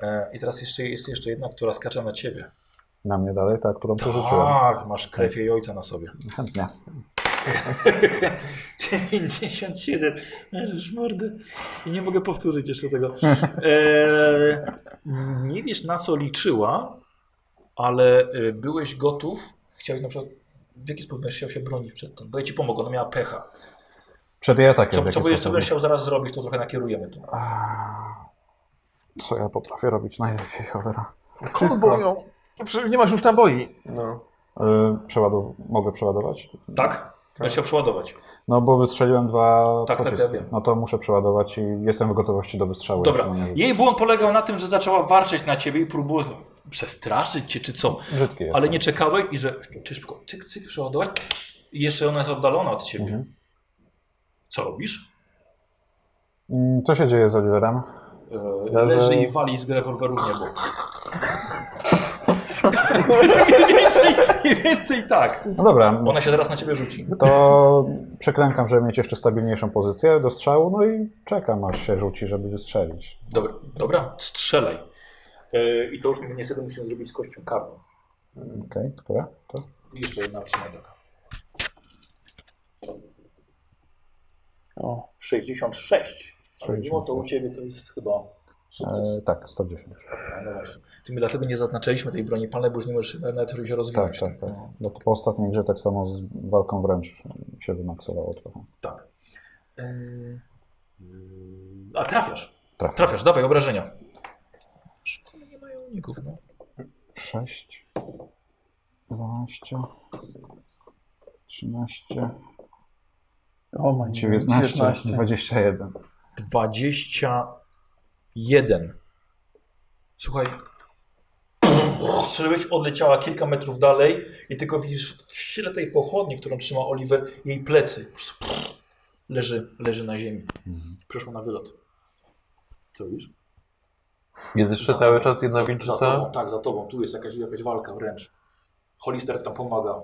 E, I teraz jeszcze, jest jeszcze jedna, która skacze na ciebie.
Na mnie dalej, ta, którą przerzuciłem.
Tak, masz krew jej ojca na [laughs] sobie.
Chętnie.
97. Leżysz mordy. I nie mogę powtórzyć jeszcze [laughs] tego. E, nie wiesz na co liczyła, ale e, byłeś gotów. Chciałeś na przykład. W jaki sposób będziesz chciał się bronić przed tym? Bo ja ci pomogę, ona miała pecha.
Przed jej atakiem. w
Co,
jaki
co będziesz co
sposób?
będziesz chciał zaraz zrobić, to trochę nakierujemy to.
A, Co ja potrafię robić najlepiej, [laughs] cholera?
No
Kurbo ją. Prze- Nie masz już naboi.
No.
E, przeładow- mogę przeładować?
Tak? Będziesz chciał przeładować.
No bo wystrzeliłem dwa
Tak, tak,
pociski.
ja wiem.
No to muszę przeładować i jestem w gotowości do wystrzału.
Dobra.
jeśli mnie-
Jej błąd polegał na tym, że zaczęła warczeć na ciebie i próbuje no, przestraszyć cię czy co.
Brzydkie jest.
Ale nie czekałeś i że czy szybko cyk, cyk, przeładować. I jeszcze ona jest oddalona od ciebie.
Mhm.
Co robisz?
Mm, Co się dzieje z Oliverem?
Eee,
Ja, że-
Leży i wali z rewolweru w niebo. [laughs] mniej, więcej, mniej więcej tak.
No dobra,
Ona się zaraz na ciebie rzuci.
to przekrękam, żeby mieć jeszcze stabilniejszą pozycję do strzału, no i czekam aż się rzuci, żeby wystrzelić.
Dobra, dobra strzelaj. Eee, I to już niestety musimy zrobić z kością karną.
Okej, które? To?
Jeszcze jedna otrzymaj taka.
O.
66. Ale mimo to u
66.
ciebie to jest chyba sukces.
E, tak, 110.
No właśnie. Czyli my dlatego nie zaznaczyliśmy tej broni palnej, bo już nie możesz nawet się
Tak,
rozwinąć.
tak, tak.
No,
No to po ostatniej grze tak samo z walką wręcz się wymaksowało trochę.
tak. Yy, A trafiasz.
Trafiam.
Trafiasz, dawaj obrażenia. Szkoda, nie mają uników, no.
6, 12, 13,
O, man,
19, 21.
21. Słuchaj. Strzeliłeś, odleciała kilka metrów dalej i tylko widzisz w sile tej pochodni, którą trzyma Oliver, jej plecy. Po prostu Leży, leży na ziemi. Przeszło na wylot. Mhm. Co robisz?
Jest jeszcze
Za
cały
tobą,
czas jedna
za- Za tobą,
wilczyca.
tak, za tobą. Tu jest jakaś, jakaś walka wręcz. Hollister tam pomaga.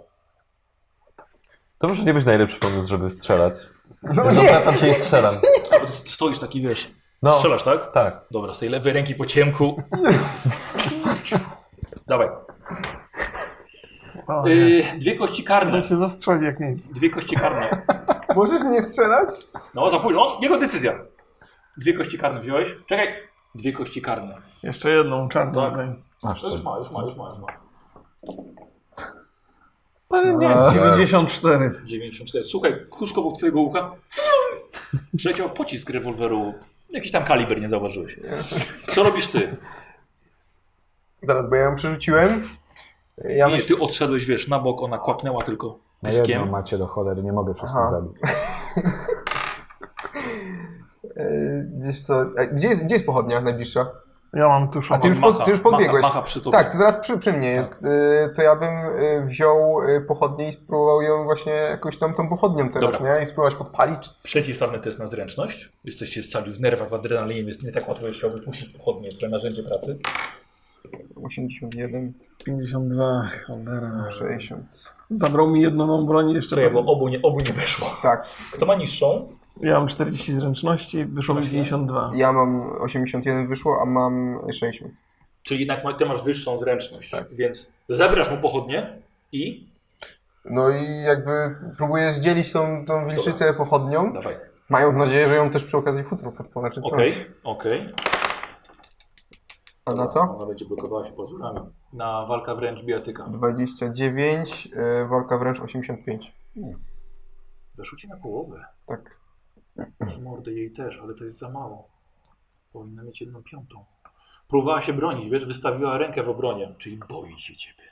To może nie być najlepszy pomysł, żeby strzelać. No nie. Wracam się i strzelam.
A bo ty stoisz taki, wiesz.
No,
Strzelasz, tak?
tak.
Dobra, z tej lewej ręki po [laughs] ciemku. Dawaj.
O, nie.
Y, dwie kości karne.
Ja Yy, się zastrzeli jak nic.
Dwie kości karne.
Możesz nie strzelać?
No, za późno. On- Jego decyzja. Dwie kości karne wziąłeś. Czekaj. Dwie kości karne.
Jeszcze jedną czarną.
Tak.
daj.
Masz
To
to.
już ma, już ma, już ma, już ma.
Ale nie,
Eee.
94.
94. Słuchaj, kuszko obok twojego łuka. Przeciął pocisk rewolweru. Jakiś tam kaliber nie zauważyłeś. Co robisz ty?
Zaraz, bo ja ją przerzuciłem. Ja
nie,
myślę,
ty odszedłeś, wiesz, na bok, ona kłapnęła tylko
Na jedno
dyskiem.
macie do cholery, nie mogę wszystkich
Aha.
zabić.
e, wiesz co, a gdzie jest, gdzie jest pochodnia najbliższa?
Ja mam tuż
A ty już, po, ty już podbiegłeś.
Macha, macha przy tobie.
Tak, to zaraz przy, przy mnie jest. E, To ja bym e, wziął e, pochodnię i spróbował ją właśnie jakąś tam tą pochodnią teraz,
Dobra.
nie? I spróbować podpalić. czy-
Przeciwstawny test na zręczność. Jesteście cali w nerwach, w adrenalinie, więc nie tak łatwo jest się wypuścić pochodnie, twoje narzędzie pracy.
81,
52, cholera.
60.
Zabrał mi jedną mą broń i jeszcze...
Czekaj, bo obu nie, obu nie weszło.
Tak,
Kto ma niższą?
Ja mam 40 zręczności, wyszło mi 52.
ja mam 81 wyszło, a mam 60.
Czyli jednak ma, ty masz wyższą zręczność,
Tak.
więc zabrasz mu pochodnie i...
No i jakby próbuję zdzielić tą, tą wilczycę pochodnią,
Dawaj.
mając nadzieję, że ją też przy okazji futro podpalę czy coś.
Okej, okej.
A na co?
Ona będzie blokowała się pozorami. Na walka wręcz biatyka.
29, y, walka wręcz 85.
Weszło ci na połowę.
Tak.
Z mordy jej też, ale to jest za mało. Powinna mieć jedną piątą. Próbowała się bronić, wiesz, wystawiła rękę w obronie, czyli boi się ciebie.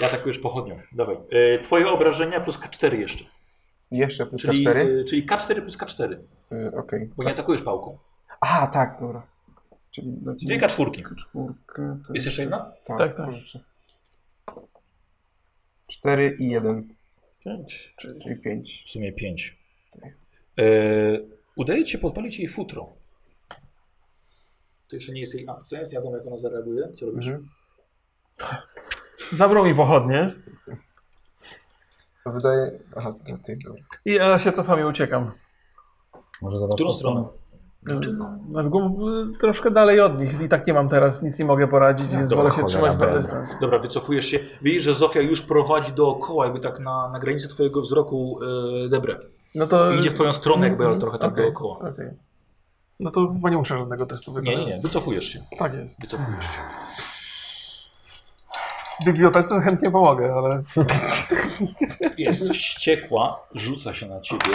Ja atakujesz pochodnią. Dawaj. E, twoje obrażenia plus K4 jeszcze.
Jeszcze plus
Czyli
K4?
e, czyli K4 plus K4,
Y, Okej.
bo nie atakujesz pałką.
Aha, tak, dobra. Czyli do
Dwie K4.
czwórkę. to
Jest jeszcze jedna?
Tak,
Tak,
tak.
tak.
4 i 1,
5, czyli...
czyli 5.
W sumie pięć. E, udaje ci się podpalić jej futro. To jeszcze nie jest jej akcja, jest wiadomo jak ona zareaguje. Co robisz?
Mhm.
Zabrał mi pochodnie
To wydaje. Aha, to ty. dobra.
i ja się cofam i uciekam.
Może zobaczę.
W którą stronę?
No, w głąb- troszkę dalej od nich i tak nie mam teraz, nic nie mogę poradzić, więc
Dobra,
wolę się
cholera,
trzymać na
będę.
dystans.
No Dobra, wycofujesz się. Widzisz, że Zofia już prowadzi dookoła, jakby tak na, na granicy twojego wzroku e, Debre.
No to... Mhm,
Idzie w twoją stronę jakby, ale trochę tak
Okej,
E,
dookoła.
okej. No to chyba nie muszę żadnego testu
Nie,
wykonać.
nie, nie, wycofujesz się.
Tak jest.
Wycofujesz się.
W bibliotece chętnie pomogę, ale...
Jest wściekła, rzuca się na ciebie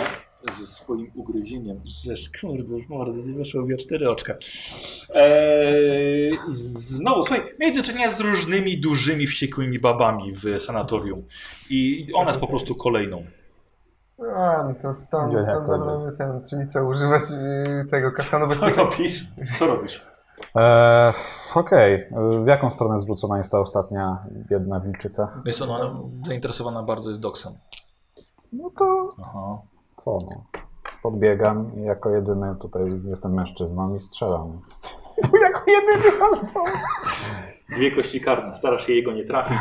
ze swoim ugryzieniem. Ze skurde, w mordę, nie weszło mi o cztery oczka. Eee, i E, znowu, słuchaj, mieli do czynienia z różnymi dużymi, wściekłymi babami w sanatorium. I i ona jest po prostu kolejną.
A, no to stan,
Gdzie, jak to
standardowy ten, czyli co, używać yy, tego kasztanu
Co
bezpieczeństwa.
robisz? Co robisz?
E, Okej, E, w jaką stronę zwrócona jest ta ostatnia biedna wilczyca?
Jest ona no, zainteresowana bardzo jest doksem.
No to
Aha.
co no? Podbiegam i jako jedyny tutaj jestem mężczyzną i strzelam.
jako jedyny albo.
Dwie kości karne, starasz się jego nie trafić.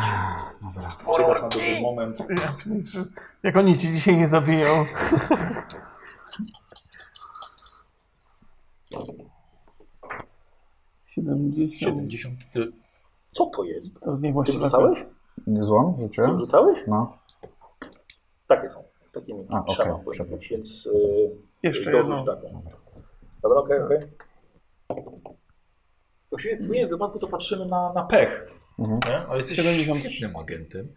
Czekasz na dobry moment.
Ja pierniczę. Jak oni cię dzisiaj nie zabiją. [laughs] Siedemdziesiąt.
70. Y, Co to jest?
To jest
Ty
niewłaściwe.
wrzucałeś?
Nie złam?
Ty
Hmm?
Rzuciłem?
wrzucałeś?
No.
Takie są. Takimi
A, okej,
trzema były,
przepraszam.
Więc
y,
yy,
Jeszcze
dorzuć
jedno.
tak.
taką. Dobra, okej, okej.
Właściwie w twoim wypadku to patrzymy na, na pech.
Mhm.
Nie? Ale jesteś
70.
świetnym agentem.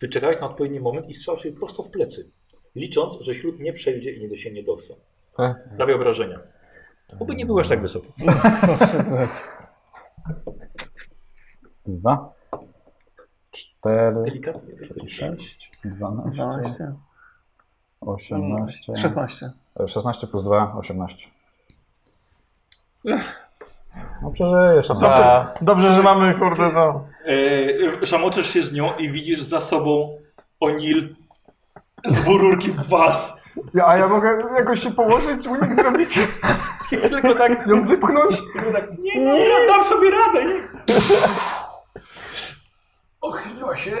Wyczekałeś na odpowiedni moment i strzelasz jej prosto w plecy. Licząc, że ślub nie przejdzie i nie dosięgnie doksa.
Tak.
Prawie obrażenia. Oby nie byłeś tak wysoki.
No. Dwa. Cztery.
Delikatnie.
Sześć. Dwanaście.
12,
Osiemnaście.
16.
E, 16 plus 2, 18. No przeżyjesz. Dobra.
Dobrze, że mamy kurde to.
E, szamoczesz się z nią i widzisz za sobą Onil z bururki w was.
Ja, a ja mogę jakoś się położyć, unik zrobić,
[laughs] Tylko tak,
ją wypchnąć?
tylko tak nie, nie, ja dam sobie radę. Ochyliła się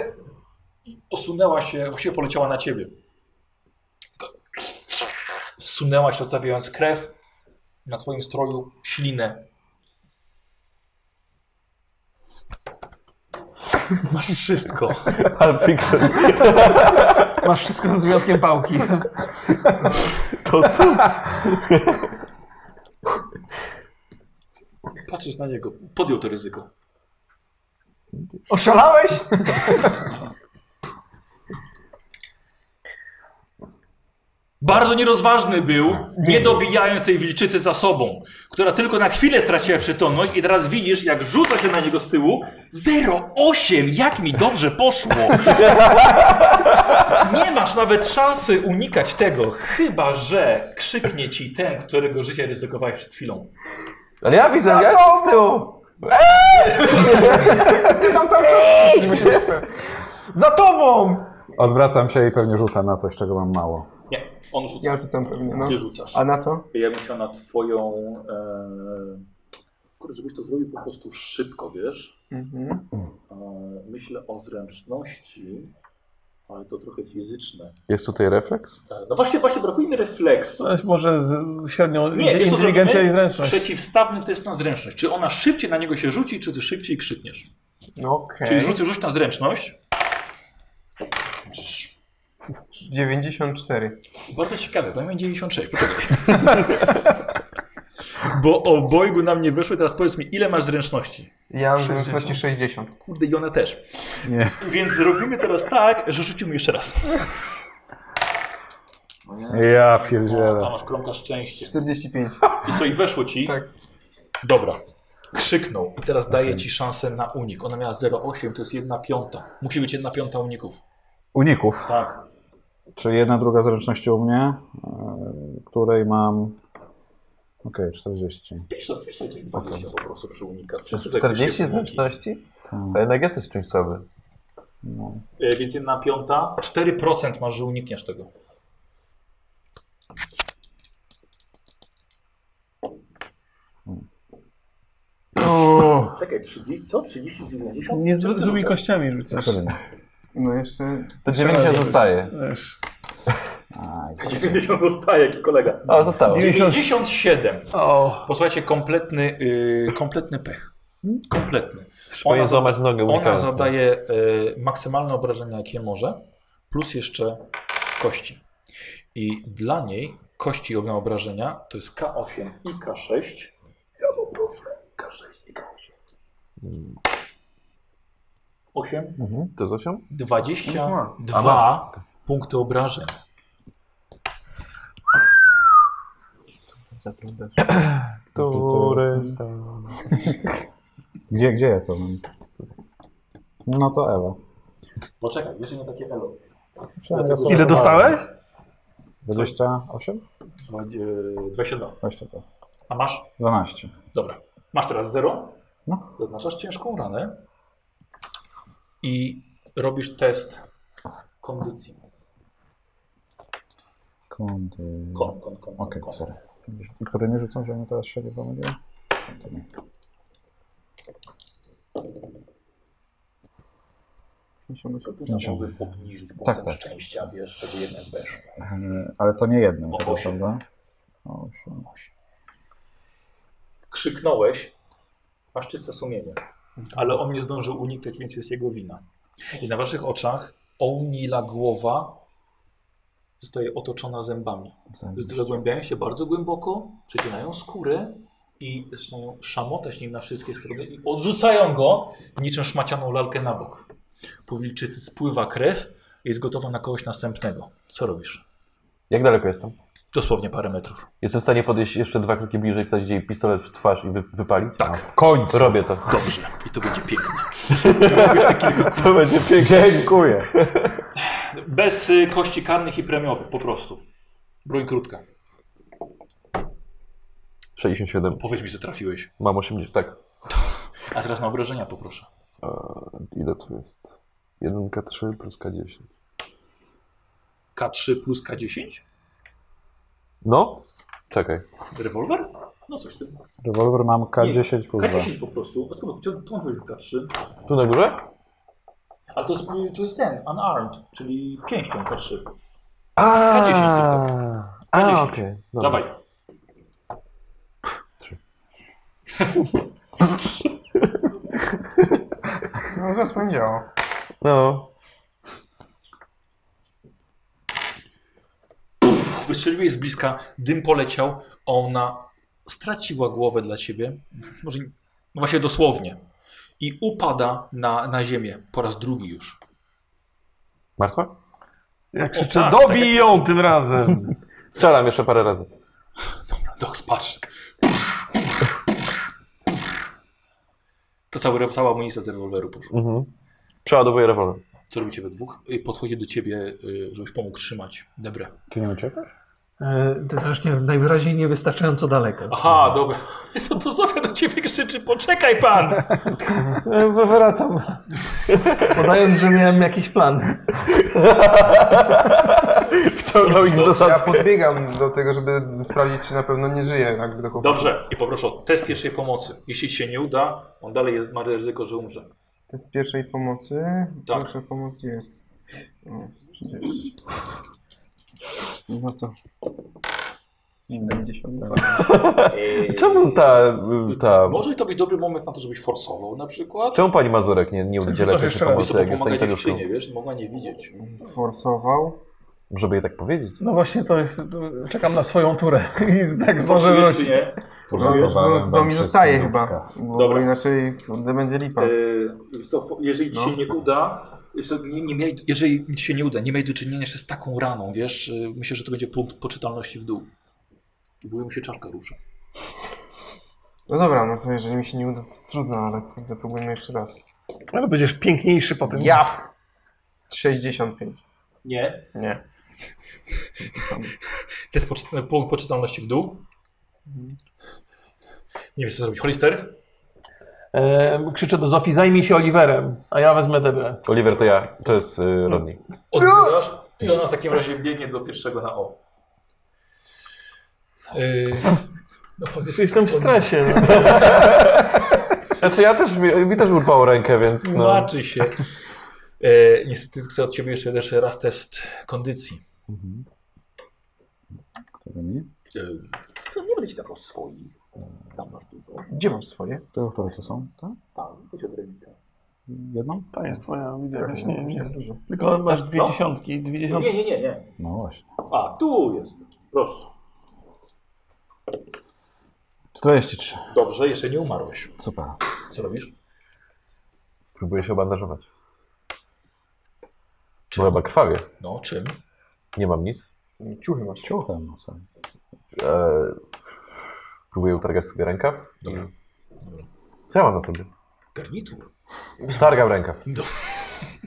i osunęła się, właściwie poleciała na ciebie. Tylko Zsunęła się, zostawiając krew na twoim stroju, ślinę. Masz wszystko.
Pulp Fiction.
Masz wszystko z wyjątkiem pałki.
[laughs] Patrzysz na niego. Podjął to ryzyko.
Oszalałeś?
Bardzo nierozważny był, nie dobijając tej wilczycy za sobą, która tylko na chwilę straciła przytomność i teraz widzisz, jak rzuca się na niego z tyłu 08, jak mi dobrze poszło. Nie masz nawet szansy unikać tego, chyba że krzyknie ci ten, którego życie ryzykowałeś przed chwilą.
Ale ja widzę, ja jestem z tyłu.
Ty tam cały czas krzyczysz, myślę. Za tobą!
Odwracam się i pewnie rzucam na coś, czego mam mało.
Nie, on rzuca.
Ja rzucam pewnie, no.
Ty rzucasz.
A na co?
Ja bym chciał na twoją... E... Kurde, żebyś to zrobił po prostu szybko, wiesz?
Mhm.
E, Myślę o zręczności, ale to trochę fizyczne.
Jest tutaj refleks?
E, No właśnie, właśnie brakuje mi refleksu.
Coś może z, z średnią
Nie, wiesz co
inteligencja
zrobimy?
i zręczność.
Przeciwstawny test na zręczność. Czy ona szybciej na niego się rzuci, czy ty szybciej krzykniesz?
No okej.
Czyli rzuć, rzuć na zręczność.
94.
Bardzo ciekawe, bo ja miałem 96, poczekaj. Bo obojgu nam nie wyszły, teraz powiedz mi, ile masz zręczności?
Ja mam zręczności 60.
Kurde, i ona też.
Nie.
Więc zrobimy teraz tak, że rzucimy jeszcze raz.
Ja
A
pierdzielę.
masz kromka szczęście.
45.
I co, i weszło ci?
Tak.
Dobra. Krzyknął i teraz daje ci szansę na unik. Ona miała 0,8, to jest 1 piąta. Musi być 1 piąta uników.
Uników.
Tak.
Czyli jedna, druga zręczność u mnie, e, której mam... Okej, 40.
Pisz sobie, pisz sobie tych 20 po prostu przy unikach. Przesuń sobie
40
się uniki.
zręczności?
Tak.
To jednak jesteś czymś słaby.
No.
Y, Więc 1 piąta. 4% masz, że unikniesz tego.
O,
Czekaj, 30, co? 30, 90?
nie z, z złymi kościami rzucasz.
No jeszcze...
To 90 zostaje.
Wiesz,
Aj,
No. 90 zostaje, jaki kolega.
O, zostało.
97.
O,
Posłuchajcie, kompletny, y, kompletny pech. Kompletny.
Trzeba złamać nogę
Ona
unikając.
zadaje y, maksymalne obrażenia, jakie może, plus jeszcze kości. I dla niej kości ognia obrażenia to jest K8 i K6. Ja poproszę K6 i K8. 8,
Mhm. To jest 8?
22 punkty obrażeń.
który... Gdzie, gdzie ja to mam? No to Ewa.
Poczekaj, jeszcze nie takie elo.
Ile dostałeś?
28?
Dwa- e, 22.
22.
A masz?
12.
Dobra. Masz teraz 0.
No.
Zaznaczasz ciężką ranę. I robisz test kondycji.
Kondy...
Kon, kon, kon.
Okej,
kon.
sorry. Które nie rzucą, że mi teraz się nie pomyliłem? To nie.
Mogłem obniżyć punktem
Tak, tak.
szczęścia, wiesz, żeby jednak weszło.
E, Ale to nie jednym,
O,
tego,
osiem.
prawda? Osiem.
Krzyknąłeś, masz czyste sumienie, ale on nie zdążył uniknąć, więc jest jego wina. I na waszych oczach ounila głowa zostaje otoczona zębami. Zagłębiają się bardzo głęboko, przecinają skórę i zaczynają szamotać nim na wszystkie strony i odrzucają go niczym szmacianą lalkę na bok. Po wilczycy spływa krew i jest gotowa na kogoś następnego. Co robisz?
Jak daleko jestem?
Dosłownie parę metrów.
Jestem w stanie podejść jeszcze dwa kroki bliżej, wstać jej pistolet w twarz i wy, wypalić?
Tak.
w końcu. Robię to.
Dobrze. I to będzie piękne. Robisz te kilka
To będzie pięknie.
Dziękuję.
Bez y, kości karnych i premiowych, po prostu. Broń krótka.
67.
Powiedz mi, że trafiłeś.
Mam 80, tak.
A teraz na obrażenia poproszę.
E, ile tu jest? 1K3 plus K10.
K3 plus K10?
No? Czekaj.
Rewolwer? No coś ty.
Rewolwer mam K10 plus 2.
K10 po prostu. A skąd chciałem tą K3?
Tu na górze?
Ale to jest, to jest ten, unarmed, czyli pięścią K3.
A,
K10 tylko.
A,
K10.
okej. Dobra.
Dawaj.
No zaspędziało.
No.
Wystrzeliłeś z bliska, dym poleciał, ona straciła głowę dla ciebie. Może nie- no właśnie dosłownie. I upada na, na ziemię po raz drugi już.
Martwa?
Jak krzyczę,
tak,
dobij
tak jak-
ją tym razem.
Strzelam jeszcze parę razy.
Dox, patrz. To cały, cała amunicja z rewolweru poszła.
Mhm. Przeładowuję rewolwer.
Co robicie we dwóch? Y, Podchodzi do ciebie, y, żebyś pomógł trzymać Debre.
Ty nie uciekasz?
E, to też nie wiem, najwyraźniej niewystarczająco daleko.
Aha, dobra. [laughs] Co to Zofia do ciebie krzyczy? Poczekaj pan!
E, Wracam. Podając, że miałem jakiś plan.
Wciągnął ich w
Ja
zasadzkę.
podbiegam do tego, żeby sprawdzić, czy na pewno nie żyje. Jakby do chłopaka.
Dobrze, i poproszę o test pierwszej pomocy. Jeśli ci się nie uda, on dalej jest, ma ryzyko, że umrze.
To jest pierwszej pomocy.
Tak.
Pierwsza pomoc gdzie jest. O, 30. No to. 92.
Eee,
[laughs] Czemu ta... ta...
Może to być dobry moment na to, żebyś forsował na przykład?
Czemu pani Mazurek nie, nie udziela
rzucasz
pierwszej
jeszcze raz?
Wiesz
pomocy,
co, bo
jak jest
pomaga
sanitariuszką?
dziewczynie, wiesz? Mogła nie widzieć.
Forsował.
Żeby jej tak powiedzieć.
No właśnie, to jest. Czekam na swoją
[laughs]
turę i tak zdążę
Forsujesz,
wrócić.
czy nie?
No,
Zablokowałem
już to,
wam
to mi
wszystko
zostaje
ludzka.
chyba. Bo
Dobra.
inaczej kurde, będzie
Tak.
lipa.
E, wiesz co, jeżeli ci się
No.
nie uda, wiesz co, nie, nie miej, jeżeli ci się nie uda, nie miej do czynienia jeszcze z taką raną, wiesz, e, myślę, że to będzie punkt poczytalności w dół. I Boję mu się czaszka ruszy.
No dobra, no to jeżeli mi się nie uda, to trudno, ale kurde, próbujmy jeszcze raz.
Ale będziesz piękniejszy potem.
Ja! 65.
Nie.
Nie.
To jest poczy- punkt poczytalności w dół. Nie wiesz co zrobić. Hollister?
E, krzyczę do Zofii, zajmij się Oliverem, a ja wezmę Debrę.
Oliver to ja, to jest y, Rodney.
Odbierasz i ona w takim razie biegnie do pierwszego na O. Yy, no, bo jest-
Jestem w stresie. No.
Znaczy ja też, mi, mi też urwało rękę, więc no.
Tłumaczy się. E, niestety chcę od ciebie jeszcze, jeszcze raz test kondycji.
Którymi?
E, to nie będę ci dawał swoich. Tam masz dużo.
Gdzie masz swoje?
To, które to są? Tak?
Tam, chodź od ręka.
Jedną?
To jest twoja, widzę jakaś nie, nie jest.
Dużo.
Tylko masz dwie
No.
dziesiątki, dwie dziesiątki.
Nie, nie, nie, nie.
No właśnie.
A, tu jest. Proszę.
43.
Dobrze, jeszcze nie umarłeś.
Super.
Co robisz?
Próbuję się obandażować. Bo chyba krwawie.
No, czym?
Nie mam nic.
Ciuchy masz.
Ciuchem. no co?
E, Próbuję utargać sobie rękaw. Dobra. Co ja mam na sobie?
Garnitur.
Targam rękaw.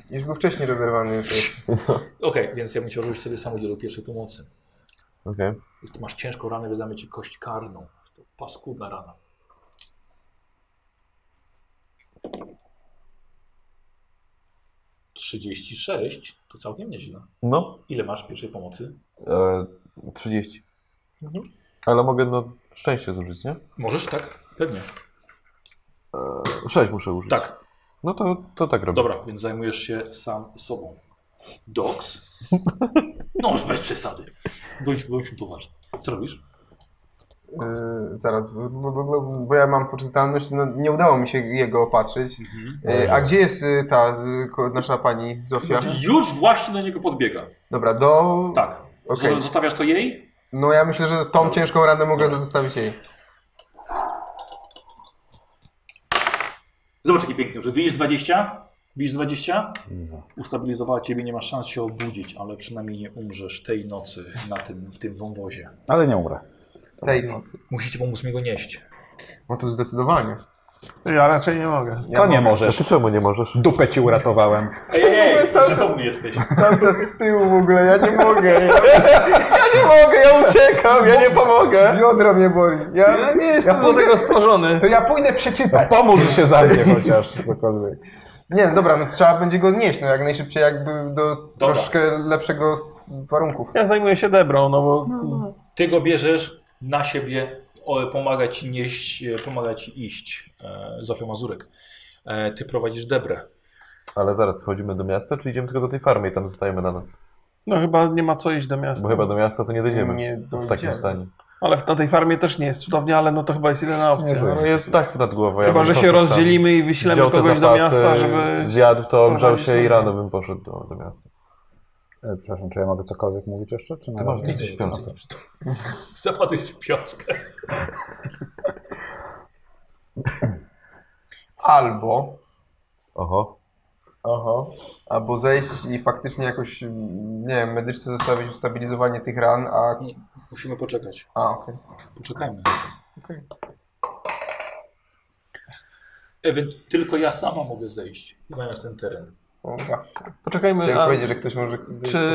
Już był wcześniej rozerwany.
Okej, więc ja bym chciał, żebyś sobie sam udzielił pierwszej pomocy.
Okej.
Jest, masz ciężką ranę, wydamy ci kość karną. Jest to paskudna rana. Trzydzieści sześć to całkiem nieźle.
No.
Ile masz pierwszej pomocy?
E, 30. Ale mogę no szczęście zużyć, nie?
Możesz, tak? Pewnie.
E, 6 muszę użyć.
Tak.
No to, to tak robię.
Dobra, więc zajmujesz się sam sobą. Doks? [laughs] No, już bez przesady. Bądź, bądźmy poważni. Co robisz?
Yy, zaraz, bo, bo, bo, bo ja mam poczytalność, no, nie udało mi się jego opatrzyć. Yy, a gdzie jest y, ta y, ko- nasza pani Zofia?
Już właśnie do niego podbiega.
Dobra, do...
Tak.
Okej.
Zo- Zostawiasz to jej?
No ja myślę, że tą ciężką ranę mogę zostawić jej.
Zobacz jaki piękny, że widzisz 20? Widzisz 20?
No.
Ustabilizowała ciebie, nie masz szans się obudzić, ale przynajmniej nie umrzesz tej nocy na tym, w tym wąwozie.
Ale nie umrę.
Tej nocy.
Musicie pomóc mi go nieść.
No to zdecydowanie.
Ja raczej nie mogę.
To nie możesz.
Ty czemu nie możesz?
Dupę ci uratowałem.
Ej, ej,
ej, cały
przytomny jesteś.
Cały czas z tyłu w ogóle, ja nie
[laughs]
mogę. Ja,
Nie mogę, ja uciekam, ja nie pomogę.
biodra mnie boli. Ja,
Ja nie jestem do tego stworzony.
to ja pójdę przeczytać.
No Pomóż się
[laughs]
za mnie chociaż cokolwiek.
Nie, no dobra, no trzeba będzie go odnieść, no jak najszybciej jakby do
Dobra.
troszkę lepszego s- warunków.
Ja zajmuję się Debrą, no bo
Ty go bierzesz na siebie, o, pomaga ci nieść, e, pomaga ci iść. E, Zofia Mazurek. E, ty prowadzisz Debrę.
Ale zaraz, schodzimy do miasta, czy idziemy tylko do tej farmy i tam zostajemy na noc?
no chyba nie ma co iść do miasta.
Bo chyba do miasta to nie dojdziemy.
Nie
w
dojdziemy.
takim stanie.
Ale w- na tej farmie też nie jest cudownie, ale no to chyba jest jedyna opcja.
No jest tak nad głową. ja
Chyba,
bym
że się
poszedł tam.
rozdzielimy i wyślemy
Wziął te
kogoś do
zapasy,
miasta, żeby...
Zjadł to, ogrzał
sprowadzić
się i
na-
rano bym poszedł do, do miasta.
E, Przepraszam, czy ja mogę cokolwiek mówić jeszcze? Czy na
Ty masz
razie?
jesteś piąty.
[laughs] Zapadłeś w piątkę.
Albo,
Oho.
aha, albo zejść i faktycznie jakoś, mm, nie wiem, medyczce zostawić ustabilizowanie tych ran, a...
Nie, musimy poczekać.
A, okej.
Poczekajmy.
Okej.
Ewent, tylko ja sama mogę zejść, znając ten teren.
O, tak.
Poczekajmy,
Chciałem
a
powiedzieć, że ktoś może...
czy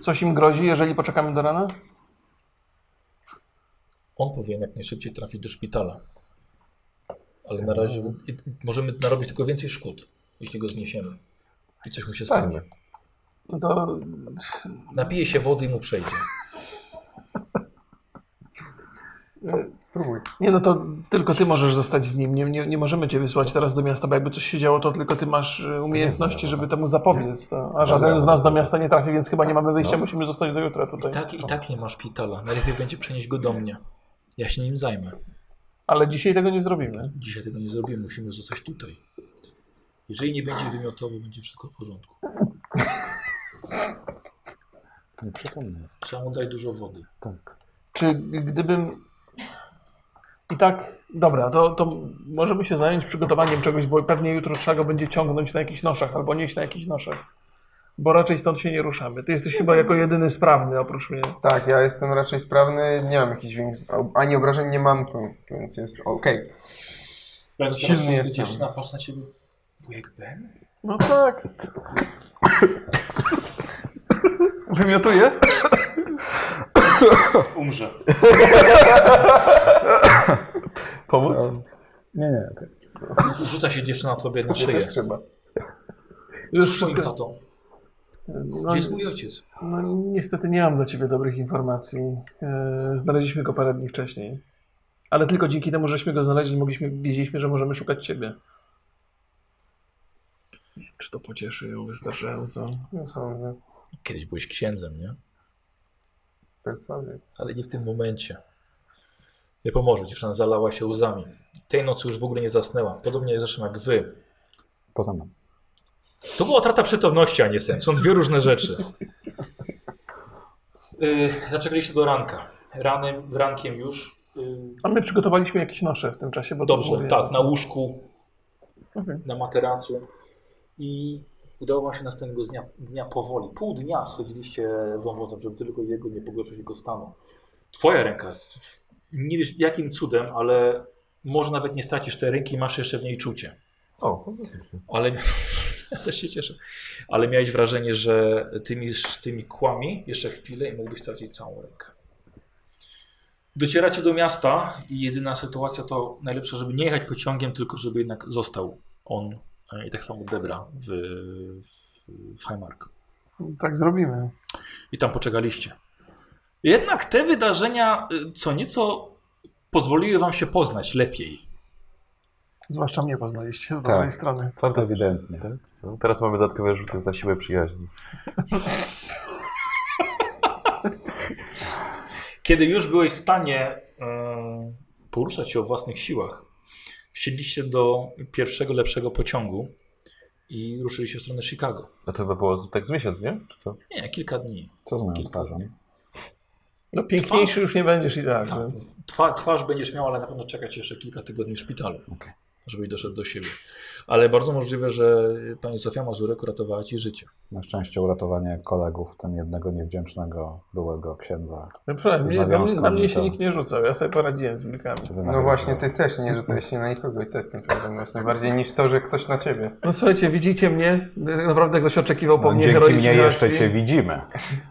coś im grozi, jeżeli poczekamy do rana?
On powinien jak najszybciej trafić do szpitala. Ale na razie i- i- możemy narobić tylko więcej szkód, jeśli go zniesiemy. I coś mu się stanie.
No to
Napije się wody i mu przejdzie.
Spróbuj.
Nie, no to tylko ty możesz zostać z nim. Nie, nie, nie możemy cię wysłać teraz do miasta, bo jakby coś się działo, to tylko ty masz e, umiejętności, żeby temu zapobiec. To, a żaden z nas do miasta nie trafi, więc chyba nie mamy
No.
wyjścia, musimy zostać do jutra tutaj.
I tak i tak nie ma szpitala. Najlepiej będzie przenieść go do mnie. Ja się nim zajmę.
Ale dzisiaj tego nie zrobimy.
Dzisiaj tego nie zrobię, musimy zostać tutaj. Jeżeli nie będzie wymiotowy, będzie wszystko w porządku.
Nie Tak. przypomnę. jest.
Trzeba mu dać dużo wody.
Czy g- gdybym. I tak, dobra, to, to możemy się zająć przygotowaniem czegoś, bo pewnie jutro trzeba go będzie ciągnąć na jakichś noszach albo nieść na jakichś noszach. Bo raczej stąd się nie ruszamy. Ty jesteś chyba jako jedyny sprawny oprócz mnie.
Tak, ja jestem raczej sprawny, nie mam jakichś większych- ani obrażeń nie mam tu, więc jest okej.
Będę
Silny jestem.
Dziewczyna, patrz na ciebie. Wujek Ben?
No tak.
Wymiotuję?
Umrze.
Pomóc?
Nie, nie. okej.
Rzuca się dziewczyna tobie na
Nie
szyję.
też trzeba.
Już
Z twoim
wszystko.
tatą.
No,
Gdzie jest mój ojciec?
No niestety nie mam dla Ciebie dobrych informacji. E, Znaleźliśmy go parę dni wcześniej. Ale tylko dzięki temu, żeśmy go znaleźli, mogliśmy, wiedzieliśmy, że możemy szukać Ciebie. Czy to pocieszy ją wystarczająco?
No sądzę,
Kiedyś byłeś księdzem, nie?
perswazja.
Ale nie w tym momencie. Nie pomoże, dziewczyna zalała się łzami. Tej nocy już w ogóle nie zasnęła. Podobnie zresztą jak wy.
Poza mną.
To była trata przytomności, a nie sen. Są dwie różne rzeczy. Yy, zaczekaliście do ranka. Ranem, rankiem już. Yy,
A my przygotowaliśmy jakieś nosze w tym czasie, bo to
Dobrze,
mówię.
tak, na łóżku,
Okej.
na materacu. I udało wam się następnego dnia, dnia powoli. Pół dnia schodziliście wąwozem, żeby tylko jego nie pogorszyć jego stanu. Twoja ręka jest nie wiesz jakim cudem, ale może nawet nie stracisz tej ręki, masz jeszcze w niej czucie.
O,
Ale [laughs] ja też się cieszę. Ale miałeś wrażenie, że tymi, tymi kłami jeszcze chwilę i mógłbyś stracić całą rękę. Docieracie do miasta i jedyna sytuacja to najlepsza, żeby nie jechać pociągiem, tylko żeby jednak został on e, i tak samo Debra w, w, w Highmark.
no.
Tak zrobimy.
I tam poczekaliście. Jednak te wydarzenia y, co nieco pozwoliły wam się poznać lepiej.
Zwłaszcza mnie poznaliście z
Tak.
dobrej strony.
To ewidentnie.
No, teraz mamy dodatkowe rzuty za siłę przyjaźni.
Kiedy już byłeś w stanie e, poruszać się o własnych siłach, wsiedliście do pierwszego lepszego pociągu i ruszyliście w stronę Chicago.
No to chyba było tak z miesiąc, nie? Czy to?
Nie, kilka dni.
Co z moją twarzą?
No piękniejszy już nie będziesz i tak,
Tak.
więc...
Twa, twarz będziesz miał, ale na pewno czekać jeszcze kilka tygodni w szpitalu, żebyś doszedł do siebie. Ale bardzo możliwe, że pani Sofia Mazurek uratowała ci życie.
Na szczęście uratowanie kolegów, w tym jednego niewdzięcznego byłego księdza.
Naprawdę,
Z
No, nie, na, mnie-
nawiązkami
na mnie się
to-
nikt nie rzucał, ja sobie poradziłem z wilkami.
który
No
nawiązał.
właśnie, ty też nie rzucałeś się na nikogo i to jest ten problem właśnie. Bardziej niż to, że ktoś na ciebie.
No słuchajcie, widzicie mnie? Naprawdę ktoś oczekiwał po
No,
mnie
dzięki mnie
heroicznej
jeszcze
akcji.
cię widzimy.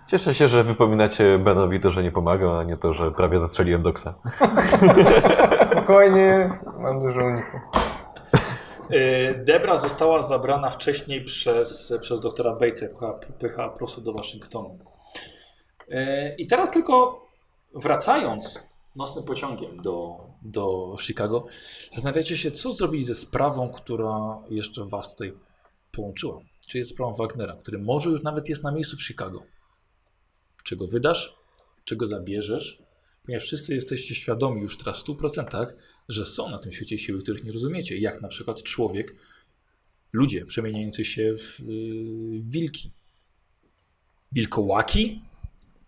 Cieszę się, że wypominacie Benowi to, że nie pomagał, a nie to, że prawie zastrzeliłem doksa.
Spokojnie, mam dużo uników.
E, Debra została zabrana wcześniej przez, przez doktora Bejce, pycha, pycha prosto do Waszyngtonu. E, I teraz tylko wracając nocnym pociągiem do, do Chicago, zastanawiacie się, co zrobić ze sprawą, która jeszcze Was tutaj połączyła. Czyli jest sprawą Wagnera, który może już nawet jest na miejscu w Chicago. Czy go wydasz? Czy go zabierzesz? Ponieważ wszyscy jesteście świadomi już teraz w 100%, że są na tym świecie siły, których nie rozumiecie, jak na przykład człowiek, ludzie przemieniający się w yy, wilki. Wilkołaki?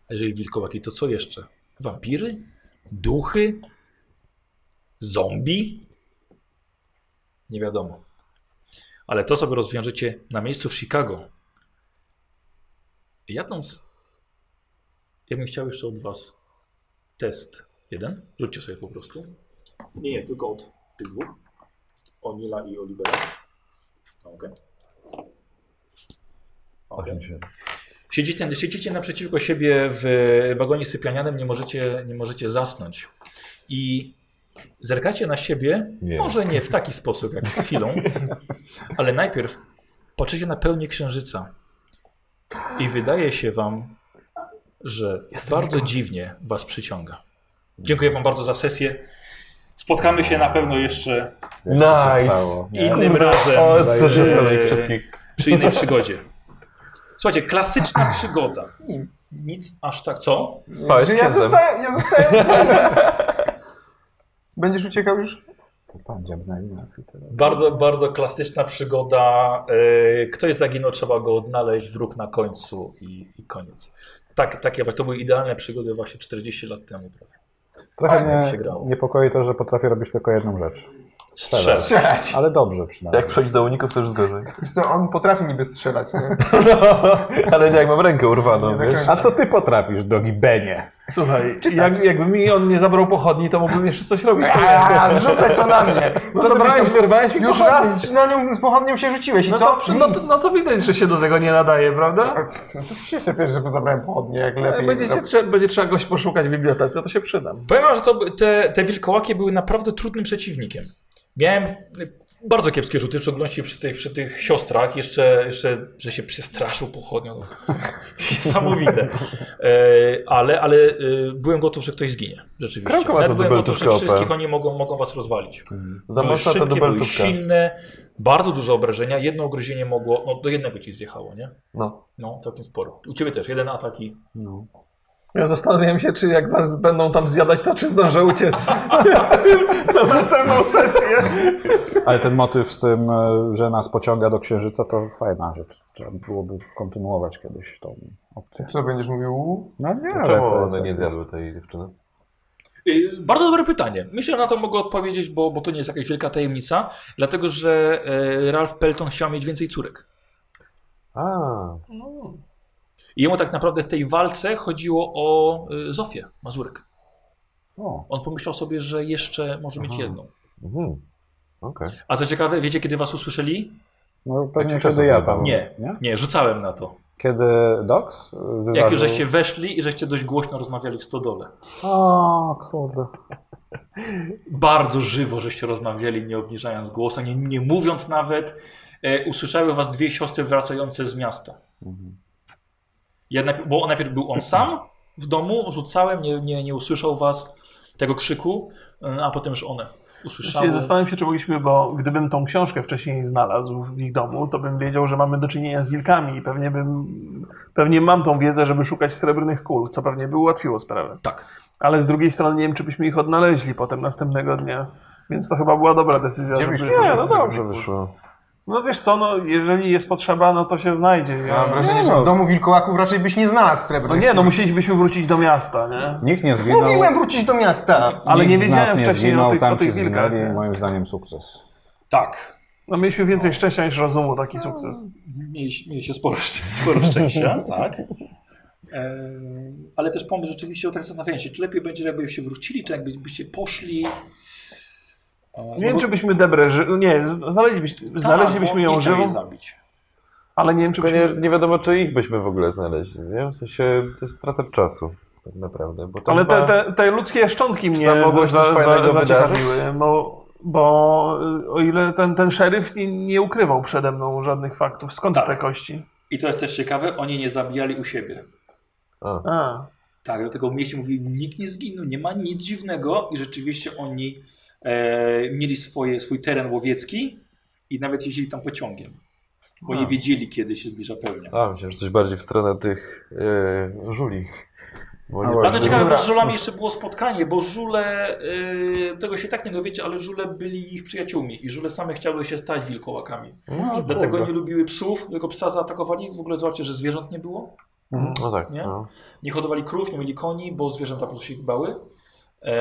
A jeżeli wilkołaki, to co jeszcze? Wampiry? Duchy? Zombie? Nie wiadomo. Ale to sobie rozwiążecie na miejscu w Chicago. Jadąc, ja bym chciał jeszcze od Was test jeden. Rzućcie sobie po prostu. Nie, nie, tylko od tych dwóch. Onila i Olivera. No, Okej. Okej. Siedzicie, siedzicie naprzeciwko siebie w wagonie sypialnianym, nie możecie, nie możecie zasnąć. I zerkacie na siebie,
Nie.
może nie w taki sposób jak przed chwilą, ale najpierw patrzycie na pełnię księżyca. I wydaje się wam, że bardzo dziwnie was przyciąga. Dziękuję wam bardzo za sesję. Spotkamy się na pewno jeszcze
Jak to się
Nice.
stało?
innym razem.
O,
e,
co się prowadzi wszystkich.
przy innej przygodzie. Słuchajcie, klasyczna przygoda. Nic aż tak. Co?
Spałeś
Że ja
księdzem.
zostałem, ja zostałem. Będziesz uciekał już?
To pan dziabnęli nas i teraz.
Bardzo, bardzo klasyczna przygoda. Yy, Ktoś zaginął, trzeba go odnaleźć, wróg na końcu i, i koniec. Tak, takie właśnie. To były idealne przygody właśnie 40 lat temu. Prawie.
Trochę
jak się
mnie
grało.
niepokoi to, że potrafię robić tylko jedną rzecz.
Strzel.
Strzelać.
Ale dobrze
Jak
przynajmniej.
przejść do uników, to już gorzej.
Wiesz co, on potrafi niby strzelać, nie?
[laughs] Ale jak mam rękę urwaną,
Nie
wiesz?
do
A co ty potrafisz, drogi Benie?
Słuchaj, jak, jakby mi on nie zabrał pochodni, to mógłbym jeszcze coś robić. Co ja-
A, zrzucaj to na mnie.
No
Co ty byś
zabrałeś,
tam...
wyrwałeś mi
Już
pochodnie.
raz na nią z pochodnią się rzuciłeś i
No
co?
to, no, to, no to widać, że się do tego nie nadaje, prawda?
To ty się czepiesz, że zabrałem pochodnie, jak lepiej.
Będziecie, trze- będzie trzeba goś poszukać w bibliotece, to się przydam.
Powiem wam, że to, by- te, te wilkołakie były naprawdę trudnym przeciwnikiem. Miałem y, bardzo kiepskie rzuty, w szczególności przy tych, przy tych siostrach. Jeszcze, jeszcze, że się przestraszył pochodnią. To jest [laughs] Niesamowite. E, ale ale e, byłem gotów, że ktoś zginie. Rzeczywiście.
Krąkowa
Nawet
to
byłem gotów, że
dubeltówka OP.
wszystkich oni mogą, mogą was rozwalić.
Za
Były
mocno to
szybkie, były
dubeltówka.
silne, bardzo duże obrażenia. Jedno ugryzienie mogło, no do jednego ci zjechało, nie?
No.
No, całkiem sporo. U ciebie też, jeden atak i
Ja zastanawiam się, czy jak was będą tam zjadać, to czy zdążę
[laughs]
uciec. Na następną sesję.
Ale ten motyw z tym, e, że nas pociąga do księżyca, to fajna rzecz. Trzeba byłoby kontynuować kiedyś tą opcję.
Co będziesz mówił?
No nie, ale
Czemu
to
one
jest...
nie zjadły tej dziewczyny?
Y, Bardzo dobre pytanie. Myślę, że na to mogę odpowiedzieć, bo, bo to nie jest jakaś wielka tajemnica, dlatego że e, Ralph Pelton chciał mieć więcej córek.
A,
I jemu tak naprawdę w tej walce chodziło o y, Zofię Mazurek.
O,
On pomyślał sobie, że jeszcze może mieć
Aha.
jedną.
Mhm. Okej.
A co ciekawe, wiecie kiedy was usłyszeli?
no pewnie
się
kiedy
czasem
ja
bywa.
tam.
Nie.
nie?
Nie, rzucałem na to.
Kiedy
y,
Docs?
Jak już żeście weszli i żeście dość głośno rozmawiali w stodole.
O, kurde.
Bardzo żywo żeście rozmawiali, nie obniżając głosu, nie, nie mówiąc nawet. E, usłyszały was dwie siostry wracające z miasta. Ja najp- bo najpierw był on sam w domu, rzucałem, nie, nie, nie usłyszał was tego krzyku, e, a potem już one usłyszały.
Właściwie zastanawiam się, czy mogliśmy, bo gdybym tą książkę wcześniej znalazł w ich domu, to bym wiedział, że mamy do czynienia z wilkami i pewnie bym, pewnie mam tą wiedzę, żeby szukać srebrnych kul, co pewnie by ułatwiło sprawę.
Tak.
Ale z drugiej strony nie wiem, czy byśmy ich odnaleźli potem następnego dnia, więc to chyba była dobra decyzja,
Gdzie
żeby...
byś
Nie, no,
To dobrze
dobrze.
wyszło.
no wiesz co, no, jeżeli jest potrzeba, no to się znajdzie. Ja...
Mam wrażenie,
Nie
że
no.
w domu wilkołaków raczej byś nie znalazł srebrnych.
No nie, no
kul.
musielibyśmy wrócić do miasta, nie?
Nikt nie zginął.
Mówiłem wrócić do miasta!
Ale nie
nikt z nas
wiedziałem wcześniej
zginął,
o tych,
tam
o tych
się
wilkach.
zginęli,
nie?
Moim zdaniem sukces.
Tak.
No mieliśmy więcej szczęścia niż rozumu, taki sukces.
Mieliście mieli sporo, szczę- sporo
[laughs]
szczęścia, tak. E, ale też pomysł rzeczywiście, tak zastanawiałem się, czy lepiej będzie, jakbyście wrócili, czy jakbyście poszli. E,
Nie
no
wiem,
bo-
czy byśmy Debrę... ży- no Nie, z- znaleźlibyśmy, znaleźlibyśmy
Tak,
ją
bo nie chciał
żywą,
jej zabić.
ale nie wiem, czy
Tylko
byśmy...
nie, nie wiadomo, czy ich byśmy w ogóle znaleźli. Nie? W sensie to jest strata czasu, tak naprawdę. Bo tam
Ale te,
chyba-
te, te ludzkie szczątki
Czy tam
mnie
mogło
za,
się coś
za, za,
fajnego
zaciekawiły, bo, bo y, o ile ten, ten szeryf nie, nie ukrywał przede mną żadnych faktów, skąd
Tak.
te kości?
I to jest też ciekawe, oni nie zabijali u siebie.
A,
A,
Tak, dlatego w mieście mówili, nikt nie zginął, nie ma nic dziwnego i rzeczywiście oni e, mieli swoje, swój teren łowiecki i nawet jeździli tam pociągiem, bo nie wiedzieli, kiedy się zbliża pełnia.
a myślałem, że coś bardziej w stronę tych e, żuli. Bo nie-
A to ciekawe, bo z żulami jeszcze było spotkanie, bo żule, y, tego się i tak nie dowiecie, ale żule byli ich przyjaciółmi i żule same chciały się stać wilkołakami.
No,
Dlatego
kurde.
nie lubiły psów, tylko psa zaatakowali, w ogóle zobaczcie, że zwierząt nie było.
No tak,
nie?
no.
Nie hodowali krów, nie mieli koni, bo zwierzęta po prostu się ich bały. E,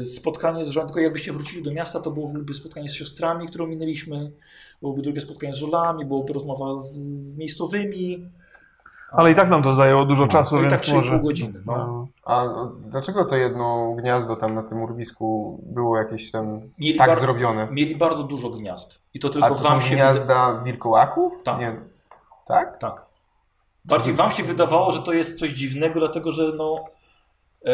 y, spotkanie z żoną, tylko jakbyście wrócili do miasta, to byłoby spotkanie z siostrami, którą minęliśmy, byłoby drugie spotkanie z żulami, byłoby rozmowa z, z miejscowymi.
ale i tak nam to zajęło dużo czasu,
No i
więc
tak 3,5
może...
godziny. No.
No.
A dlaczego to jedno gniazdo tam na tym urwisku było jakieś tam
Mieli,
tak
bar-
zrobione?
mieli bardzo dużo gniazd. I to tylko
A to
wam
są
się
gniazda wilkołaków?
Tak.
Nie. Tak?
Tak. Bardziej wam się wydawało, że to jest coś dziwnego, dlatego że no. e,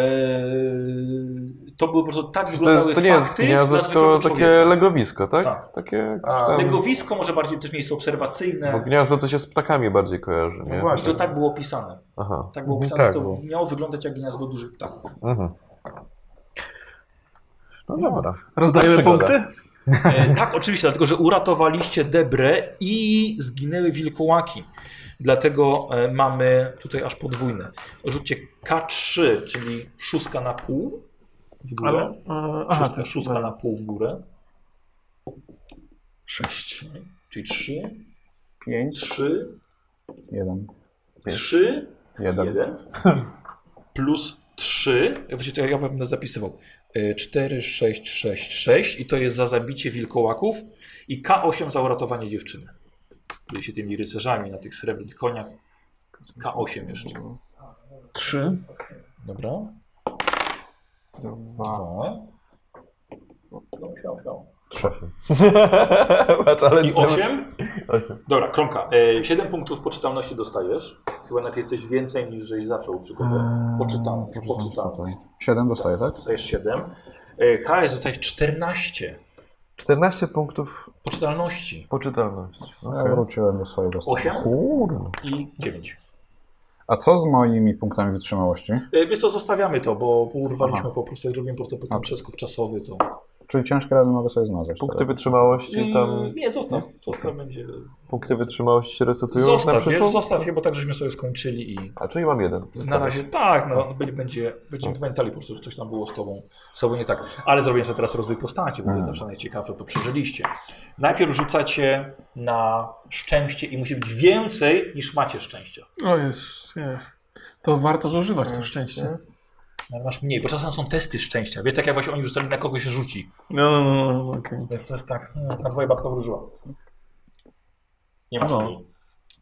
to były po prostu tak
To,
wyglądały
jest, to nie jest
fakty dla
gniazdo,
zwykłego
to takie
człowieka.
legowisko, tak?
Tak.
Takie jakieś
A,
tam...
Legowisko może bardziej też miejsce
Bo
obserwacyjne.
gniazdo to się z ptakami bardziej kojarzy, nie?
No
I
właśnie.
to tak było opisane.
Aha.
Tak było
Mhm,
opisane, że
tak,
to
bo-
miało wyglądać jak gniazdo Tak. dużych ptaków.
Mhm. No dobra.
Rozdajemy
Przygoda.
punkty?
E, [laughs] tak, oczywiście, dlatego że uratowaliście Debrę i zginęły wilkołaki. Dlatego e, mamy tutaj aż podwójne. Rzućcie K3, czyli szóstka na pół w górę.
Ale, e, aha,
Szóstka,
to-
szóstka na pół w górę. Sześć. Czyli trzy. Pięć. Trzy.
Jeden.
Trzy.
Jeden.
Jeden. [laughs] Plus trzy. Ja właśnie- Ja wam będę zapisywał. Y, Cztery, sześć, sześć, sześć. I to jest za zabicie wilkołaków. I K8 za uratowanie dziewczyny. Byli się tymi rycerzami na tych srebrnych koniach. K8 jeszcze.
Trzy.
Dobra. Dwa. No, śmiało, śmiało.
Patrz, No, ale
I 8?
Osiem.
Dobra, kromka. E, 7 punktów poczytalności dostajesz. Chyba najpierw jesteś więcej niż żeś zaczął przygodę.
Eee,
Poczytalność, poczytalność.
Eee, Siedem dostaję, tak?
Dostajesz 7. E, HS dostajesz 14
14 punktów
poczytalności
poczytalności.
No, ja wróciłem do swojej dostawy.
Osiem?
Kurde.
i 9.
A co z moimi punktami wytrzymałości?
E, wiesz co, zostawiamy to, bo urwaliśmy po prostu, jak zrobimy po prostu potem przeskok czasowy, to...
Czyli ciężkie rany mogę sobie zmazać.
Punkty
teraz.
wytrzymałości
I,
tam.
nie, zostaw. Zostaw będzie...
Punkty wytrzymałości się resetują na
Zostaw, wiesz,
przyszłą?
zostaw je, bo tak żeśmy sobie skończyli i...
A czyli mam jeden.
Na razie tak, no, będzie- będzie, będziemy pamiętali po prostu, że coś tam było z tobą, z tobą nie tak. Ale zrobię sobie teraz rozwój postaci, bo to jest zawsze najciekawsze, to przeżyliście. Najpierw rzucacie na szczęście i musi być więcej niż macie szczęścia.
O jest, jest. To warto zużywać to szczęście.
No, Ale Masz mniej, bo czasem są testy szczęścia. Wiesz, tak jak właśnie oni rzucali, na kogo się rzuci.
No, no, no, no okej.
Więc to jest tak, mm, na dwoje babka wróżyła. Nie masz mniej.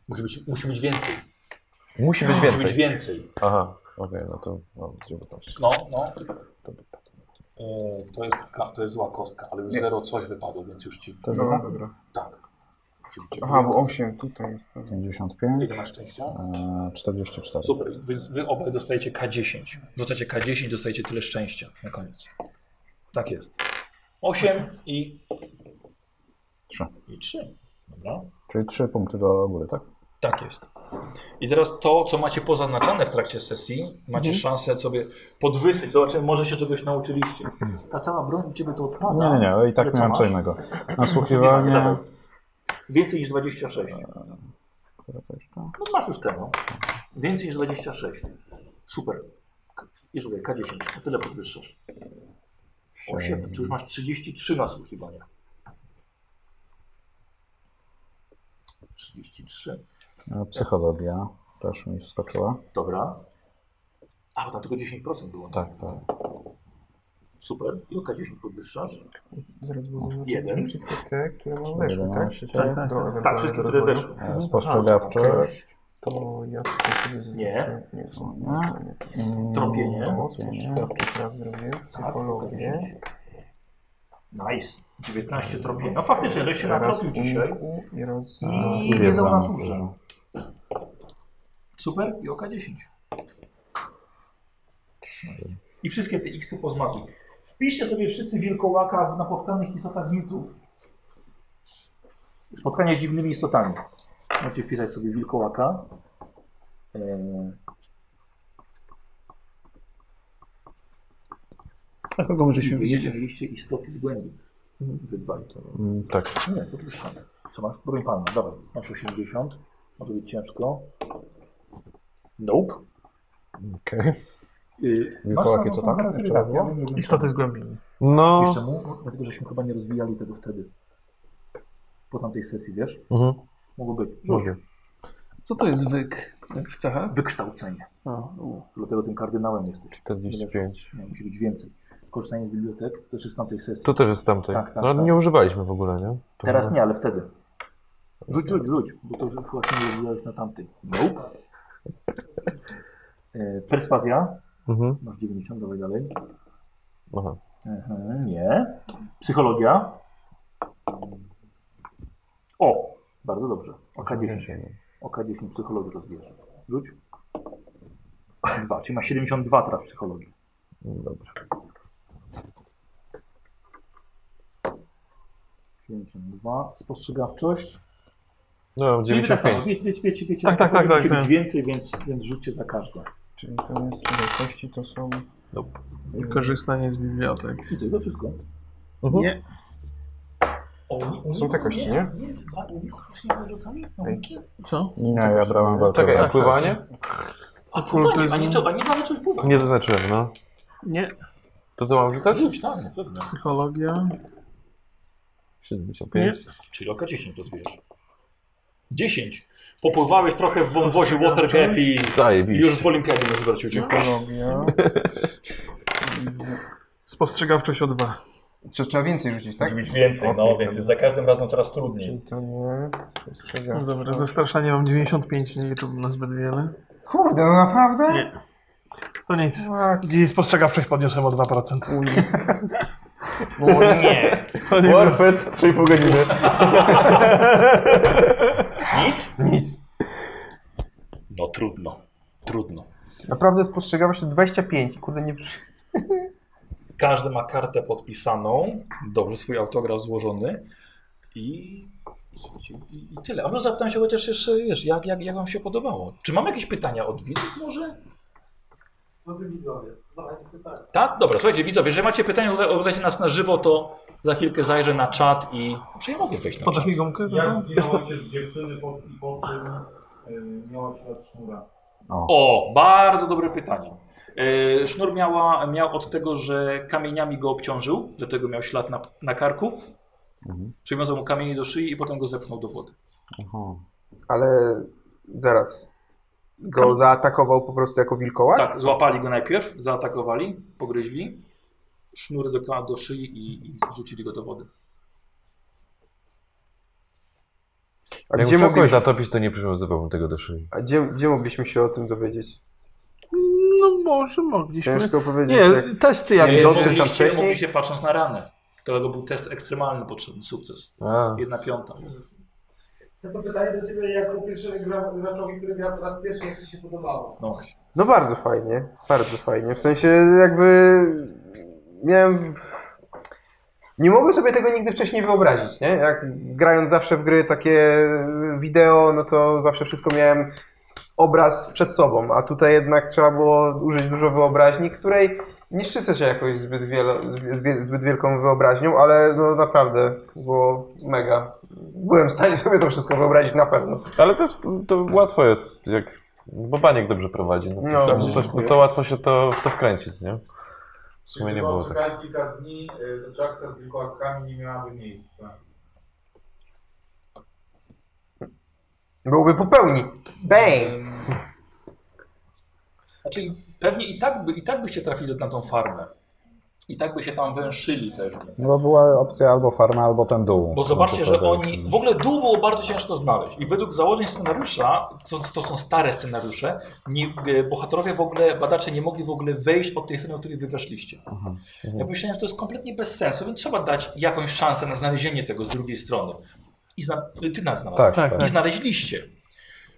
Musi być, musi być więcej.
Musi być
Musi być
więcej.
więcej.
Aha. Okej, no to no, 19.
No, no. E, to, jest, ka- to jest zła kostka, ale już zero coś wypadło, więc już ci...
To jest
No.
no.
Dobra.
Tak. Czyli cię
Aha,
wy-
bo 8 tutaj jest. dobra.
55,
Ile masz szczęścia?
e, 44.
Super, więc wy obaj dostajecie K10. Rzucacie K10, dostajecie tyle szczęścia na koniec. Tak jest. 8 i...
Trzy.
I 3. Dobra.
Czyli 3 punkty do góry, tak?
Tak jest. I teraz to, co macie pozaznaczane w trakcie sesji,
Mhm.
macie szansę sobie podwyższyć. Zobaczymy, może się czegoś nauczyliście. Ta cała broń ciebie to odpada.
Nie, nie, nie, i
Ale
tak
co
miałem co
masz?
[laughs] innego.
Nie, nie,
Nasłuchiwanie.
dawaj. Więcej niż 26. No masz już tego. Więcej niż 26. Super. K- I rzucaj K10. O tyle podwyższasz. 8. Czy już masz 33 nasłuchiwania? 33.
E, Psychologia też mi wskoczyła.
Dobra. A, bo tam tylko 10% było.
Tak, tak.
Super. I o K10 podwyższasz.
Zaraz było
Jeden.
zaznaczone wszystkie te, które mam weszły, tak?
11.
Do
tak.
ewentualnego
Tak, wszystkie, które
rozwoju.
weszły.
E, Spostrzegawcze.
To ja tutaj sobie zaznaczę.
Nie.
Nie, to
Nie.
nie.
Mm,
Tropienie.
To
tak, tropienie.
jeszcze raz zrobię.
Tak,
Psychologię.
Nice. 19 tropień. No faktycznie, żeś się natropił dzisiaj.
uniku i raz...
E,
I wiedzą
wiedza
na
mi
górze.
dużo.
Super. I oka 10. I wszystkie te xy poznaczyć. Wpiszcie sobie wszyscy wilkołaka w napotkanych istotach z mitów. Spotkanie z dziwnymi istotami. Możecie wpisać sobie wilkołaka. Eee.
A kogo
I
możeśmy widzieć?
wyjedzie w liście istoty z głębi. Wy dwaj to.
Mm, tak,
Nie, podwyższamy. Co masz? Broń palną. Dawaj. Masz 80. Może być ciężko. Nope.
okej.
Yy,
Wilkołaki, co tak? Jeszcze raz?
Istoty z głębiny.
No,
Jeszcze mu, dlatego żeśmy chyba nie rozwijali tego wtedy. Po tamtej sesji, wiesz?
mhm.
Mogło być.
No.
Może.
Co to jest wyk w cechach?
Wykształcenie. Dlatego tym kardynałem jesteś.
45.
Nie, musi być więcej. Korzystanie z bibliotek to jeszcze z tamtej sesji.
To też jest z tamtej.
Tak, tak,
no
tak.
nie używaliśmy w ogóle, nie? To
Teraz
chyba-
nie, ale wtedy. Rzuć, rzuć, rzuć, bo to już chyba się nie rozwijałeś na tamtej. Nope. [laughs] Yy, perswazja.
Mhm.
Masz 90, dawaj dalej.
Aha.
Mhm, nie. Psychologia. O, bardzo dobrze. Oka 10. Oka 10 psychologii rozbierze. Rzuć. Dwa, czyli ma 72 teraz psychologii.
Dobra.
72. Spostrzegawczość.
No, mam
Nie, wy tak samo,
95.
wiecie, wiecie, wiecie, wiecie.
Tak, tak, tak,
Musi
tak,
być
tak.
więcej, więc, więc rzućcie za każdą.
Czyli to jest trzy wielkości, to są...
Korzystanie z bibliotek.
I to wszystko.
Mhm.
Nie.
Oni,
Są te kości, nie?
Nie, dwa uników się nie rzucali? Nauki?
Co?
Nie, ja brałem walkę.
Czekaj, a
Tak,
pływanie?
A pływanie, a nie trzeba, nie zaznaczyć pływania.
Nie zaznaczyłem, no.
Nie.
To co mam rzucać?
Rzuć, tak, na pewno.
Psychologia.
75.
Czyli oka 10 rozbijesz. 10. Popływałeś trochę w wąwozie Watergap i i
Zajebiście.
już w olimpiadzie nie zwrócił cię.
Psychologia.
Spostrzegawczość o dwa.
Czy trzeba więcej rzucić, tak?
Musi być więcej, no, więc jest za każdym razem coraz trudniej.
Czyli to nie...
No dobra,
Spostrzegawcze.
zastraszanie mam 95, nie liczyłbym na zbyt wiele.
Kurde, no naprawdę?
Nie. To nic.
Tak.
Dziś spostrzegawczość podniosłem o 2%. [laughs]
O nie.
To nie było.
Warfet, 3,5 godziny.
[laughs] Nic?
Nic.
No trudno. Trudno.
Naprawdę spostrzegawczość to 25 i kurde nie przy...
Każdy ma kartę podpisaną, dobrze swój autograf złożony i, i, i tyle. A może zapytam się chociaż jeszcze, wiesz, jak, jak, jak wam się podobało? Czy mam jakieś pytania od widzów może? Tak? Dobra, słuchajcie widzowie, jeżeli macie pytania, ogląda- oglądajcie nas na żywo, to za chwilkę zajrzę na czat i... Czy ja mogę wejść na czat?
Podasz mi gumkę?
tak?
Jak zginęła się z dziewczyny po, i po czym y, miała ślad sznura?
O, bardzo dobre pytanie. Yy, sznur miała, miał od tego, że kamieniami go obciążył, dlatego miał ślad na, na karku. Przywiązał mu kamienie do szyi i potem go zepchnął do wody.
Aha.
Ale zaraz. Go zaatakował po prostu jako wilkołak?
Tak, złapali go najpierw, zaatakowali, pogryźli, sznury do, ka- do szyi i, i rzucili go do wody.
A
Jak
gdzie,
musiał kogoś
mogliśmy,
zatopić, to nie przywiązywałbym tego do szyi.
a gdzie, gdzie mogliśmy się o tym dowiedzieć?
No, no może mogliśmy.
Ciężko powiedzieć, jak,
Nie, testy jak
Nie,
Nie,
dotrze tam
mogliście,
wcześniej?
mogliście patrząc na ranę. To był test ekstremalny potrzebny, sukces. Jedna piąta.
Chcę to pytanie do Ciebie jako pierwszego gra- graczowi, który gra po raz pierwszy, jak Ci się podobało.
No właśnie.
No bardzo fajnie, bardzo fajnie. W sensie jakby miałem... Nie mogłem sobie tego nigdy wcześniej wyobrazić, nie? Jak grając zawsze w gry takie wideo, no to zawsze wszystko miałem obraz przed sobą, a tutaj jednak trzeba było użyć dużo wyobraźni, której nie szczycę się jakoś zbyt, wielo, zbyt- zbyt wielką wyobraźnią, ale no naprawdę było mega. Byłem w stanie sobie to wszystko wyobrazić na pewno.
Ale to, jest, to łatwo jest, jak, bo Baniek dobrze prowadzi. No,
No,
to,
dobrze,
to,
dziękuję.
to łatwo się to, w to wkręcić, nie? W sumie nie było tak.
Czekałem kilka dni, y, to akcja z wilkołakami nie miałaby miejsca.
Byłby po pełni. Bang!
Znaczy pewnie i tak, by, i tak byście trafili na tą farmę. I tak by się tam węszyli pewnie.
No bo była opcja albo farma, albo ten dół.
Bo zobaczcie,
No, to
że
prawda.
oni. W ogóle dół było bardzo ciężko znaleźć. I według założeń scenariusza, to, to są stare scenariusze, nie, e, bohaterowie w ogóle, badacze nie mogli w ogóle wejść od tej strony, o której wy weszliście. Ja myślałem, że to jest kompletnie bez sensu, więc trzeba dać jakąś szansę na znalezienie tego z drugiej strony. I zna, ty nas znalazłeś.
Tak, tak.
I znaleźliście.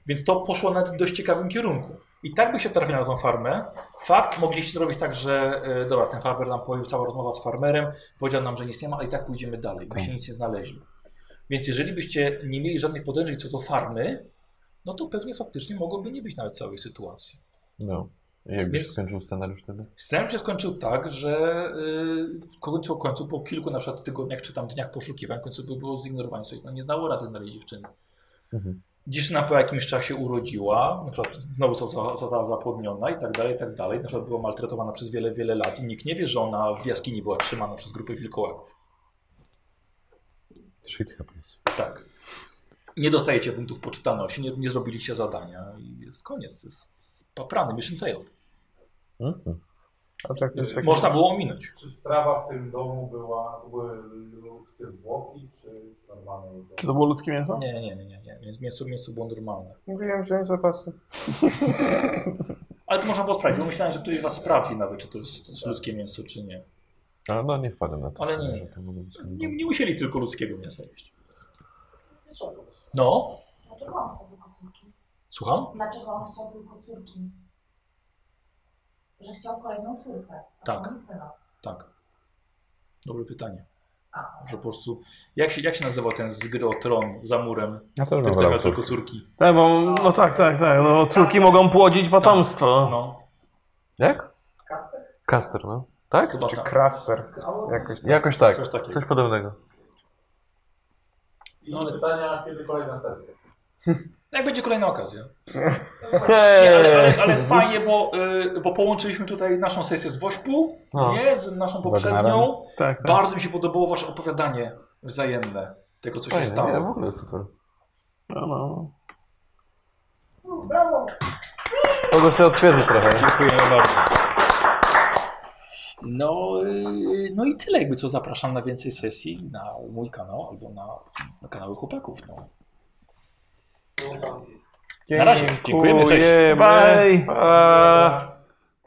Więc to poszło na dość ciekawym kierunku. I tak by się trafili na tą farmę. Fakt, mogliście zrobić tak, że e, dobra, ten farmer nam powiedział, cała rozmowa z farmerem, powiedział nam, że nic nie ma, ale i tak pójdziemy dalej, bo się nic nie znaleźli. Więc jeżeli byście nie mieli żadnych podejrzeń co do farmy, no to pewnie faktycznie mogłoby nie być nawet całej sytuacji.
No. I Jakbyś
Więc-
skończył scenariusz wtedy?
Scenariusz się skończył tak, że y, w końcu, w końcu po kilku na przykład tygodniach czy tam dniach poszukiwań, w końcu by było zignorowanie sobie, no nie dało rady znaleźć dziewczyny.
Mhm.
Dziewczyna po jakimś czasie urodziła, na przykład znowu została, została zapłodniona i tak dalej, i tak dalej. Na przykład była maltretowana przez wiele, wiele lat i nikt nie wie, że ona w jaskini była trzymana przez grupę wilkołaków.
Shit happens.
Tak. Nie dostajecie punktów poczytalności, nie, nie zrobiliście zadania i jest koniec. Jest paprany, mission failed.
Mhm.
A tak to jest takie-
Można było ominąć.
Czy strawa w tym domu była, to były ludzkie zwłoki, czy normalne jedzenie?
Czy to było ludzkie mięso?
Nie, nie, nie, nie. nie. Więc Mięso, mięso było normalne.
Mówiłem, że zapasy.
Ale to można było sprawdzić, bo myślałem, że ktoś was sprawdzi nawet, czy to jest, to jest ludzkie mięso, czy nie.
A no nie wpadłem na to.
Ale
w sumie,
nie.
że to mogło być-
Nie, nie musieli tylko ludzkiego mięsa jeść. No,
Dlaczego on chciał tylko córki?
słucham?
Dlaczego on chciał tylko córki? Że chciał kolejną córkę. a
Tak.
potem syna.
Tak. Dobre pytanie.
A,
Że po prostu, jak się, jak się nazywał ten z gry o tron za murem,
Ja też bym
który to miał
wolał
tylko córki?
Tak, bo, no tak, tak, tak. No, córki mogą płodzić potomstwo.
No,
Jak? Caster, no.
tak? Chyba
Czy
tak.
Krasper. Jakoś tak.
Jakoś tak.
Coś takiego.
Coś podobnego.
I
No ale-
pytania, kiedy kolejna sesja?
Jak będzie kolejna okazja.
Hej!
Nie, ale, ale, ale fajnie, bo, y, bo połączyliśmy tutaj naszą sesję z Wośpu,
No.
nie? Z naszą
Wagnera.
poprzednią.
Tak, tak.
Bardzo mi się podobało wasze opowiadanie wzajemne tego, co się
Fajnie, Nie, w
stało.
ogóle super.
No, no.
No,
Mogę się odświeżyć trochę.
Dziękujemy bardzo. No, y, no i tyle jakby co zapraszam na więcej sesji na mój kanał albo na, na kanały chłopaków. No. Na razie, dziękujemy, cześć.
Dziękujemy.
Bye.
Pa.